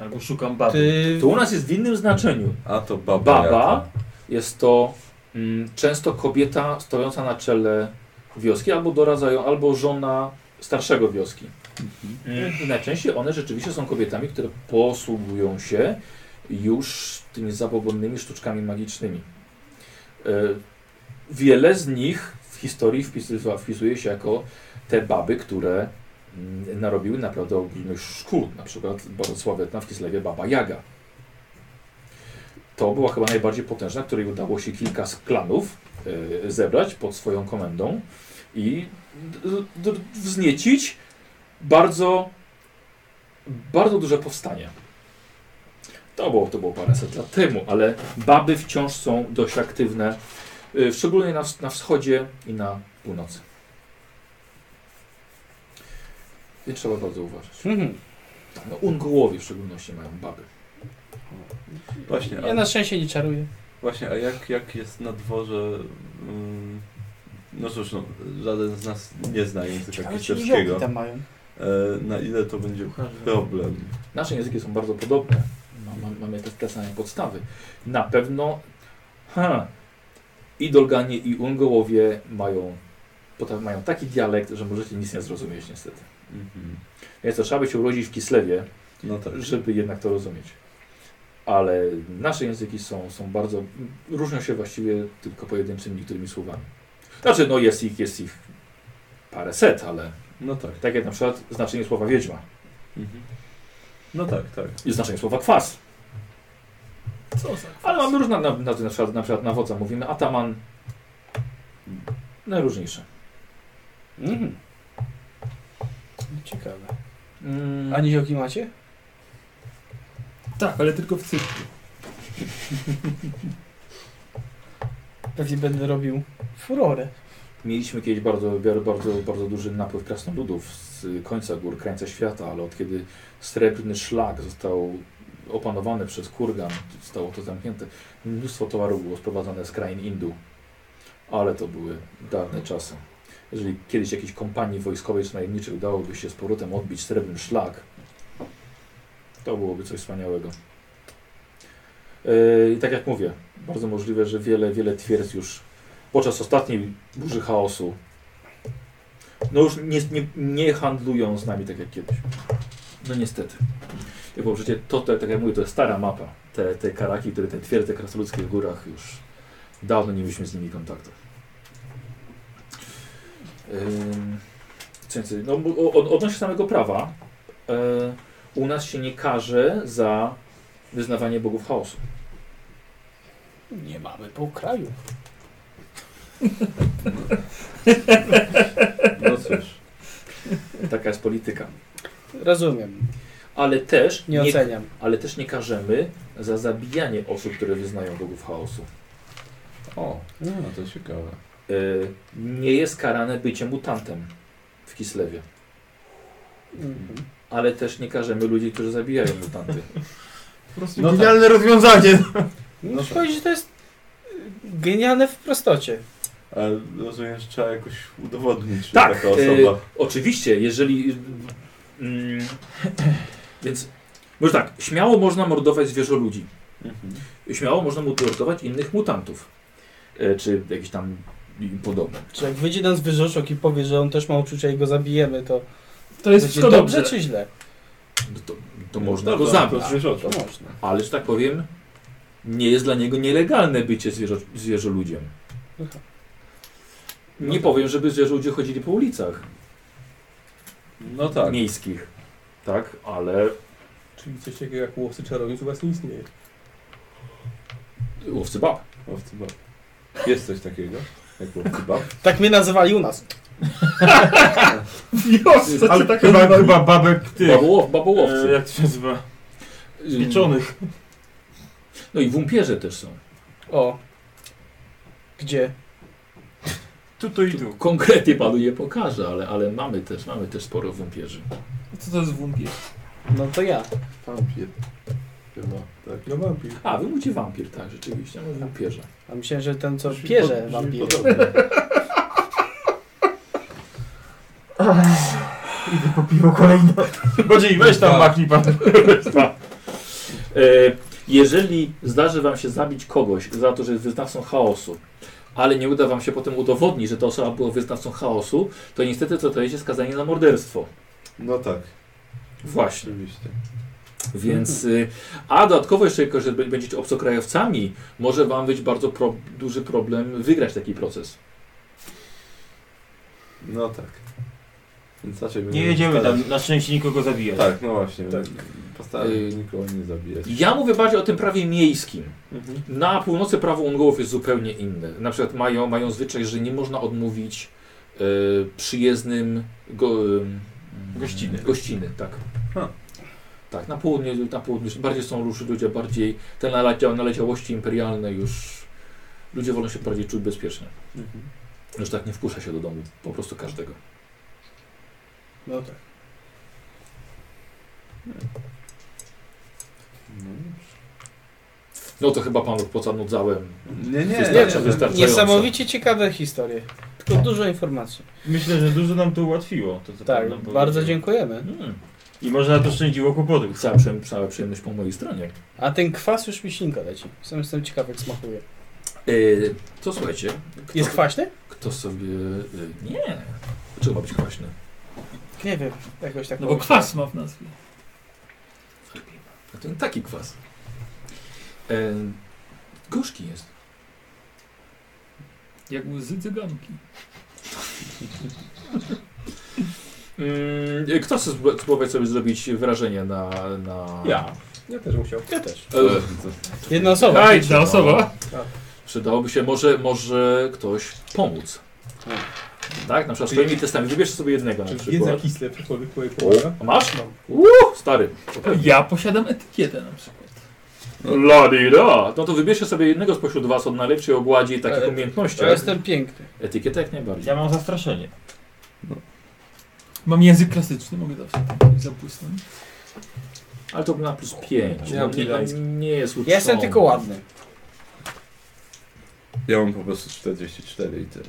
S7: Albo szukam baby.
S4: ty...
S1: To u nas jest w innym znaczeniu.
S2: a to baba.
S1: Baba jest to mm, często kobieta stojąca na czele wioski albo doradzają, albo żona starszego wioski. Mm, I najczęściej one rzeczywiście są kobietami, które posługują się już tymi zabobonnymi sztuczkami magicznymi. E, Wiele z nich w historii wpisywa- wpisuje się jako te baby, które mm, narobiły naprawdę olbrzymich szkód. Na przykład bardzo sławetna w Kislewie baba Jaga. To była chyba najbardziej potężna, której udało się kilka z klanów e, zebrać pod swoją komendą i d- d- wzniecić bardzo, bardzo duże powstanie. To było, to było paręset lat temu, ale baby wciąż są dość aktywne, y, szczególnie na, wsch- na wschodzie i na północy. Więc trzeba bardzo uważać.
S4: Mhm.
S1: No, Ungołowie w szczególności mają baby.
S2: Właśnie,
S4: Ja
S2: a,
S4: na szczęście nie no. czaruję.
S2: właśnie, a jak, jak jest na dworze... Mm, no cóż, no, żaden z nas nie zna języka
S4: Ciekawe, czy
S2: kiszewskiego.
S4: niziołki tam mają.
S2: E, na ile to będzie problem?
S1: Nasze języki są bardzo podobne. Ma, ma, mamy te, te same podstawy. Na pewno ha, i Dolganie, i Ungołowie mają, potem mają taki dialekt, że możecie nic nie zrozumieć niestety.
S2: Mhm.
S1: Więc to trzeba by się urodzić w Kislewie,
S2: No tak.
S1: żeby jednak to rozumieć. Ale nasze języki są, są bardzo. różnią się właściwie tylko pojedynczymi niektórymi słowami. Znaczy, no jest ich, jest ich parę set, ale
S2: No tak.
S1: tak jak na przykład znaczenie słowa wiedźma
S2: Mhm. No tak, tak.
S1: i znaczenie słowa kwas.
S3: Co za...
S1: Ale mamy różne nazwy, na, na, przykład- na przykład na wodza mówimy ataman. Najróżniejsze.
S4: Mhm. Ciekawe.
S1: Mm,
S4: A niziołki macie?
S3: Tak, ale tylko w cyrku.
S4: Pewnie będę robił furorę.
S1: Mieliśmy kiedyś bardzo, bardzo, bardzo, bardzo duży napływ krasnoludów z końca gór, krańca świata, ale od kiedy srebrny szlak został opanowany przez Kurgan, zostało to zamknięte, mnóstwo towarów było sprowadzane z krain Indu. Ale to były dawne czasy. Jeżeli kiedyś jakiejś kompanii wojskowej czy najemniczej udałoby się z powrotem odbić srebrny szlak, to byłoby coś wspaniałego. Yy, I tak jak mówię, bardzo możliwe, że wiele, wiele twierdz już podczas ostatniej burzy chaosu. No już nie, nie, nie handlują z nami tak jak kiedyś. No niestety. Jak było przecież to, to, tak jak mówię, to jest stara mapa. Te, te karaki, które te twierdze krasnoludzkie w górach już dawno nie mieliśmy z nimi kontaktu. Ym, co więcej, no, bo- o- od, odnośnie samego prawa, e, u nas się nie karze za wyznawanie bogów chaosu.
S4: Nie mamy pół kraju.
S2: No cóż.
S1: Taka jest polityka.
S4: Rozumiem.
S1: Ale też
S4: Nie
S1: nie,
S4: oceniam.
S1: ale też nie karzemy za zabijanie osób, które wyznają bogów chaosu.
S2: O, no to ciekawe.
S1: Y, nie jest karane bycie mutantem w Kislewie.
S4: Mhm.
S1: Ale też nie karzemy ludzi, którzy zabijają mutanty.
S5: Po prostu
S2: No tak.
S5: genialne rozwiązanie.
S4: No Muszę powiedzieć, że to jest y, genialne w prostocie.
S2: tak, Ale rozumiem, że trzeba jakoś udowodnić, że
S1: Tak,
S2: taka
S1: y,
S2: osoba...
S1: oczywiście, jeżeli. Mm, więc. Może tak, śmiało można mordować zwierzę ludzi.
S4: y,
S2: Mhm.
S1: Śmiało można mordować innych mutantów. Y, czy jakieś tam im podobne.
S4: Czy jak wyjdzie nas wyrzeszok i powie, że on też ma uczucia i go zabijemy, to
S3: To jest
S4: będzie
S3: wszystko dobrze.
S4: czy źle?
S1: No To, to można go
S2: Dobra,
S1: zabić.
S2: tak, to zwierzoczek.
S4: To można.
S1: Ale, że tak powiem, nie jest dla niego nielegalne bycie zwierzo, zwierzoludziem.
S4: Aha.
S1: Nie powiem, żeby zwierzoludzie chodzili po ulicach
S2: No tak.
S1: miejskich. Tak, ale
S6: Czyli coś takiego jak łowcy czarownic u was nie istnieje.
S1: łowcy bab.
S2: Łowcy bab. Jest coś takiego, jak łowcy bab.
S4: Tak mnie nazywali u nas.
S3: Wios, co
S5: Ale
S3: ty tak
S5: chyba, chyba babek tych.
S1: Babołow, babołowcy.
S5: E, jak to się nazywa? Pieczonych.
S1: No i wumpierze też są.
S4: O. Gdzie?
S5: Tu, tu i
S1: Tu
S5: tu.
S1: konkretnie panu je pokażę, ale, ale mamy też, mamy też sporo wumpierzy.
S3: Co to jest wumpir?
S4: No to ja.
S2: Wampir. Chyba, tak.
S6: No wampir.
S1: A, wy mówicie wampir, tak, rzeczywiście, mamy wumpierze.
S4: A myślałem, że ten co
S2: Brzmi
S4: pierze
S2: pod-
S4: wam
S2: brzmi
S4: bije.
S2: podobnie.
S5: Idę po piwo kolejne. Bardziej weź
S3: Tak.
S5: tam maknij pan.
S1: E, jeżeli zdarzy wam się zabić kogoś za to, że jest wyznawcą chaosu, ale nie uda wam się potem udowodnić, że ta osoba była wyznawcą chaosu, to niestety zostajecie skazani na morderstwo.
S2: No tak,
S1: Właśnie.
S2: oczywiście.
S1: Więc, y, a dodatkowo jeszcze, jako że b- będziecie obcokrajowcami, może wam być bardzo pro, duży problem wygrać taki proces.
S2: No tak. Więc raczej
S5: Nie
S2: będziemy
S5: jedziemy
S2: starać-
S5: tam na szczęście nikogo zabijać.
S2: Tak, no właśnie.
S6: Tak.
S2: Postaram się
S1: Y-
S2: nikogo nie zabijać.
S1: Ja mówię bardziej o tym prawie miejskim.
S2: Mhm.
S1: Na północy prawo Ungołów jest zupełnie inne. Na przykład mają, mają zwyczaj, że nie można odmówić e, przyjezdnym go, y,
S5: Gościny.
S1: Gościny, tak.
S2: Ha.
S1: Tak, na południu, na południu bardziej są ruszy ludzie, bardziej te nalecia, naleciałości imperialne już ludzie wolą się bardziej czuć bezpiecznie.
S2: Mhm.
S1: Już tak nie wpuszcza się do domu, po prostu każdego.
S4: No tak.
S2: No.
S1: No to chyba panów pocanudzałem.
S2: Nie, nie,
S5: tak
S1: Wystarczy,
S2: nie,
S1: wystarczy.
S4: Niesamowicie ciekawe historie. Tylko dużo informacji.
S5: Myślę, że dużo nam to ułatwiło. To, co pan
S4: Tak,
S5: nam
S4: bardzo
S5: powiedział.
S4: dziękujemy.
S1: Hmm,
S5: I można to szczędziło kłopotów.
S1: cała, przyjemność- cała przyjemność po mojej stronie.
S4: A ten kwas już mi ślinka leci. Sam jestem ciekaw jak smakuje.
S1: Yy, to słuchajcie. kto-
S4: Jest kwaśny?
S1: Kto sobie. y, Nie. Dlaczego ma być kwaśny?
S4: Nie wiem, jakoś tak
S3: No bo
S4: powiem.
S3: kwas ma w nazwie.
S1: A to nie taki kwas. E, gorzki jest.
S3: Jak łzy cyganki.
S1: Mm, kto chce spró- spróbować sobie zrobić wrażenie na. na...
S6: Ja. Ja też musiał.
S4: Ja też.
S1: E,
S4: Jedna osoba.
S3: Haj, ta osoba.
S1: przydałoby się, może, może ktoś pomóc. Tak? Na przykład swoimi testami. Wybierz sobie jednego na
S6: Czy wiedza
S1: przykład.
S6: kisle przychodzi twoje
S1: O,
S6: pomaga?
S1: a masz?
S6: Mam.
S1: Uuu, stary.
S3: Ja posiadam etykietę na przykład.
S1: Ladida! No to wybierzcie sobie jednego spośród was od najlepszej ogładzi i takich
S4: E,
S1: umiejętności.
S4: Ja jestem piękny.
S1: Etykieta jak najbardziej.
S5: Ja mam zastraszenie.
S3: Mam język klasyczny, mogę zawsze tam coś zapłysnąć.
S1: Ale to na plus 5.
S6: Ja mam
S1: nie,
S6: tyle.
S1: nie jest uczony.
S4: Ja jestem tylko ładny.
S2: Ja mam po prostu 44 i tyle.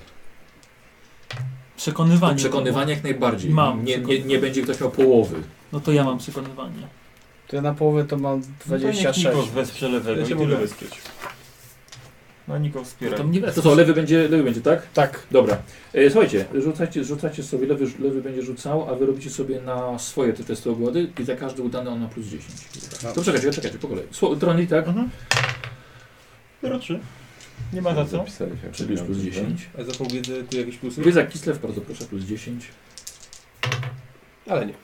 S3: Przekonywanie.
S1: Przekonywanie jak najbardziej. nie,
S3: Mam
S1: nie, nie
S3: przekonywanie.
S1: będzie ktoś miał połowy.
S3: No to ja mam przekonywanie.
S4: To ja na połowę to mam
S5: No to niech
S4: 26.
S5: Nikos wesprze lewego
S6: Ja
S5: i
S6: cię
S5: tyle.
S6: mogę wesprzeć.
S5: No Nikos
S3: To
S5: wspiera.
S3: tam nie
S1: To
S3: wesprze.
S1: co, lewy będzie, lewy będzie tak?
S4: tak.
S1: Dobra. E, słuchajcie, rzucacie, rzucacie sobie, lewy, lewy będzie rzucał, a wy robicie sobie na swoje te testy ogłady i za każdy udany on ma plus 10.
S3: No.
S1: To czekajcie, czekajcie, po kolei. Sło- Droni, tak?
S5: Mhm. Zero trzy. Nie ma za co.
S2: Zapisałeś, jak
S1: Czyli już plus
S2: miałem,
S1: 10.
S6: A za powiedzę tu jakieś plusy?
S1: Wiedza Kislew, bardzo proszę, plus 10.
S6: Ale nie.
S2: tak?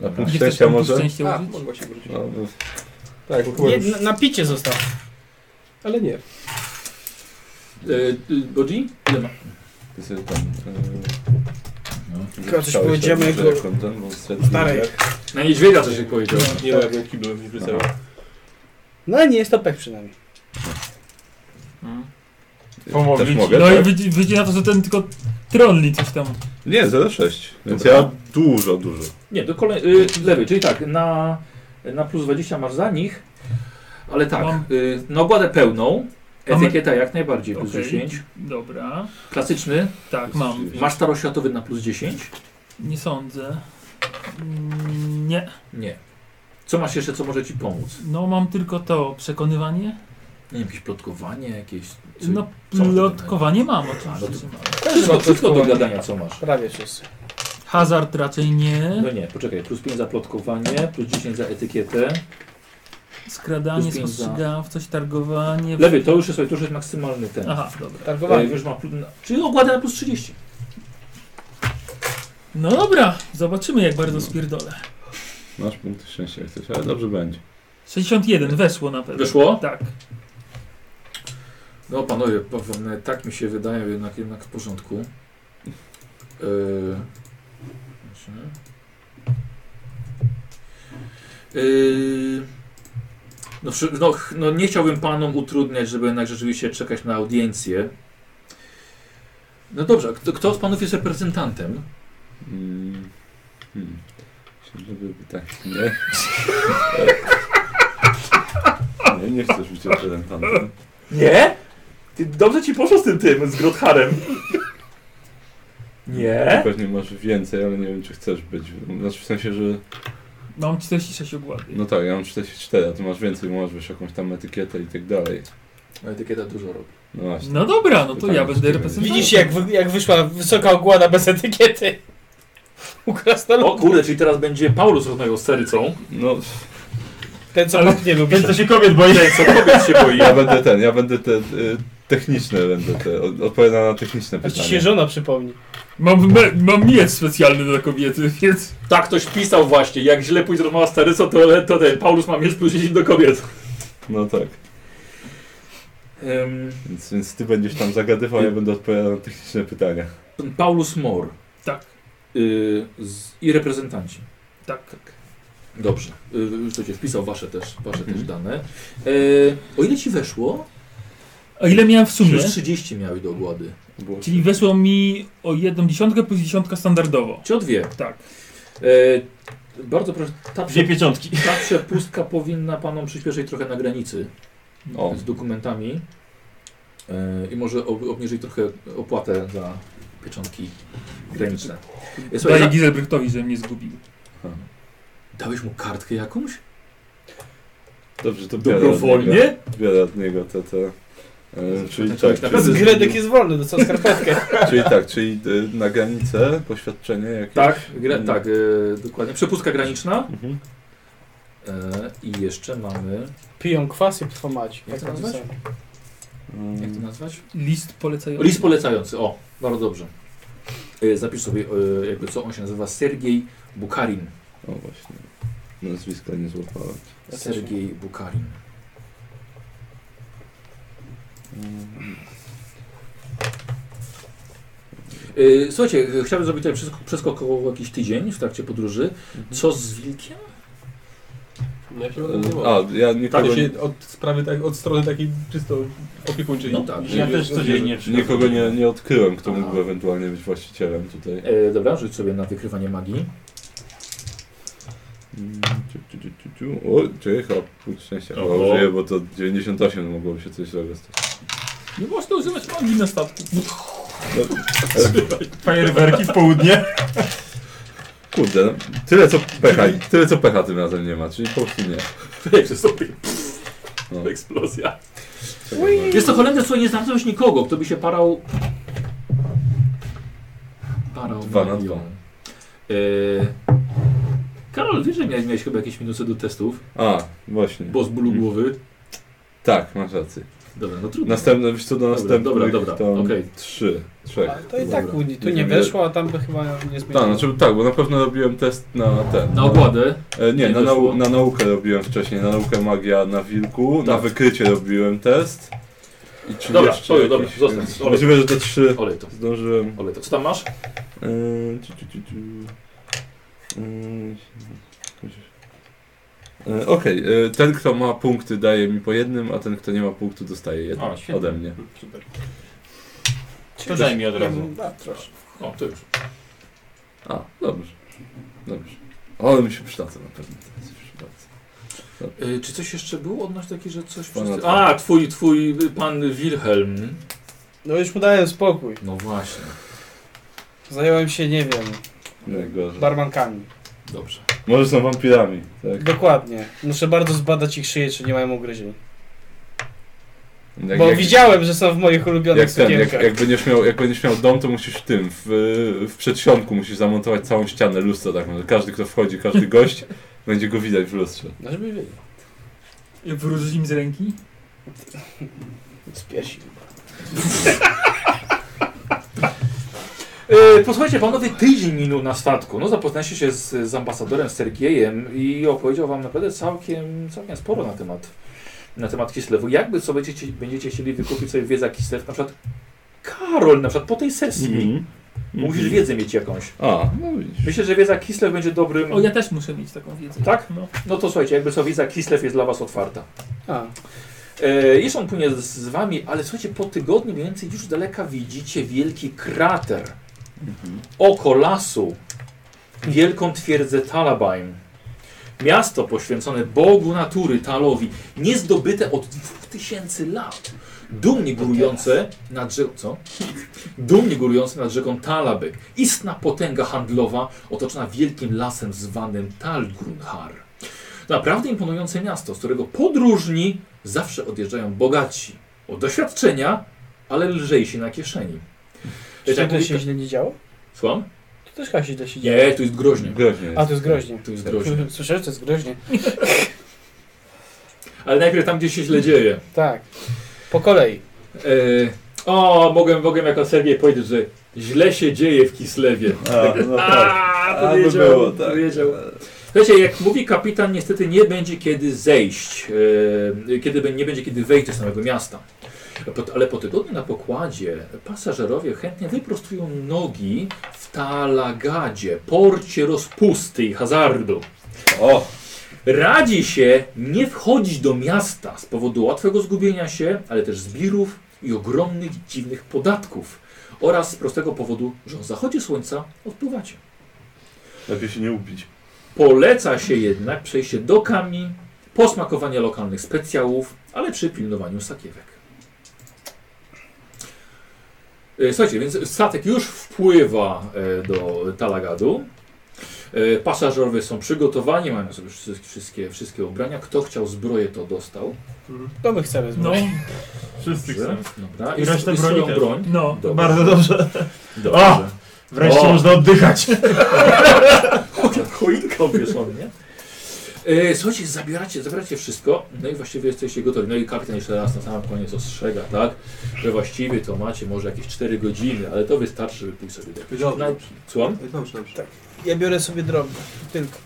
S2: Na
S3: Nie
S2: punkt
S3: chcesz
S2: szczęścia
S3: tam
S2: może?
S3: szczęście
S6: A,
S3: użyć?
S6: mogła się wrócić.
S2: No, no,
S6: Tak,
S4: Nie, na, na picie został.
S6: ale nie.
S1: Y, y, Bodzi? Ile ma?
S2: Ty sobie tam... E,
S4: Tylko coś powiedziemy
S2: jak...
S4: jako
S2: Ten, bo
S4: starej.
S1: Na niedźwiedzia coś się powiedział.
S3: No.
S6: Nie ma jakbym kiblu nie wysyłał.
S4: No nie jest to pech przynajmniej.
S5: Pomogli
S2: Też
S5: ci.
S2: mogę,
S3: No i
S2: tak?
S3: wyjdzie, wyjdzie na to, że ten tylko trolli coś tam.
S8: Nie, 0,6. Więc
S1: Dobra.
S8: ja dużo, dużo.
S1: Nie, do kolej... y, lewej, czyli tak, na, na plus 20 masz za nich, ale tak,
S3: Mam.
S1: y, na ogładę pełną,
S3: Mamy-
S1: etykieta jak najbardziej, plus
S3: Okej.
S1: 10,
S3: Dobra.
S1: klasyczny,
S3: Tak, mam.
S1: masz staroświatowy na plus 10?
S3: Nie sądzę. Mm, Nie.
S1: Nie. Co masz jeszcze, co może ci pomóc?
S3: No mam tylko to przekonywanie.
S1: Nie wiem, jakieś plotkowanie, jakieś... Co...
S3: No
S1: co masz
S3: plotkowanie mam
S1: A, no to-
S3: oczywiście. że mam.
S1: wszystko, wszystko do gadania, co masz.
S4: Prawie wszyscy.
S3: Hazard raczej nie.
S1: No nie, poczekaj, plus 5 za plotkowanie, plus 10 za etykietę.
S3: Skradanie,
S1: Plus pięć za-
S3: spostrzegawczość, targowanie.
S1: Lewy, to już jest, słuchaj, to już jest maksymalny ten.
S3: Aha, dobra.
S1: E,
S4: Targowanie.
S1: już ma, plus- czyli ogładę na plus 30.
S3: No dobra, zobaczymy jak bardzo spierdolę.
S2: Masz punkty szczęścia jak chcesz, ale dobrze będzie.
S3: 61, weszło na pewno.
S1: Wyszło?
S3: Tak.
S1: No panowie, pewnie tak mi się wydaje, jednak, jednak w porządku. Yy, właśnie. Yy, no, przy- no, ch- no nie chciałbym panom utrudniać, żeby jednak rzeczywiście czekać na audiencję. No dobrze, a kto, kto z panów jest reprezentantem?
S2: Mm. Hmm. Żeby tak, nie?
S8: Nie, nie chcesz być reprezentantem.
S5: Nie? Ty, dobrze ci poszło z tym tym, z Grotharem.
S1: E?
S5: Nie?
S2: Pewnie masz więcej, ale nie wiem czy chcesz być. Znaczy w sensie, że...
S3: Mam 46 ogłady.
S2: No tak, ja mam 44, a ty masz więcej, bo masz wiesz, jakąś tam etykietę i tak dalej.
S1: No etykieta dużo robi.
S2: No właśnie.
S3: No dobra, no to ja będę reprezentantem.
S4: Widzisz jak, wy, jak wyszła wysoka ogłada bez etykiety? U
S1: O
S4: krasnolud.
S1: kurde, czyli teraz będzie Paulus rozmawiał z serycą.
S2: No,
S4: Ten co Ale... nie lubi.
S5: Więc to się kobiet boi.
S1: Co kobiet się boi?
S2: ja będę ten, ja będę te... Y, techniczne będę te, od- odpowiadał na techniczne
S4: Aż ci Znaczy się
S2: pytania.
S4: żona przypomni.
S3: Mam, me- mam miecz specjalny dla kobiety, więc...
S1: Tak ktoś pisał właśnie, jak źle pójdzie rozmowa z serycą, to, to ten Paulus ma mieć plus 10 do kobiet.
S2: No tak,
S1: Ym,
S2: więc, więc ty będziesz tam zagadywał, ja będę odpowiadał na techniczne pytania.
S1: Pan Paulus Mor.
S3: Tak.
S1: Y, z, I reprezentanci.
S3: Tak.
S1: Dobrze. Y, już to cię wpisał wasze też, wasze też dane. Y, o ile ci weszło?
S3: A ile miałem w sumie?
S1: Już 30 miałeś do ogłady.
S2: Było
S3: Czyli weszło mi o jedną dziesiątkę plus dziesiątka standardowo.
S1: Ci o dwie.
S3: Tak.
S1: Y, bardzo proszę, ta,
S5: Dwie pieczątki.
S1: ta przepustka powinna panom przyspieszyć trochę na granicy
S2: O.
S1: z dokumentami. Y, I może ob, obniżyć trochę opłatę za pieczątki graniczne. Y, Słuchaj,
S3: Daję
S1: za,
S3: Gizelbrechtowi, żebym nie zgubił.
S1: dałeś mu kartkę jakąś?
S2: Dobrze, to biorę od niego-
S1: Dobrowolnie?
S2: Biorę od niego te... te e, czyli,
S1: Zobaczmy,
S2: tak,
S1: czy na
S2: czyli,
S1: pewno-
S4: Gredek jest wolny, dostał skarpetkę.
S2: czyli tak, czyli e, na granicę poświadczenie jakieś.
S1: Tak, gra,
S2: Mm.
S1: tak, y, dokładnie. Przepustka graniczna.
S2: Mhm.
S1: E, I jeszcze mamy.
S4: Piją kwasy po macie.
S1: Jak to nazwać? Jak
S2: Mm,
S1: to nazwać?
S3: List polecający.
S1: List polecający, o, bardzo dobrze. E, Zapisz sobie, e, jakby co on się nazywa, Sergiej Bukarin.
S2: O właśnie. Nazwiska nie złapałem.
S4: Ja też
S1: Sergiej Bukarin. E, Słuchajcie, e, chciałbym zrobić tutaj przeskok, przeskok o jakiś tydzień w trakcie podróży.
S4: Mhm.
S1: Co z wilkiem?
S6: No ja się nie mogę.
S2: E, A, ja nikogo,
S6: Tak, ja się od sprawy tak, od strony takiej czysto opiekuńczej.
S1: No tak.
S5: Ja też codziennie
S2: nikogo nie, nie odkryłem, kto
S1: A.
S2: mógłby ewentualnie być właścicielem tutaj.
S1: E, dobra, rzuć sobie na wykrywanie magii.
S2: Mm, ciu, ciu, ciu, ciu, ciu. O, czekaj, chyba punkt szczęścia.
S1: Oho.
S2: Chyba użyję, bo to 98 mogłoby się coś złego stać.
S3: Nie można używać magii na statku.
S5: Fajerwerki w południe.
S2: Kurde, no, tyle co pecha, tyle co pecha tym razem nie ma, czyli po prostu nie.
S1: Wiecie sobie,
S2: No.
S1: eksplozja.
S2: Czekaj,
S1: Jest to Holender, słuchaj, nie znalazłeś nikogo, kto by się parał... Parał
S2: Dwa na
S1: magią.
S2: dwa.
S1: Yy... Karol, wiesz, że miałeś, miałeś chyba jakieś minusy do testów,
S2: no. A, właśnie.
S1: bo z bólu
S2: Mhm.
S1: głowy.
S2: Tak, masz rację.
S1: Dobra, no trudno.
S2: Następne, wiesz co, do
S1: Dobra,
S2: następnych
S1: dobra, dobra,
S2: tam
S1: okej.
S2: trzy, trzech.
S4: To i tak u, tu nie
S2: Nie-
S4: weszło, a tam by chyba nie zmieniło.
S2: Tak, znaczy tak, bo na pewno robiłem test na ten.
S1: Na ogładę.
S2: E,
S1: Nie
S2: nie, na,
S1: wyszło.
S2: nau na naukę robiłem wcześniej, na naukę magia na wilku, na
S1: Tak.
S2: wykrycie robiłem test.
S8: I czy
S1: Dobra,
S8: jeszcze
S1: to dobra,
S8: jakieś-
S1: zostaw. Olej,
S8: Możliwe, że te trzy
S1: olej to.
S8: zdążyłem.
S1: Olej to. Co tam masz?
S8: Yy, ciu, ciu, ciu, ciu. Yy, Yy, Okej, yy, ten kto ma punkty daje mi po jednym, a ten kto nie ma punktu dostaje jeden
S5: O, świetnie.
S8: ode mnie.
S5: Super. To daj mi od razu.
S4: A, proszę.
S1: O, to już.
S8: A, dobrze. Dobrze. Ale mi się przydadzą na pewno. teraz już bardzo.
S1: Y, czy coś jeszcze było odnośnie taki, że coś...
S8: Pana
S1: Wszyscy...
S8: dwa.
S1: A, twój, twój y, pan Wilhelm.
S4: No już mu dałem spokój.
S1: No właśnie,
S4: Zająłem się, nie wiem,
S8: Najgorzej.
S4: barmankami.
S1: dobrze.
S2: Może są wampirami, tak?
S4: Dokładnie. Muszę bardzo zbadać ich szyję, czy nie mają ugryzień.
S2: Tak
S8: Jak-
S4: Bo
S8: jak-
S4: widziałem, że są w moich ulubionych
S8: Jak, ten, jak,
S4: sukienkach.
S8: jak, będziesz miał, jak będziesz miał dom, to musisz w tym, w, y, w przedsionku musisz zamontować całą ścianę, lustro taką, że każdy kto wchodzi, każdy gość, będzie go widać w lustrze.
S4: No żeby wiedział.
S3: Wróżyć im z ręki?
S4: Z piersi.
S1: E, posłuchajcie, panowie, tydzień minął na statku. No zapoznaliście się z, z ambasadorem Sergiejem i opowiedział wam naprawdę całkiem, całkiem sporo na temat, na temat Kislewu. Jakby co będziecie, będziecie chcieli wykupić sobie wiedzę Kislew, na przykład Karol, na przykład po tej sesji.
S2: Mhm,
S1: Musisz wiedzę mieć jakąś.
S8: A, no widzisz.
S1: Myślę, że wiedza Kislew będzie dobrym...
S3: O, ja też muszę mieć taką wiedzę.
S1: Tak?
S3: No.
S1: No to słuchajcie, jakby co wiedza Kislew jest dla was otwarta.
S4: A,
S1: E, Jeszcze on płynie z, z wami, ale słuchajcie, po tygodniu mniej więcej już z daleka widzicie wielki krater. Oko lasu. Wielką twierdzę Talabain. Miasto poświęcone Bogu natury Talowi. Niezdobyte od 2000 lat. Dumnie górujące nad rzeką. Co? Dumnie górujące nad rzeką Talabyk. Istna potęga handlowa otoczona wielkim lasem zwanym Talgrunhar. Naprawdę imponujące miasto, z którego podróżni zawsze odjeżdżają bogaci. O doświadczenia, ale lżejsi na kieszeni.
S4: czy
S1: Tak
S4: to
S1: mówi-
S4: się źle nie działo?
S1: Słucham?
S4: To też chyba się źle się działo.
S1: Nie, tu jest groźnie.
S8: Groźnie jest.
S4: A, to jest groźnie.
S1: Tu jest groźnie.
S4: Słyszałeś, to jest groźnie?
S1: Ale najpierw tam, gdzie się źle dzieje.
S4: Tak. Po kolei.
S1: E, o, mogłem, mogłem jako Sergiej powiedzieć, że źle się dzieje w Kislewie.
S2: A, no tak.
S1: A,
S2: A, by
S1: powiedział,
S2: było, tak.
S1: powiedział. Słuchajcie, jak mówi kapitan, niestety nie będzie kiedy zejść, e, kiedy be- nie będzie kiedy wejść do samego miasta. Po- Ale po tygodniu na pokładzie pasażerowie chętnie wyprostują nogi w Talagadzie, porcie rozpusty i hazardu.
S2: O,
S1: Radzi się nie wchodzić do miasta z powodu łatwego zgubienia się, ale też zbirów i ogromnych dziwnych podatków. Oraz z prostego powodu, że o zachodzie słońca odpływacie.
S2: lepiej się nie ubić.
S1: Poleca się jednak przejście do kami, posmakowanie lokalnych specjałów, ale przy pilnowaniu sakiewek. E, Słuchajcie, więc statek już wpływa e, do Talagadu. E, Pasażerowie są przygotowani, mają sobie wszys- wszystkie, wszystkie ubrania. Kto chciał zbroję, to dostał.
S4: To my chcemy
S3: No,
S4: zrobić.
S5: Wszyscy
S1: Dobrze.
S5: chcą.
S1: Dobra.
S5: I resztę
S1: s-
S5: broni
S1: swoją
S5: też.
S1: broń.
S3: no.
S1: Dobrze.
S5: Bardzo dobrze.
S1: Dobrze.
S5: O! Wreszcie
S1: O!
S5: można oddychać.
S1: Choinka obwieszona, nie? E, Słuchajcie, zabieracie, zabieracie wszystko, no i właściwie jesteście gotowi. No i kapitan jeszcze raz na samym koniec ostrzega, tak? Że właściwie to macie może jakieś 4 godziny, ale to wystarczy, żeby pójść sobie do jakiegoś...
S6: Dobrze.
S1: Słucham?
S6: Dobrze, dobrze.
S4: Ja biorę sobie drobne. Tylko.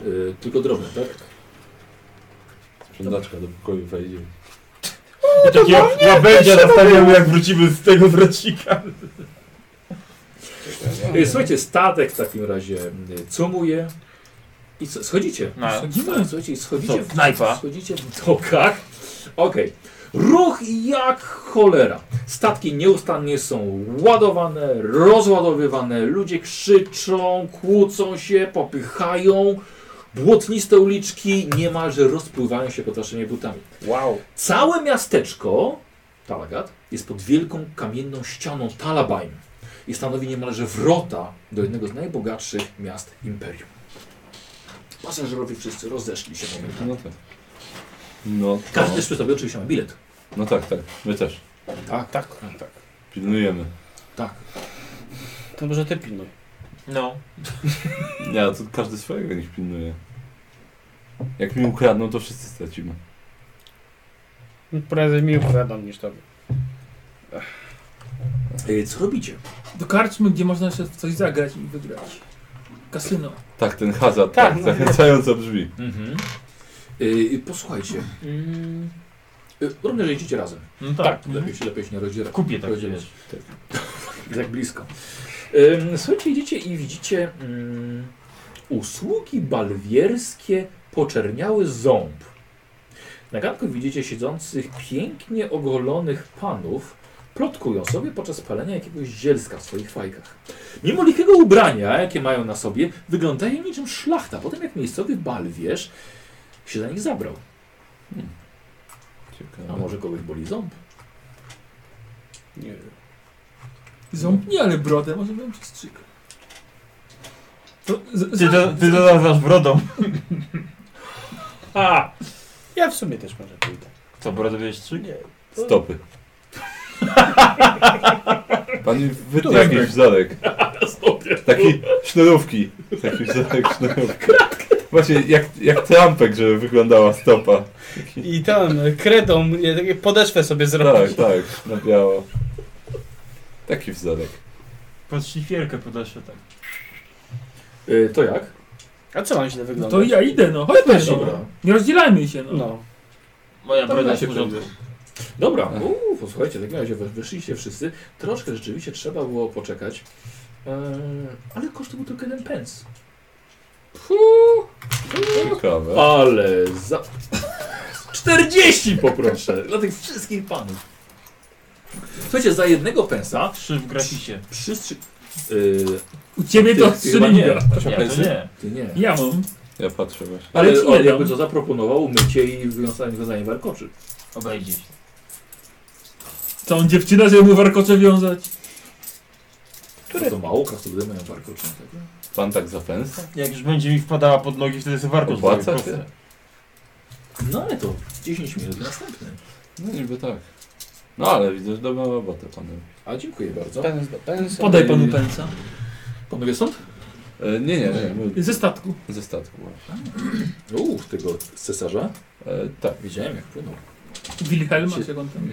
S1: E, tylko drobne, tak?
S8: Sprzątaczka do pokoju wejdzie.
S5: Takie łabędzia nastawiamy, jak wrócimy z tego wrocika.
S1: E, Słuchajcie, statek w takim razie e, cumuje i co, schodzicie.
S5: No.
S1: Schodzimy. Słuchajcie, i schodzicie,
S5: Co, knajpa?
S1: w, schodzicie w dokach. Okej. Ruch jak cholera. Statki nieustannie są ładowane, rozładowywane, ludzie krzyczą, kłócą się, popychają. Błotniste uliczki niemalże rozpływają się pod waszymi butami.
S5: Wow.
S1: Całe miasteczko, Talagat, jest pod wielką kamienną ścianą Talabain i stanowi niemalże wrota do jednego z najbogatszych miast imperium. Pasażerowie wszyscy rozeszli się momentalnie.
S8: No tak. No,
S1: Każdy też przy sobie oczywiście ma bilet.
S8: no tak, tak. My też.
S1: Tak, tak.
S8: Pilnujemy.
S1: tak.
S4: To może ty pilnuj.
S5: No.
S8: Nie, to każdy swojego niech pilnuje. Jak mi ukradną, to wszyscy stracimy.
S4: Prędzej mi ukradą niż tobie.
S1: E, Co robicie?
S3: Do karczmy, gdzie można jeszcze w coś zagrać i wygrać. Kasyno.
S8: Tak, ten hazard,
S4: Tak,
S8: tak,
S4: no.
S8: zachęcająco brzmi.
S1: Mhm. E, Posłuchajcie. Mm. Y, Również jeździcie razem.
S5: No tak.
S1: Lepiej się, lepiej się nie rozdziela.
S5: Kupię tak,
S1: Rozdziela-
S5: wiesz.
S1: tak blisko. Ym, Słuchajcie, idziecie i widzicie mm, usługi balwierskie poczerniały ząb. Na ganku widzicie siedzących pięknie ogolonych panów, plotkują sobie podczas palenia jakiegoś zielska w swoich fajkach. Mimo likiego ubrania, jakie mają na sobie, wyglądają niczym szlachta, po tym jak miejscowy balwierz się za nich zabrał. A może kogoś boli ząb?
S4: Nie.
S3: Ząb nie, ale brodę może bym przystrzyk. To,
S5: Ty
S3: z,
S5: to,
S3: z,
S5: ty to nazywasz brodą.
S22: A!
S4: Ja w sumie też może pójdę.
S5: Co, brodę wiesz
S7: No
S5: czy nie?
S2: Stopy. Pan wytnie
S4: Tutaj
S2: jakiś wzorek. Taki sznurówki. Taki wzorek sznurówki. Właśnie jak, jak trampek, żeby wyglądała stopa.
S4: I tam e, kredą mnie takie podeszwę sobie
S2: Tak,
S4: zrobić.
S2: tak, na biało. Taki wzorek.
S5: Pod szlifierkę podeszła tak.
S1: Y, to jak?
S4: A co mam źle
S3: no
S4: wyglądać?
S3: to ja idę, no chodźmy się. No. Nie rozdzielajmy się, no.
S4: No.
S7: Moja
S6: Tam
S7: broda
S6: ja
S7: jest
S6: się
S7: w porządku.
S1: Dobra, uuu, posłuchajcie, w takim razie wy- wyszliście wszyscy. Troszkę rzeczywiście trzeba było poczekać. Eee, ale koszt był tylko jeden pens. Puh,
S2: Ciekawe.
S1: ale za... 40 poproszę dla tych wszystkich panów. Słuchajcie, za jednego pensa
S5: Trzy w graficie.
S1: przystrzy... Yy,
S3: U ciebie
S1: Ty-
S3: to
S1: ty chyba nie.
S3: strzelinga.
S5: Nie, to nie.
S1: ty nie.
S3: Ja mam.
S2: Ja patrzę właśnie.
S3: Ale
S1: Ale
S3: ci nie
S1: on
S3: dam.
S1: jakby co zaproponował mycie i wywiązanie, wywiązanie warkoczy.
S5: Obejdzie się.
S3: Całą dziewczynę, żeby mu warkocze wiązać.
S1: To co mało krasnoludy mają warkoczy. na tego?
S2: Pan tak zapęsa?
S5: Jak już będzie mi wpadała pod nogi, wtedy sobie warto
S2: Opłaca się?
S1: No ale to 10 minut następny.
S2: No niby tak. No ale widzę, że dobrą robotę panem.
S1: A dziękuję
S3: No.
S1: bardzo.
S3: Tak.
S4: Pens do pensa.
S3: Podaj panu pensa.
S1: Panowie stąd?
S2: E, nie, nie, nie. my
S3: Ze statku.
S2: Ze statku właśnie.
S1: Uuu, tego cesarza?
S2: E, tak.
S1: Widziałem jak płynął.
S3: Wilhelma,
S1: Czy-
S3: czy jak on tam.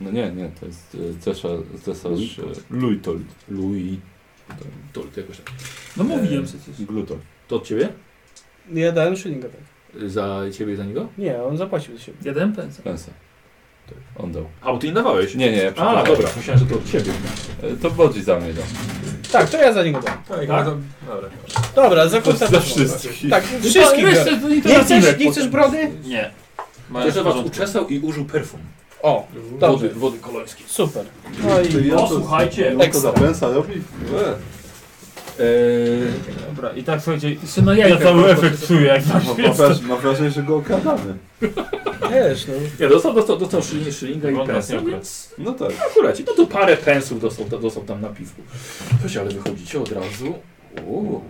S2: No nie, nie, to jest e, cesarz, cesarz e, Luitold.
S1: Louis. To, to jakoś tak.
S3: No
S2: E,
S3: mówiłem przecież.
S2: Glutol.
S1: To od ciebie?
S4: Ja dałem szylinga tak.
S1: Za ciebie i za niego?
S4: Nie, on zapłacił za siebie.
S3: Ja dałem pensa.
S2: Pensa. On dał.
S1: A, bo ty nie dawałeś.
S2: Nie, nie, ja
S1: A,
S2: przepraszam.
S1: dobra, myślałem, że to od ciebie.
S2: E, To Bodzi za mnie dał.
S4: Tak, to ja za niego dam.
S6: Tak,
S1: Tak?
S6: no to- Dobra.
S4: Dobra, za
S2: To
S4: kurta
S2: za
S4: też mogę.
S2: wszystkich.
S4: Tak, wszystkich
S3: No,
S4: biorę. Nie chcesz, nie chcesz brody?
S5: Nie.
S1: Też
S5: Masz
S1: was uczesał i użył perfum.
S4: O,
S1: Wody,
S4: dobrze.
S1: wody kolońskiej.
S4: Super.
S2: Tak.
S4: No i...
S22: O, słuchajcie!
S8: On to za pensa robi? E,
S5: Dobra, i tak słuchajcie,
S3: Jeszcze na
S5: ja
S3: jajka.
S5: cały
S3: warkocze.
S5: efekt czuję, jak
S4: Tak,
S8: Mam wraż- mam wrażenie, że go okradamy.
S4: Wiesz, no.
S1: Nie, dostał, dostał, dostał szylinę, szylinga i
S5: Wygląda
S1: pensa,
S5: super.
S1: więc
S8: No tak.
S1: akurat. No to parę pensów dostał, dostał tam na piwku. Coś, ale wychodzicie od razu. Uuu,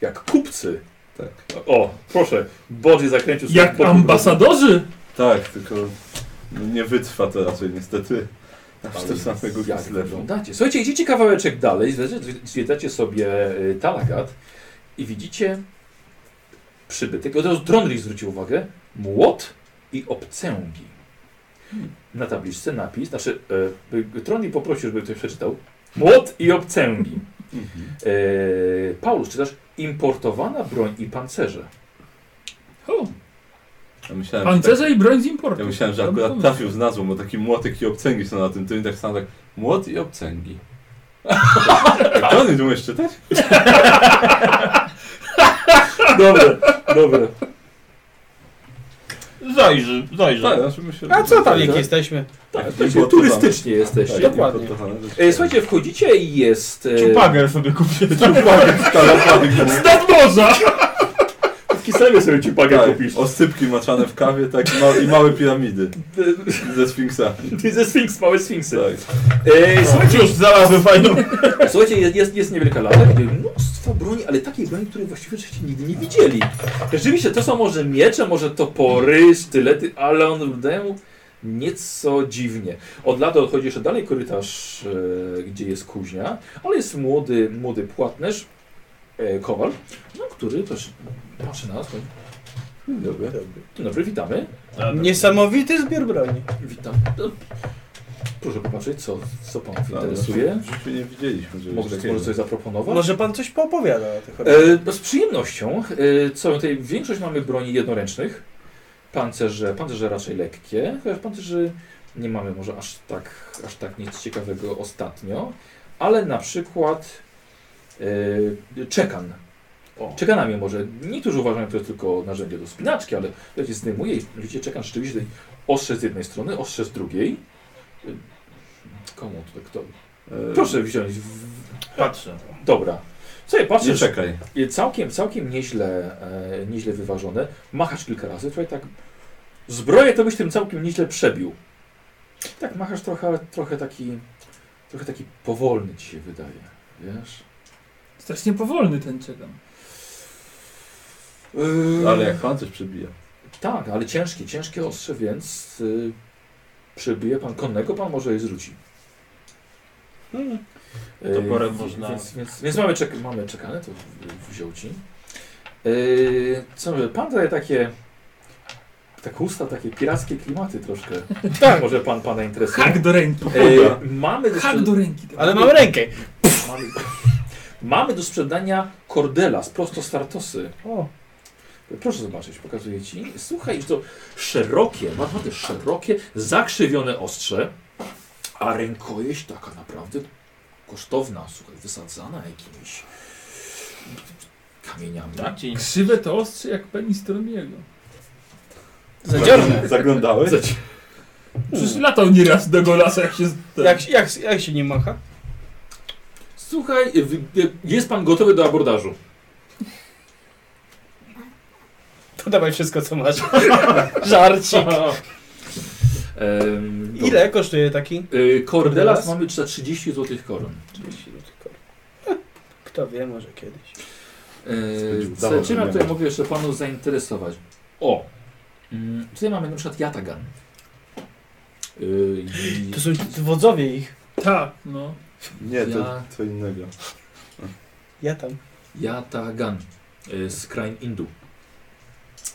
S1: jak kupcy.
S8: Tak.
S1: O, proszę, Bodzi zakręcił sobie
S3: Jak
S1: boku.
S3: ambasadorzy?
S8: Tak, tylko no nie wytrwa to raczej niestety. Aż do samego
S1: jak
S8: Kislewu.
S1: wyglądacie? Słuchajcie, idziecie kawałeczek dalej, zwiedzacie- zwiedzacie sobie y, Talagat i widzicie przybytek. Od razu Drondri zwrócił uwagę. Młot i obcęgi. Na tabliczce napis, znaczy e, Drondri poprosił, żeby ktoś przeczytał. Młot i obcęgi.
S8: Mhm.
S1: E, Paulus, czytasz importowana broń i pancerze.
S3: O,
S2: Ja myślałem, że tak,
S3: pancerze i broń z importu.
S2: ja myślałem, że
S3: No,
S2: akurat trafił z nazwą, bo taki młotek i obcęgi są na tym tym i tak samo tak. Młot i obcęgi. Tak, To nie umiesz czytać?
S4: Tak.
S1: Dobre, dobre.
S5: Zajrzy,
S2: Tak,
S5: zajrzy.
S2: znaczy myślę,
S4: A co tam,
S2: że-
S4: jak jesteśmy?
S1: Tak,
S2: to
S1: tak
S2: było
S1: turystycznie jesteście.
S2: Tak,
S4: Dokładnie.
S2: importowane rzeczy.
S1: E, słuchajcie, wchodzicie i jest... e,
S5: Ciupagę sobie kupię.
S2: tak,
S3: Z nadmorza!
S1: Taki sobie sobie ci pagę
S2: Tak,
S1: kupisz.
S2: osypki maczane w kawie tak, ma, i małe piramidy ze Sfinksa.
S1: Ty ze Sfinks, małe Sfinksy.
S2: Tak.
S1: Ej, słuchajcie,
S5: Już znalazłem fajną.
S1: No. słuchajcie jest, jest, jest niewielka lata, gdy mnóstwo broni, ale takiej broni, której właściwie żeście nigdy nie widzieli. Rzeczywiście, to są może miecze, może topory, sztylety, ale on wydaje mu nieco dziwnie. Od lata odchodzi jeszcze dalej korytarz, e, gdzie jest kuźnia, ale jest młody, młody płatnerz, e, kowal, no, który też patrzy na nas. mówi,
S2: Dzień dobry.
S1: Dzień dobry, witamy.
S7: tak.
S4: Niesamowity zbiór broni.
S1: Witam. No, Proszę popatrzeć, co, co pan interesuje.
S2: Interesuje? tak. W życiu nie widzieliśmy, że
S1: Może,
S2: jest
S1: może
S2: takiego.
S1: coś zaproponować?
S4: Może pan coś poopowiada o tych
S1: E, no z przyjemnością. E, co tutaj, większość mamy broni jednoręcznych. Pancerze, pancerze raczej lekkie, chociaż pancerzy nie mamy może aż tak, aż tak nic ciekawego ostatnio, ale na przykład yy, czekan. Czekanami może. Niektórzy uważają, że to jest tylko narzędzie do spinaczki, ale ja się zdejmuje i widzicie, czekan rzeczywiście ostrze z jednej strony, ostrze z drugiej. Yy, Komu to kto? Proszę wziąć. W...
S5: Patrzę.
S1: Dobra. Słuchaj,
S8: Nie
S1: patrzysz,
S8: czekaj.
S1: i Całkiem, całkiem nieźle, e, nieźle wyważone. Machasz kilka razy, słuchaj, tak. Zbroję to byś tym całkiem nieźle przebił. Tak, machasz trochę, ale trochę taki. Trochę taki powolny ci się wydaje. Wiesz?
S3: Strasznie powolny ten czekam.
S2: Yy.
S8: Ale jak pan coś przebija.
S1: Tak, ale ciężkie, ciężkie ostrze, więc y, przebije pan konnego, pan może je zrzuci.
S3: Hmm.
S1: Y,
S5: Toporem
S1: wi-
S5: można-
S1: Więc, więc, więc mamy, czek mamy czekane, to w- wziął ci. Y, co, pan daje takie. Tak usta, takie pirackie klimaty troszkę. Tak. Może pan pana interesuje.
S3: Hak Tak, do ręki.
S1: Y, mamy, do
S3: Hak do
S1: sprzed-
S3: ręki.
S4: Ale mam rękę.
S1: mamy, mamy do sprzedania kordela z prostostartosy.
S4: O,
S1: Proszę zobaczyć, pokazuję ci. Słuchaj, to szerokie, naprawdę szerokie, zakrzywione ostrze, a rękojeść taka naprawdę kosztowna, słuchaj, wysadzana jakimiś kamieniami.
S5: Tak, czyli
S3: Krzywe to ostrze jak penis Troniego.
S4: zadziorne.
S8: Zaglądałeś?
S1: Zaci-
S2: Hmm.
S3: Przecież latał nieraz do golasa jak się...
S4: Jak, jak, jak się nie macha?
S1: Słuchaj, wy- jest pan gotowy do abordażu.
S4: To dawaj wszystko, co masz. Żarcik.
S1: Em, dobra.
S4: Ile kosztuje taki?
S1: Y, Kordelas
S4: Kordelas?
S1: mamy za 30 zł koron.
S4: 30 no tylko. Kto wie, może kiedyś.
S1: Yy,
S8: Spędził całe
S1: Zaczynam
S8: dnie.
S1: tutaj mogę jeszcze panu zainteresować. O! Mm, Tutaj mamy na przykład Jatagan. Yy, i-
S4: To są wodzowie ich.
S3: Tak, no.
S8: Nie, to
S1: Ja-
S8: co innego.
S4: Ja tam.
S1: Jatagan yy, z krain Indu.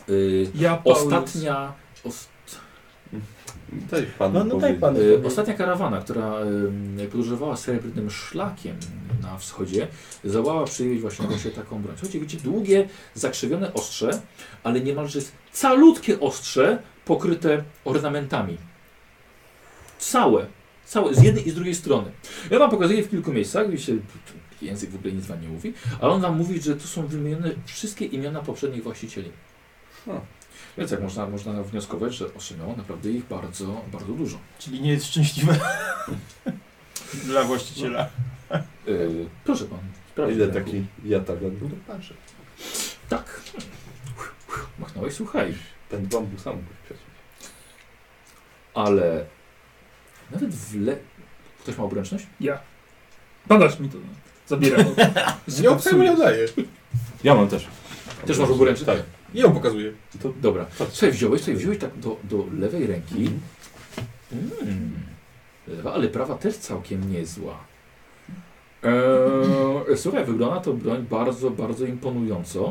S1: Yy,
S3: Ja Paulus.
S1: Ostatnia, os,
S8: Daj pan
S4: No, no daj
S8: powiedzieć.
S4: pan.
S1: yy, ostatnia karawana, która yy, podróżowała srebrnym szlakiem na wschodzie, zdołała przyjąć właśnie właśnie taką broń. Słuchajcie, widzicie, długie, zakrzywione ostrze, ale niemalże calutkie ostrze pokryte ornamentami. Całe. Całe, z jednej i z drugiej strony. Ja wam pokazuję w kilku miejscach, widzicie, tu język w ogóle nic wam nie mówi, ale on wam mówi, że tu są wymienione wszystkie imiona poprzednich właścicieli.
S8: O.
S1: Więc jak można, można wnioskować, że ostrze miało naprawdę ich bardzo, bardzo dużo.
S5: Czyli nie jest szczęśliwe dla właściciela.
S1: Yy, proszę tak. pan, sprawdź.
S8: Ile taki jatagan? No patrzę.
S1: Tak. Machnąłeś, słuchaj.
S8: Ten bambu sam mógł przecież.
S1: Ale nawet w le... Ktoś ma obręczność?
S3: Badasz mi to. No. Zabieram.
S6: Z nią
S3: psuję.
S6: nie oddaję.
S2: Ja mam też.
S1: Też masz obręczność? Tak.
S6: I ją pokazuję.
S1: Dobra. Słuchaj, wziąłeś, słuchaj, wziąłeś tak do, do lewej ręki. Mm. Lewa, ale prawa też całkiem niezła. E, Eee, słuchaj, wygląda to broń bardzo, bardzo imponująco.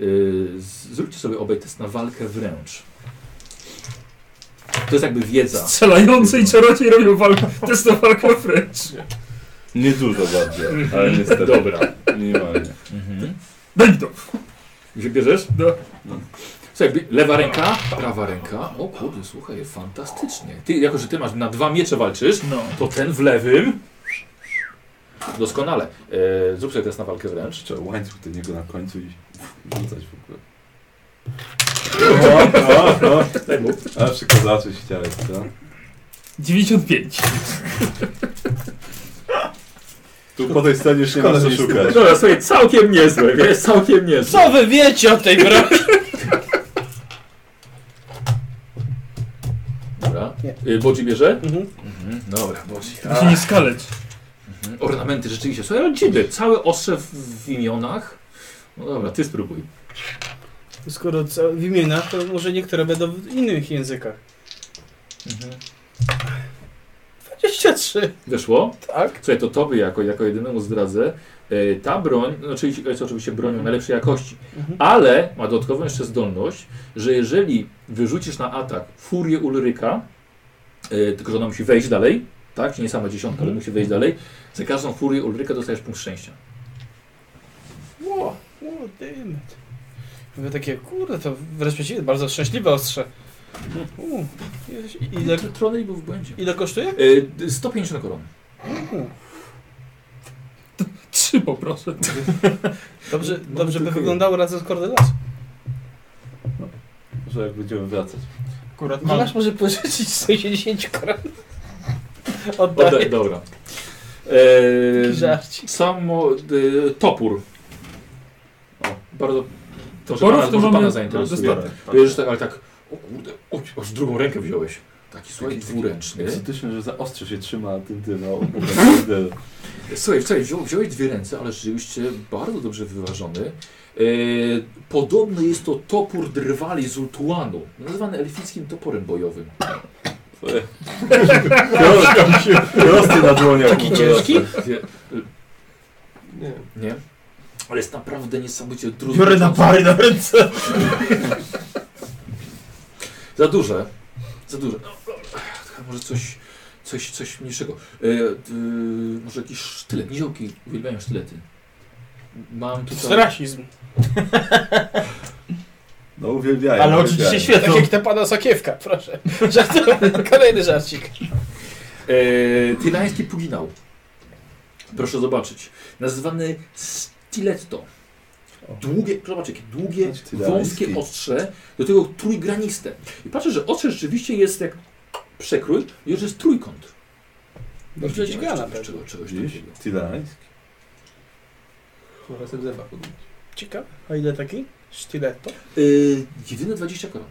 S1: Eee, z- zróbcie sobie obaj test na walkę wręcz. To jest jakby wiedza.
S3: Strzelający i czarodziej robią walkę. Test na walkę wręcz.
S2: Niedużo bardziej, ale niestety.
S1: Dobra.
S2: Minimalnie.
S1: Mhm.
S3: Daj mi to.
S1: Bierzesz?
S3: No.
S1: Słuchaj, bi- lewa ręka, prawa ręka. O kurde, słuchaj, fantastycznie. Ty, jako że ty masz na dwa miecze walczysz,
S3: No.
S1: to ten w lewym. Doskonale. E, zrób sobie test na walkę wręcz.
S8: Trzeba łańcuch do niego na końcu i rzucać w ogóle.
S1: Daj mu.
S8: A przy kozaczy ściarek, co?
S3: 95.
S8: Tu po tej scenie już nie ma co szukać.
S1: Dobra, słuchaj, całkiem niezłe, wiesz, całkiem niezłe.
S4: Co wy wiecie o tej broni?
S1: Dobra.
S4: Nie.
S1: Y, Bodzi bierze?
S4: Mhm.
S1: Mhm. Dobra, Bodzi.
S3: To się nie skalecz.
S1: Mhm. Ornamenty rzeczywiście. Słuchaj, ale dziwne, całe ostrze w, w imionach. No dobra, ty spróbuj.
S4: Skoro ca- w imionach, to może niektóre będą w innych językach.
S1: Mhm.
S4: 23.
S1: Wyszło?
S4: Tak.
S1: Słuchaj, to tobie jako, jako jedynemu zdradzę. E, Ta broń, no, czyli jest oczywiście bronią najlepszej jakości,
S4: Mhm.
S1: ale ma dodatkową jeszcze zdolność, że jeżeli wyrzucisz na atak furię Ulryka, e, tylko że ona musi wejść dalej, tak? Czyli nie sama dziesiątka, ale musi wejść dalej, za każdą furię Ulryka dostajesz punkt szczęścia.
S4: Ło, ło, dymet. Mówię takie, kurde, to wreszcie ci- bardzo szczęśliwe ostrze. U, i- ile,
S1: Tronej był w błędzie.
S4: ile kosztuje?
S1: Y, 150 koron.
S3: Trzy poproszę.
S4: Dobrze,
S1: No,
S4: dobrze by
S1: tylko
S4: wyglądało razem z Cordelas.
S2: Może jak będziemy wracać.
S5: Akurat mam.
S4: Masz może pożyczyć 160 koron.
S1: Oddaję.
S4: Oddaję.
S1: Dobra. E,
S4: Żarci.
S1: samo y, topór. Bardzo. może
S3: Toporów
S1: pana-
S3: to
S1: może
S3: mamy
S1: pana zainteresuje.
S3: dostatek.
S1: Wiesz, tak, ale tak, o kurde, o, aż drugą rękę wziąłeś. Taki słuchaj,
S2: Taki-
S1: dwuręczny.
S2: Egzotyczne, że za ostrze się trzyma a tym no, tym, a on po prostu tyle.
S1: Słuchaj, wczoraj wziął, wziąłeś dwie ręce, ale rzeczywiście bardzo dobrze wyważony. E, podobny jest to topór drwali z Ultuanu, nazywany elfickim toporem bojowym.
S2: Krążka mi się prosty na dłoniach.
S4: Taki ciężki?
S1: Nie,
S6: Nie.
S1: nie? Ale jest naprawdę niesamowicie trudny.
S5: Biorę na pary na ręce.
S1: Za duże. Za duże. No, no, ach, Może coś, coś, coś mniejszego. E, y, może jakiś sztylet. Niziołki uwielbiają sztylety. Mam
S4: To
S1: tutaj...
S4: jest rasizm.
S2: No uwielbiają.
S5: Ale
S2: uwielbiają.
S5: oczywiście świetną.
S4: Tak jak ta pana sakiewka, proszę. Żart, kolejny żarcik.
S1: E, Tylański puginał. Proszę zobaczyć. Nazywany stiletto. Długie, zobacz, jakie długie,
S2: Znaczy, tylański.
S1: wąskie ostrze, do tego trójgraniste. I patrzę, że ostrze rzeczywiście jest jak przekrój, i że jest trójkąt.
S4: No przecież
S1: Widziałem
S4: gana
S1: czegoś,
S4: pewnie.
S1: czegoś, czegoś
S2: Widzisz?
S1: takiego.
S2: Tylański.
S6: Można sobie zęba podnieść.
S4: Ciekawe. A ile taki? Sztyletto?
S1: Yy, jedyne 20 koron.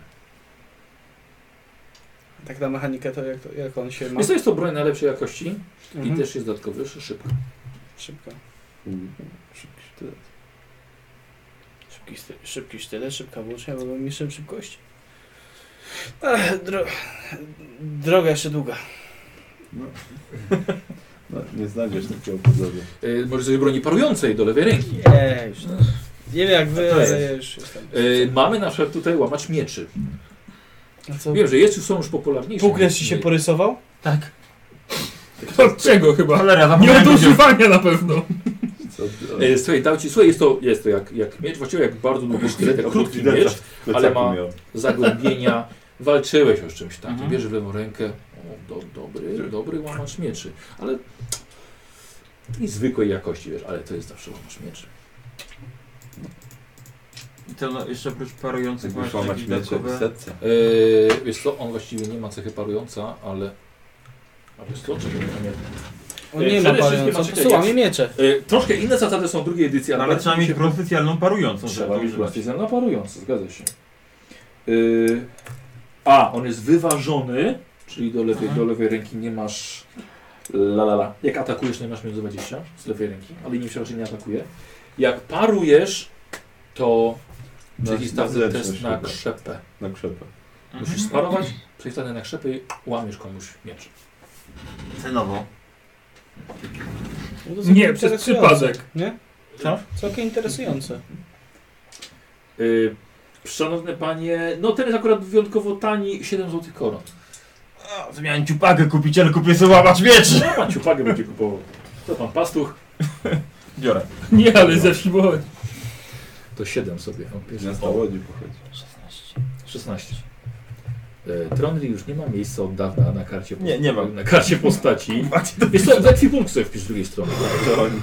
S4: Tak na mechanikę to jak, to jak on się ma?
S1: Więc to jest to broń najlepszej jakości i
S4: No. Mhm.
S1: też jest dodatkowy szybko.
S4: Szybko.
S2: Mm, szybki sztylet.
S4: Szybki, sty- szybki sztylet, szybka włócznia, bo byłem mistrzem szybkości. Ach, dro... Droga jeszcze długa.
S2: No, nie znajdziesz takiego poziomu.
S1: Yy, możesz sobie broni parującej do lewej ręki.
S4: Nie, już nie. Nie wiem jak wy,
S1: To jest.
S4: ale ja już jestem.
S1: Yy, mamy na przykład tutaj łamacz mieczy.
S4: A co?
S1: Wiem, że jest już są już popularniejsze.
S4: Półkres No. ci się
S1: Yy,
S4: porysował?
S5: Tak.
S3: Od czego chyba?
S5: Cholera,
S3: Nie od
S5: zapomniałem.
S3: używania na pewno.
S2: Co ty- o,
S1: E, Słuchaj, dał ci, słuchaj, jest to, jest to jak, jak miecz, właściwie jak bardzo długi sztylet, jak
S2: o
S1: krótki
S2: plecach-
S1: miecz,
S2: plecaku
S1: ale ma-
S2: miał.
S1: zagłębienia, walczyłeś o czymś takim,
S5: Mhm.
S1: bierzesz w lewą rękę, o, do, dobry, dobry łamacz mieczy, ale i zwykłej jakości, wiesz, ale to jest zawsze łamacz mieczy.
S5: I to no, jeszcze oprócz parujących
S2: Jakbyś
S5: masz
S2: łamać
S5: jakieś
S2: miecze w
S5: dodatkowe...
S2: setce.
S1: E, wiesz co, on właściwie nie ma cechy parująca, ale... A wiesz co, czekaj, nie
S4: On
S1: Yy,
S4: nie ma
S1: przede wszystkim
S4: paląca,
S1: macie-
S4: psuła mi miecze.
S1: e, Troszkę inne zasady są drugiej edycji,
S5: Ale
S1: bardzo
S5: trzeba
S1: mi
S5: mieć
S1: się
S5: broń specjalną parującą, żeby
S1: Trzeba
S5: to
S1: mieć
S5: używać.
S1: profesjonalną parującą, zgadza się. Yy, a, on jest wyważony, czyli do lewej,
S5: Aha.
S1: do lewej ręki nie masz. La, la, la. Jak atakujesz, nie masz minus 20 z lewej ręki, ale nim się raczej nie atakuje. Jak parujesz, to
S2: Na-
S1: przeciwstawny
S2: zręczność
S1: test na
S2: chyba.
S1: krzepę.
S2: Na krzepę.
S1: Musisz sparować, przeciwstawny na krzepę i łamiesz komuś miecz.
S5: Cenowo.
S4: No to całkiem
S3: Nie, przez
S4: interesujące,
S3: przypadek.
S4: Nie?
S5: Co?
S4: Całkiem interesujące.
S1: Yy, szanowny panie, no ten jest akurat wyjątkowo tani, 7 zł koron.
S5: A, to miałem ciupagę kupić, ale kupię sobie łamacz mieczy.
S1: No pan ciupagę będzie kupował. To pan pastuch.
S5: Biorę.
S3: Nie, ale zaślibować.
S1: To 7 sobie.
S2: Na stałodzi pochodzi.
S1: 16. E, Tronry już nie ma miejsca od dawna na karcie, post-
S5: Nie, nie mam.
S1: Na karcie postaci. Wiesz co, za ekwipunku sobie wpisz z drugiej strony.
S2: To oni-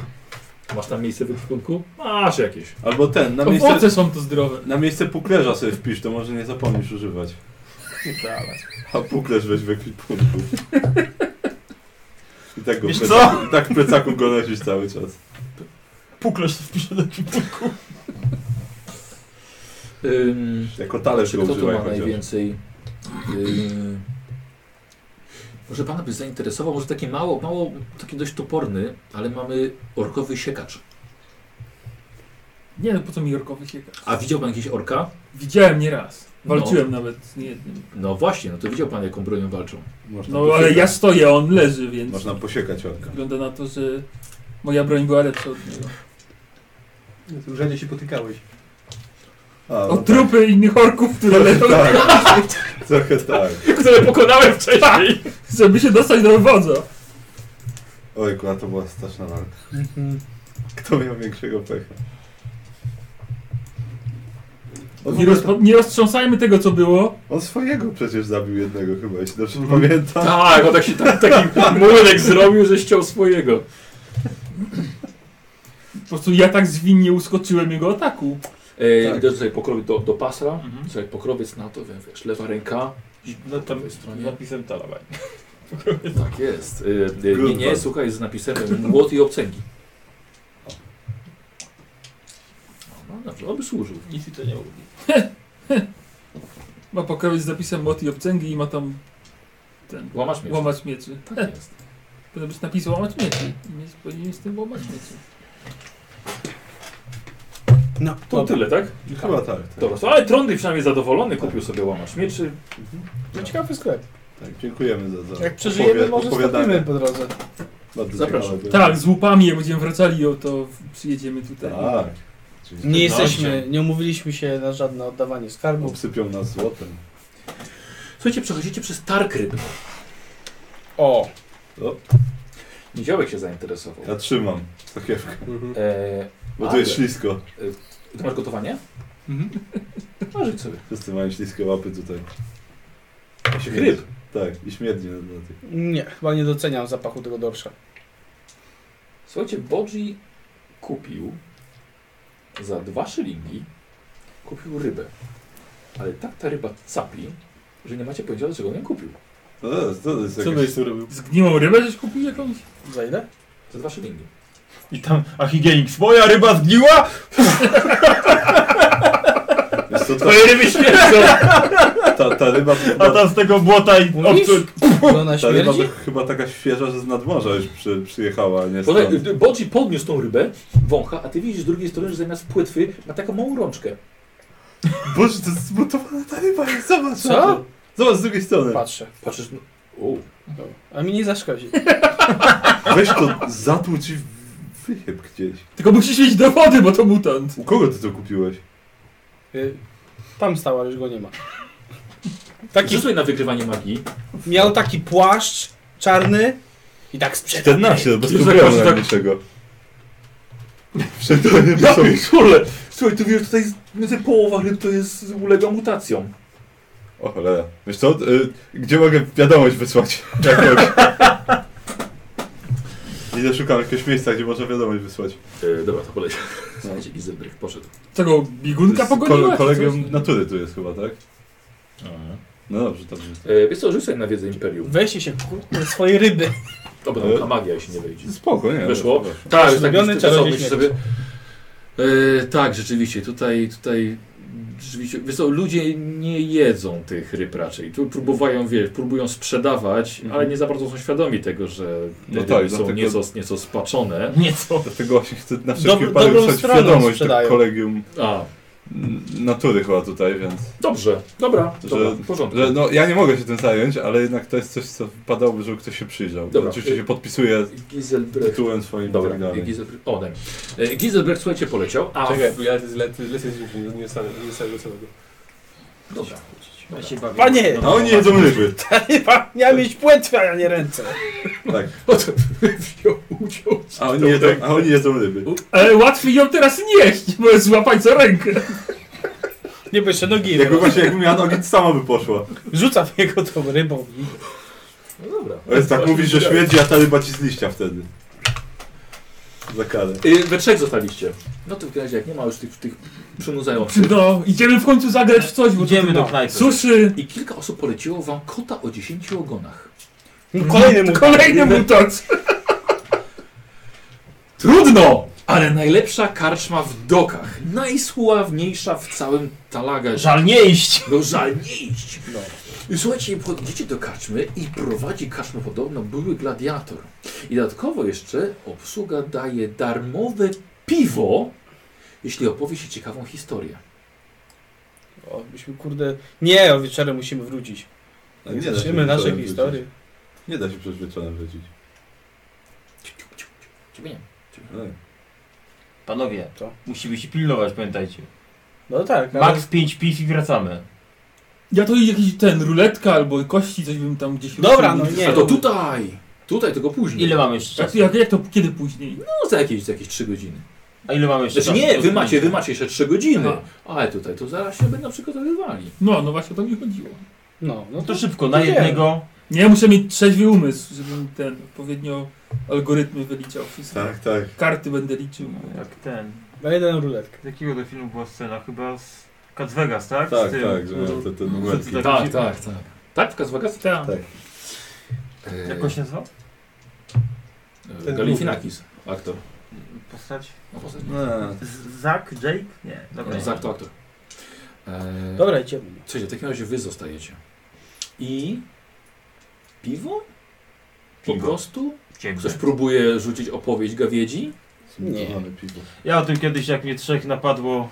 S1: Masz tam miejsce w ekwipunku? Masz jakieś.
S2: Albo ten, na
S3: To
S2: miejsce,
S3: owoce są tu zdrowe.
S2: na miejsce puklerza sobie wpisz, to może nie zapomnisz używać. A puklerz weź w ekwipunku. I tak go w
S5: Wiesz
S2: plecaku, i tak w plecaku go nosisz cały czas.
S5: Puklerz wpiszę do ekwipunku.
S1: Ym,
S2: Jako talerz
S1: czy
S2: go
S1: kto tu
S2: używaj
S1: ma
S2: chociaż.
S1: najwięcej? Ym, może pana by zainteresował, może taki mało, mało, taki dość toporny, ale mamy orkowy siekacz.
S3: Nie, no po co mi jorkowy sieka?
S1: A widział pan jakiegoś orka?
S3: Widziałem nieraz. Walczyłem nawet z niejednym.
S1: No właśnie, no to widział pan jaką bronią walczą.
S2: Można
S3: No ale ja
S2: posiekać-
S3: stoję, a on leży, więc
S2: Można posiekać orka.
S3: wygląda na to, że moja broń była lepsza od niego.
S6: Więc Rzadziej się potykałeś.
S2: A, no
S3: O trupy innych orków, które leżą,
S2: tak. Trochę tak.
S3: które pokonałem wcześniej, żeby się dostać do wodza.
S2: Ojku, a to była straszna walka.
S4: Mhm.
S2: Kto miał większego pecha? On,
S3: Nie, rozpo- nie roztrząsajmy tego, co było.
S2: on swojego przecież zabił jednego chyba, jeśli dobrze pamiętam.
S1: Tak, on taki, tak, taki młynek zrobił, że ściął swojego.
S3: Po prostu ja tak zwinnie uskoczyłem jego ataku.
S1: E,
S2: Tak.
S1: Widzę tutaj pokrowiec do, do pasra,
S7: Mhm.
S1: tutaj pokrowiec na to, wie- wiesz, lewa ręka,
S7: No tam
S1: lewej stronie.
S7: z napisem Taliban.
S1: tak jest. E, e, nie,
S2: Good
S1: nie,
S2: one.
S1: słuchaj, z napisem młot i obcęgi. No dobrze, on by służył.
S7: Nic mi to nie mówi.
S3: Ma pokrowiec z napisem mot i obcęgi i ma tam ten
S1: Łamasz mnie.
S3: łamać mieczy.
S1: Tak jest.
S3: Powinno być napis łamać mieczy. I nie powinien z tym łamać mieczy.
S4: No,
S1: To
S4: dobra.
S1: tyle, tak?
S2: Chyba tak. tak.
S1: Dobra, ale Trondy przynajmniej zadowolony, kupił sobie łamacz mieczy.
S4: To No, ciekawy sklep.
S2: tak dziękujemy za, za
S4: Jak przeżyjemy,
S2: opowie-
S4: może
S2: opowiadanie.
S4: stopimy po drodze.
S2: Bardzo
S1: Zapraszam.
S2: ciekawe.
S3: Tak, z łupami jak będziemy wracali, o, to przyjedziemy tutaj.
S2: Tak. Czyli
S4: Nie jesteśmy, nie umówiliśmy się na żadne oddawanie skarbów.
S2: Obsypią nas złotem.
S1: Słuchajcie, przechodzicie przez targ rybny.
S4: O!
S1: Niziołek się zainteresował.
S2: Ja trzymam sakiewkę,
S1: E,
S2: bo tu
S1: ale-
S2: jest ślisko.
S1: Ty masz gotowanie? Mhm. Marzyć sobie.
S2: Wszyscy mają śliskie łapy tutaj.
S1: Ryb.
S2: Tak, i śmierdzi na na tych.
S4: Nie, chyba nie doceniam zapachu tego dorsza.
S1: Słuchajcie, Bodzi kupił za dwa szylingi kupił rybę. Ale tak ta ryba capi, że nie macie pojęcia, dlaczego on ją kupił.
S2: Co No, to jest? Co to jest?
S4: Co
S2: jakaś-
S4: byś tu robił?
S3: Zgniłą rybę żeś kupił jakąś?
S4: Za ile?
S1: Za dwa szylingi.
S7: I tam, a higienik, moja ryba zgniła?
S2: Wiesz co,
S7: Twoje ryby śmierdzą!
S2: ta, ta, ta ryba...
S7: A tam z tego błota i
S4: Mówisz?
S7: obcór.
S4: Że Ona
S2: Ta ryba
S4: śmierdzi?
S2: chyba taka świeża, że z nadmorza już przy, przyjechała, a nie stąd.
S1: Podaj- Bodzi podniósł tą rybę, wącha, a ty widzisz z drugiej strony, że zamiast płetwy ma taką małą rączkę.
S2: Boże, to jest zmutowana ta ryba, zobacz!
S4: Co?
S2: Zobacz z drugiej strony.
S4: Patrzę.
S1: Patrzysz, no, o,
S4: A mi nie zaszkodzi.
S2: Weź to, zatłucz i wychyb gdzieś.
S3: Tylko musisz mieć dowody, bo to mutant.
S2: U kogo ty to kupiłeś?
S4: Y, Tam stała, już go nie ma.
S1: taki...
S4: Taki,
S1: rzucaj na wykrywanie magii.
S4: miał taki płaszcz czarny i tak sprzedał.
S2: 14, bez
S1: Jezu,
S2: problemu
S1: tak-
S2: tak... niczego. Wszędzie ryby są.
S1: pierdolę! Słuchaj, tu wiesz, tutaj jest, między połowa ryb to jest ulega mutacjom.
S2: O cholera. Wiesz co, y, gdzie mogę wiadomość wysłać? Jakąś. Idę szukam jakiegoś miejsca, gdzie można wiadomość wysłać.
S1: E, dobra, to poleciał. Słuchajcie, Izebrych poszedł.
S3: Czego,
S2: To
S3: biegunka
S2: jest kole-
S3: pogoniła?
S2: kolegium natury tu jest chyba, tak? No dobrze, dobrze.
S1: E, wiesz co, rzucaj na wiedzę Imperium.
S4: Weźcie się kurde swojej ryby.
S1: Dobra,
S2: E,
S1: no, ta magia się nie wejdzie.
S2: Spoko, nie?
S1: Wyszło?
S2: weszło, weszło.
S1: Tak,
S4: Ulubiony
S1: tak,
S4: czarodziej
S1: myślisz
S4: śmierci.
S1: E, tak, rzeczywiście, tutaj, tutaj rzeczywiście, wiesz co, ludzie nie jedzą tych ryb raczej. Tu próbują, wiesz, próbują sprzedawać,
S2: Mhm.
S1: ale nie za bardzo są świadomi tego, że te
S2: No
S1: ryby
S2: tak,
S1: są
S2: dlatego-
S1: nieco, nieco spaczone.
S7: Nieco.
S2: Dlatego właśnie chcę na
S4: Dob-
S2: wszelki wypadek
S4: dobrą
S2: wysłać
S4: stroną
S2: wiadomość
S4: sprzedają.
S2: do kolegium
S1: A,
S2: n- natury chyba tutaj, więc...
S1: dobrze, dobra,
S2: Że-
S1: dobra w porządku.
S2: Że, no ja nie mogę się tym zająć, ale jednak to jest coś, co wypadałoby, żeby ktoś się przyjrzał.
S1: Dobra.
S2: Oczywiście się podpisuje
S1: Gizelbrecht.
S2: tytułem swoim i tak
S1: Dobra,
S2: dalej.
S1: Gizelbrecht. O, daj. E, Gizelbrecht, słuchajcie, poleciał, a...
S25: Czekaj, bo ja z lecę z nie dostanę nie dostanę do samego.
S1: Dobra.
S7: Ja się bawię.
S4: Panie!
S2: A oni jedzą ryby.
S4: Ta ryba miała mieć płetwę, a nie ręce.
S2: Tak.
S1: O, to wziął, uciął.
S2: A oni jedzą, a oni jedzą ryby.
S3: Ale E, łatwiej ją teraz nieść, bo złapać za rękę.
S4: Nie, bo jeszcze nogi nie
S2: Jakby
S4: ma.
S2: właśnie jakby miała nogi, to sama by poszła.
S4: Rzuca w niego tą rybą.
S1: No dobra.
S2: O jest tak mówisz, że śmierdzi, a ta ryba ci z liścia wtedy. Za karę.
S1: Y, We trzech zostaliście. No to w razie jak nie ma już tych, tych przynudzających.
S3: No, idziemy w końcu zagrać w coś, bo
S7: Idziemy
S3: to,
S7: do
S3: no.
S7: knajpy.
S3: Suszy.
S1: I kilka osób poleciło wam kota o 10 ogonach.
S4: No, kolejny mu.
S3: Kolejny mutant.
S1: Trudno! Ale najlepsza karczma w dokach. Najsławniejsza w całym Talagarze.
S7: Żal nie iść.
S1: No żal nie iść.
S4: No.
S1: I słuchajcie, podchodzicie do karczmy i prowadzi karczmę podobno były gladiator. I dodatkowo jeszcze obsługa daje darmowe piwo, jeśli opowie się ciekawą historię.
S4: O, byśmy kurde... Nie, o wieczorem musimy wrócić.
S2: A No nie da się
S4: Zobaczymy nasze
S2: wieczorem
S4: historie.
S2: wrócić. Nie da się przecież wieczorem wrócić.
S1: Ciebie nie.
S2: Tak.
S7: Panowie,
S4: Co?
S7: musimy się pilnować, pamiętajcie.
S4: No tak, ale...
S7: Max 5 piw i wracamy.
S3: Ja to jakiś ten, ruletka albo kości, coś bym tam gdzieś...
S4: Dobra,
S3: ruszył.
S4: no nie.
S1: A to tutaj! Tutaj, tego później.
S7: Ile mamy jeszcze
S3: Jak,
S7: czasu?
S3: jak, jak to kiedy później?
S1: No za jakieś, za jakieś 3 godziny.
S7: A ile mamy jeszcze
S1: Znaczy
S7: czasu?
S1: nie,
S7: Do
S1: wy macie, wy
S7: zdjęcia?
S1: macie jeszcze 3 godziny. Ale tutaj to zaraz się będą przygotowywali.
S3: No, no właśnie o to mi chodziło.
S4: No, no
S7: No
S4: to
S7: to szybko, na
S4: Nie.
S7: jednego.
S3: Nie, ja muszę mieć trzeźwy umysł, żebym ten odpowiednio algorytmy wyliczał. Wszystko.
S2: Tak, tak.
S3: Karty będę liczył.
S7: Jak ten.
S4: na jedną tak, ruletkę.
S7: Z jakiego do filmu była scena? Chyba z Cat Vegas, tak?
S2: Tak,
S7: z tym,
S2: tak, że te, te numerki.
S7: Tak,
S1: Tak,
S7: gdzie-
S1: tak, tak. Tak, w Kazwagas?
S3: Tak.
S1: E,
S7: Jak on się nazywa?
S1: e, Galifinakis, aktor.
S7: Postać?
S1: No, poza tym.
S2: No,
S7: Z- Zack? Jake? Nie, dobra.
S1: No, za aktor, aktor. E,
S4: Dobra, idziemy. no.
S1: Słuchajcie, w takim razie wy zostajecie. I piwo? Po
S26: Piwo.
S1: prostu?
S7: Ciemne.
S1: Ktoś próbuje rzucić opowieść gawiedzi?
S4: Nie.
S2: Mamy piwo.
S7: Ja o tym kiedyś, jak mnie trzech napadło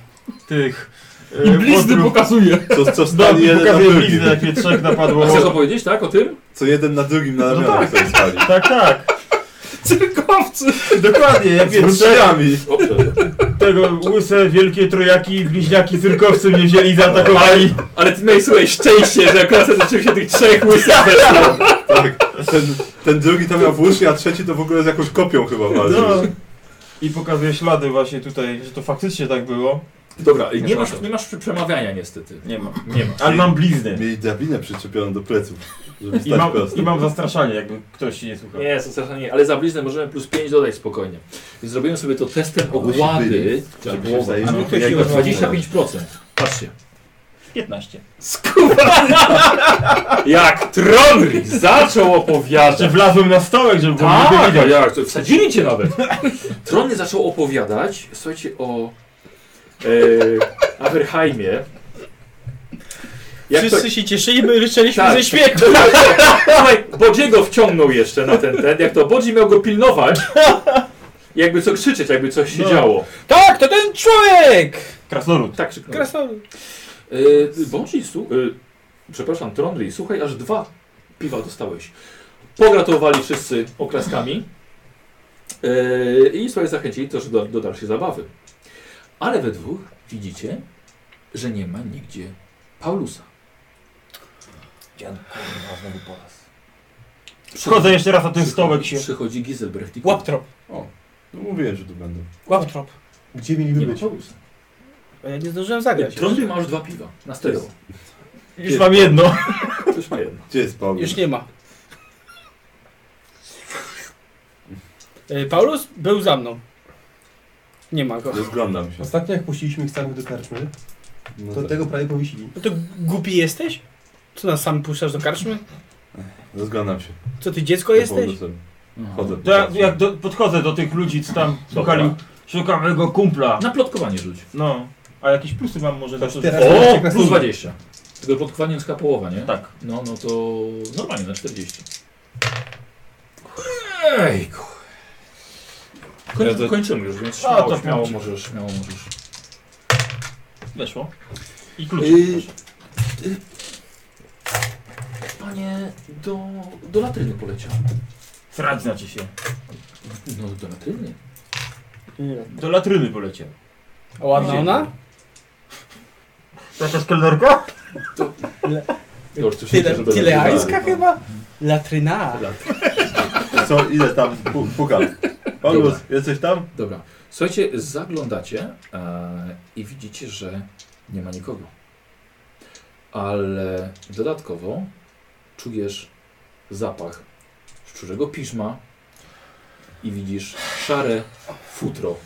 S7: tych... e,
S3: I blizny
S7: podrób-
S3: pokazuje.
S2: Co, co
S7: No,
S2: stali jeden na
S7: pokazuję
S2: drugim.
S7: bliznę, jak mnie trzech napadło.
S1: A chcesz opowiedzieć, tak, o tym?
S2: Co jeden na drugim na
S7: No
S2: ramionach sobie stali.
S7: Tak, tak.
S3: Cyrkowcy!
S7: Dokładnie, jak mnie
S2: Z
S7: trzech
S2: ruczniami.
S7: tego łyse, wielkie trojaki, bliźniaki, cyrkowcy mnie wzięli, zaatakowali.
S1: Ale ty miałeś słuchaj szczęście, że akurat zaczęły się tych trzech łysych
S2: Tak. Ten, ten drugi to miał włócznie, a trzeci to w ogóle z jakąś kopią chyba walczył.
S7: No. I pokazuje ślady właśnie tutaj, że to faktycznie tak było.
S1: Dobra, nie masz, nie masz przemawiania niestety.
S7: Nie ma.
S1: Nie ma.
S7: Ale mam blizny.
S2: Mieli drabinę przyczepioną do pleców, żeby
S7: I mam,
S2: stać prosto.
S7: I mam zastraszanie, jakby ktoś się tak nie słuchał.
S1: Nie, strasznie nie, ale za bliznę możemy plus 5 dodać spokojnie. Więc zrobimy sobie to testem ogłady
S2: Żeby się
S1: głowy.
S2: zajrzeć.
S1: A jego 25%. Patrzcie.
S7: 15.
S1: Jak Tronry zaczął
S7: Znaczy
S1: opowiadać.
S7: wlazłem na stołek, żeby było mnie
S1: Tak,
S7: widać.
S1: jak, to wsadzili cię nawet. Tronry zaczął opowiadać, słuchajcie, o e, Averheimie. Jak to-
S4: Wszyscy się cieszyli, my ryczeliśmy
S1: Tak.
S4: ze śmiechu.
S1: Słuchaj, Bodziego wciągnął jeszcze na ten, ten, jak to Bodzi miał go pilnować. Jakby co krzyczeć, jakby coś się
S7: No.
S1: działo.
S4: Tak, to ten człowiek!
S7: Krasnolud.
S1: Tak krzyknął.
S4: Krasnolud.
S1: Yy, Bądź, su- yy, przepraszam, Trondri, słuchaj, aż dwa piwa dostałeś. Pogratulowali wszyscy oklaskami yy, i słuchaj, zachęcili też do, do dalszej zabawy. Ale we dwóch widzicie, że nie ma nigdzie Paulusa.
S7: Dzian, kurwa, znowu po raz.
S1: Przychodzi,
S7: Wchodzę jeszcze raz na ten stołek się.
S1: przychodzi Giselbrecht i
S4: Łaptrop,
S2: No mówiłem, że tu będą.
S4: łaptrop.
S27: Gdzie mieli
S1: nie ma
S27: być?
S1: Paulusa.
S4: A ja nie zdążyłem zagrać.
S1: Trondri ma już dwa piwa na stereo.
S7: Już mam jedno.
S1: Już ma jedno.
S2: Gdzie jest Paweł?
S4: Już nie ma. E, Paulus był za mną. Nie ma go.
S2: Rozglądam się.
S27: Ostatnio jak puściliśmy ich samych do karczmy,
S2: No
S27: to
S2: tak.
S27: tego prawie powiesili.
S4: No to głupi jesteś? Co nas sam puszczasz do karczmy?
S2: Rozglądam się.
S4: Co ty dziecko
S2: Po
S4: jesteś?
S2: powrotem. Chodzę. po
S7: To ja,
S2: pracy.
S7: jak do, podchodzę do tych ludzi, co tam szukali, szukam mojego kumpla.
S1: Na plotkowanie rzuć.
S7: No. A jakieś plusy mam może za to, że...
S27: teraz-
S1: O,
S27: Teraz
S1: plus
S27: plus
S1: 20. Tego plotkowania jest połowa, nie?
S7: Tak.
S1: No, no to normalnie na 40. Ejku. Koń,
S26: Ja to-
S1: Kończymy już, więc
S7: A,
S1: śmiało,
S7: to
S1: śmiało
S7: śmiało.
S1: możesz, śmiało możesz.
S7: Weszło. I
S1: Yy,
S7: klucz.
S1: Panie, do, do latryny poleciał.
S7: Frać znaczy się.
S1: No, do latryny.
S7: Do latryny poleciał.
S4: A ładna ona?
S7: To jest kelnerka?
S1: Już coś
S4: Tyle,
S1: żeby-
S4: tyle
S1: żeby-
S4: ajska chyba? Latryna.
S2: Co, ile tam? Pu- Pukam. Paulus, jesteś tam?
S1: Dobra. Słuchajcie, zaglądacie e, i widzicie, że nie ma nikogo. Ale dodatkowo czujesz zapach szczurzego piżma i widzisz szare futro.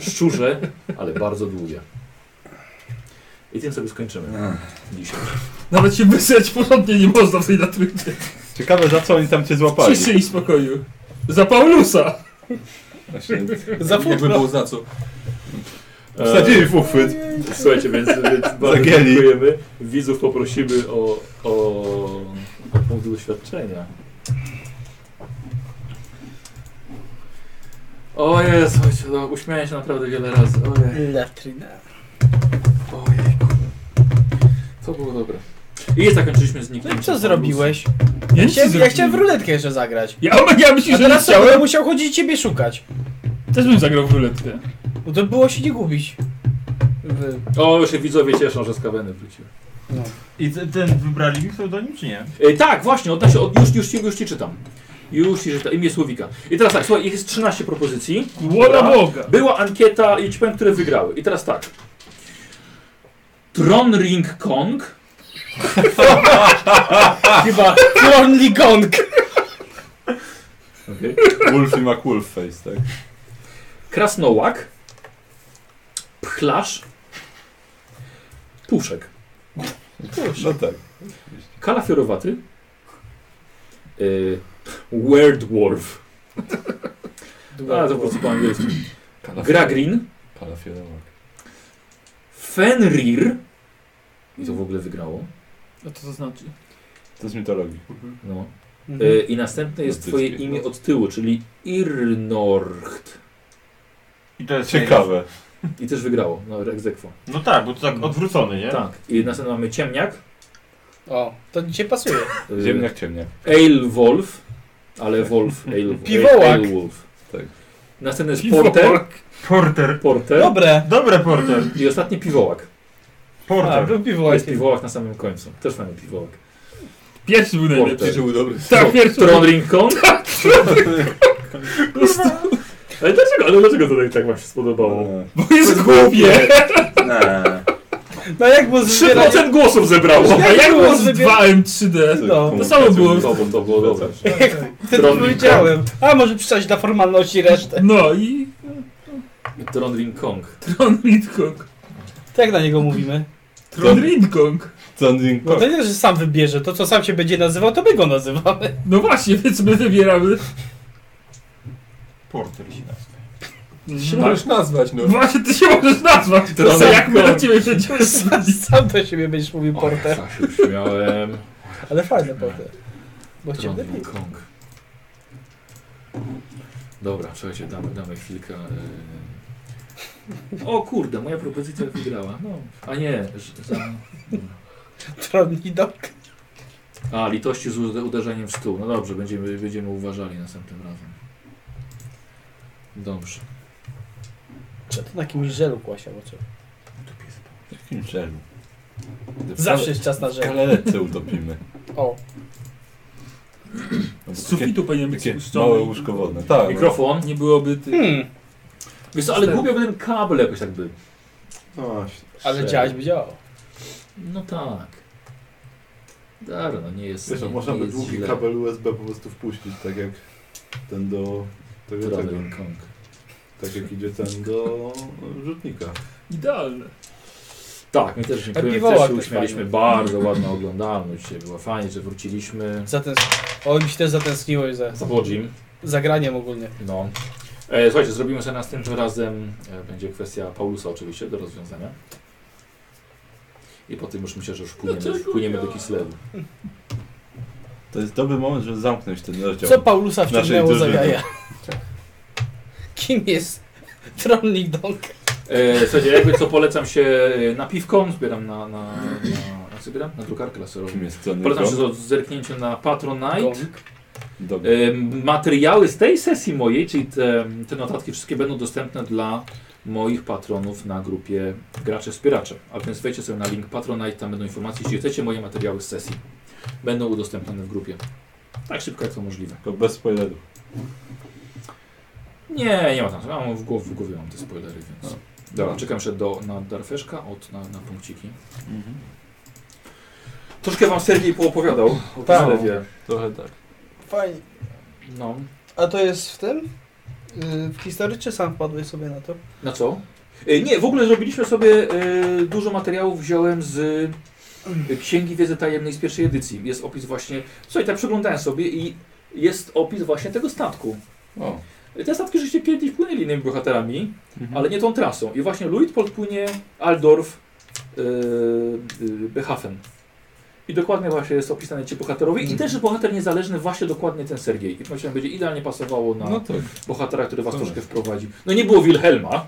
S1: Szczurze, ale bardzo długie. I tym sobie skończymy dzisiaj.
S3: Nawet się wysrać porządnie nie można w tej natrynie.
S26: Ciekawe za co oni tam cię złapali.
S3: Ciszy i spokoju. Za Paulusa!
S26: Właśnie,
S4: Za
S27: Jakby
S4: futro.
S27: było za co.
S26: Wsadzili w uchwyt.
S1: E, Słuchajcie, więc, więc bardzo
S26: Zagięli.
S1: dziękujemy. Widzów poprosimy o, o, o punkt doświadczenia. O Jezu, ojcze, no, uśmiałem się naprawdę wiele razy. Ojej,
S4: Latryna.
S1: ojejku. To było dobre. I zakończyliśmy z
S4: No i
S1: niknięciem.
S4: co zrobiłeś?
S3: Ja
S4: Ja
S3: nic nie
S4: chciałem, ja
S3: zrobiłem.
S4: chciałem w ruletkę jeszcze zagrać.
S3: Ja, ja myślę,
S4: A
S3: że nie
S4: teraz ja
S3: chciałem.
S4: musiał chodzić i ciebie szukać.
S3: Też bym zagrał w ruletkę.
S4: No to było się nie gubić. W...
S1: O, już się widzowie cieszą, że skaweny wróciły.
S4: No.
S7: I ten, ten wybrali mi pseudonim, czy nie?
S1: E, tak, właśnie, odnośnie, od, już, już, ci- już ci czytam. Już i że imię Słowika. I teraz tak, słuchaj, ich jest 13 propozycji.
S5: Wola Boga!
S1: Była ankieta i ci powiem, które wygrały. I teraz tak. Tron Ring Kong. Chyba.
S4: Lonely Gong!
S1: Okay.
S2: Wolfie McWolfface, tak?
S1: Krasnołak. Pchlarz. Puszek.
S2: No tak.
S1: Kalafiorowaty. Yy, Werdwarf. A, to po prostu po angielsku. Gragrin.
S2: Kalafiorowa.
S1: Fenrir. I to w ogóle wygrało.
S3: A co to znaczy?
S2: To z mitologii.
S1: No.
S4: Mhm.
S5: y-
S1: E, I następne jest
S2: Gotyckie.
S1: twoje imię od tyłu, czyli Irnorcht.
S5: I to jest
S2: Ciekawe.
S1: I też wygrało, no egzekwo.
S5: No tak, bo to tak odwrócony, nie?
S1: Tak. I następne mamy Ciemniak.
S4: O, to dzisiaj pasuje.
S1: e,
S2: Ziemniak ciemniak.
S1: Ale Wolf. Ale Wolf. Ale,
S4: Piwołak.
S1: Ale Wolf.
S2: Tak.
S1: Następny jest Porter.
S5: Porter.
S1: Porter.
S4: Dobre.
S5: Dobre Porter.
S1: I ostatni Piwołak.
S4: A,
S5: Porter.
S4: był
S1: Jest
S4: piwołek.
S1: Piwołak na samym końcu. Też fajny Piwołak.
S3: Pierwszy był najlepszy.
S1: Porter.
S2: był dobry.
S3: Tak, pierwszy.
S1: Tron Rincon. Tak, Ale dlaczego, ale dlaczego to tak, tak wam się
S2: No,
S1: spodobało?
S3: Bo jest głupie.
S7: Tak.
S4: No jak było zbieranie...
S1: 3% głosów zebrało.
S3: A jak było z
S4: Wybier-
S3: 2M3D? To samo było.
S1: To, to było dobre.
S2: tak.
S4: Wtedy
S1: Lonely
S4: powiedziałem. A, może pisać dla formalności resztę.
S3: No i
S1: Tron Ring Kong.
S3: Tron Rinkong.
S4: To jak na niego mówimy?
S3: Tron Rinkong.
S2: Standing
S4: Bo to nie, że sam wybierze. To, co sam się będzie nazywał, to my go nazywamy.
S3: No właśnie, więc my wybieramy.
S5: Porter się nazywa.
S1: Tak.
S3: Mhm.
S6: Możesz nazwać, no.
S3: Właśnie ty się możesz nazwać.
S1: Tron
S3: To jak my
S1: Rinkong.
S3: na ciebie będziemy
S4: Sam, sam do siebie będziesz mówił porter.
S1: Ja się śmiałem.
S4: Ale fajne porter. Bo cię
S1: Tron
S4: lepiej.
S1: Ring Kong. Dobra, słuchajcie, damy, damy chwilkę. e. O kurde, moja propozycja wygrała. No, a nie. ż- Za...
S4: Tronny dog.
S1: A, litości z ude- uderzeniem w stół. No dobrze, będziemy, będziemy uważali następnym razem. Dobrze.
S4: Czy to na jakimś żelu kłasia oczy?
S2: Jakim żelu?
S4: Zawsze jest czas na
S2: W
S4: żel.
S2: kalerce utopimy.
S4: O,
S2: No,
S3: Z
S2: takie-
S3: sufitu powinien być
S2: Takie
S3: spuszczony.
S2: małe łóżko wodne. Tak.
S1: Mikrofon.
S3: Nie byłoby ty.
S4: hmm.
S1: Wiesz co, ale głupio by ten kabel jakoś tak by.
S2: No
S4: ale
S1: Żel.
S4: działać by działało.
S1: No tak. Dobra, no nie jest.
S8: Wiesz,
S1: nie,
S8: a można
S1: nie
S8: by
S1: jest
S8: długi
S1: źle.
S8: kabel USB po prostu wpuścić, tak jak ten do... Tak jak,
S1: Tron
S8: tego,
S1: Ring Kong.
S8: tak jak idzie ten do rzutnika.
S3: Idealne.
S1: Tak, my też dziękujemy.
S4: piwołak
S1: Też się
S4: też
S1: uśmialiśmy.
S4: fajny.
S1: Bardzo ładna oglądalność. dzisiaj Była fajnie, że wróciliśmy.
S4: Zatęs... O, mi się też zatęskniłeś za
S1: Zawodzim.
S4: zagraniem ogólnie.
S1: No. E, słuchajcie, zrobimy sobie następnym razem. E, będzie kwestia Paulusa oczywiście do rozwiązania. I po tym już myślę, że już płyniemy,
S3: Dlaczego
S1: płyniemy
S3: ja?
S1: do Kislewu.
S2: To jest dobry moment, żeby zamknąć ten rozdział.
S4: Co Paulusa
S2: Naszej
S4: wciągnęło za
S2: drużyny.
S4: jaja? Kim jest Tronny Dog?
S1: E, słuchajcie, jakby co polecam się na piwką, zbieram na, na, na, jak zbieram? na drukarkę laserową.
S2: Kim jest Johnny
S1: Polecam się
S2: Depp?
S1: z zerknięciem na Patronite.
S2: Dobry.
S1: E, Materiały z tej sesji mojej, czyli te, te notatki wszystkie będą dostępne dla moich patronów na grupie Gracze Wspieracze. A więc wejdźcie sobie na link Patronite, tam będą informacje, jeśli chcecie moje materiały z sesji. Będą udostępnione w grupie. Tak szybko jak to możliwe.
S2: Tylko bez spoilerów.
S1: Nie, nie ma tam. Mam w, głowie, w głowie mam te spoilery, więc. Dobra, czekam jeszcze do, na Darfeszka od, na, na punkciki. Troszkę wam Sergiej poopowiadał o
S4: Tak.
S1: Kislewie.
S2: Trochę tak.
S4: Fajnie.
S1: No.
S4: A to jest w tym? Yy, W historii czy sam wpadłeś sobie na to?
S1: Na co? E, Nie, w ogóle zrobiliśmy sobie e, dużo materiałów wziąłem z e, Księgi Wiedzy Tajemnej z pierwszej edycji. Jest opis właśnie. Słuchaj, tak przeglądałem sobie i jest opis właśnie tego statku.
S2: O.
S1: E, Te statki rzeczywiście kiedyś płynęli innymi bohaterami,
S2: Mhm.
S1: ale nie tą trasą. I właśnie Luitpold płynie Aldorf e, e, Behafen. I dokładnie właśnie jest opisane ci bohaterowie.
S2: Mhm.
S1: I też bohater niezależny, właśnie dokładnie ten Sergiej. I to myślę, będzie idealnie pasowało na
S2: No tak.
S1: bohatera, który was
S2: Tak.
S1: troszkę wprowadzi. No nie było Wilhelma,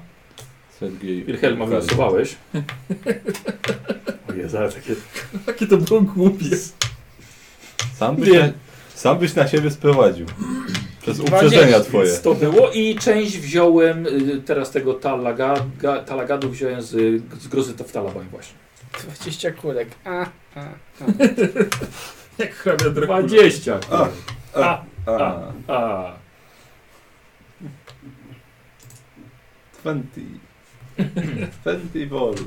S2: Sergiej.
S1: Wilhelma wylosowałeś. O Jezu, ale takie...
S3: Jakie to było głupie.
S2: Sam byś, na, sam byś na siebie sprowadził. Przez uprzedzenia twoje.
S1: To było i część wziąłem, y, teraz tego talaga, ga, talagadu wziąłem z, z grozy w Talabań właśnie.
S4: 20 kulek. A, a, a.
S3: Jak hrabia Dracula.
S1: 20.
S8: A,
S1: A,
S2: A,
S1: A,
S2: 20. 20 volt.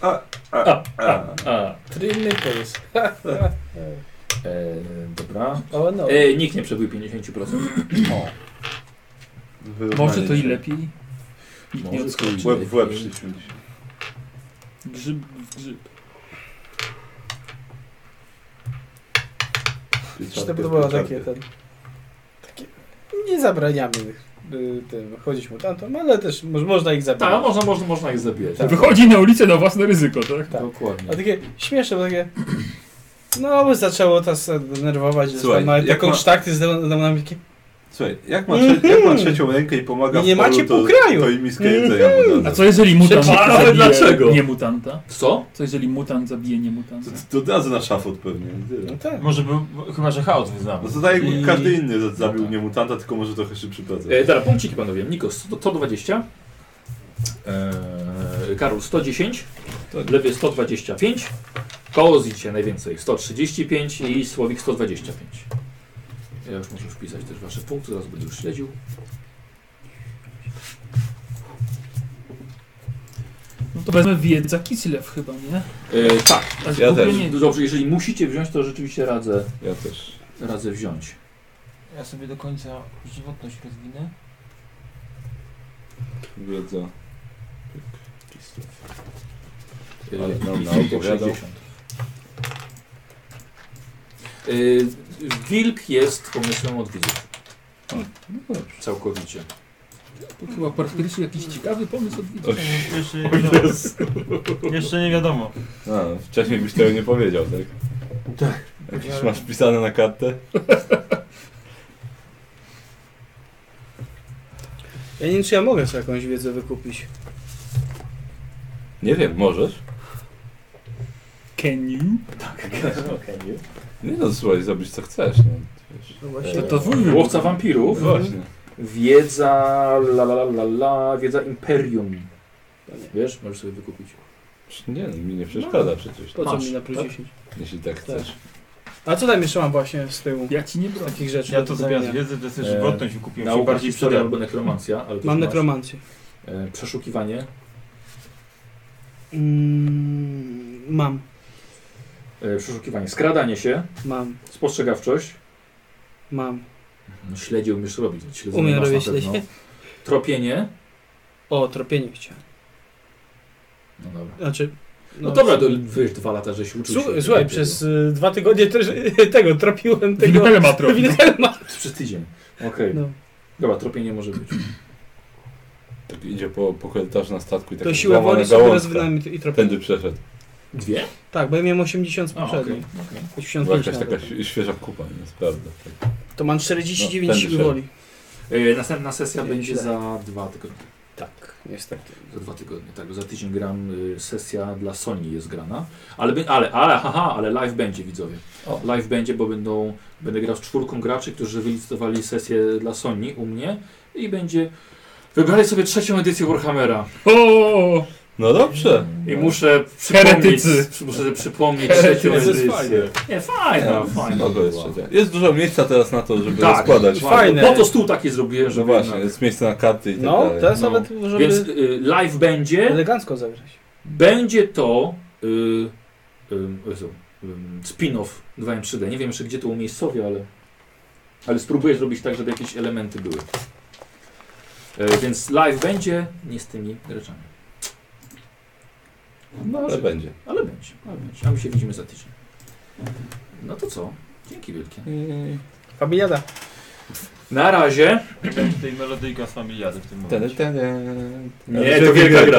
S2: A, a, a.
S1: a.
S4: Trilny puls.
S1: E, dobra.
S4: O no.
S1: E, nikt nie przebył 50%. O,
S3: Może
S2: Wyrównanie
S3: to i
S2: się.
S3: lepiej. Nikt nie
S1: może
S3: odskoczy.
S1: skończy
S2: Łeb w łeb
S1: lepiej.
S2: szliśmy dzisiaj.
S3: Grzyb w grzyb.
S4: Czy to było takie ten... Takie... Nie zabraniamy y, tym, chodzić mutantom, ale też moż, można ich zabrać.
S1: Tak, można, można, można ich zabijać.
S4: Tak.
S3: Wychodzi na ulicę na własne ryzyko, tak?
S4: tak.
S1: Dokładnie.
S4: A takie śmieszne, bo takie... No, by zaczęło nas denerwować, że
S2: Słuchaj,
S4: tam nawet
S2: jak
S4: taką
S2: ma-
S4: sztaktę z nami takie...
S2: Słuchaj, jak ma, trze- jak ma trzecią rękę i pomaga
S4: I nie
S2: w polu,
S4: macie
S2: to,
S4: pół kraju.
S2: to i miskę jedzenia mu
S3: A
S2: dadzą.
S3: co jeżeli mutant
S4: Przeciw-
S22: Ale
S3: zabije
S22: dlaczego?
S3: nie mutanta?
S1: Co?
S3: Co jeżeli mutant zabije nie mutanta?
S2: To, to dadzą na szafot pewnie.
S4: No tak.
S5: Może był, bo- chyba że chaos wyznamy.
S2: No to tak
S5: I-
S2: jakby każdy inny za-
S1: No
S2: zabił
S1: tak.
S2: nie mutanta, tylko może trochę szybszy proces.
S1: E, dobra, punkciki panowie. Nikos, 100 to 120. E, Karol 110. Lewy 125. Kozicie najwięcej 135 i Słowik 125. Ja już muszę wpisać też wasze punkty, zaraz będę już śledził.
S3: No to wezmę wiedza Kislev chyba, nie?
S1: E, tak,
S3: A
S2: Ja
S3: w ogóle
S2: też.
S3: nie-
S1: dobrze, jeżeli musicie wziąć, to rzeczywiście radzę,
S2: Ja też.
S1: radzę wziąć.
S5: Ja sobie do końca żywotność rozwinę.
S2: Wiedza.
S1: E,
S2: Ale no, nam
S1: i
S2: naopowiadał.
S1: 60. E, wilk jest pomysłem od widzów. Całkowicie.
S3: To chyba po raz pierwszy jakiś ciekawy pomysł od widza.
S5: Jeszcze nie wiadomo. Jeszcze nie wiadomo.
S2: A, wcześniej byś tego nie powiedział, tak? Tak. Jakieś masz pisane na kartę?
S4: Ja nie wiem, czy ja mogę sobie jakąś wiedzę wykupić.
S2: Nie wiem, możesz?
S3: Can you?
S1: Tak.
S2: Nie no, słuchaj, zrobić co chcesz, no. Wiesz.
S4: No
S1: E,
S4: właśnie.
S3: to twój wybór.
S1: Łowca wampirów.
S2: Właśnie.
S1: Wiedza la la la la la, wiedza imperium. Wiesz, możesz sobie wykupić.
S2: Nie, no, mi nie przeszkadza przecież.
S4: Po co
S1: masz,
S4: mi na plus
S1: tak?
S4: 10?
S2: Jeśli tak chcesz.
S4: A co tam jeszcze mam właśnie z tyłu?
S3: Ja ci nie bronię.
S4: Takich rzeczy.
S5: Ja
S4: do
S5: to
S4: kupienia?
S5: zamiast wiedzy, to jest
S1: E,
S5: żywotność wykupiłem.
S1: Nauka,
S5: się bardziej
S1: bardziej historia
S5: przydałem.
S1: albo nekromancja. Ale też
S4: Mam
S1: masz.
S4: nekromancję.
S1: E, przeszukiwanie.
S4: Mm, mam,
S1: E, przeszukiwanie. Skradanie się.
S4: mam,
S1: Spostrzegawczość.
S4: mam.
S1: No, śledzie umiesz robić. Śledzenie
S4: Umiem
S1: masz na
S4: robić
S1: pewno.
S4: śledzie.
S1: no. Tropienie.
S4: O, tropienie chciałem.
S1: No dobra.
S4: Znaczy...
S1: No dobra, to wiesz, dwa lata, że się uczył.
S4: Słu-
S1: się
S4: Słuchaj,
S1: tego.
S4: przez y, dwa tygodnie też, tego tropiłem tego.
S3: Wilhelma trochę.
S4: Wilhelma.
S1: Przez tydzień. Okej.
S4: No.
S1: Dobra, tropienie może być.
S2: Tak idzie po, po korytarzu na statku i tak
S4: To siła
S2: złamana
S4: woli sobie
S2: gałązka.
S4: rozwinami i tropiłem.
S2: Tędy przeszedł.
S1: Dwie?
S4: Tak, bo ja miałem 80
S1: A, okej.
S4: poprzednio.
S1: okej.
S4: 85
S2: Była jakaś
S4: nawet.
S2: taka świe- świeża kupa, nie jest prawda. Tak.
S4: To mam 49
S2: No, tędy
S4: siły
S2: się-
S4: woli.
S1: E, Następna sesja
S4: Nie,
S1: będzie
S4: źle.
S1: za dwa tygodnie.
S4: Tak, niestety.
S1: Za dwa tygodnie, tak. Za tydzień gram y, sesja dla Sony jest grana. Ale, by- ale, ale, haha, ale live będzie widzowie.
S2: O.
S1: Live będzie, bo będą, będę grał z czwórką graczy, którzy wylicytowali sesję dla Sony u mnie i będzie. Wybrali sobie trzecią edycję Warhammera
S3: O,
S2: No dobrze.
S1: i muszę przypomnieć,
S3: Heretycy.
S1: przy- muszę przypomnieć trzecią
S2: Heretycy.
S1: edycję. Nie, fajna,
S2: Nie,
S1: fajna.
S2: No, spoko
S1: była.
S2: jest, trzecia. jest dużo miejsca teraz na to, żeby
S1: Tak,
S2: rozkładać.
S1: fajne.
S4: Fajne.
S1: Po to stół taki zrobiłem,
S2: No
S1: żeby
S2: właśnie,
S1: jednak-
S2: jest miejsce na karty i tak
S4: No,
S2: dalej.
S4: teraz
S1: No.
S4: nawet żeby
S1: Więc y, live będzie.
S2: No
S4: elegancko zagrać.
S1: Będzie to y, y, Jezu, y, spin-off 2M3D. Nie wiem jeszcze gdzie to umiejscowię, ale, ale spróbuję zrobić tak, żeby jakieś elementy były. Y, więc live będzie, nie z tymi ryczami.
S2: No ale będzie.
S1: Ale będzie, ale będzie. A my się widzimy za tydzień. No to co? Dzięki wielkie.
S4: Familiada.
S1: Na razie.
S5: Będzie tutaj melodyjka z familiady w tym momencie.
S2: Ten, ten, ten.
S1: Nie, to wielka gra.